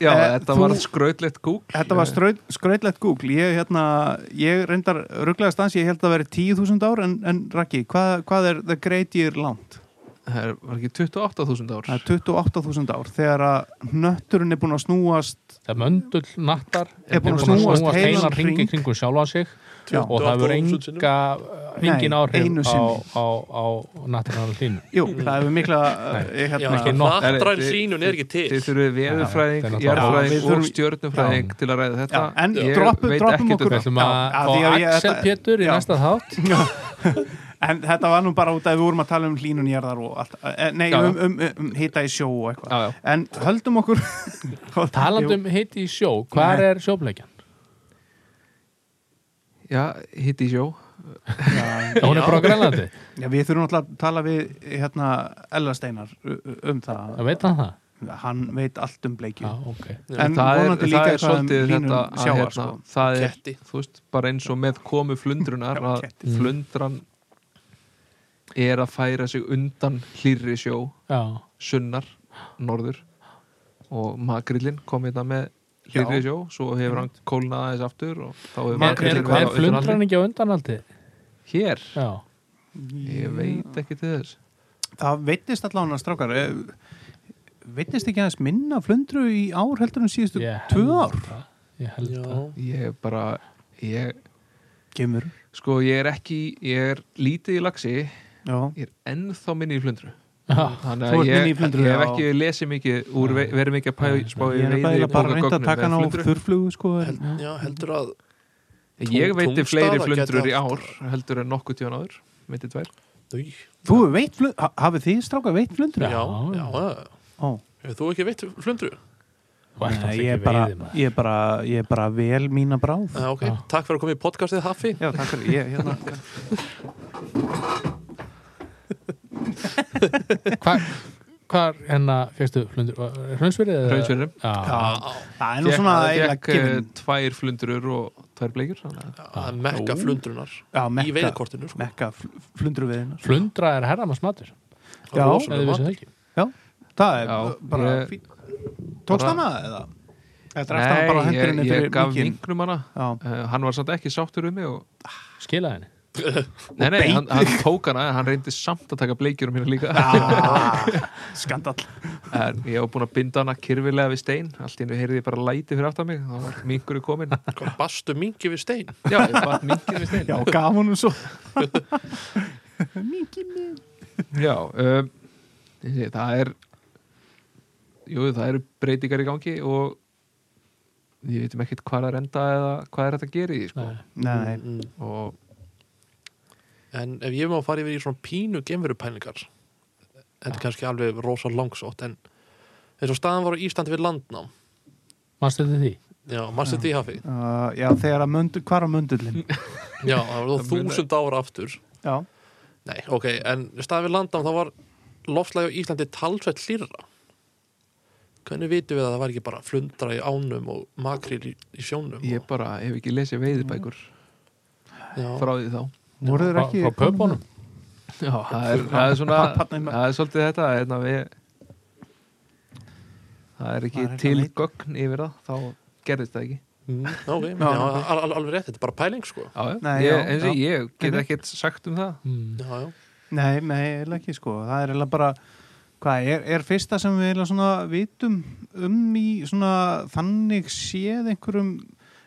Speaker 4: Já,
Speaker 3: Eh,
Speaker 4: þetta
Speaker 3: þú-
Speaker 4: var skrautlegt kúk.
Speaker 3: Þetta var straut, skrautlegt Google ég, hérna, ég reyndar rugglega stans ég held að það veri 10.000 ár en, en Raki, hvað, hvað er The Great Year langt?
Speaker 4: Það er- var ekki 28.000 ár.
Speaker 3: Það er 28.000 ár þegar að nötturinn er búin að snúast
Speaker 1: Það er möndull nattar
Speaker 3: Er búin að
Speaker 1: búinn
Speaker 3: snúast heilan
Speaker 1: heilan
Speaker 3: hring.
Speaker 1: ringi kringum sjálfa sig
Speaker 3: Já.
Speaker 1: og það
Speaker 2: 28.000
Speaker 1: hefur enga engin
Speaker 3: Nei,
Speaker 1: áhrif
Speaker 3: einu
Speaker 1: á,
Speaker 3: sinni.
Speaker 1: á, á nattarnar hlínu
Speaker 3: Jú, það hefur mikla eh,
Speaker 2: Já,
Speaker 3: hérna,
Speaker 1: ekki
Speaker 2: ekki
Speaker 1: nokk.
Speaker 2: nattræn
Speaker 4: Þið-
Speaker 2: sínun er ekki
Speaker 4: Þið
Speaker 2: til.
Speaker 4: þurfið
Speaker 1: Já,
Speaker 4: veðurfræðing,
Speaker 1: þetta er
Speaker 3: náttúrulega- Já,
Speaker 4: jarðfræðing
Speaker 3: við
Speaker 4: og
Speaker 3: þurfum-
Speaker 4: stjörnufræðing til að ræða þetta.
Speaker 3: Já, en
Speaker 4: Ég
Speaker 3: droppum-
Speaker 4: veit
Speaker 3: droppum
Speaker 4: ekkert um
Speaker 3: okkur-
Speaker 1: Við
Speaker 4: þetta.
Speaker 1: ætlum
Speaker 3: Já,
Speaker 1: að
Speaker 3: af því
Speaker 1: fá
Speaker 3: að ég-
Speaker 1: Axel
Speaker 3: þetta-
Speaker 1: Pétur í
Speaker 3: Já.
Speaker 1: næsta þátt
Speaker 3: En þetta var nú bara út að við vorum að tala um hlínunjarðar og allt, eh, nei,
Speaker 4: Já, já.
Speaker 3: um, um, um, hita í sjó og eitthvað.
Speaker 4: Já, já.
Speaker 3: En höldum okkur...
Speaker 1: Talandum heiti í um sjó, hvar
Speaker 3: Nei.
Speaker 1: er sjóbleikjan?
Speaker 4: Já, hitt í sjó.
Speaker 3: Já,
Speaker 1: Hún er frá Grænlandi,
Speaker 3: já, við þurfum alltaf að tala við, hérna, Ella Steinar u- um það.
Speaker 1: það veit hann það
Speaker 3: Hann veit allt um bleikju.
Speaker 1: Já, ok
Speaker 3: En
Speaker 4: það er,
Speaker 3: vonandi líka
Speaker 4: það er
Speaker 3: eitthvað um
Speaker 4: svolítið
Speaker 3: hlínun
Speaker 4: þetta að,
Speaker 3: sjáar,
Speaker 4: hérna,
Speaker 3: sko.
Speaker 4: það er,
Speaker 2: Ketti.
Speaker 4: þú veist, bara eins og með komu flundrunar
Speaker 3: Já,
Speaker 4: að
Speaker 3: ketti.
Speaker 4: flundran er að færa sig undan hlýrri sjó,
Speaker 1: Já,
Speaker 4: sunnar, norður og makrillin kom hérna með hlýrri
Speaker 3: Já. Mhm.
Speaker 4: sjó, svo hefur hann kólnað aðeins aftur og þá hefur
Speaker 1: er, er,
Speaker 4: makrillin verið á
Speaker 1: er
Speaker 4: undan
Speaker 1: flundran
Speaker 4: allri.
Speaker 1: ekki á undanaldi?
Speaker 4: hér,
Speaker 1: Já,
Speaker 4: ég veit ekki til þess
Speaker 3: Það veitist allan að strákar. eh, Veitist ekki aðeins minna flundru í ár heldur en síðustu
Speaker 1: ég
Speaker 3: tvö ár?
Speaker 1: held það. Ég held
Speaker 2: Já.
Speaker 1: það
Speaker 4: ég bara, ég
Speaker 3: Gemur.
Speaker 4: sko, ég er ekki, ég er lítið í lagsi
Speaker 3: Já.
Speaker 4: ég er ennþá minni í flundru
Speaker 1: Já,
Speaker 4: Þannig
Speaker 3: Þú
Speaker 4: að
Speaker 3: ert minni í
Speaker 4: ég,
Speaker 3: flundru,
Speaker 4: ég hef
Speaker 3: já.
Speaker 4: ekki lesið mikið úr, ve- verið mikið að pæ- spá í
Speaker 3: Ég er
Speaker 4: veiði
Speaker 3: bara, bara reynd að
Speaker 4: bókagögnum
Speaker 3: taka hann á
Speaker 4: eða flundru.
Speaker 3: þurrflugu, sko. en-
Speaker 2: Held, já, heldur að
Speaker 4: Ég
Speaker 2: Tún-
Speaker 4: veiti
Speaker 2: túnstaða
Speaker 4: fleiri
Speaker 2: gæti
Speaker 4: flundrur í
Speaker 2: haft-
Speaker 4: ár heldur en nokkuð tíðan áður veiti tvær
Speaker 2: Új,
Speaker 3: Þú hefur veitt flundru, ha- hafið þið strákað veitt flundru?
Speaker 2: Já, já, já
Speaker 3: Ó.
Speaker 2: Hefur þú ekki veitt flundru?
Speaker 1: Þú
Speaker 3: Nei,
Speaker 1: ert alltaf
Speaker 3: ég er
Speaker 1: ekki
Speaker 3: bara,
Speaker 1: veiðið maður
Speaker 3: ég er bara, ég er bara vel mína bráð.
Speaker 2: Já, ok,
Speaker 1: Já.
Speaker 2: takk fyrir að koma í podcastið Hafi
Speaker 3: Já, takk fyrir, ég, hérna.
Speaker 1: Hvar, hvar hérna fyrstu flundur? Hraunsverið?
Speaker 4: Hraunsfjörðum
Speaker 1: Já,
Speaker 3: Já, það er nú
Speaker 4: Ég
Speaker 3: svona eiginlega
Speaker 4: fekk eh,
Speaker 3: gefin.
Speaker 4: tvær flundrur og tvær bleikjur þannig að-
Speaker 2: Það er mekka
Speaker 3: Ú.
Speaker 2: flundrunar
Speaker 3: Já,
Speaker 2: í
Speaker 3: mekka,
Speaker 2: veiðkortinu sko.
Speaker 3: mekka sko. flundru við hennar.
Speaker 1: flundra er herramannsmatur
Speaker 2: Það er
Speaker 3: Já.
Speaker 2: rosalega mat.
Speaker 1: eða vissi það ekki
Speaker 3: Það er
Speaker 4: Já,
Speaker 3: bara,
Speaker 4: ég-
Speaker 3: fín. tókst
Speaker 4: bara-
Speaker 3: hana eða? Eða dræfst hana bara
Speaker 4: ég,
Speaker 3: hendurinn
Speaker 4: ég
Speaker 3: yfir
Speaker 4: gaf
Speaker 3: mikinn?
Speaker 4: vingnum hana
Speaker 3: Já,
Speaker 4: Eh, hann var samt ekki sáttur um mig og,
Speaker 1: skila henni
Speaker 4: nei, nei,
Speaker 3: beit.
Speaker 4: hann, hann tók hana en hann reyndi samt að taka bleikjur um hérna líka
Speaker 3: Ah, skandall.
Speaker 4: en ég var búin að binda hana kyrfilega við stein allt í hennu heyrði ég bara læti fyrir aftan mig þá var mingur komin
Speaker 2: Hvað, Bastu mingi við stein
Speaker 4: Já, ég bara mingir við stein
Speaker 3: Já, gaf honum svo.
Speaker 4: Já um, ég segi, það er jú, það eru breytingar í gangi og ég veitum ekkert hvað er enda eða hvað er þetta að gera í því, sko.
Speaker 1: Nei.
Speaker 3: Nei, nei.
Speaker 2: Mm.
Speaker 4: og
Speaker 2: En ef ég má fara yfir í svona pínu gemveru pælingar Þetta er kannski alveg rosa langsótt En eins og staðan var á Íslandi við landnám
Speaker 1: Manstu þetta því?
Speaker 2: Já, maður setið í Hafi
Speaker 3: Uh, já, þegar að möndu, hvar á mundullin?
Speaker 2: Já, það var
Speaker 4: Það
Speaker 2: þá
Speaker 4: munar.
Speaker 2: þúsund ára aftur
Speaker 3: Já,
Speaker 2: Nei, ok, en staðan við landnám þá var lofslægi á Íslandi talsveit hlýrra Hvernig vitum við að það var ekki bara flundra í ánum og makril í, í sjónum
Speaker 4: ég bara hef ekki lesið veiðibækur
Speaker 3: Mm.
Speaker 2: Já.
Speaker 4: frá því þá
Speaker 3: voru þeir
Speaker 1: Frá,
Speaker 3: ekki...
Speaker 1: frá pöpunum?
Speaker 4: Já, það er, það er svona
Speaker 3: Þarna- þarna í mörg.
Speaker 4: það er svolítið þetta hérna, við, það er ekki
Speaker 3: Maður er
Speaker 4: til
Speaker 3: eitthvað
Speaker 4: gögn yfir það þá gerðist það ekki
Speaker 2: Mm, ok, já,
Speaker 3: Já, já.
Speaker 2: al al alveg rétt, þetta er bara pæling sko
Speaker 4: já, já.
Speaker 3: Nei,
Speaker 4: ég,
Speaker 3: já,
Speaker 4: eins og
Speaker 3: já.
Speaker 4: ég get
Speaker 3: Mhm.
Speaker 4: ekkert sagt um það
Speaker 1: Mm.
Speaker 2: Já, já,
Speaker 3: Nei, nei, eiginlega ekki sko. Það er eiginlega bara, hvað er, er fyrsta sem við eiginlega svona vitum um í svona þannig séð einhverjum,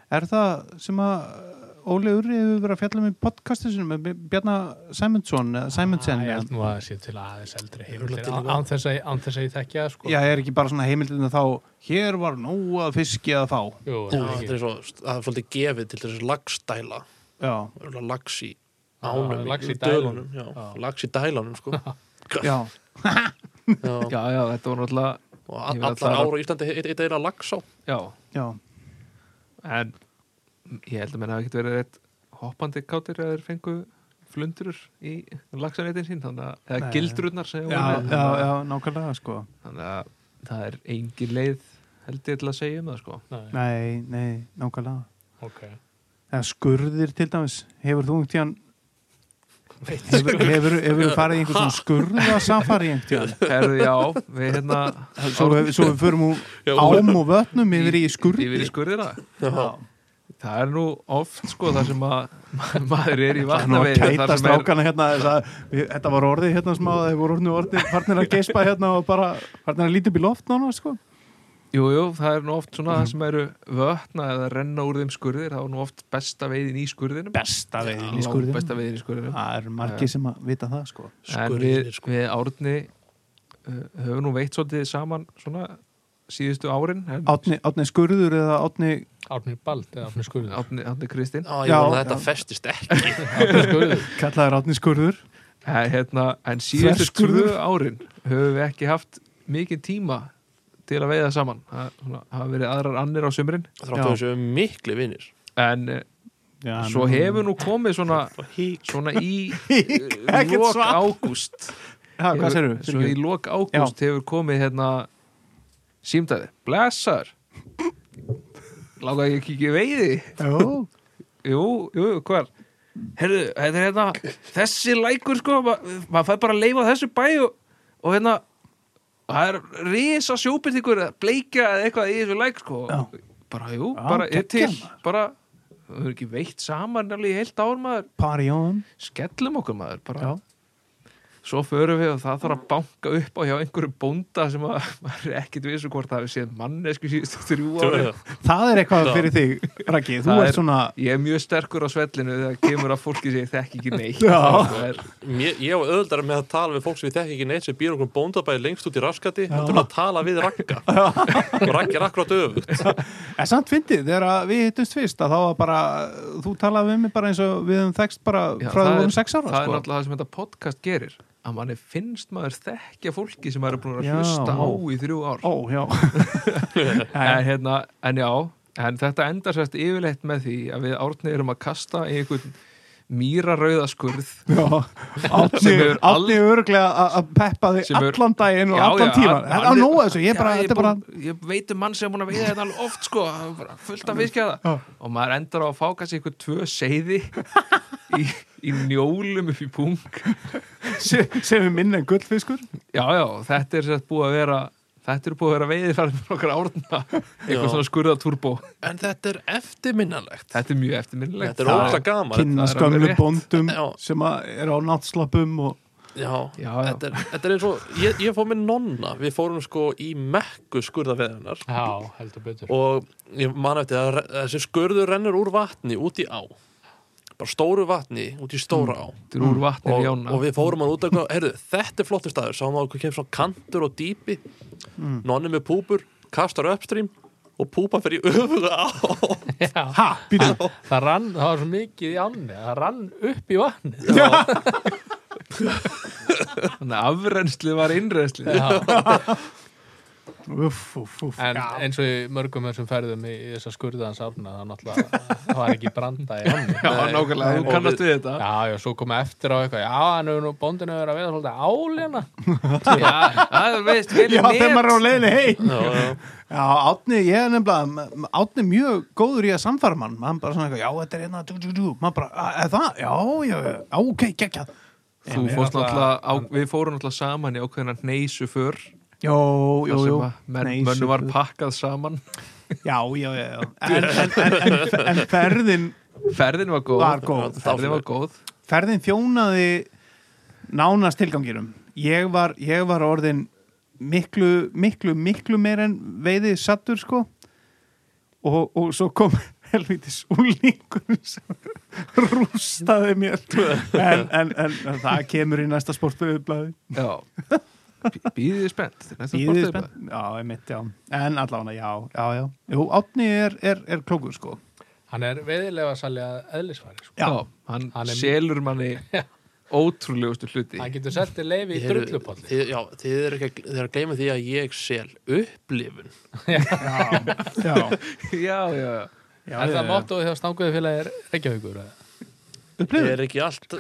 Speaker 3: er það sem að Óli Urri hefur verið að fjalla um í podcastið sinum með B- Bjarna Sæmundsson eða Sæmundsen
Speaker 1: ég
Speaker 3: eða-
Speaker 1: held nú að það sé til aðeins eldri heimildir
Speaker 2: til
Speaker 1: á- án þess að, án þess að ég þekkja það, sko.
Speaker 3: Já, er ekki bara svona heimildinu þá hér var nóg að fiski að fá
Speaker 2: Já,
Speaker 1: Jú, það er
Speaker 2: þetta
Speaker 1: ekki.
Speaker 2: er svo, það er svolítið gefið til þess lagstæla
Speaker 3: Já,
Speaker 2: lags í
Speaker 1: Já,
Speaker 2: ánum
Speaker 1: lax í
Speaker 2: dölunum, já,
Speaker 1: Já.
Speaker 2: lags í dælanum sko.
Speaker 3: já,
Speaker 2: já.
Speaker 4: já, já, þetta var náttúrulega
Speaker 2: og
Speaker 4: Ég
Speaker 2: a-
Speaker 4: vil
Speaker 2: allar
Speaker 4: alltaf-
Speaker 2: ára á Íslandi eitt eitt eira lags á
Speaker 4: já,
Speaker 3: já
Speaker 4: en ég held að menna hafi ekkert verið rétt hoppandi kátir að þeir fengu flundurur í lagsanveitin sín þannig að, eða
Speaker 3: Nei.
Speaker 4: gildrurnar sem
Speaker 3: Já,
Speaker 4: ég
Speaker 3: já,
Speaker 4: var með.
Speaker 3: já, já nákvæmlega sko
Speaker 4: þannig að það er engin leið held ég til að segja um það sko
Speaker 1: Nei,
Speaker 3: Nei, nei, nákvæmlega
Speaker 1: ok.
Speaker 3: Eða skurðir til dæmis Hefur þú einhvern tíðan Hefur, hefur, hefur þú farið í einhvern svona skurða safari einhvern tíðan
Speaker 4: Herðu, já, við hérna
Speaker 3: Svo, við- svo við förum úr
Speaker 2: Já.
Speaker 3: ám og vötnum yfir í skurði
Speaker 4: yfir í skurðina
Speaker 3: Já.
Speaker 4: það er nú oft sko þar sem að ma- maður er í
Speaker 3: Nú að
Speaker 4: vatnaveiði
Speaker 3: keita
Speaker 4: þar sem er
Speaker 3: strákana hérna þess að, við, Þetta var orðið hérna smá Þeir voru orðinu orðið farnir að geispa hérna og bara farnir að líti upp í loft núna sko.
Speaker 4: jú, jú, það er nú oft svona
Speaker 3: Mhm.
Speaker 4: þar sem eru vötna eða renna úr þeim skurðir það er nú oft besta veiðin í skurðinum
Speaker 3: Besta sko. veiðin í
Speaker 4: Já,
Speaker 3: skurðinum. Ah,
Speaker 4: besta veiðin í skurðinum
Speaker 3: Það eru margir sem að vita það sko.
Speaker 4: en
Speaker 2: skurðir
Speaker 4: við,
Speaker 2: sko.
Speaker 4: við Árni uh, höfum nú veitt svolítið saman svona síðustu árin en
Speaker 3: Átni, átni skurður eða átni
Speaker 1: Árnir Bald eða Árnir Skurður.
Speaker 4: Árni, Árni Kristinn
Speaker 2: Já, ég
Speaker 3: Já,
Speaker 2: vona að
Speaker 3: já.
Speaker 2: þetta festist ekki
Speaker 1: Árnir Skurður.
Speaker 3: kallaður átni skurður
Speaker 4: en, hérna, en síðustu tvö
Speaker 3: Þverskurður.
Speaker 4: árin höfum við ekki haft mikið tíma til að veiða saman það svona, hafa verið aðrar annir á sömurinn
Speaker 2: þráttu þessu miklu vinnir
Speaker 4: en uh,
Speaker 3: Já,
Speaker 4: svo hefur nú komið svona, svona í eh,
Speaker 3: Ekkert
Speaker 4: lok
Speaker 3: svar.
Speaker 4: ágúst
Speaker 3: ha, Hvað
Speaker 4: Hefur-
Speaker 3: serðu?
Speaker 4: Svo í lok ágúst hefur komið hérna símdæði, blessar Láka ég kíkja í veiði
Speaker 3: Jó,
Speaker 4: Jú, jú, hvar Herðu, þetta er hérna þessi lækur sko, ma- maður fær bara að leifa þessu bæ og, og hérna það er risa sjópið ykkur að bleikja eða eitthvað í þessu læk sko
Speaker 3: Já.
Speaker 4: bara, jú,
Speaker 3: Já,
Speaker 4: bara er til
Speaker 3: geggjað,
Speaker 4: bara, við höfum ekki veitt saman alveg í heilt ár maður,
Speaker 3: pari jón
Speaker 4: skellum okkur maður bara, svo förum við og það þarf að banka upp á hjá einhverju bónda sem að maður er ekkit vissu hvort það hefur séð mannesku síðustu þrjú ári
Speaker 3: Það er eitthvað fyrir þig, Raki Þú
Speaker 4: Það
Speaker 3: ert
Speaker 4: er-
Speaker 3: svona
Speaker 4: ég er mjög sterkur á svellinu þegar kemur að fólki sem ég þekki ekki neitt
Speaker 3: Já.
Speaker 4: Það er,
Speaker 2: Mér- ég á öðuldar með að tala við fólk sem við þekki ekki neitt sem býr okkur bóndabæði lengst út í raskati heldur en að tala við rakka og rakki er akkurat öfugt
Speaker 3: En samt fyndið, þegar að við hittumst fyrst að þá var bara, þú talaði við mig bara eins og við höfum þekst bara
Speaker 4: Já,
Speaker 3: frá því
Speaker 4: það
Speaker 3: við
Speaker 4: er-
Speaker 3: vorum sex ára
Speaker 4: það er
Speaker 3: sko.
Speaker 4: náttúrulega það sem þetta podcast gerir að manni finnst maður þekkja fólki sem maður er búin að
Speaker 3: Já.
Speaker 4: hlusta á í þrjú ár
Speaker 3: Ó, já
Speaker 4: en, hérna, en já, en þetta endar sérst yfirleitt með því að við árni erum að kasta í einhvern mýrarauða skurð
Speaker 3: Já,
Speaker 4: Sem
Speaker 3: átni,
Speaker 4: hefur al-
Speaker 3: átni örglega að- að peppa þig
Speaker 4: Sem hefur-
Speaker 3: allan daginn og
Speaker 4: Já,
Speaker 3: allan
Speaker 4: já,
Speaker 3: tíman
Speaker 4: hann-
Speaker 3: Það
Speaker 4: hann
Speaker 3: er
Speaker 4: er-
Speaker 3: á nóa þessu, ég bara,
Speaker 4: Já, ég,
Speaker 3: þetta er bara
Speaker 4: ég veit um mann sem er búin að veiða þetta alveg oft sko, hann er bara fullt af fiskjaða
Speaker 3: Já.
Speaker 4: og maður endar á að fá kannski einhver tvö seiði í, í njólum upp í pung
Speaker 3: se- sem við minna en gullfiskur
Speaker 4: já, já, þetta er sérst búið að vera þetta er búið að vera veiðið fyrir okkar árna
Speaker 2: Já.
Speaker 4: eitthvað svona skurðatúrbó
Speaker 2: en þetta er eftirminnalegt
Speaker 4: þetta er mjög eftirminnilegt
Speaker 2: þetta er ósla gaman
Speaker 4: það er
Speaker 3: Kinnaskömmu
Speaker 4: alveg rétt.
Speaker 3: bóndum
Speaker 2: Já.
Speaker 3: sem að er á náttslappum og
Speaker 2: já,
Speaker 4: Já, já.
Speaker 2: Þetta, er, þetta er eins og ég, ég fór með nonna við fórum sko í mekku skurðaveðunar
Speaker 1: Já, heldur betur.
Speaker 2: og ég man eftir að re- þessi skurður rennur úr vatni út í á bara stóru vatni út í stóra á
Speaker 4: Þetta er úr vatnir
Speaker 2: og,
Speaker 4: í ána
Speaker 2: og við fórum hann út að heyrðu, þetta er flottur staður, sáum að okkur kemur svona kantur og dýpi
Speaker 3: Mm.
Speaker 2: nonni með púpur, kastar uppstrím og púpa fyrir öfuga á
Speaker 1: Já,
Speaker 3: ha, býtum
Speaker 1: það rann, það var svo mikið í ánni, það rann upp í vatni.
Speaker 4: þannig að afrennsli var innrennsli
Speaker 3: Uff, uff, uff
Speaker 1: En eins og í mörgum þessum ferðum í, í þessa skurðans árna, það náttúrulega, það var ekki branda í ánni.
Speaker 4: já, nákvæmlega,
Speaker 2: og
Speaker 4: þú kannast við þetta
Speaker 1: Já, já, svo koma eftir á eitthvað, já, hann hefur nú bóndinu verið að veiða svolítið hérna. álina.
Speaker 4: já, það er veist, vel
Speaker 3: Já,
Speaker 4: í
Speaker 3: þegar maður er á
Speaker 4: net
Speaker 3: leiðinni heim
Speaker 2: já, já.
Speaker 3: Já, Átni, ég er nefnilega m- Átni er mjög góður í að samfara mann maður bara svona eitthvað, já, þetta er hérna dú, dú, dú. maður bara, "A- er það, já, já, já á, ok, geggjað
Speaker 4: Þú fórst náttúrulega, á, við fórum náttúrulega saman í ákveðina neysu för
Speaker 3: Jó, jó,
Speaker 4: þar
Speaker 3: jó
Speaker 4: sem að menn,
Speaker 3: Nei,
Speaker 4: mönnu var
Speaker 3: super.
Speaker 4: pakkað saman
Speaker 3: Já, já, já, já En, en, en, en, en ferðin
Speaker 4: ferðin var góð,
Speaker 3: Var góð.
Speaker 4: ferðin var góð
Speaker 3: ferðin þjónaði nánast tilganginum ég var, ég var orðin miklu, miklu, miklu meir en veiði sattur sko og, og svo kom helvítis úlingur sem rústaði mér en, en, en, en það kemur í næsta sportblaði
Speaker 4: Já Bí- Bíðið spennt
Speaker 3: Bíðið spennt Já, ég mitt, já En allavega, já, já, já Jú, Átni er, er, er klókur, sko
Speaker 1: Hann er veðilega salja eðlisfæri sko.
Speaker 4: Já, hann,
Speaker 1: Hann er-
Speaker 4: selur manni ótrúlegustu hluti
Speaker 1: Hann getur seltið leifi í
Speaker 2: Þið eru-
Speaker 1: drullupolli
Speaker 2: þið- Já, þið eru ekki að- þið eru að gleyma því að ég sel upplifun
Speaker 3: Já, já,
Speaker 4: Já, já, já
Speaker 3: já
Speaker 1: Er
Speaker 3: já,
Speaker 1: það
Speaker 3: já.
Speaker 1: mottóið þegar stanguði félagir Reykjavíkur? eða?
Speaker 2: Upplifun? Er ekki allt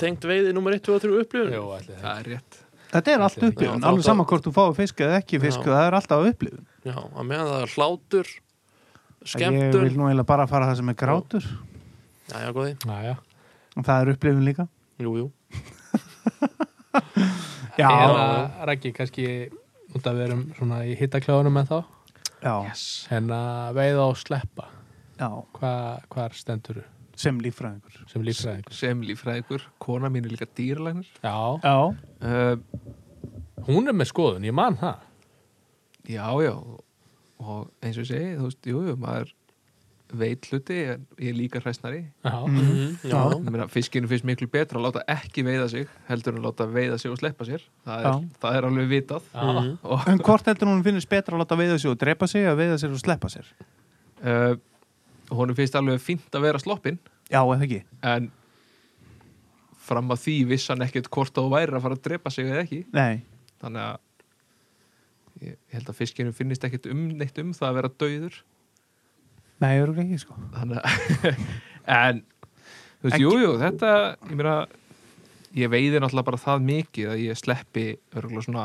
Speaker 2: tengt veiði nummer 1, 2 og 3 upplifun?
Speaker 1: Jú, allir það
Speaker 4: Það er rétt
Speaker 3: Þetta er allt upplifun,
Speaker 2: Já, þá-
Speaker 3: alveg sama hvort þú fáið fisk eða ekki fisk,
Speaker 2: Já.
Speaker 3: það er alltaf upplifun
Speaker 2: Já, að meðan það er hlátur,
Speaker 3: Ég
Speaker 2: skemmtun
Speaker 3: vil nú eiginlega bara fara það sem er grátur
Speaker 2: Já, já, góði,
Speaker 1: Næja,
Speaker 3: og það er upplifun líka
Speaker 2: jú, jú
Speaker 3: Já,
Speaker 1: eða Raggi, kannski út að við erum svona í hittakláðunum með þá
Speaker 3: já,
Speaker 1: en að veiða og sleppa
Speaker 3: já,
Speaker 1: hvað hva stendur
Speaker 3: sem líffræðingur
Speaker 1: sem líffræðingur
Speaker 4: Sem lífræðingur, kona mín er líka dýralæknir
Speaker 1: já,
Speaker 3: Já,
Speaker 4: uh,
Speaker 1: hún er með skoðun, ég man það
Speaker 4: Já, já Og eins og ég segi, þú veist, jú, jú, maður veit hluti en ég er líka hræsnari
Speaker 1: já,
Speaker 2: Já,
Speaker 3: Já.
Speaker 4: Ég meina, fiskinu finnst miklu betra að láta ekki veiða sig heldur en að láta veiða sig og sleppa sér það er,
Speaker 3: Já.
Speaker 4: það er alveg vitað
Speaker 1: já.
Speaker 4: og
Speaker 3: En hvort heldur hún finnist betra að láta veiða sig og drepa sig að veiða sig og sleppa sér?
Speaker 4: uh, honum finnst alveg fínt að vera sloppinn
Speaker 3: Já, ef ekki.
Speaker 4: en fram að því vissi hann ekkert hvort þú væri að fara að drepa sig eða ekki
Speaker 3: Nei.
Speaker 4: þannig að ég ég held að fiskinu finnist ekkert um neitt um það að vera dauður
Speaker 3: Nei, ég eru ekki, sko.
Speaker 4: þannig að en þú veist,
Speaker 3: En-
Speaker 4: jú, jú, þetta ég meina, ég veiði náttúrulega bara það mikið að ég sleppi örgulega svona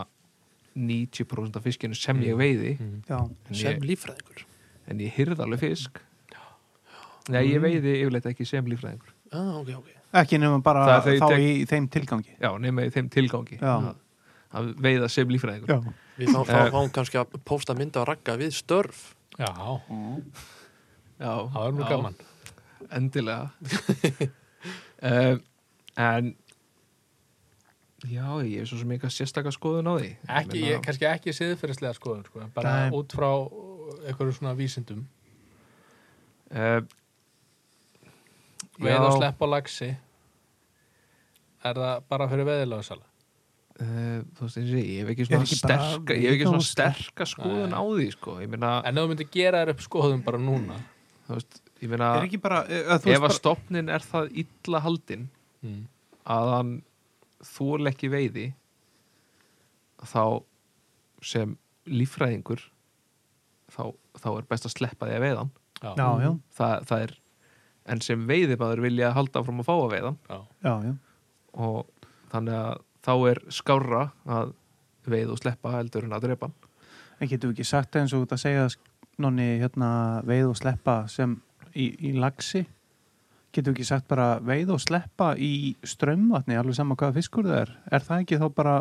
Speaker 4: 90% af fiskinu sem ég veiði
Speaker 3: Já.
Speaker 4: en
Speaker 2: sem
Speaker 4: ég,
Speaker 2: líffræðingur
Speaker 4: en ég hyrði alveg fisk Nei, ég veiði yfirleitt ekki sem lífræðingur
Speaker 2: Já, ah, ok, ok
Speaker 3: Ekki nema bara
Speaker 4: Það er þau
Speaker 3: þá
Speaker 4: tek-
Speaker 3: í þeim tilgangi.
Speaker 4: Já, nema í þeim tilgangi
Speaker 3: Já.
Speaker 4: að, að veiða sem lífræðingur
Speaker 3: Já.
Speaker 2: Við fá, fá,
Speaker 4: Eh.
Speaker 2: fáum kannski að pósta mynda að ragga við störf
Speaker 1: já, það
Speaker 4: Já,
Speaker 1: er
Speaker 4: já,
Speaker 1: nú gaman
Speaker 4: Endilega um, En Já, ég er svo sem eitthvað sérstaka skoðun á því
Speaker 1: ekki,
Speaker 4: Ég
Speaker 1: ég,
Speaker 4: meina-
Speaker 1: kannski ekki siðferðislega skoðun sko, en bara
Speaker 3: Nei.
Speaker 1: út frá uh, einhverju svona vísindum
Speaker 4: Eh,
Speaker 1: veiða og
Speaker 4: já,
Speaker 1: sleppa á lagsi er það bara fyrir veðilega sala
Speaker 4: eh, þú veist eins og ég, ég hef ekki
Speaker 3: Er
Speaker 4: svona
Speaker 3: ekki bara
Speaker 4: sterka ég hef ekki svona
Speaker 3: veiða og
Speaker 4: sterka skoðun á því sko. ég meina,
Speaker 1: en ef þú myndir gera þér upp skoðun bara núna
Speaker 4: þú veist, ég meina
Speaker 3: Er ekki bara, e, að
Speaker 4: ef
Speaker 3: þú veist
Speaker 4: að
Speaker 3: bara...
Speaker 4: stopnin er það illa haldin
Speaker 1: Mm.
Speaker 4: að hann þól ekki veiði þá sem líffræðingur þá, þá er best að sleppa því að veiða hann
Speaker 3: Já, já,
Speaker 4: Þa, það er, en sem veiðibæður vilja halda fram að fá að veiða hann
Speaker 3: já, já.
Speaker 4: og þannig að þá er skárra að veið og sleppa heldur en að drepa hann.
Speaker 3: En getur við ekki sagt eins og þú ert að segja nonni hérna veið og sleppa sem í, í lagsi? Getur við ekki sagt bara veið og sleppa í strömmvatni, alveg sama hvaða fiskur það er? Er það ekki þá bara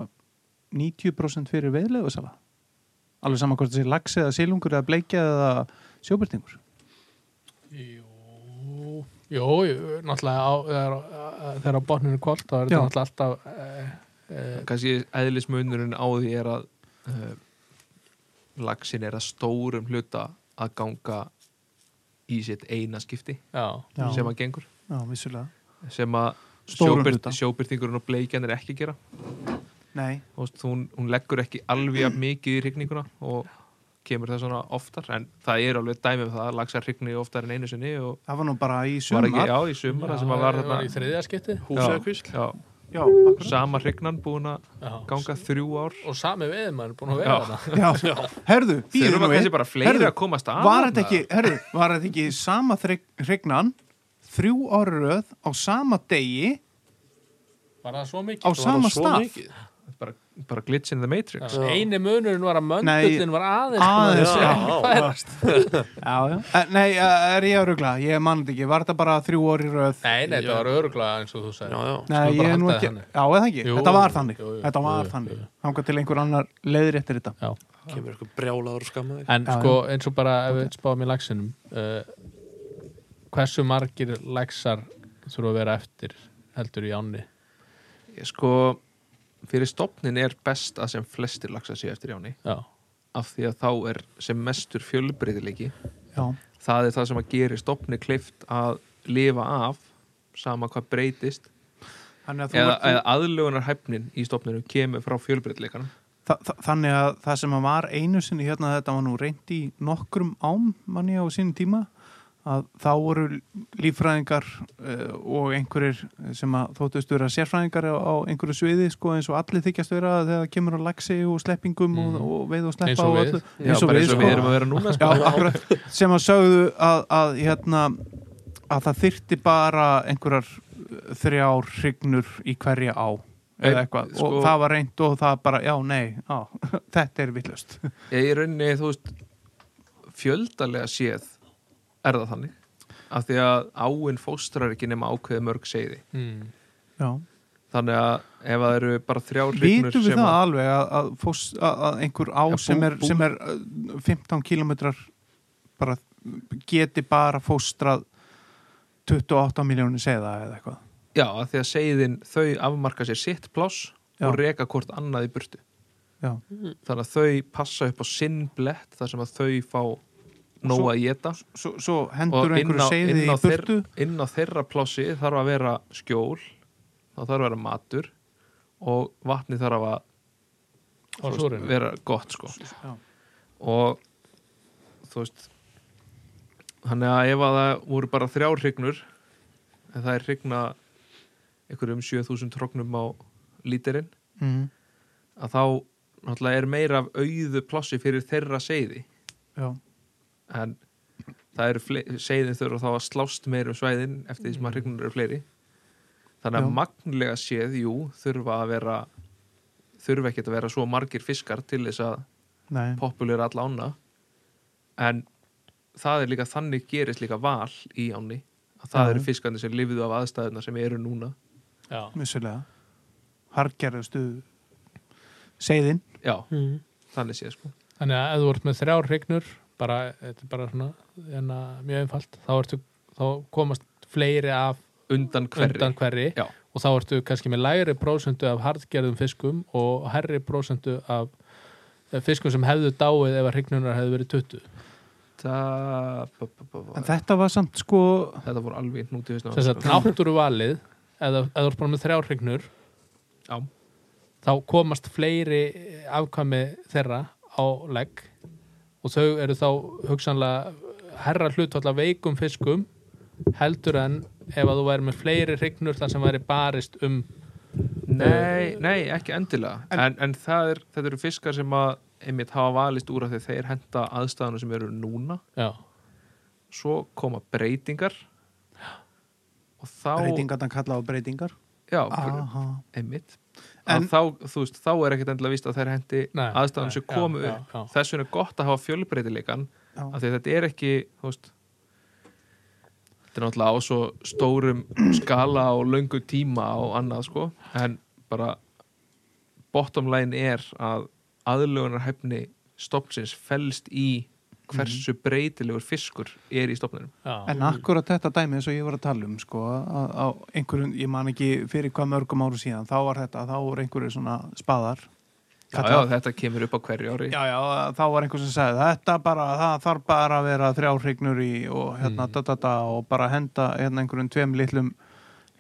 Speaker 3: 90% fyrir veiðlegu sala? Alveg sama hvort þessi lagsi eða silungur eða bleikja eða sjóbyrtingur?
Speaker 1: Jú, jú, jú náttúrulega á, þegar, uh, þegar á botninu er kvöld þá er
Speaker 3: Já.
Speaker 1: þetta náttúrulega alltaf eh, eh,
Speaker 4: kannski eðlismunurinn á því er að uh, lagsin er að stórum hluta að ganga í sitt eina skipti
Speaker 1: já,
Speaker 3: Já.
Speaker 4: sem að gengur
Speaker 3: Já, vissulega.
Speaker 4: sem að
Speaker 3: Stórum
Speaker 4: sjóbyrt,
Speaker 3: hluta.
Speaker 4: sjóbyrtingurinn og bleikjan er ekki að gera
Speaker 3: Nei.
Speaker 4: Þú veist, hún, hún leggur ekki alveg jafn mikið í hrygninguna og kemur það svona oftar en það er alveg dæmi um það að lagsar hrygni oftar en einu sinni og
Speaker 3: Það var nú bara í
Speaker 4: var
Speaker 3: sumar.
Speaker 4: ekki, já, í sumar það sem að var
Speaker 1: var í
Speaker 4: þarna
Speaker 1: þriðja skipti
Speaker 2: Húsækvísl
Speaker 4: já,
Speaker 3: Já, akkurat.
Speaker 4: sama hrygnan búin að
Speaker 1: já.
Speaker 4: ganga þrjú ár
Speaker 1: og sami veðum mann er búin að vera
Speaker 4: Já.
Speaker 1: þarna
Speaker 3: Já, já. Herðu,
Speaker 4: þeir
Speaker 3: býðu
Speaker 4: eru
Speaker 3: nú
Speaker 4: kannski
Speaker 3: við.
Speaker 4: bara fleiri
Speaker 3: Herðu,
Speaker 4: að komast að
Speaker 3: Var
Speaker 4: þarna.
Speaker 3: þetta ekki, herðu, var þetta ekki sama hrygnan, þrjú ára röð á sama degi
Speaker 1: var það svo
Speaker 3: á
Speaker 1: mikið
Speaker 3: sama stað?
Speaker 4: bara, bara glitch in the matrix
Speaker 1: já. eini munurinn var að
Speaker 3: Nei,
Speaker 1: möndullin var aðeins
Speaker 3: Aðeins, já.
Speaker 1: færast
Speaker 3: Já, já. Eh, Nei, eh, er ég að rugla? Ég man þetta ekki. Var þetta bara þrjú ára í röð?
Speaker 1: nei, nei, þetta var öruglega eins og þú
Speaker 2: Já,
Speaker 1: sagði
Speaker 2: já,
Speaker 3: Nei,
Speaker 1: skulum
Speaker 3: ég
Speaker 1: bara
Speaker 3: er nú
Speaker 1: halda
Speaker 3: ekki.
Speaker 1: það þannig.
Speaker 3: Já, eða ekki.
Speaker 1: Jú,
Speaker 3: þetta var
Speaker 1: jú,
Speaker 3: þannig.
Speaker 1: jú, jú,
Speaker 3: þetta var
Speaker 1: jú, jú,
Speaker 3: þannig. Hanga til einhver annar leiðréttir þetta.
Speaker 1: já.
Speaker 2: kemur eitthvað brjálaður skamma þig
Speaker 1: en
Speaker 3: Já,
Speaker 1: sko eins og bara ef við spáum í lagsinum uh, hversu margir lagsar þurfa að vera eftir heldur í ánni
Speaker 4: Ég sko, fyrir stopnin er best að sem flestir laxa séu eftir jáni
Speaker 1: já,
Speaker 4: af því að þá er sem mestur fjölbreytileiki
Speaker 3: Já,
Speaker 4: það er það sem að gera stopni klift að lifa af sama hvað breytist
Speaker 3: Þannig að, þú
Speaker 4: eða,
Speaker 3: ert-
Speaker 4: eða aðlögunarhæfnin í stopninu kemur frá fjölbreytleikanum
Speaker 3: Þa- þa- Þannig að það sem að var einu sinni hérna þetta var nú reynd í nokkrum ám manni á sínum tíma að þá voru líffræðingar uh, og einhverjir sem að þóttust vera sérfræðingar á, á einhverju sviði sko eins og allir þykjast vera þegar það kemur á lagsi og sleppingum
Speaker 4: Mhm.
Speaker 3: og, og veið og sleppa
Speaker 1: Eins og
Speaker 3: og sko.
Speaker 1: við.
Speaker 3: öllu
Speaker 4: Já, bara eins og við sko. erum að vera núna
Speaker 3: Já, akkurat, sem að sögðu að, að, hérna, að það þyrti bara einhverjar uh, þrjár hrygnur í hverja á
Speaker 4: Ein-
Speaker 3: eða eitthvað
Speaker 4: sko-
Speaker 3: og það var reynd og það bara, já, nei, á, þetta er villust
Speaker 4: ég er rauninni, þú veist fjöldalega séð er það þannig af því að áinn fóstrar ekki nema ákveði mörg segði þannig að ef það eru bara þrjár hrygnur
Speaker 3: Vítum við
Speaker 4: sem
Speaker 3: það
Speaker 4: að-
Speaker 3: alveg að, að, fós, að, að einhver á
Speaker 4: Já, bú-
Speaker 3: sem, er,
Speaker 4: bú-
Speaker 3: sem er uh, 15 kilometrar bara geti bara fóstrað 28 miljónir segða eða eitthvað
Speaker 4: já, af því að segðin þau afmarka sér sitt pláss
Speaker 3: Já.
Speaker 4: og reka hvort annað í burtu
Speaker 3: Já.
Speaker 4: þannig að þau passa upp á sinn blett þar sem að þau fá nóg
Speaker 3: Svo-
Speaker 4: að geta
Speaker 3: Svo, svo
Speaker 4: og
Speaker 3: hendur
Speaker 4: inn á,
Speaker 3: einhverju segði
Speaker 4: inn,
Speaker 3: í
Speaker 4: á þeir,
Speaker 3: burtu
Speaker 4: inn á þeirra plássi þarf að vera skjól það þarf að vera matur og vatni þarf að
Speaker 1: Og
Speaker 4: þú veist,
Speaker 1: súrefni.
Speaker 4: vera gott sko
Speaker 3: Já.
Speaker 4: og þú veist þannig að ef að það voru bara þrjár hrygnur en það er hrygna einhverjum 7000 trognum á lítirinn
Speaker 3: mm,
Speaker 4: að þá náttúrulega er meira af auðu plássi fyrir þeirra seiði
Speaker 3: Já,
Speaker 4: en það eru fle- seiðin þurfa þá að slást meira um svæðin eftir því sem að hrygnur eru fleiri þannig að
Speaker 3: Mm. Já.
Speaker 4: magnlega séð, jú, þurfa að vera þurfa ekkert að vera svo margir fiskar til þess að
Speaker 3: nei
Speaker 4: populera all ána en það er líka þannig gerist líka val í áni að það
Speaker 3: Já.
Speaker 4: eru fiskarnir sem lifiðu af aðstæðuna sem eru núna
Speaker 1: Já.
Speaker 3: Vissulega. Hargerðustu segðin.
Speaker 4: já, þannig séð sko
Speaker 1: Þannig að ef þú ert með þrjár hrygnur bara, þetta er bara svona enna, mjög einfalt, þá, ertu, þá komast fleiri af
Speaker 4: undan hverri
Speaker 1: undan hverri
Speaker 4: Já.
Speaker 1: og þá ertu kannski með lægri prósentu af hardgerðum fiskum og herri prósentu af eh, fiskum sem hefðu dáið ef að hrygnunar hefðu verið 20
Speaker 4: Ta- ba- ba- ba- ba-
Speaker 3: En þetta var samt sko,
Speaker 4: þetta voru alveg nútið
Speaker 1: þess að náttúruvalið eða, eða þú ert bara með þrjár hrygnur
Speaker 4: Já.
Speaker 1: þá komast fleiri afkvæmi þeirra á legg og þau eru þá hugsanlega herra hlutvalla veikum fiskum heldur en ef að þú væri með fleiri hrygnur þar sem væri barist um
Speaker 4: Nei, nei, ekki endilega En, en, það er, þetta eru fiskar sem að einmitt hafa valist úr að þeir, þeir henda aðstæðuna sem eru núna
Speaker 1: já,
Speaker 4: Svo koma breytingar Og þá
Speaker 3: breytingarna kalla á breytingar.
Speaker 4: Já,
Speaker 3: Aha.
Speaker 4: einmitt
Speaker 3: En-
Speaker 4: en, þá, þú veist, þá er ekkert endilega víst að þeir hendi
Speaker 1: Nei,
Speaker 4: aðstæðan
Speaker 1: nei,
Speaker 4: sem
Speaker 1: já,
Speaker 4: komu
Speaker 1: já,
Speaker 4: upp
Speaker 1: já.
Speaker 4: Þess vegna er gott að hafa fjölbreytileikan
Speaker 3: Já.
Speaker 4: af því að þetta er ekki, þú veist Þetta er náttúrulega á svo stórum skala og löngu tíma og annað, sko en bara bottom line er að aðlögunarhæfni stopnsins felst í
Speaker 3: Mhm.
Speaker 4: hversu breytilegur fiskur er í stopninum
Speaker 1: já,
Speaker 3: En akkurat þetta dæmi eins og ég var að tala um sko, að á einhverjum, ég man ekki fyrir hvað mörgum áru síðan, þá var þetta, þá voru einhverju svona spaðar.
Speaker 4: Já, já,
Speaker 3: Kallað-
Speaker 4: þetta kemur upp á hverju ári
Speaker 3: já, já, þá var einhver sem sagði, þetta bara, það þarf bara að vera þrjárhrygnur í og hérna, da, da, da, og bara henda hérna einhverjum tveim litlum,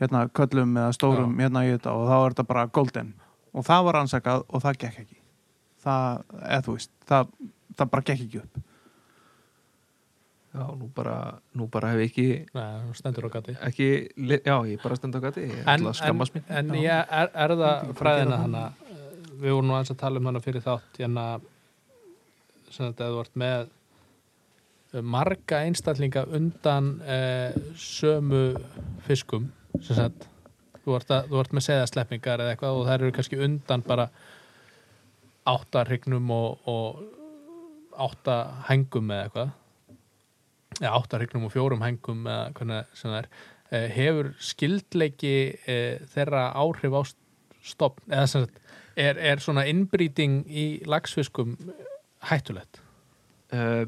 Speaker 3: hérna, köllum eða stórum, hérna í þetta og þá er þetta bara golden. Og það var ansakað og það gekk ekki. Það, eða þú veist, það, það bara gekk ekki upp.
Speaker 4: Já, nú bara, nú bara hef ég ekki
Speaker 1: neða, hún stendur á gati
Speaker 4: ekki, li- já, ég bara stend á gati ég
Speaker 1: en,
Speaker 4: ætla að skammast mín
Speaker 1: en, en ég er, er það fræðina hana eh, við vorum nú eins að tala um hana fyrir þátt hérna sem þetta hefur vart með eh, marga einstaklinga undan eh, sömu fiskum sem sagt þú ert, að, þú ert með seðasleppingar eða eitthvað og þær eru kannski undan bara áttarhygnum og, og áttahengum eða eitthvað eða áttarhygnum og fjórum hengum eða hvernig sem það er Eh, hefur skildleiki eh, þeirra áhrif á stopn eða sem sagt er, er svona innbrýting í lagsfiskum hættulegt
Speaker 4: uh,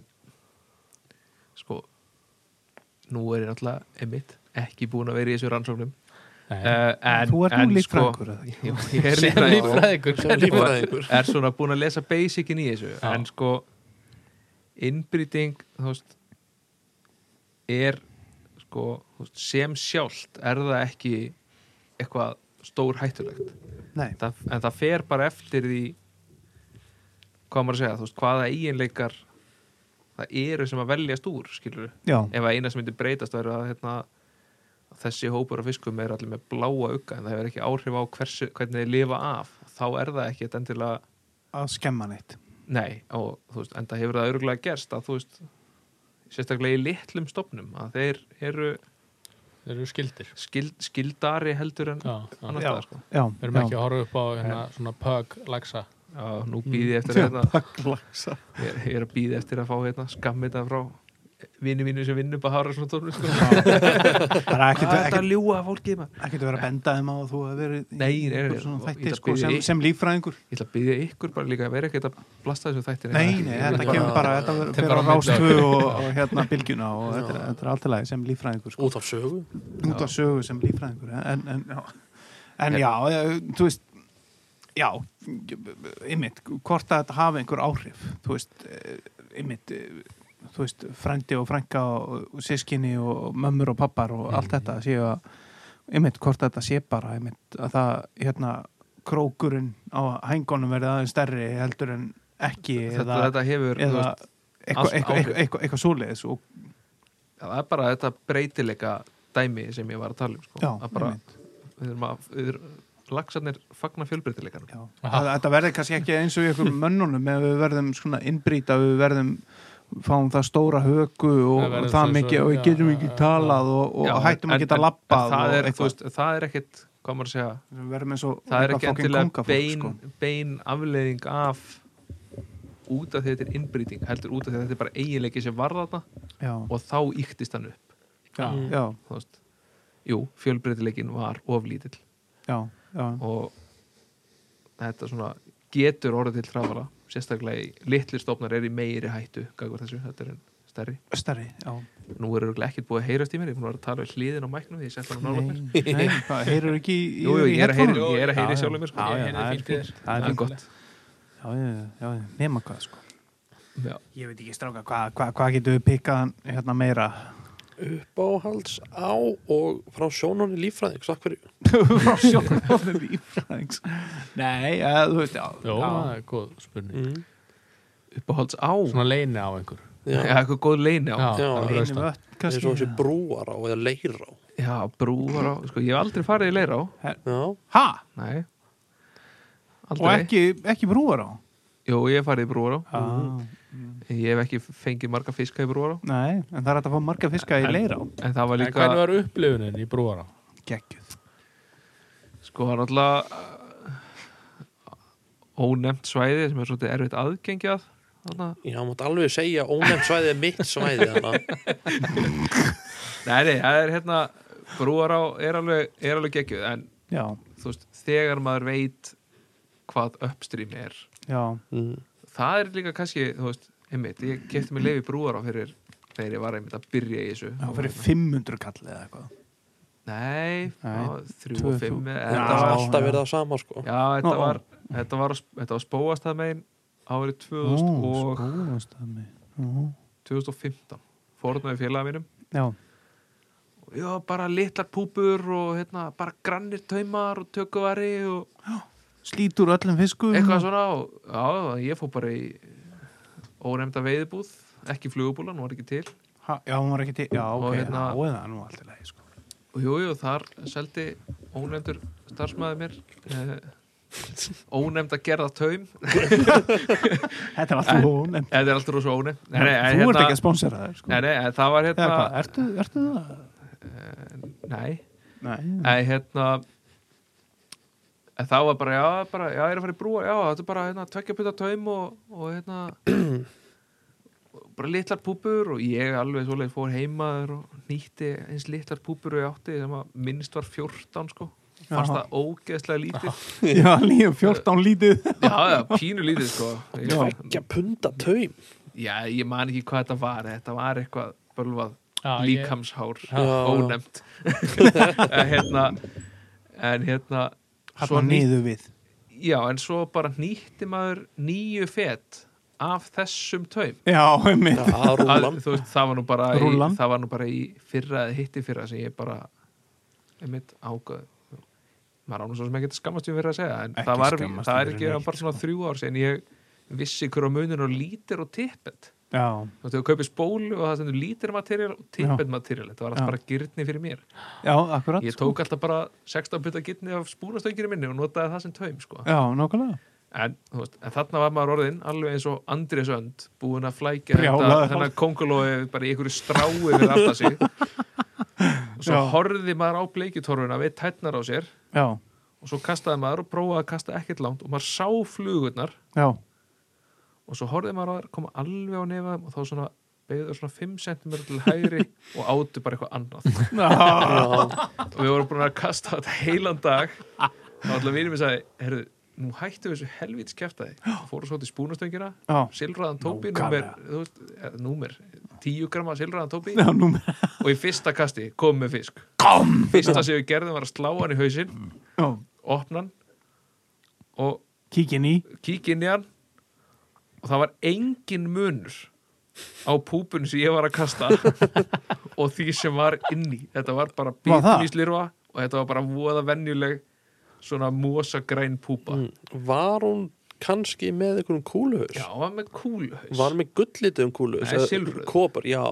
Speaker 4: sko nú er ég náttúrulega einmitt ekki búin að vera í þessu rannsóknum uh, en,
Speaker 3: Þú ert nú
Speaker 4: en,
Speaker 3: líffræðingur, eða ekki?
Speaker 4: sko, Jú, ég er
Speaker 1: sem
Speaker 4: líffræðingur
Speaker 1: lífræðingur
Speaker 2: Sem líffræðingur.
Speaker 4: og er svona búin að lesa basicin í þessu
Speaker 1: Já.
Speaker 4: en sko innbryting þú veist er sko, þú veist, sem sjálft er það ekki eitthvað stór hættulegt
Speaker 3: Nei.
Speaker 4: það, en það fer bara eftir því hvað maður að segja, þú veist, hvaða eiginleikar það eru sem að veljast úr, skilur
Speaker 3: já,
Speaker 4: ef að eina sem myndi breytast væri að hérna, þessi hópur af fiskum er allir með bláa ugga en það hefur ekki áhrif á hversu, hvernig þeir lifa af þá er það ekki þetta endilega
Speaker 3: að skemma neitt
Speaker 4: Nei, og þú veist, enda hefur það örgulega gerst að þú veist, sérstaklega í litlum stofnum, að þeir eru
Speaker 1: þeir eru skildir
Speaker 4: skild, skildari heldur en
Speaker 1: já, já.
Speaker 4: annars Eh. staðar, sko.
Speaker 3: já,
Speaker 1: við erum ekki
Speaker 3: já.
Speaker 1: að horfa upp á hérna, svona pög lagsa
Speaker 4: Já, nú býði ég eftir að hérna,
Speaker 3: Glaksa.
Speaker 4: ég, ég er að býði eftir að fá hérna skammita frá vini mínu sem vinnur bara hára svona tónlist, sko.
Speaker 3: bara
Speaker 4: Ekki,
Speaker 3: ekkert
Speaker 4: það er
Speaker 3: ekkert-
Speaker 4: að ljúga að fólkið maður.
Speaker 3: ekkert að vera að benda þeim á að þú að vera
Speaker 4: Nei, nei, nei,
Speaker 3: svona
Speaker 4: og-
Speaker 3: þætti
Speaker 4: ég-
Speaker 3: sko, sem, sem líffræðingur
Speaker 4: Ég ætla að býðja ykkur bara líka að vera ekkert að blasta þessu þættir.
Speaker 3: nei, nei, þetta kemur bara þetta verður- fer á
Speaker 1: bara á milli
Speaker 3: rástu og, og hérna bylgjuna og þetta, er- þetta er alltaf lagi sem líffræðingur sko.
Speaker 2: út af sögu
Speaker 3: út af sögu sem líffræðingur en, en, já. en já, eh, þú veist já, ymmit hvort að þetta hafi einhver áhrif þú veist, ymmit þú veist, frændi og frænka og, og sískinni og mömmur og pappar og allt þetta séu að ymmit hvort að þetta sé bara ymmit að það, hérna, krókurinn á hængunum verði aðeins stærri heldur en ekki
Speaker 4: Þetta,
Speaker 3: eða,
Speaker 4: þetta hefur, þú
Speaker 3: eða
Speaker 4: veist,
Speaker 3: eitthvað
Speaker 4: allt
Speaker 3: eitthva,
Speaker 4: áhrif.
Speaker 3: eitthva, eitthva, eitthva svoleiðis og
Speaker 4: Já, það er bara þetta breytileika dæmi sem ég var að tala um sko.
Speaker 3: já,
Speaker 4: Það er bara,
Speaker 3: einmitt,
Speaker 4: við erum að við erum, lagsarnir fagna fjölbreytileikanum
Speaker 3: já. Að, þetta verði kannski ekki eins og í ykkur mönnunum ef við verðum svona innbrýta við verðum fáum það stóra höku og
Speaker 1: Það
Speaker 3: það,
Speaker 1: verður
Speaker 3: það
Speaker 1: svo-
Speaker 3: mikið
Speaker 1: svo-
Speaker 3: og við
Speaker 1: já,
Speaker 3: getum
Speaker 1: já,
Speaker 3: ekki
Speaker 1: já,
Speaker 3: talað og, og
Speaker 4: Já, en-
Speaker 3: hættum að geta
Speaker 4: en- en
Speaker 3: labbað
Speaker 4: það
Speaker 3: og
Speaker 4: er, þú
Speaker 3: eitthvað.
Speaker 4: veist, það er ekkit, hvað maður að segja
Speaker 3: Við verðum eins og
Speaker 4: það er
Speaker 3: eitthvað
Speaker 4: ekki
Speaker 3: fucking
Speaker 4: endilega
Speaker 3: kóngafólk,
Speaker 4: bein,
Speaker 3: sko.
Speaker 4: bein afleiðing af út af því þetta er innbrýting heldur út af því að þetta er bara eiginleiki sem varða þetta
Speaker 3: já,
Speaker 4: og þá yktist hann upp
Speaker 1: já,
Speaker 3: já,
Speaker 4: þú veist. Jú, fjölbreytileikin var oflítill
Speaker 3: já, já,
Speaker 4: og þetta svona getur orðið til trafala sérstaklega í litlir stofnar er í meiri hættu gagvar þessu, þetta er en stærri
Speaker 3: stærri já.
Speaker 4: nú er örugglega ekkert búið að heyrast í mér ég er búin að vera að tala við hliðin á mæknum því ég sett hann á nála mér
Speaker 3: Nei, nei, hvað, heyrur ekki í,
Speaker 4: Jú, jú,
Speaker 3: í
Speaker 4: ég er að heyra,
Speaker 3: headphone-unum?
Speaker 4: ég er að heyra
Speaker 3: Já,
Speaker 4: sjálfur mér sko.
Speaker 3: já, já,
Speaker 4: Ég heyri
Speaker 3: það er
Speaker 4: fínt í þér.
Speaker 3: fínt. Það er
Speaker 4: Það er
Speaker 3: fínt.
Speaker 4: gott
Speaker 3: já, já, já, já, nema hvað sko
Speaker 4: Já.
Speaker 3: ég veit ekki stráka, hvað hva, hva getum við pikkað hérna meira
Speaker 2: uppáhalds á og frá sjónunni líffræðing sagt hverju
Speaker 3: frá sjónarhóðum lífræðings nei, ja, þú veist, já,
Speaker 1: Jó, það
Speaker 3: já.
Speaker 1: er góð spurning
Speaker 2: mm.
Speaker 4: Uppáhalds á
Speaker 1: svona leini á einhver
Speaker 4: Já,
Speaker 2: já,
Speaker 4: eitthvað góð leini á
Speaker 1: já,
Speaker 2: Já,
Speaker 1: alveg
Speaker 3: einu
Speaker 1: austan.
Speaker 3: vött
Speaker 2: eins og
Speaker 3: kannski
Speaker 2: þessi brúar á eða leir á
Speaker 4: Já, brúar á Sko, ég hef aldrei farið í leir á
Speaker 2: já,
Speaker 3: ha,
Speaker 4: Nei
Speaker 3: og
Speaker 4: Aldrei
Speaker 3: ekki, ekki brúar á
Speaker 4: Jú, ég hef farið í brúar á
Speaker 3: ah.
Speaker 4: Ég hef ekki fengið marga fiska í brúar á
Speaker 3: nei, en það er hægt að fá marga fiska í leir á
Speaker 4: En það var
Speaker 1: En
Speaker 4: líka
Speaker 1: hvernig var upplifunin í brúara?
Speaker 3: geggjuð
Speaker 4: Sko, það er alltaf Ónefnt svæði sem er svolítið erfitt aðgengjað Þarna
Speaker 2: já, mátt alveg segja ónefn svæði er mitt svæði þannig að-
Speaker 4: Nei, nei, það er hérna Brúar á er alveg, er alveg geggjuð En
Speaker 3: já,
Speaker 4: þú veist, þegar maður veit hvað uppstream er
Speaker 3: já,
Speaker 2: mm.
Speaker 4: það er líka kannski, þú veist, einmitt ég kefti mig leifi brúar á fyrir þegar ég var einmitt að byrja í þessu
Speaker 3: það fyrir 500 kall eða eitthvað
Speaker 4: nei,
Speaker 3: Nei,
Speaker 4: nei þrjú og
Speaker 3: tvö
Speaker 4: fimm
Speaker 3: þú-
Speaker 4: eða-
Speaker 2: það
Speaker 4: þetta
Speaker 2: var
Speaker 4: var,
Speaker 2: alltaf
Speaker 3: já.
Speaker 2: verið það sama sko
Speaker 4: já, þetta
Speaker 3: Ó, ó.
Speaker 4: var þetta var, á sp- þetta var spóast það megin árið 2000 og,
Speaker 3: sko. skóðastami já,
Speaker 4: 2015 fórnaði félaga mínum
Speaker 3: já,
Speaker 4: já, bara litlar púpur og hérna, bara grannir taumar og tökuvari og
Speaker 3: slítur öllum fiskum
Speaker 4: eitthvað svona og, já, ég fór bara í óremda veiðbúð ekki flugubúlan, hún var ekki til
Speaker 3: ha, já, hún var ekki til, já, ok,
Speaker 4: hérna-
Speaker 3: já, eða nú allt í lagi sko.
Speaker 4: og jú, jú, þar seldi ónefndur starfsmæði mér eh, ónefnd að gerða taum
Speaker 3: þetta er alltaf hún en,
Speaker 4: þetta er alltaf rosa ónefnd nei,
Speaker 3: þú
Speaker 4: nei, en
Speaker 3: ert
Speaker 4: hérna-
Speaker 3: ekki að sponsera það sko.
Speaker 4: nei, nei, en það var
Speaker 3: eða
Speaker 4: hérna
Speaker 3: hvað, ertu, ertu það?
Speaker 4: nei,
Speaker 3: Nei,
Speaker 4: nei, hérna en það var bara, já, bara, já, ég er að fara í brúa já, þetta er bara, hérna, tvekja putta taum og, og hérna og bara litlar púpur og ég alveg svoleið fór heimaður og nýtti eins litlar púpur og ég átti sem að minnst var 14 sko fannst
Speaker 3: Jaha.
Speaker 4: það ógeðslega lítið
Speaker 3: já, líf 14 lítið
Speaker 4: já, já, pínu lítið sko ég,
Speaker 2: ekki að punda taum
Speaker 4: já, ég man ekki hvað þetta var þetta var eitthvað bölvað
Speaker 1: Já, ég-
Speaker 4: líkamshár,
Speaker 2: Já, já.
Speaker 4: ónefnt en hérna en hérna
Speaker 3: Hanna
Speaker 4: nýtt-
Speaker 3: niður við
Speaker 4: já, en svo bara nýtti maður nýju fet af þessum taum
Speaker 3: já, einmitt
Speaker 2: að
Speaker 4: að,
Speaker 2: rúlan
Speaker 4: þú veist, það, var nú bara í,
Speaker 3: Rúllan.
Speaker 4: það var nú bara í fyrra eða hitti fyrra sem ég bara einmitt ágöð maður ánum svo sem ekki að skammast um fyrir að segja en
Speaker 3: Ekki
Speaker 4: það, var,
Speaker 3: skammast
Speaker 4: það
Speaker 3: mín
Speaker 4: er
Speaker 3: fyrir
Speaker 4: ekki
Speaker 3: neitt, sko.
Speaker 4: bara svona þrjú ár sem ég vissi hverju munur og lítir og tippet
Speaker 3: já,
Speaker 4: þú veist, þú kaupir spólu og það stendur lítir materiál og tippet materiál, þetta var
Speaker 3: Já.
Speaker 4: alltaf bara gyrni fyrir mér
Speaker 3: já, akkurat
Speaker 4: ég sko- tók alltaf bara 16 putta gyrni af spúnastönginu minni og notaði það sem taum sko.
Speaker 3: já, nákvæmlega
Speaker 4: en, þú veist, en þarna var maður orðin alveg eins og Andrés Önd búin að flækja
Speaker 3: Brjálaður.
Speaker 4: þetta- þennan kongulói bara í einhverju strái við alltaf sig og svo
Speaker 3: Já.
Speaker 4: horfði maður á bleikjutorfuna við tætnar á sér
Speaker 3: já,
Speaker 4: og svo kastaði maður og prófaði að kasta ekkert langt og maður sá flugurnar
Speaker 3: já,
Speaker 4: og svo horfði maður á þær koma alveg á nefaðum og þá svona beigðu svona 5 cm til hægri og áttu bara eitthvað annað og við vorum búin að kasta þetta heilan dag þá alltaf vinur mér sagði herru, nú hættu við þessu helvítis kæftæði fóru svo til spúnastöngina
Speaker 3: já
Speaker 4: silfraðan tópi númer,
Speaker 3: Nákvæmlega.
Speaker 4: þú veist, eða númer 10 grama silfraðan tópi
Speaker 3: já, númer
Speaker 4: og í fyrsta kasti kom með fisk
Speaker 3: kom
Speaker 4: fyrsta sem við gerðum var að slá hann í hausinn
Speaker 3: já,
Speaker 4: opna hann og
Speaker 3: kíkin í
Speaker 4: kíkja inn í hann og það var engin munur á púpun sem ég var að kasta og því sem var inni þetta var bara
Speaker 3: Var það?
Speaker 4: bítum í slirfa og þetta var bara voða venjuleg svona mosagræn púpa
Speaker 3: Mm.
Speaker 2: var hún kannski með einhverjum kúluhaus
Speaker 4: já, hann var með kúlhaus
Speaker 2: var með gullitum kúluhaus
Speaker 4: Nei,
Speaker 2: eða
Speaker 4: silfruð.
Speaker 2: kopar, já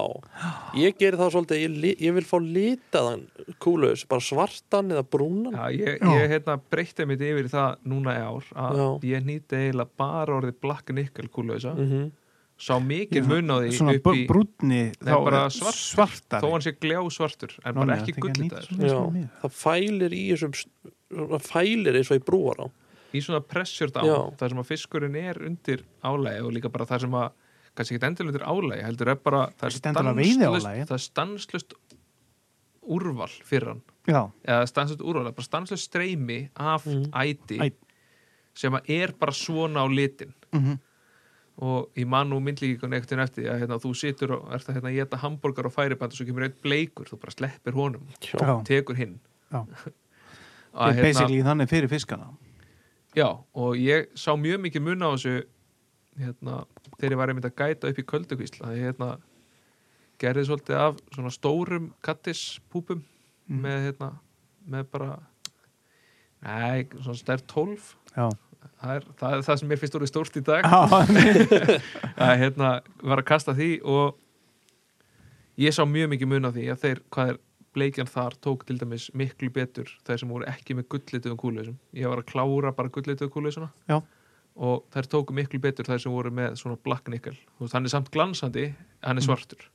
Speaker 2: ég geri það svolítið, ég, li- ég vil fá litaðan kúluhaus, bara svartan eða brúnan
Speaker 4: Já, ég,
Speaker 3: Já.
Speaker 4: ég hérna, breytti mitt yfir í það núna í ár að ég nýtti eiginlega bara orðið black nickel kúlausa
Speaker 2: mm
Speaker 4: sá mikið
Speaker 3: Mhm. Já,
Speaker 4: mun á því
Speaker 3: svona
Speaker 4: upp í
Speaker 3: brúnni
Speaker 4: Nei, bara svart-
Speaker 3: svartar
Speaker 4: þó hann sé gljá svartur en bara ekki gullitaður
Speaker 2: Já, það fælir í þessum það fælir eins og ég brúar á
Speaker 4: í svona pressure down
Speaker 2: Já.
Speaker 4: þar sem að fiskurinn er undir álægi og líka bara þar sem að kannski ekki endilega undir álægi heldur er bara það er
Speaker 3: Ekki endilega
Speaker 4: stanslaust-
Speaker 3: veiðiálagi.
Speaker 4: það er stanslust úrval fyrir hann
Speaker 3: já,
Speaker 4: eða stanslust úrval, það er bara stanslust streymi af æti
Speaker 3: Æ.
Speaker 4: sem að er bara svona á litin
Speaker 3: mhm,
Speaker 4: og ég man nú myndlíkikun eftir eftir því að hérna, þú situr og ert að hérna, geta hambúrgar og færiband og svo kemur einn bleikur þú bara sleppir honum,
Speaker 3: já
Speaker 4: tekur hinn
Speaker 3: Já.
Speaker 4: Að, hérna,
Speaker 3: Ég er basically þannig fyrir fiskana
Speaker 4: Já, og ég sá mjög mikið mun á þessu hérna, þegar ég var einmitt að gæta upp í köldukvísl að ég hérna, gerði svolítið af svona stórum kattispúpum með, hérna, með bara nei, svona stær 12
Speaker 3: Já,
Speaker 4: það er, það er það sem mér finnst orðið stórt í dag
Speaker 3: já,
Speaker 4: að hérna var að kasta því og ég sá mjög mikið mun á því að þeir, hvað er bleikjan þar tók til dæmis miklu betur þeir sem voru ekki með gullituðum kúlausum ég var að klára bara gullituðu kúlausuna
Speaker 3: Já.
Speaker 4: og þær tóku miklu betur þeir sem voru með svona black nickel Þú veist, hann er samt glansandi, hann er svartur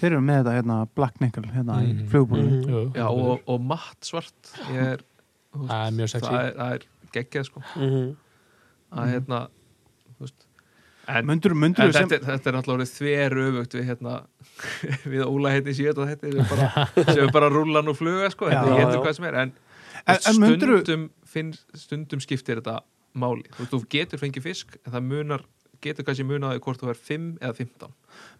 Speaker 3: þeir eru með þetta hérna Black Nickel hérna í
Speaker 1: Mhm.
Speaker 3: flugbúri
Speaker 1: Jú,
Speaker 4: Já, og, og matt svart ég er, þú veist,
Speaker 1: Það er mjög sexy.
Speaker 4: það er, það er geggjað sko
Speaker 3: Mhm.
Speaker 4: að hérna þú veist, en
Speaker 3: Mundur, mundur
Speaker 4: Mhm. En
Speaker 3: sem
Speaker 4: þetta, er- þetta er náttúrulega þver öfugt við hérna við Óla hérna heitni síðan og þetta er bara, sem er bara rúlan og fluga sko,
Speaker 3: Já,
Speaker 4: þetta
Speaker 2: já,
Speaker 4: getur
Speaker 2: já.
Speaker 4: hvað sem er en,
Speaker 3: En- en myndirðu-
Speaker 4: stundum, finn, stundum skiptir þetta máli, þú, veist, þú getur fengið fisk en það munar, getur kannski munaði hvort þú er 5 eða 15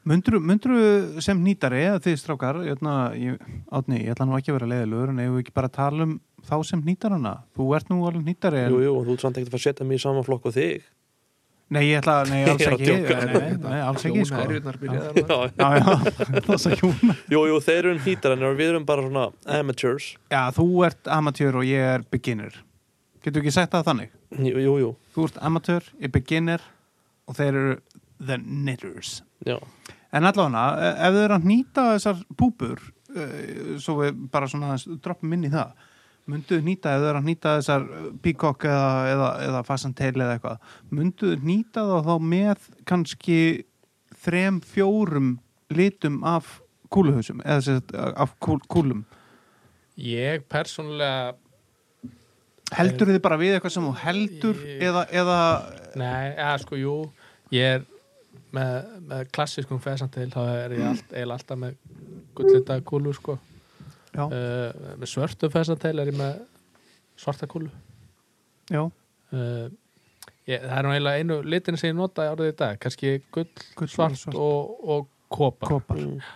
Speaker 3: Mundur, mundur sem nýtari eða þið strákar, hérna, ég, átni, ég ætla nú ekki að vera leiðilegur en eigum við ekki bara að tala um þá sem nýtarana? Þú ert nú alveg nýtari en...
Speaker 2: jú, jú, þú ert samt ekkert að fara að setja mig í sama flokk og þig
Speaker 3: Nei, ég ætla, nei,
Speaker 2: Ég er
Speaker 3: alls
Speaker 2: að
Speaker 3: ekki,
Speaker 2: djóka,
Speaker 3: nei, nei, nei, alls ekki, sko.
Speaker 4: Jónærjurnar byrjaðar
Speaker 2: já,
Speaker 4: þar.
Speaker 3: Já, já, það sagði Jón.
Speaker 2: jú, jú, þeir eru um hýtar en við erum bara svona amateurs
Speaker 3: Já, þú ert amatör og ég er beginner. Getur ekki sagt það þannig?
Speaker 2: jú, jú, jú,
Speaker 3: Þú ert amatör, ég er beginner og þeir eru the knitters.
Speaker 2: já
Speaker 3: En allavega, e, ef þau eru að nýta þessar púpur, eh, svo við bara svona aðeins droppum inn í það, mynduðu nýta, ef þau eru að nýta þessar e, peacock eða, eða, eða fasantel eða eitthvað, mynduðu nýta þá þá með kannski þrem, fjórum litum af kúluhausum, eða sérst, af kúl, kúlum.
Speaker 1: Ég persónulega
Speaker 3: Heldur þið bara við eitthvað sem þú heldur
Speaker 1: E,
Speaker 3: eða, eða,
Speaker 1: Nei, eða sko, jú Ég er með, með klassiskum fesantil þá er ég allt, eiginlega alltaf með gullita kúlu sko
Speaker 3: já,
Speaker 1: uh, með svörtu fesantil er ég með svarta kúlu
Speaker 3: já,
Speaker 1: uh, ég, Það er nú eiginlega einu litin sem ég nota árið í dag kannski gull,
Speaker 3: Gull og
Speaker 1: svart,
Speaker 3: svart.
Speaker 1: og, og kopar
Speaker 3: kopar.
Speaker 2: Mm.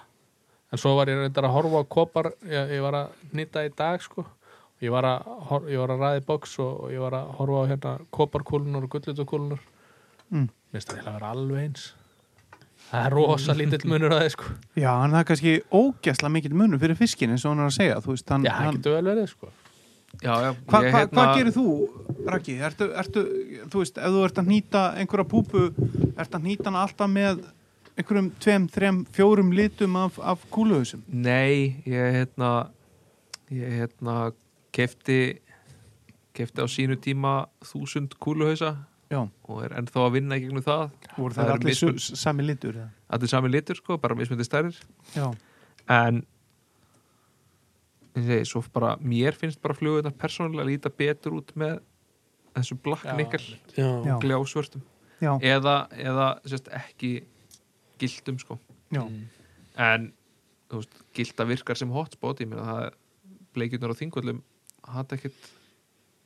Speaker 1: En svo var ég reyndar að horfa á kopar ég, ég var að nýta í dag sko Ég var að, hor- ég var að ræði boks og, og ég var að horfa á hérna koparkúlunar og gullutukúlunar
Speaker 3: Mm.
Speaker 1: Mér finnst það eiginlega að vera alveg eins það er rosa
Speaker 3: Mm.
Speaker 1: lítill munur að það sko
Speaker 3: Já, en það er kannski ógæsla mikill munur fyrir fiskin eins og hann er að segja, þú veist, hann...
Speaker 1: já, það
Speaker 3: Mm. hann...
Speaker 1: getur vel verið sko
Speaker 4: já, já,
Speaker 3: Hva,
Speaker 4: ég,
Speaker 3: hva,
Speaker 4: hérna-
Speaker 3: Hvað gerir þú, Raki? Ertu, ertu, þú veist, ef þú ert að nýta einhverja púpu, ert að nýta hana alltaf með einhverjum tveim, þrem, fjórum litum af, af kúluhusum?
Speaker 4: Nei, ég hérna ég hérna kefti kefti á sínu tíma þúsund kúluhausa
Speaker 3: Já.
Speaker 4: og er ennþá að vinna í gegnum það
Speaker 3: Voru
Speaker 4: Það
Speaker 3: það
Speaker 4: eru
Speaker 3: allir mismun... sami litur? eða?
Speaker 4: allir sami litur sko, bara mismöndi stærðir
Speaker 3: Já,
Speaker 4: en ég segi, svo bara, mér finnst bara flugurnar persónulega líta betur út með þessu black nickel
Speaker 2: já,
Speaker 3: já,
Speaker 4: gljásvörtum
Speaker 3: já,
Speaker 4: eða, eða sérst, ekki gildum sko
Speaker 3: já,
Speaker 4: en þú veist, gilda virkar sem hotspot ég meina það er bleikjurnar á þingvöllum hatt ekkert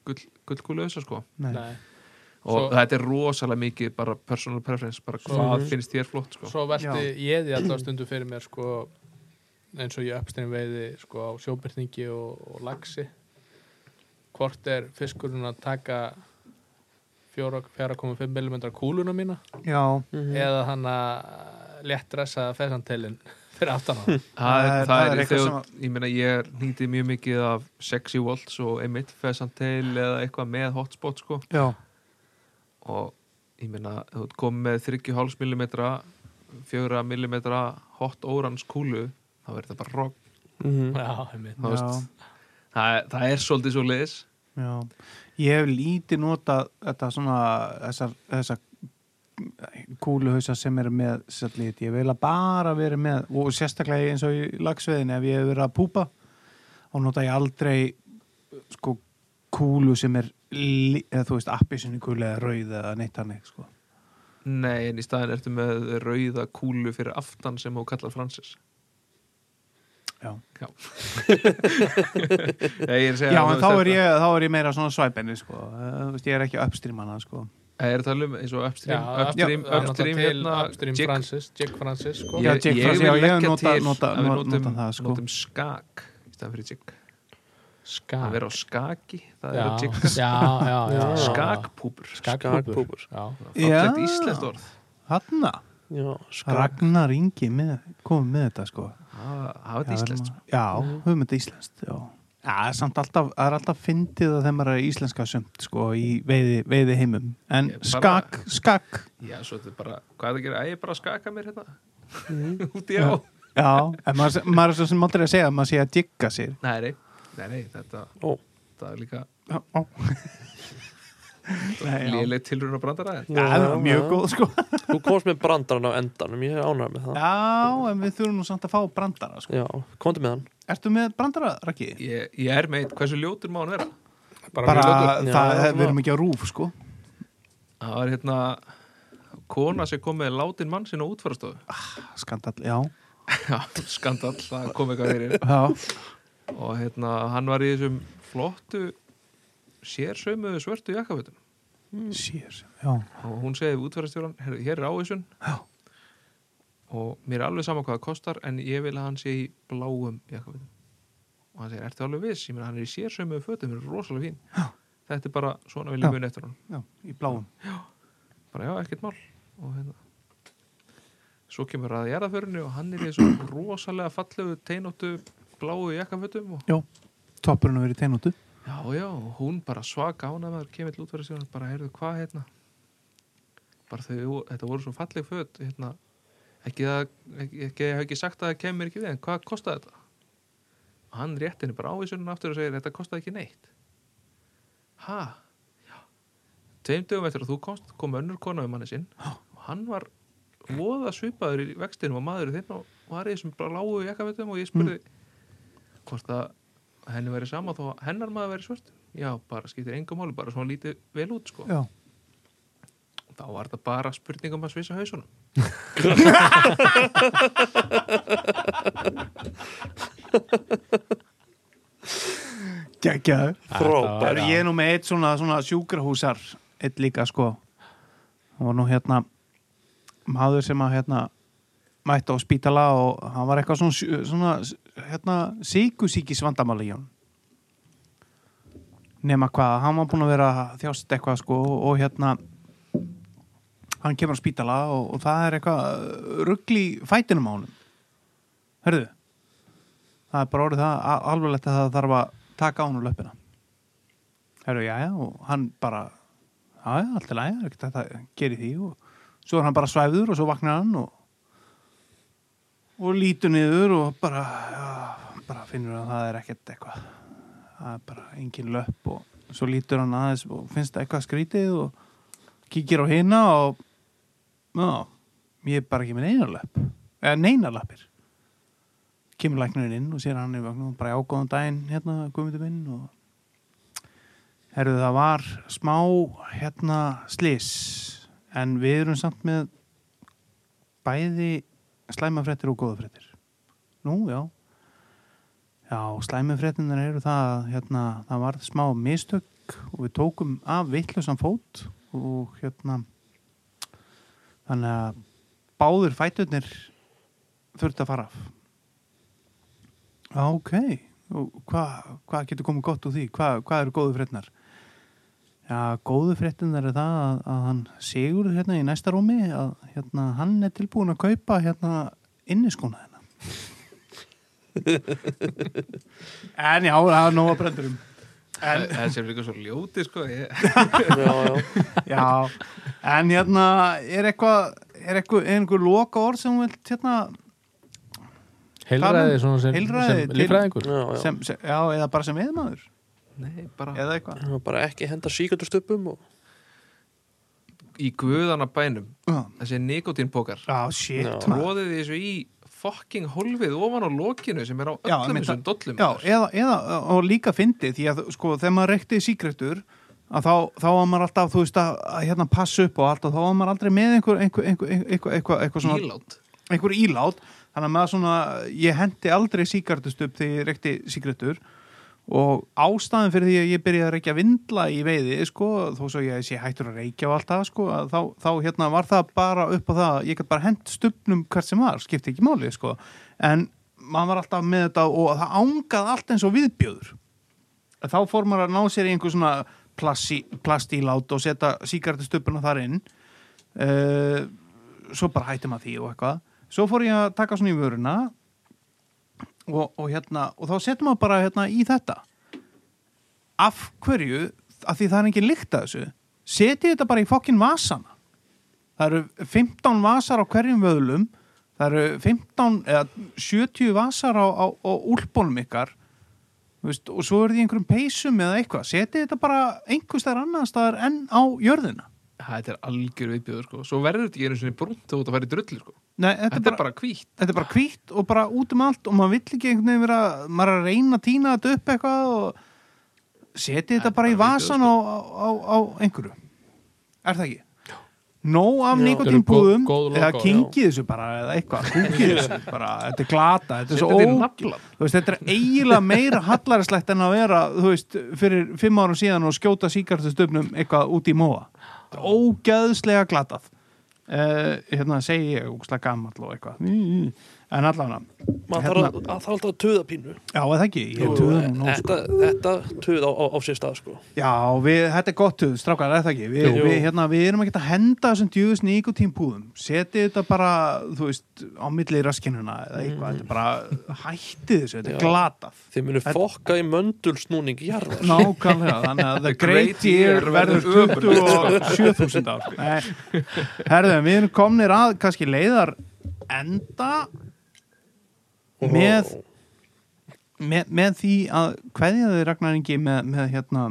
Speaker 4: gull, gullkúlu ösa sko
Speaker 3: nei,
Speaker 1: Nei.
Speaker 4: og
Speaker 1: Svo-
Speaker 4: þetta er rosalega mikið bara personal preference, bara hvað finnst þér flott sko
Speaker 1: svo velti ég því alltaf stundu fyrir mér sko eins og ég uppstæðin veiði sko á sjóbyrningi og, og lagsi hvort er fiskurinn að taka 4,5 mm kúluna mína
Speaker 3: já,
Speaker 4: Mm.
Speaker 1: eða eh, hann að létt dressaða fessantelin fyrir aftan á
Speaker 4: það er, Eh, það er,
Speaker 3: eitthvað
Speaker 4: þegar, ég meina ég nýti mjög mikið af sexy waltz og emitt fesantel eða eitthvað með hotspot sko
Speaker 3: já,
Speaker 4: og ég meina þú ert komið með 3,5 mm 4 mm hot orange kúlu þá verður þetta bara rock
Speaker 2: Mhm.
Speaker 1: já, einmitt
Speaker 4: Þú
Speaker 3: já.
Speaker 4: veist. það, er- það er svolítið svo leiðis
Speaker 3: Já, ég hef lítið notað þetta svona þessar, þessar kúluhausa sem eru með sér lit, ég hef eiginlega bara verið með og sérstaklega eins og í lagsveðin ef ég hef verið að púpa og nota ég aldrei sko kúlu sem er li- eða þú veist appisinn í kúlu eða rauð eða neitt hannig sko.
Speaker 4: Nei, en í staðin ertu með rauða kúlu fyrir aftan sem hún kallar Francis.
Speaker 3: Já,
Speaker 4: Já. Nei, ég er að segja
Speaker 3: Já
Speaker 4: að þú
Speaker 3: en
Speaker 4: veist
Speaker 3: þá er,
Speaker 4: þetta-
Speaker 3: ég, þá er ég meira svona svæpenni sko, Eh, þú veist ég er ekki uppstrýmana sko.
Speaker 4: Nei, Ég er að tala um eins og upstream,
Speaker 1: Já,
Speaker 4: upstream,
Speaker 1: það er
Speaker 4: upstream,
Speaker 1: náttúrulega til
Speaker 4: hérna,
Speaker 1: upstream
Speaker 4: Jig-
Speaker 1: Francis, Jig Francis sko.
Speaker 3: Já, Jig
Speaker 4: ég
Speaker 3: Francis,
Speaker 4: vil
Speaker 3: já, ég
Speaker 4: leggja
Speaker 3: hef notað-
Speaker 4: til
Speaker 3: notað-
Speaker 4: að við
Speaker 3: not-
Speaker 4: notum,
Speaker 3: notað það, sko.
Speaker 4: notum skak í staðin fyrir jigg.
Speaker 1: skak
Speaker 4: Það verður á skaki, það
Speaker 1: já,
Speaker 4: er að jigga.
Speaker 1: já, já, já, já.
Speaker 4: Skakpúpur. sko.
Speaker 2: Skakpúpur.
Speaker 1: skakpúpur já.
Speaker 3: Já.
Speaker 4: Fallegt íslenskt orð.
Speaker 3: Hanna,
Speaker 2: já,
Speaker 4: sko.
Speaker 2: skak
Speaker 3: Ragnar Ingi með, komið með þetta sko.
Speaker 4: Það það
Speaker 3: Já,
Speaker 4: er Ah, íslenskt.
Speaker 3: verðum að- Já, höfum þetta íslenskt, já. Mhm. Já, það er samt alltaf, það er alltaf fyndið að þeim er íslenska sumt, sko, í veiði, veiði heimum. En
Speaker 4: Ég bara-
Speaker 3: skakk, skakk,
Speaker 4: Já, svo þetta er bara, hvað er það að gera? Æ, ég er bara að skaka mér hérna. Út í á.
Speaker 3: Mm. já, en maður, maður er svo sem aldrei að segja að maður sé að digga sér.
Speaker 4: Nei, nei, nei, nei, þetta,
Speaker 2: Ó.
Speaker 4: það er líka
Speaker 3: Já, já. Nei, já.
Speaker 4: léleg tilruna brandara. en-
Speaker 3: Já, það var mjög góð, sko.
Speaker 2: Þú komst með brandarann á endanum, ég er ánægð með það
Speaker 3: Já, en við þurfum nú samt að fá brandara, sko.
Speaker 2: Já, komdu með hann
Speaker 3: Ertu með brandara, Raki?
Speaker 4: Ég, ég er meitt, hversu ljótur má hann vera?
Speaker 1: bara,
Speaker 3: Bara,
Speaker 1: mjög-
Speaker 3: það,
Speaker 2: Já,
Speaker 3: það,
Speaker 2: svona.
Speaker 3: við erum ekki á rúf, sko.
Speaker 4: Það var hérna kona sem kom með látin mann sinna útfærastofu.
Speaker 3: Skandall, já.
Speaker 4: Já, skandall, það kom eitthvað fyrir.
Speaker 3: Já,
Speaker 4: Og hérna, hann var í þessum flottu sérsömu svörtu jakkafötum.
Speaker 3: Hmm. sér, já.
Speaker 4: Og hún segi við útfærastjóran, "Heyrðu, hér er ávísun.
Speaker 3: Já.
Speaker 4: Og mér er alveg sama hvað það kostar, en ég vil að hann sé í bláum jakkafötum. Og hann segir, ertu alveg viss? Ég meina, hann er í sérsömu fötum, hann er rosalega fín. Já. Þetta er bara, svona vil
Speaker 3: Já.
Speaker 4: ég muni eftir hann.
Speaker 3: Já, í bláum.
Speaker 4: bara já, ekkert mál og hérna svo kemur að jarðaförinu og hann er í þessu rosalega fallegu teinóttu bláu jakkafötum og
Speaker 3: Já, toppurinn að vera í teinútu.
Speaker 4: já, já, og hún bara svaka ánað maður kemur til útverðisjóðan bara heyrðu hvað hérna bara þau, þetta voru svo falleg föt hérna, ekki það ekki, ekki, ég hef ekki sagt að það kemur ekki við en hvað kostaði þetta og hann rétt henni bara ávísunum aftur og segir þetta kostaði ekki neitt ha Já. tveim dögum eftir að þú komst kom önnur kona um manni sinn og hann var voða svipaður í vextinum og maður þinn og var í þessum lágu jakkafötum og ég spurði hvort að henni væri sama þó að hennar maður væri svört já, bara skiptir engum máli, bara svona lítið vel út sko.
Speaker 3: Já.
Speaker 4: þá var þetta bara spurningum að svisa hausunum
Speaker 3: Gægjaður.
Speaker 2: Frábær
Speaker 3: Bara ég er nú með eitt svona, svona sjúkrahúsar eitt líka sko það var nú hérna maður sem að hérna mætti á spítala og hann var eitthvað svona, sjú- svona hérna síkusíkis vandamáli í hún nema hvað, hann var búin að vera að þjást eitthvað sko og hérna hann kemur á spítala og, og það er eitthvað ruggli fætinum á honum hörðu það er bara orðið það a- alvarlegt að það þarf að taka á honum löppina hörðu, jæja, og hann bara já, allt er lægja, ekkert að það geri því og svo er hann bara svæfður og svo vaknar hann og og lítur niður og bara, já, bara finnur að það er ekkert eitthvað það er bara engin löpp og svo lítur hann aðeins og finnst eitthvað skrítið og kíkir á hina og já, ég er bara ekki með neina löpp eða neina lappir kemur læknirinn inn og sér hann í vagnu og bara ágóðan daginn hérna guðmundur minn og herðu það var smá hérna slis en við erum samt með bæði slæmafréttir og góðafréttir nú já Já, slæmi fréttinnar eru það að hérna, það varð smá mistök og við tókum af vittlösan fót og hérna þannig að báður fæturnir þurft að fara af. Já, ok. Og hvað hva getur komið gott úr því? Hvað hva eru góðu fréttinnar? Já, góðu fréttinnar er það að, að hann sigur hérna í næsta rúmi að hérna, hann er tilbúin að kaupa hérna inniskóna hérna. hennar. En já, það er nóga brendurum. En,
Speaker 4: þessi er líka svo ljóti sko ég,
Speaker 2: já, já.
Speaker 3: Já, en hérna er eitthvað, er eitthvað einhver loka orð sem hún vilt hérna
Speaker 1: Heilræði svona sem,
Speaker 3: Heilræði
Speaker 1: sem
Speaker 3: til-
Speaker 1: lífræðingur
Speaker 2: Já, já.
Speaker 3: sko. sem, sem, já, eða bara sem eðmaður
Speaker 4: nei, bara
Speaker 3: eða eitthvað
Speaker 2: Já, bara ekki henda síkundustöpum og...
Speaker 4: í guðana bænum
Speaker 3: Já,
Speaker 4: þessi nikotínpokar
Speaker 3: Já, Ah, shit
Speaker 2: Já.
Speaker 3: maður.
Speaker 4: tróðið þessu í fucking holfið ofan á lokinu sem er á
Speaker 3: Já,
Speaker 4: öllum
Speaker 3: einmitt
Speaker 4: þessum dollum
Speaker 3: Já, eða, eða og líka fyndi því að sko þegar maður reykti síkretur að þá, þá var maður alltaf, þú veist að, að hérna passa upp og allt og þá var maður aldrei með einhver, einhver, einhver, einhver, einhver, einhver svona
Speaker 4: ílátt
Speaker 3: einhver ílát þannig að maður svona, ég hendi aldrei síkartust upp þegar ég reykti síkartur og ástæðan fyrir því að ég byrjaði að reykja vindla í veiði sko, þó svo ég sé hættur að reykja og allt það sko, að þá, þá hérna var það bara upp á það, að ég gæti bara hent stupnum hvert sem var, skipti ekki máli sko. en maður var alltaf með þetta og það ángað allt eins og viðbjöður þá fór maður að ná sér í einhver svona plasti, plastílát og setja síkartustupuna þar inn uh, svo bara hætti maður því og eitthvað svo fór ég að taka svona í vöruna og, og hérna og þá setjum maður bara hérna í þetta af hverju af því það er engin lykt að þessu setjum þetta bara í fokkin vasana það eru 15 vasar á hverjum vöðlum það eru 15 eða 70 vasar á, á, á úlbónum ykkar Þú Veist, og svo er því einhverjum peysum eða eitthvað setið þetta bara einhverstaðar annar staðar en á jörðina
Speaker 4: þetta er algjör viðbjöður sko svo verður þetta ekki einu sinni brúnt þú út að fara í drullu sko þetta,
Speaker 3: Nei, þetta,
Speaker 4: er bara hvítt
Speaker 3: þetta er bara hvítt og bara út um allt og maður vill ekki einhvern veginn vera maður er að reyna að týna þetta upp eitthvað og seti þetta
Speaker 4: er
Speaker 3: bara í
Speaker 4: bara
Speaker 3: vasan á, á, á einhverju er það ekki? Nóg af
Speaker 2: Já.
Speaker 3: nikotínbúðum
Speaker 1: Þetta eru góð- góð
Speaker 3: eða
Speaker 1: logo,
Speaker 3: kynkið þessu bara eða eitthvað kúkið þessu bara, þetta er glata þetta er
Speaker 4: þetta
Speaker 3: svo
Speaker 4: er
Speaker 3: ó
Speaker 4: naflan
Speaker 3: Þú veist, þetta er eiginlega meira hallarislegt en að vera, þú veist, fyrir fimm árum síðan og skjóta síkartustöfnum eitthvað út í móa. Þetta er ógeðslega glatað. Uh, hérna segi ég, ógeðslega gammal og eitthvað. Mm, En allavega,
Speaker 2: maður þarf að, að þarf alltaf að tuða pínu
Speaker 3: já, eða ekki, Hérna- ég
Speaker 2: Og
Speaker 3: tuða nú nóg, sko.
Speaker 2: þetta, þetta tuð á, á, á sér stað sko.
Speaker 3: Já, við, þetta er gott tuð, strákar, eða ekki. Við,
Speaker 2: Jú.
Speaker 3: við, hérna, við erum ekki að henda þessum djúðis nikotínpúðum. Setið þetta bara, þú veist, á milli raskinuna eða eitthvað. Þetta er bara, hættið þessu, þetta
Speaker 2: Mhm. Já.
Speaker 3: er glatað.
Speaker 2: þið munu
Speaker 3: Þetta-
Speaker 2: fokka í möndulsnúning jarðar
Speaker 3: Nákvæmlega, þannig að The Great
Speaker 4: Great
Speaker 3: Year
Speaker 4: Year
Speaker 3: verður 27.000 ár Nei, herðum, við erum komnir að kannski leiðar enda með, með, með því að hverja þau Ragnar Ingi með, með hérna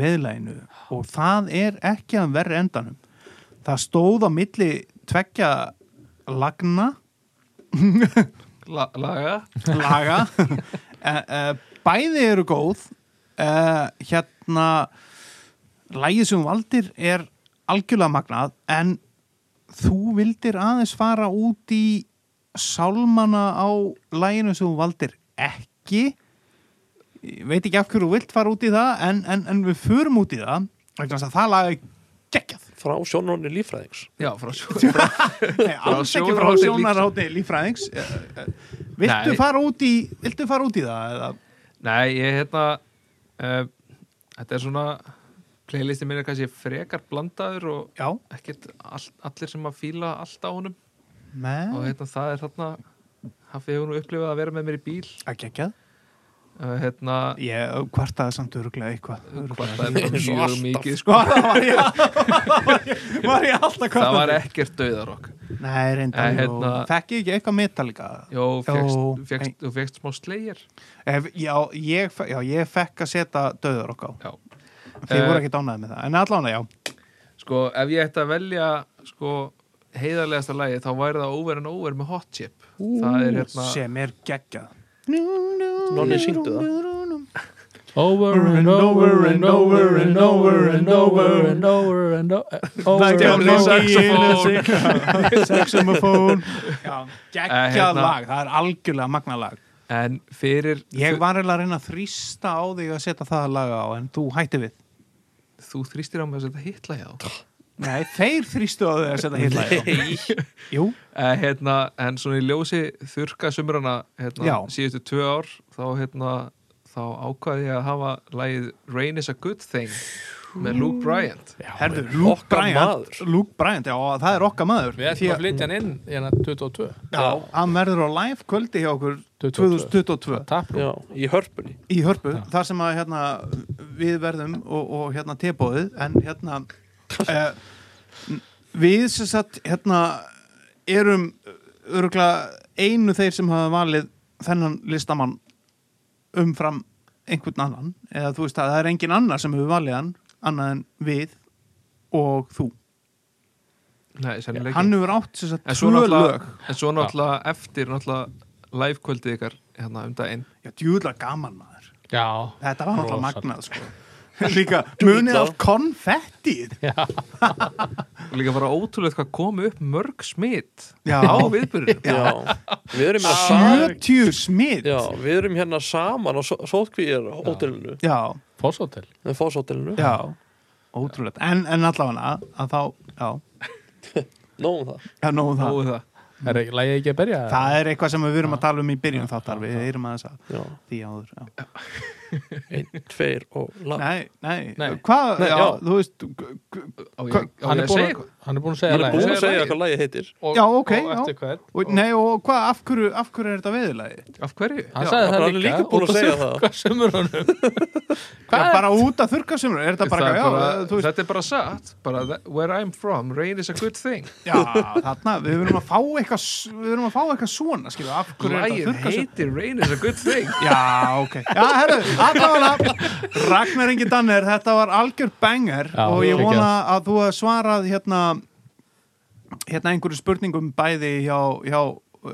Speaker 3: veðlæginu og það er ekki að verra endanum það stóð á milli tvekja lagna
Speaker 4: La, laga
Speaker 3: laga Eh, eh, bæði eru góð Eh, hérna lægið sem þú valdir er algjörlega magnað en þú vildir aðeins fara út í sálmana á læginu sem þú valdir ekki Ég veit ekki af hverju þú vilt fara út í það en, en, en við förum út í það vegna þess að það lag er geggjað
Speaker 2: frá sjónunni lífræðings
Speaker 4: já, frá svo
Speaker 3: Nei, alls ekki frá
Speaker 4: sjónarhóli
Speaker 3: sjónarhóti lífræðings Eh, eh, viltu
Speaker 4: Nei.
Speaker 3: fara út í viltu fara út í það eða
Speaker 4: Nei, ég hérna uh, Þetta er eh, svona playlisti minn er kannski frekar blandaður og
Speaker 3: Já,
Speaker 4: ekkert all, allir sem að fíla allt á honum og
Speaker 3: með
Speaker 4: hérna, það er þarna hafið hún upplifað að vera með mér í bíl
Speaker 3: Ekki ekki að
Speaker 4: uh, hérna,
Speaker 3: Ég uh, kvartaði samt öruglega eitthvað
Speaker 4: hvort
Speaker 3: örugglega.
Speaker 4: það er bara
Speaker 2: Eins og
Speaker 4: mjög
Speaker 2: alltaf.
Speaker 4: mikið sko.
Speaker 3: Sko, það var ég Var ég alltaf kvartandi
Speaker 4: það var ekkert döðarokk
Speaker 3: Nei, reyndar
Speaker 4: Nei,
Speaker 3: Nei,
Speaker 4: hérna-
Speaker 3: Fekk ég ekki eitthvað metalika
Speaker 4: Jó,
Speaker 3: Jó,
Speaker 4: fékkst- fékkst- þú fegst smá slegir
Speaker 3: Ef, já, ég, fe- já, ég fekk að setja döður okkur á
Speaker 4: já.
Speaker 3: Þið
Speaker 4: Eh,
Speaker 3: voru ekki dánaði með það En allána, já
Speaker 4: sko, ef ég ætti að velja sko, heiðarlegasta lagi þá væri það Over and Over með Hot Chip það er hérna
Speaker 3: Sem er geggjað
Speaker 2: Nonni syngdu það
Speaker 1: Over and over and over and over and over and over and eh, over
Speaker 3: Like a
Speaker 1: and over
Speaker 3: monkey in a
Speaker 4: saxophone.
Speaker 3: saxophone. Saxophone Já,
Speaker 4: Eh,
Speaker 3: geggjað
Speaker 4: hérna-
Speaker 3: lag Það er algjörlega magna lag
Speaker 4: en fyrir
Speaker 3: Ég
Speaker 4: þú,
Speaker 3: var eiginlega að reyna að þrýsta á þig að setja það lag á En þú hætti við
Speaker 4: þú þrýstir á mig að setja hitla hjá
Speaker 3: Nei, þeir þrýstu á þig að setja hitt lag á Jú,
Speaker 4: Eh, hérna, en svona í ljósi þurka sumrana
Speaker 3: Já.
Speaker 4: hérna, síðustu tvö ár þá, hérna, þá ákvaði ég að hafa lagið Rain is a Good Thing með Luke Bryant
Speaker 3: herðu, Luke
Speaker 2: okkar
Speaker 3: Bryant
Speaker 2: maður.
Speaker 3: Luke Bryant, já, það er okkar maður
Speaker 1: Við ætlum að flytja hann inn hérna 22
Speaker 3: Já, hann verður á live kvöldi hjá okkur
Speaker 1: 22.
Speaker 3: 2022
Speaker 1: Taprú
Speaker 2: Já, í hörpunni
Speaker 3: í Hörpu, þar sem að hérna, við verðum og, og hérna tebóðið en hérna eh, n- við sem sagt hérna erum öruglega einu þeir sem hafa valið þennan listamann umfram einhvern annan eða þú veist að það er engin annar sem hefur valið hann annað en við og þú
Speaker 4: Nei, sennilega
Speaker 3: hann
Speaker 4: ekki
Speaker 3: hefur átt sem sagt
Speaker 4: En svo
Speaker 3: tvö lög
Speaker 4: náttúrulega, en svo náttúrulega eftir náttúrulega livekvöldið ykkar hérna, um daginn
Speaker 3: já, djúðlega gaman maður
Speaker 1: Já
Speaker 3: Þetta var náttúrulega
Speaker 1: Rosa.
Speaker 3: magnað sko Líka munið af konfettið
Speaker 4: og líka bara ótrúlega hvað kom upp mörg smitt
Speaker 3: Já.
Speaker 4: á viðbyrjunum
Speaker 2: Já, við erum hérna saman
Speaker 3: 70 smitt
Speaker 2: Já, við erum hérna saman á sótkvíjar hótelinu,
Speaker 3: já,
Speaker 1: Fosshotel
Speaker 2: en fóshótelinu
Speaker 3: já. Ótrúlegt, en, en allavega að þá, já,
Speaker 2: Nóðum það
Speaker 3: já nóg um það
Speaker 4: Nógu það
Speaker 1: Er ekki- lagið ekki að byrja?
Speaker 3: Það er eitthvað sem við erum að tala um í byrjun þáttar Við erum að þess að
Speaker 2: Já,
Speaker 3: því áður já.
Speaker 2: einn, tveir og lag
Speaker 3: Nei, nei,
Speaker 1: Nei.
Speaker 3: hvað,
Speaker 2: Nei,
Speaker 3: já,
Speaker 2: já.
Speaker 3: þú veist g- g-
Speaker 4: Á ég,
Speaker 3: Hva-
Speaker 4: á
Speaker 1: Hann
Speaker 4: ég
Speaker 1: er
Speaker 4: að
Speaker 1: búinn
Speaker 4: segja
Speaker 1: að-
Speaker 4: eitthvað
Speaker 1: hann er búin að segja
Speaker 2: Ég er
Speaker 1: lagið.
Speaker 2: búin að
Speaker 4: Segðu
Speaker 2: segja
Speaker 4: lagið.
Speaker 2: hvað lagið heitir
Speaker 1: Og-
Speaker 3: Já, ok,
Speaker 1: Og
Speaker 3: já.
Speaker 1: eftir hvern
Speaker 3: og- Nei, og hvað, af hverju, af hverju er þetta veðurlagi?
Speaker 4: Af hverju?
Speaker 1: Hann
Speaker 4: Já.
Speaker 1: sagði
Speaker 2: hann
Speaker 1: það
Speaker 2: er
Speaker 1: líka,
Speaker 2: líka búinn að
Speaker 1: út af
Speaker 2: segja
Speaker 1: sum-
Speaker 2: það.
Speaker 1: Hvað sömur honum?
Speaker 3: Já, bara út að þurka sem er þetta bara,
Speaker 4: Það er
Speaker 3: eitthvað,
Speaker 4: bara-
Speaker 3: já, þú veist
Speaker 4: Þetta er bara satt bara, that- Where I'm from, rain is a good thing
Speaker 3: Já, þarna, við verum að fá eitthvað s- við verum að fá eitthvað svona, skilju, af hverju er
Speaker 4: Lægir
Speaker 3: þetta þurka sem
Speaker 4: heitir Rain is a good thing
Speaker 3: Já, ok. Já, herru, allavega Ragnar Ingi Danner, þetta var algjör banger
Speaker 1: Já,
Speaker 3: og ég
Speaker 1: geggjað.
Speaker 3: vona að þú hafir svarað hérna hérna einhverju spurningum bæði hjá, hjá uh,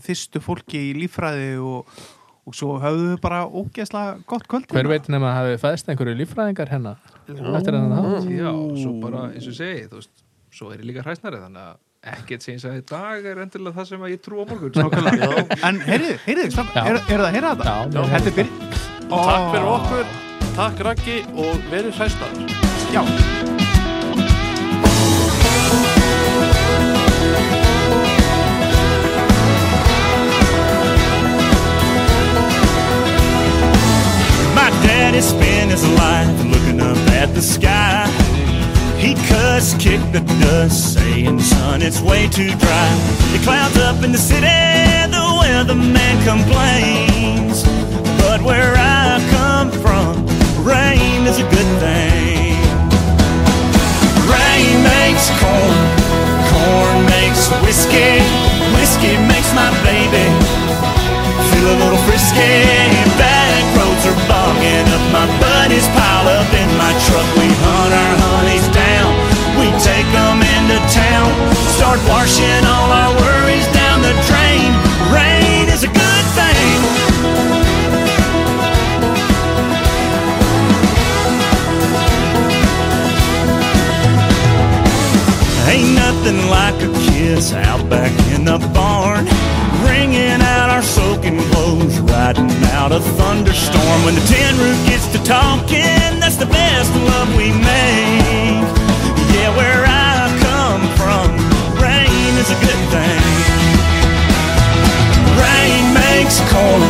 Speaker 3: þýstu fólki í líffræði og, og svo höfðu þau bara ógeðslega gott kvöld.
Speaker 1: Hver veit nema að hafi fæðst einhverju líffræðingar hérna Eftir hann það
Speaker 4: Já, svo bara, eins og ég segi þú veist, Svo er ég líka hræsnari Þannig að ekkert sem ég sagði í dag er endilega það sem að ég trú á morgun
Speaker 3: Nákvæmlega. En heyrðu, heyrðu, stopp,
Speaker 1: Já.
Speaker 3: er, er það að heyra þetta?
Speaker 1: Já.
Speaker 3: Þetta er byrjun.
Speaker 2: Takk fyrir okkur, takk Raggi og verið hræstar
Speaker 3: Já.
Speaker 8: My daddy spent his life looking up at the sky. He cussed, kicked the dust, saying, son, it's way too dry. The clouds up in the city, the weatherman complains. But where I come from, rain is a good thing. Rain makes corn, corn makes whiskey, whiskey makes my baby feel a little frisky. Back roads are bogging up. My buddies pile up in my truck. We hunt our honeys down. We take them into town. Start washing all our worries down the drain. Rain is a good thing. Ain't nothing like a kiss out back in the barn. Wringing out our soaking clothes, riding out a thunderstorm. When the tin roof gets to talking, that's the best love we make. Yeah, where I come from, rain is a good thing. Rain makes corn,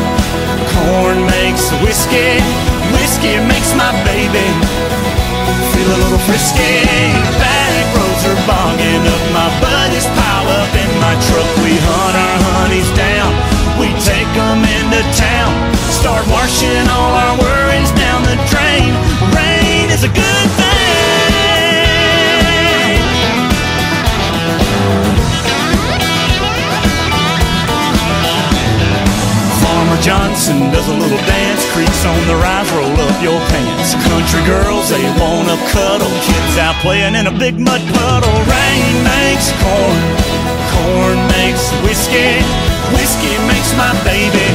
Speaker 8: corn makes whiskey, whiskey makes my baby Feel a little frisky. Back roads are bogging up. My buddies pile up in my truck. We hunt our honeys down. We take 'em into town. Start washing all our worries down the drain. Rain is a good thing. Farmer Johnson does a little dance. Creeks on the rise, roll up your pants. Country girls, they wanna cuddle. Kids out playing in a big mud puddle. Rain makes corn, corn makes whiskey, whiskey makes my baby.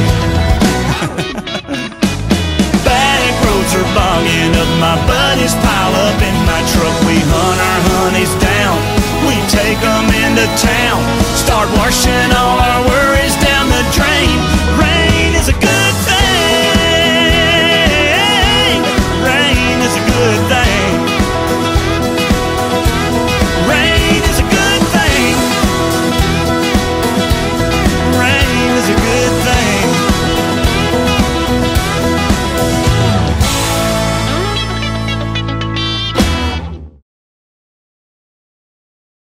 Speaker 8: Back roads are bogging up, my buddies pile up in my truck. We hunt our honeys down, we take 'em into town, start washing all our worries